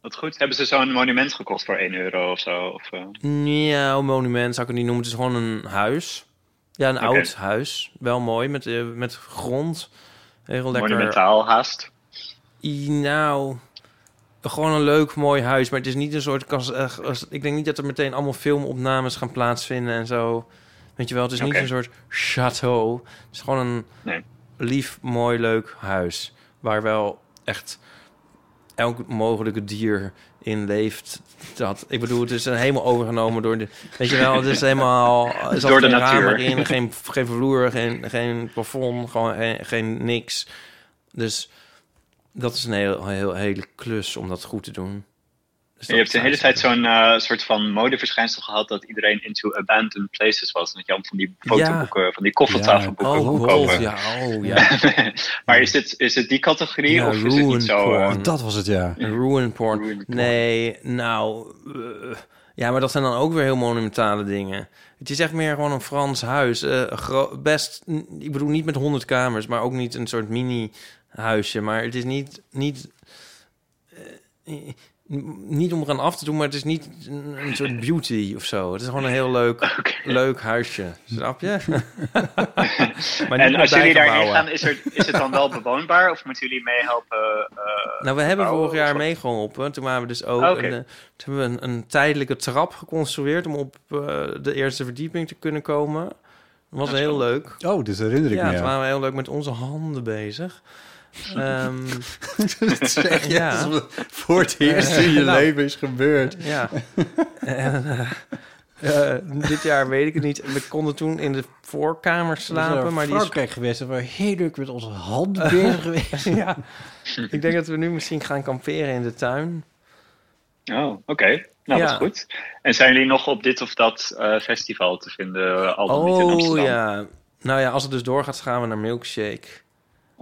Speaker 1: Wat goed. Hebben ze zo'n monument gekocht voor 1 euro of zo? Of, eh,
Speaker 7: Ja, een monument zou ik het niet noemen. Het is gewoon een huis. Ja, een
Speaker 1: Oké.
Speaker 7: oud huis. Wel mooi, met, eh, met grond. Heel lekker. eh,
Speaker 1: Monumentaal haast.
Speaker 7: I- Nou, gewoon een leuk, mooi huis. Maar het is niet een soort... kas- eh, als- Ik denk niet dat er meteen allemaal filmopnames gaan plaatsvinden en zo. Weet je wel, het is
Speaker 1: Oké.
Speaker 7: niet een soort château. Het is gewoon een
Speaker 1: Nee.
Speaker 7: lief, mooi, leuk huis. Waar wel echt elk mogelijke dier in leeft. Dat, ik bedoel, het is helemaal overgenomen door de... Weet je wel, het is helemaal... Er zat
Speaker 1: Door de
Speaker 7: geen raam
Speaker 1: natuur.
Speaker 7: erin, geen, geen vloer, geen, geen plafond, gewoon geen, geen niks. Dus dat is een heel, heel, hele klus om dat goed te doen. Dus
Speaker 1: je hebt de hele tijd zo'n eh, soort van modeverschijnsel gehad dat iedereen into abandoned places was. En dat je allemaal van die fotoboeken, van die koffertafelboeken
Speaker 7: Ja. Oh,
Speaker 1: kon
Speaker 7: God,
Speaker 1: kopen.
Speaker 7: ja, oh, ja.
Speaker 1: <laughs> maar is het, is het die categorie of is het niet zo... eh,
Speaker 5: Oh, Dat was het, ja.
Speaker 7: Ruin porn. Nee, nou... eh, ja, maar dat zijn dan ook weer heel monumentale dingen. Het is echt meer gewoon een Frans huis. eh, gro- best, n- ik bedoel, niet met honderd kamers, maar ook niet een soort mini-huisje. Maar het is niet... niet eh, n- niet om eraan af te doen, maar het is niet een een soort beauty of zo. Het is gewoon een heel leuk,
Speaker 1: <laughs>
Speaker 7: leuk huisje. Snap je? <laughs> maar
Speaker 1: en
Speaker 7: niet
Speaker 1: als jullie
Speaker 7: met
Speaker 1: daarheen
Speaker 7: bijgebouwen.
Speaker 1: gaan, is, er, is het dan wel bewoonbaar of moeten jullie meehelpen? eh,
Speaker 7: Nou, we hebben
Speaker 1: bouwen
Speaker 7: vorig
Speaker 1: of
Speaker 7: jaar
Speaker 1: wat?
Speaker 7: meegeholpen. Toen waren we dus ook
Speaker 1: Oh, oké.
Speaker 7: een, eh, toen hebben we een, een tijdelijke trap geconstrueerd om op eh, de eerste verdieping te kunnen komen. Dat was
Speaker 5: Dat is
Speaker 7: heel
Speaker 5: wel-
Speaker 7: leuk.
Speaker 5: Oh, dit herinner ik
Speaker 7: ja,
Speaker 5: me,
Speaker 7: toen
Speaker 5: ja.
Speaker 7: waren we heel leuk met onze handen bezig. Ehm,
Speaker 5: <laughs> Dat zeg je alsof het voor het eerst in
Speaker 7: <laughs>
Speaker 5: je leven is gebeurd.
Speaker 7: Nou. Ja. En, eh, eh, dit jaar weet ik het niet. We konden toen in de voorkamer slapen, maar die is
Speaker 5: Frankrijk geweest. Daar waren we heel leuk met onze
Speaker 7: <laughs>
Speaker 5: handen
Speaker 7: Eh,
Speaker 5: bezig geweest.
Speaker 7: ja. Ik denk dat we nu misschien gaan kamperen in de tuin.
Speaker 1: Oh, oké. Nou, dat
Speaker 7: Ja.
Speaker 1: is goed. En zijn jullie nog op dit of dat eh, festival te vinden? Al dan niet in
Speaker 7: oh
Speaker 1: Amsterdam?
Speaker 7: ja. Nou ja, als het dus doorgaat, gaan we naar Milkshake.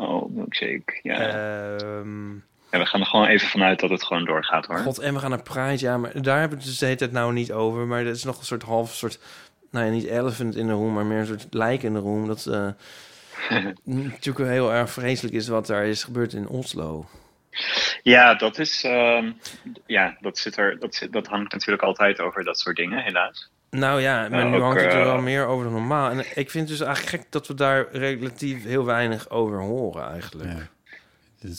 Speaker 1: Oh, Milkshake, ja.
Speaker 7: Ehm,
Speaker 1: Ja, we gaan er gewoon even vanuit dat het gewoon doorgaat hoor.
Speaker 7: God, en we gaan naar Pride, ja, maar daar hebben we het dus de hele tijd nou niet over. Maar dat is nog een soort half soort, nou ja, niet elephant in de room, maar meer een soort lijk in de room.
Speaker 1: <laughs>
Speaker 7: Dat eh, natuurlijk heel erg vreselijk is wat daar is gebeurd in Oslo.
Speaker 1: Ja, dat is. ehm, ja, dat, zit er, dat, zit- dat hangt natuurlijk altijd over dat soort dingen, helaas.
Speaker 7: Nou ja, maar
Speaker 1: Ja,
Speaker 7: nu
Speaker 1: ook,
Speaker 7: hangt het er
Speaker 1: eh,
Speaker 7: wel meer over dan normaal. En ik vind het dus eigenlijk gek dat we daar relatief heel weinig over horen eigenlijk.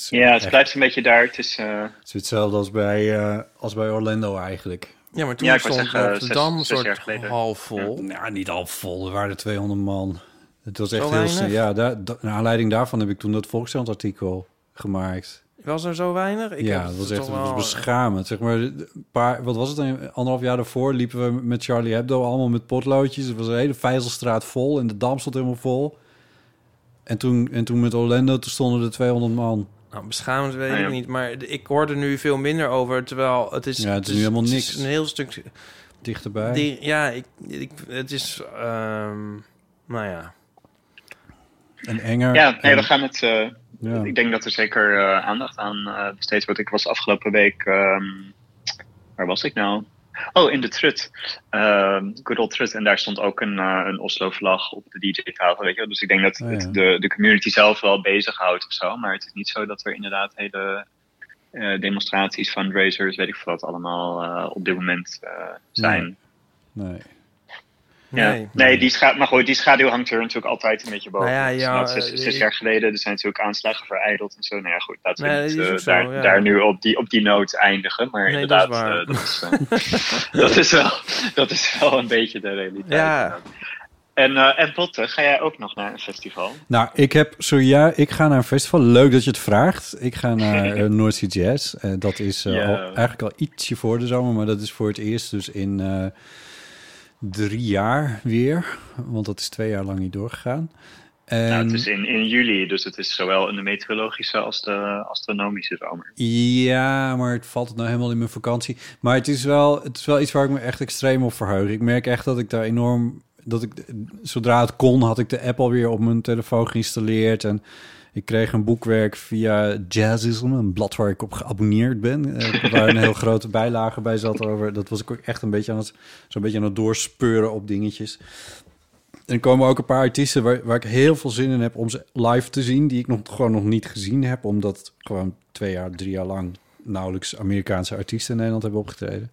Speaker 1: Ja, het blijft een beetje daar. Het is. eh,
Speaker 5: Het is hetzelfde als bij, eh, als bij Orlando eigenlijk.
Speaker 7: Ja, maar toen
Speaker 1: Ja, ik wou
Speaker 7: stond
Speaker 1: zeggen,
Speaker 7: Rotterdam
Speaker 1: zes-
Speaker 7: een
Speaker 1: zes jaar
Speaker 7: soort
Speaker 1: geleden.
Speaker 7: half vol.
Speaker 5: Nou, niet half vol. Er waren 200 man. Het was
Speaker 7: Zo
Speaker 5: echt heel...
Speaker 7: weinig?
Speaker 5: Ja, daar, da- naar aanleiding daarvan heb ik toen dat Volkskrant-artikel gemaakt.
Speaker 7: Was er zo weinig? Ik
Speaker 5: ja,
Speaker 7: heb
Speaker 5: dat
Speaker 7: het
Speaker 5: was echt
Speaker 7: toch
Speaker 5: dat was
Speaker 7: wel-
Speaker 5: beschamend. Zeg maar, een paar, wat was het? Een anderhalf jaar daarvoor liepen we met Charlie Hebdo allemaal met potloodjes. Het was een hele Vijzelstraat vol en de Dam stond helemaal vol. En toen, en toen met Orlando, toen stonden er 200 man.
Speaker 7: Nou, beschamend weet
Speaker 5: Nou ja.
Speaker 7: ik niet, maar d- ik hoor er nu veel minder over, terwijl het is...
Speaker 5: Ja, het is nu helemaal
Speaker 7: het
Speaker 5: niks.
Speaker 7: is een heel stuk...
Speaker 5: Dichterbij.
Speaker 7: Die, ja, ik, ik, het is... ehm, nou ja.
Speaker 5: En enger.
Speaker 1: Ja, nee,
Speaker 5: En-
Speaker 1: we gaan het. eh,
Speaker 5: Ja.
Speaker 1: Ik denk dat er zeker eh, aandacht aan eh, besteed wordt. Ik was afgelopen week. ehm, waar was ik nou? Oh, in de Trut. Ehm good old Trut. En daar stond ook een, eh, een Oslo-vlag op de DJ-tafel. Weet je? wel. Dus ik denk dat
Speaker 5: Oh, ja.
Speaker 1: het de, de community zelf wel bezighoudt of zo. Maar het is niet zo dat er inderdaad hele eh, demonstraties, fundraisers, weet ik veel wat allemaal eh, op dit moment eh, zijn.
Speaker 5: Nee.
Speaker 1: Ja.
Speaker 5: Nee.
Speaker 1: Nee, die scha- maar goed, die schaduw hangt er natuurlijk altijd een beetje boven.
Speaker 7: Nou ja,
Speaker 1: Dus
Speaker 7: ja,
Speaker 1: dat is
Speaker 7: eh,
Speaker 1: zes, zes
Speaker 7: ik-
Speaker 1: jaar geleden, er zijn natuurlijk aanslagen vereideld en zo. Nou ja, goed, laten we
Speaker 7: Nee,
Speaker 1: niet,
Speaker 7: dat is
Speaker 1: eh,
Speaker 7: ook zo,
Speaker 1: daar,
Speaker 7: ja.
Speaker 1: daar nu op die, op die noot eindigen. Maar
Speaker 7: Nee, dat is
Speaker 1: inderdaad,
Speaker 7: waar.
Speaker 1: eh, dat is,
Speaker 7: <laughs>
Speaker 1: eh, <laughs> dat, is wel, dat is wel een beetje de realiteit.
Speaker 7: Ja.
Speaker 1: En, eh en Botte, ga jij ook nog naar een festival?
Speaker 5: Nou, ik heb zojuist... Ik ga naar een festival. Leuk dat je het vraagt. Ik
Speaker 1: <laughs>
Speaker 5: ga naar eh, North Sea Jazz. Eh, dat is eh,
Speaker 1: Ja.
Speaker 5: al- eigenlijk al ietsje voor de zomer, maar dat is voor het eerst dus in eh, drie jaar weer. Want dat is twee jaar lang niet doorgegaan. En,
Speaker 1: Nou, het is in, in juli, dus het is zowel in de meteorologische als de astronomische zomer.
Speaker 5: Ja, maar het valt nou helemaal in mijn vakantie. Maar het is, wel, het is wel iets waar ik me echt extreem op verheug. Ik merk echt dat ik daar enorm... Dat ik, zodra het kon, had ik de app alweer op mijn telefoon geïnstalleerd. En ik kreeg een boekwerk via Jazzism, een blad waar ik op geabonneerd ben. eh, waar een heel grote bijlage bij zat over. Dat was ik ook echt een beetje aan het, zo'n beetje aan het doorspeuren op dingetjes. En er komen ook een paar artiesten waar, waar ik heel veel zin in heb om ze live te zien. Die ik nog, gewoon nog niet gezien heb. Omdat gewoon twee jaar, drie jaar lang nauwelijks Amerikaanse artiesten in Nederland hebben opgetreden.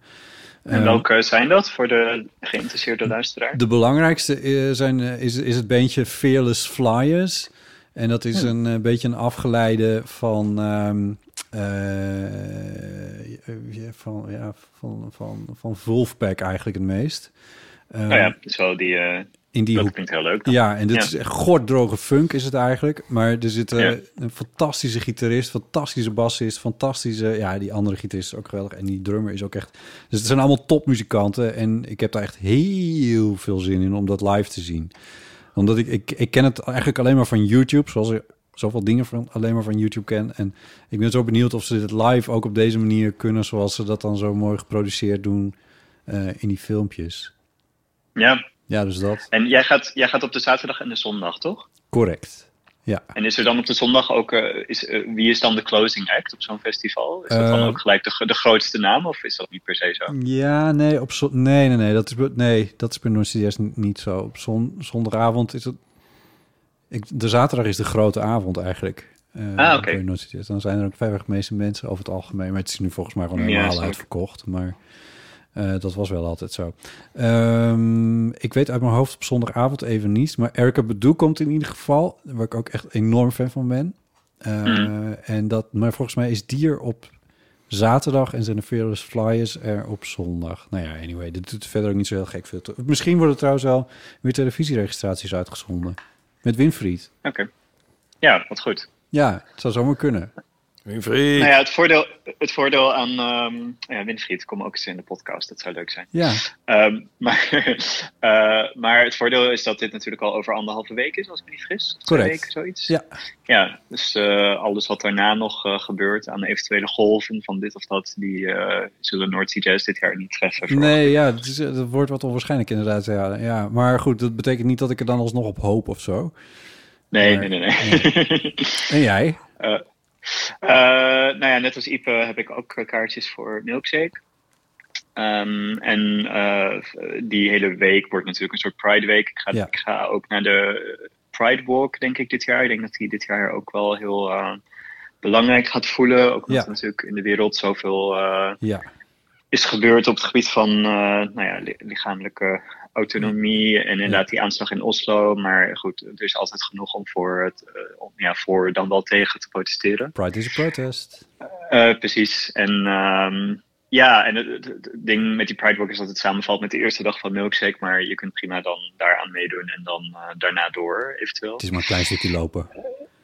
Speaker 1: En
Speaker 5: Eh,
Speaker 1: welke zijn dat voor de geïnteresseerde luisteraar?
Speaker 5: de belangrijkste eh, zijn, eh, is, is het bandje Fearless Flyers. En dat is
Speaker 1: Hmm.
Speaker 5: een eh, beetje een afgeleide van ehm, eh, van, ja, van, van, van Wolfpack eigenlijk het meest. Eh,
Speaker 1: Nou ja, zo die. eh,
Speaker 5: in die
Speaker 1: dat
Speaker 5: hoek.
Speaker 1: klinkt heel leuk. dan.
Speaker 5: Ja, en dit is echt gorddroge funk is het eigenlijk. Maar er zit eh,
Speaker 1: Ja.
Speaker 5: een fantastische gitarist, fantastische bassist, fantastische... Ja, die andere gitarist is ook geweldig. En die drummer is ook echt... Dus het zijn allemaal topmuzikanten. En ik heb daar echt heel veel zin in om dat live te zien. Omdat ik, ik, ik ken het eigenlijk alleen maar van YouTube. Zoals ik zoveel dingen van, alleen maar van YouTube ken. En ik ben zo benieuwd of ze dit live ook op deze manier kunnen... zoals ze dat dan zo mooi geproduceerd doen eh, in die filmpjes.
Speaker 1: ja.
Speaker 5: Ja, dus dat.
Speaker 1: En jij gaat, jij gaat op de zaterdag en de zondag, toch?
Speaker 5: Correct.
Speaker 1: En is er dan op de zondag ook. eh, is, eh, wie is dan de closing act op zo'n festival? Is dat
Speaker 5: Eh,
Speaker 1: dan ook gelijk de, gro- de grootste naam of is dat niet per se zo?
Speaker 5: Ja, nee, op zo nee, nee, nee, dat is, be- nee, dat is bij Noord-CDS niet, niet zo. Op zon zondagavond is het... Ik, de zaterdag is de grote avond eigenlijk. eh,
Speaker 1: Ah, oké.
Speaker 5: bij Noord-CDS. Dan zijn er ook vrijwel de meeste mensen over het algemeen. Maar het is nu volgens mij gewoon
Speaker 1: Ja,
Speaker 5: helemaal
Speaker 1: snap ik.
Speaker 5: uitverkocht. Maar eh, dat was wel altijd zo. Ehm, ik weet uit mijn hoofd op zondagavond even niet. Maar Erika Bedoe komt in ieder geval. Waar ik ook echt enorm fan van ben. Eh,
Speaker 1: Mhm.
Speaker 5: en dat, maar volgens mij is Dier op zaterdag en zijn de Fearless Flyers er op zondag. Nou ja, anyway, dit doet verder ook niet zo heel gek veel. toe. Misschien worden trouwens wel weer televisieregistraties uitgezonden. Met Winfried.
Speaker 1: Oké. Ja, wat goed.
Speaker 5: Ja, het zou zomaar kunnen.
Speaker 14: Winfried.
Speaker 1: Nou ja, het voordeel, het voordeel aan ehm ja, Winfried, kom ook eens in de podcast, dat zou leuk zijn.
Speaker 5: Ja.
Speaker 1: Ehm, <laughs> maar, eh, maar het voordeel is dat dit natuurlijk al over anderhalve week is, als ik me niet vergis. Of twee
Speaker 5: Correct.
Speaker 1: weken, zoiets.
Speaker 5: Ja.
Speaker 1: Ja, dus eh, alles wat daarna nog eh, gebeurt aan eventuele golven van dit of dat, die eh, zullen North Sea Jazz dit jaar niet treffen.
Speaker 5: Nee, ja, het, is, het wordt wat onwaarschijnlijk inderdaad. Ja, ja, maar goed, dat betekent niet dat ik er dan alsnog op hoop of zo.
Speaker 1: Nee,
Speaker 5: Maar-
Speaker 1: nee, nee. <laughs> nee.
Speaker 5: En jij?
Speaker 1: Eh, eh, nou ja, net als Ipe heb ik ook eh, kaartjes voor Milkshake. Ehm, en eh, die hele week wordt natuurlijk een soort Pride Week. Ik ga,
Speaker 5: Ja.
Speaker 1: ik ga ook naar de Pride Walk, denk ik, dit jaar. Ik denk dat die dit jaar ook wel heel eh, belangrijk gaat voelen. Ook omdat
Speaker 5: Ja.
Speaker 1: er natuurlijk in de wereld zoveel eh,
Speaker 5: Ja.
Speaker 1: is gebeurd op het gebied van eh, nou ja, li- lichamelijke autonomie en inderdaad die aanslag in Oslo. Maar goed, er is altijd genoeg om voor, het, eh, om, ja, voor dan wel tegen te protesteren.
Speaker 5: Pride is a protest.
Speaker 1: Eh, precies. En ehm, ja, en het, het- het ding met die Pride Walk is dat het samenvalt met de eerste dag van Milkshake. Maar je kunt prima dan daaraan meedoen en dan eh, daarna door eventueel.
Speaker 5: Het is maar een klein stukje lopen.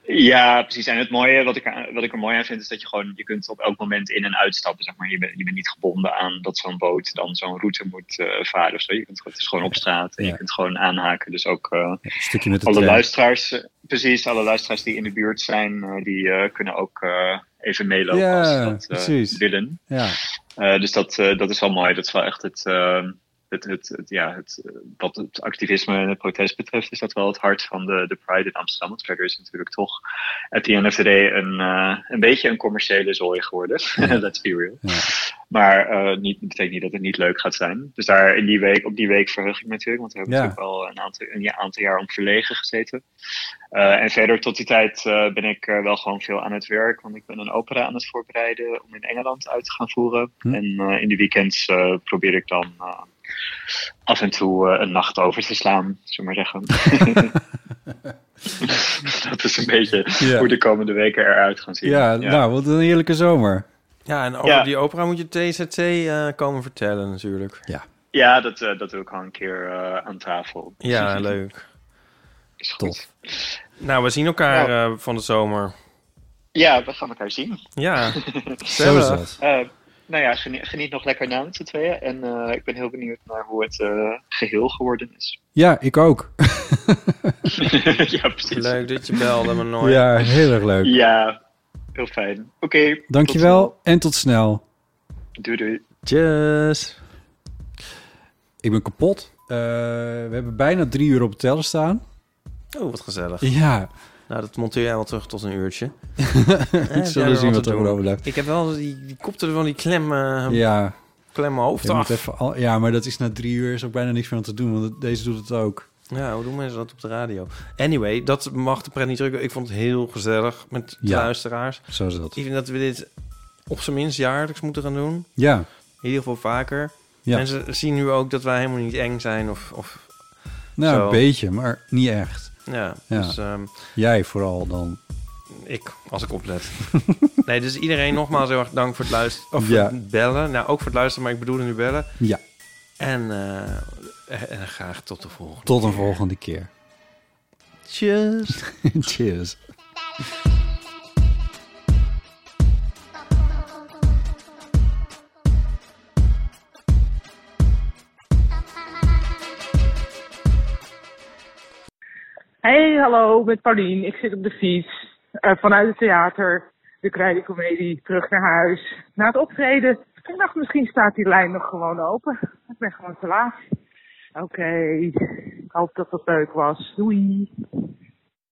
Speaker 1: Ja, precies. En het mooie, wat ik, aan- wat ik er mooi aan vind, is dat je gewoon, je kunt op elk moment in en uitstappen, zeg maar. Je bent, je bent niet gebonden aan dat zo'n boot dan zo'n route moet eh, varen of zo. Je kunt, gewoon- het is gewoon op straat en je kunt gewoon aanhaken. Dus ook eh,
Speaker 5: stukje met de
Speaker 1: alle
Speaker 5: trein.
Speaker 1: luisteraars, eh, precies, alle luisteraars die in de buurt zijn, eh, die eh, kunnen ook eh, even meelopen
Speaker 5: Ja,
Speaker 1: als ze dat eh,
Speaker 5: precies.
Speaker 1: willen.
Speaker 5: Ja.
Speaker 1: Eh, dus dat, eh, dat is wel mooi. Dat is wel echt het, eh, het, het, het- ja, het, eh, wat het activisme en het protest betreft, is dat wel het hart van de, de Pride in Amsterdam. Want verder is het natuurlijk toch at the end of the day een, eh, een beetje een commerciële zooi geworden. <laughs> Let's be real. Maar eh niet, dat betekent niet dat het niet leuk gaat zijn. Dus daar in die week, op die week verheug ik me natuurlijk, want we hebben
Speaker 5: Ja.
Speaker 1: natuurlijk wel een aantal, een ja- aantal jaar om verlegen gezeten. Eh, en verder tot die tijd eh, ben ik eh, wel gewoon veel aan het werk, want ik ben een opera aan het voorbereiden om in Engeland uit te gaan voeren.
Speaker 5: Hm.
Speaker 1: En eh, in de weekends eh, probeer ik dan eh, af en toe eh, een nacht over te slaan, zullen we maar zeggen. dat is een beetje
Speaker 5: Ja.
Speaker 1: hoe de komende weken eruit gaan zien.
Speaker 5: Ja, nou, wat een heerlijke zomer.
Speaker 14: Ja, en over
Speaker 1: Ja.
Speaker 14: die opera moet je TZT eh, komen vertellen natuurlijk.
Speaker 5: Ja.
Speaker 1: Ja, dat, eh, dat doe ik al een keer eh, aan tafel.
Speaker 14: Ja, leuk.
Speaker 1: Is
Speaker 5: goed.
Speaker 14: Nou, we zien elkaar eh, van de zomer.
Speaker 1: Ja, we gaan elkaar zien.
Speaker 14: Ja,
Speaker 1: <laughs> Zo
Speaker 14: gezellig.
Speaker 1: Eh, nou ja, geniet, geniet nog lekker na met z'n tweeën. En eh, ik ben heel benieuwd naar hoe het eh, geheel geworden is.
Speaker 5: Ja, ik ook.
Speaker 1: <laughs> ja, precies.
Speaker 14: Leuk dat je belde me nooit.
Speaker 5: Ja, heel erg leuk.
Speaker 1: Ja, heel fijn. Oké.
Speaker 5: Dankjewel en tot snel.
Speaker 1: Doei doei.
Speaker 14: Tjus.
Speaker 5: Ik ben kapot. Eh, we hebben bijna drie uur op het tellen staan.
Speaker 14: Oh, wat gezellig.
Speaker 5: Ja.
Speaker 14: Nou, dat monteer jij wel terug tot een
Speaker 5: <laughs>
Speaker 14: uurtje.
Speaker 5: zullen zien wat er overblijft.
Speaker 14: Ik heb wel die, die kopte van die klem, eh
Speaker 5: Ja.
Speaker 14: klem mijn hoofd
Speaker 5: Je moet
Speaker 14: af.
Speaker 5: even al- ja, maar dat is na drie uur is ook bijna niks meer aan te doen, want het- deze doet het ook.
Speaker 14: Ja, hoe doen mensen dat op de radio? Anyway, dat mag de pret niet drukken. Ik vond het heel gezellig met de
Speaker 5: Ja,
Speaker 14: luisteraars.
Speaker 5: zo is dat.
Speaker 14: Ik vind dat we dit op zijn minst jaarlijks moeten gaan doen.
Speaker 5: Ja.
Speaker 14: In ieder geval vaker.
Speaker 5: Ja.
Speaker 14: Mensen zien nu ook dat wij helemaal niet eng zijn of, of
Speaker 5: Nou,
Speaker 14: zo.
Speaker 5: een beetje, maar niet echt.
Speaker 14: Ja, dus, ehm,
Speaker 5: Jij vooral dan.
Speaker 7: Ik, als ik oplet. nee, dus iedereen nogmaals heel erg dank voor het luisteren. Of
Speaker 5: Ja.
Speaker 7: voor het bellen. Nou, ook voor het luisteren, maar ik bedoelde nu bellen.
Speaker 5: Ja.
Speaker 7: En, eh, en graag tot de
Speaker 5: <laughs>
Speaker 7: volgende.
Speaker 5: Tot een volgende keer. <laughs>
Speaker 7: Cheers.
Speaker 5: Cheers.
Speaker 10: Hey, hallo, met Paulien. Ik zit op de fiets eh, vanuit het theater, de Kruidencomedie, terug naar huis. Na het optreden, ik dacht misschien staat die lijn nog gewoon open. Ik eh, ben gewoon te laat. Oké, ik hoop dat het leuk was. Doei.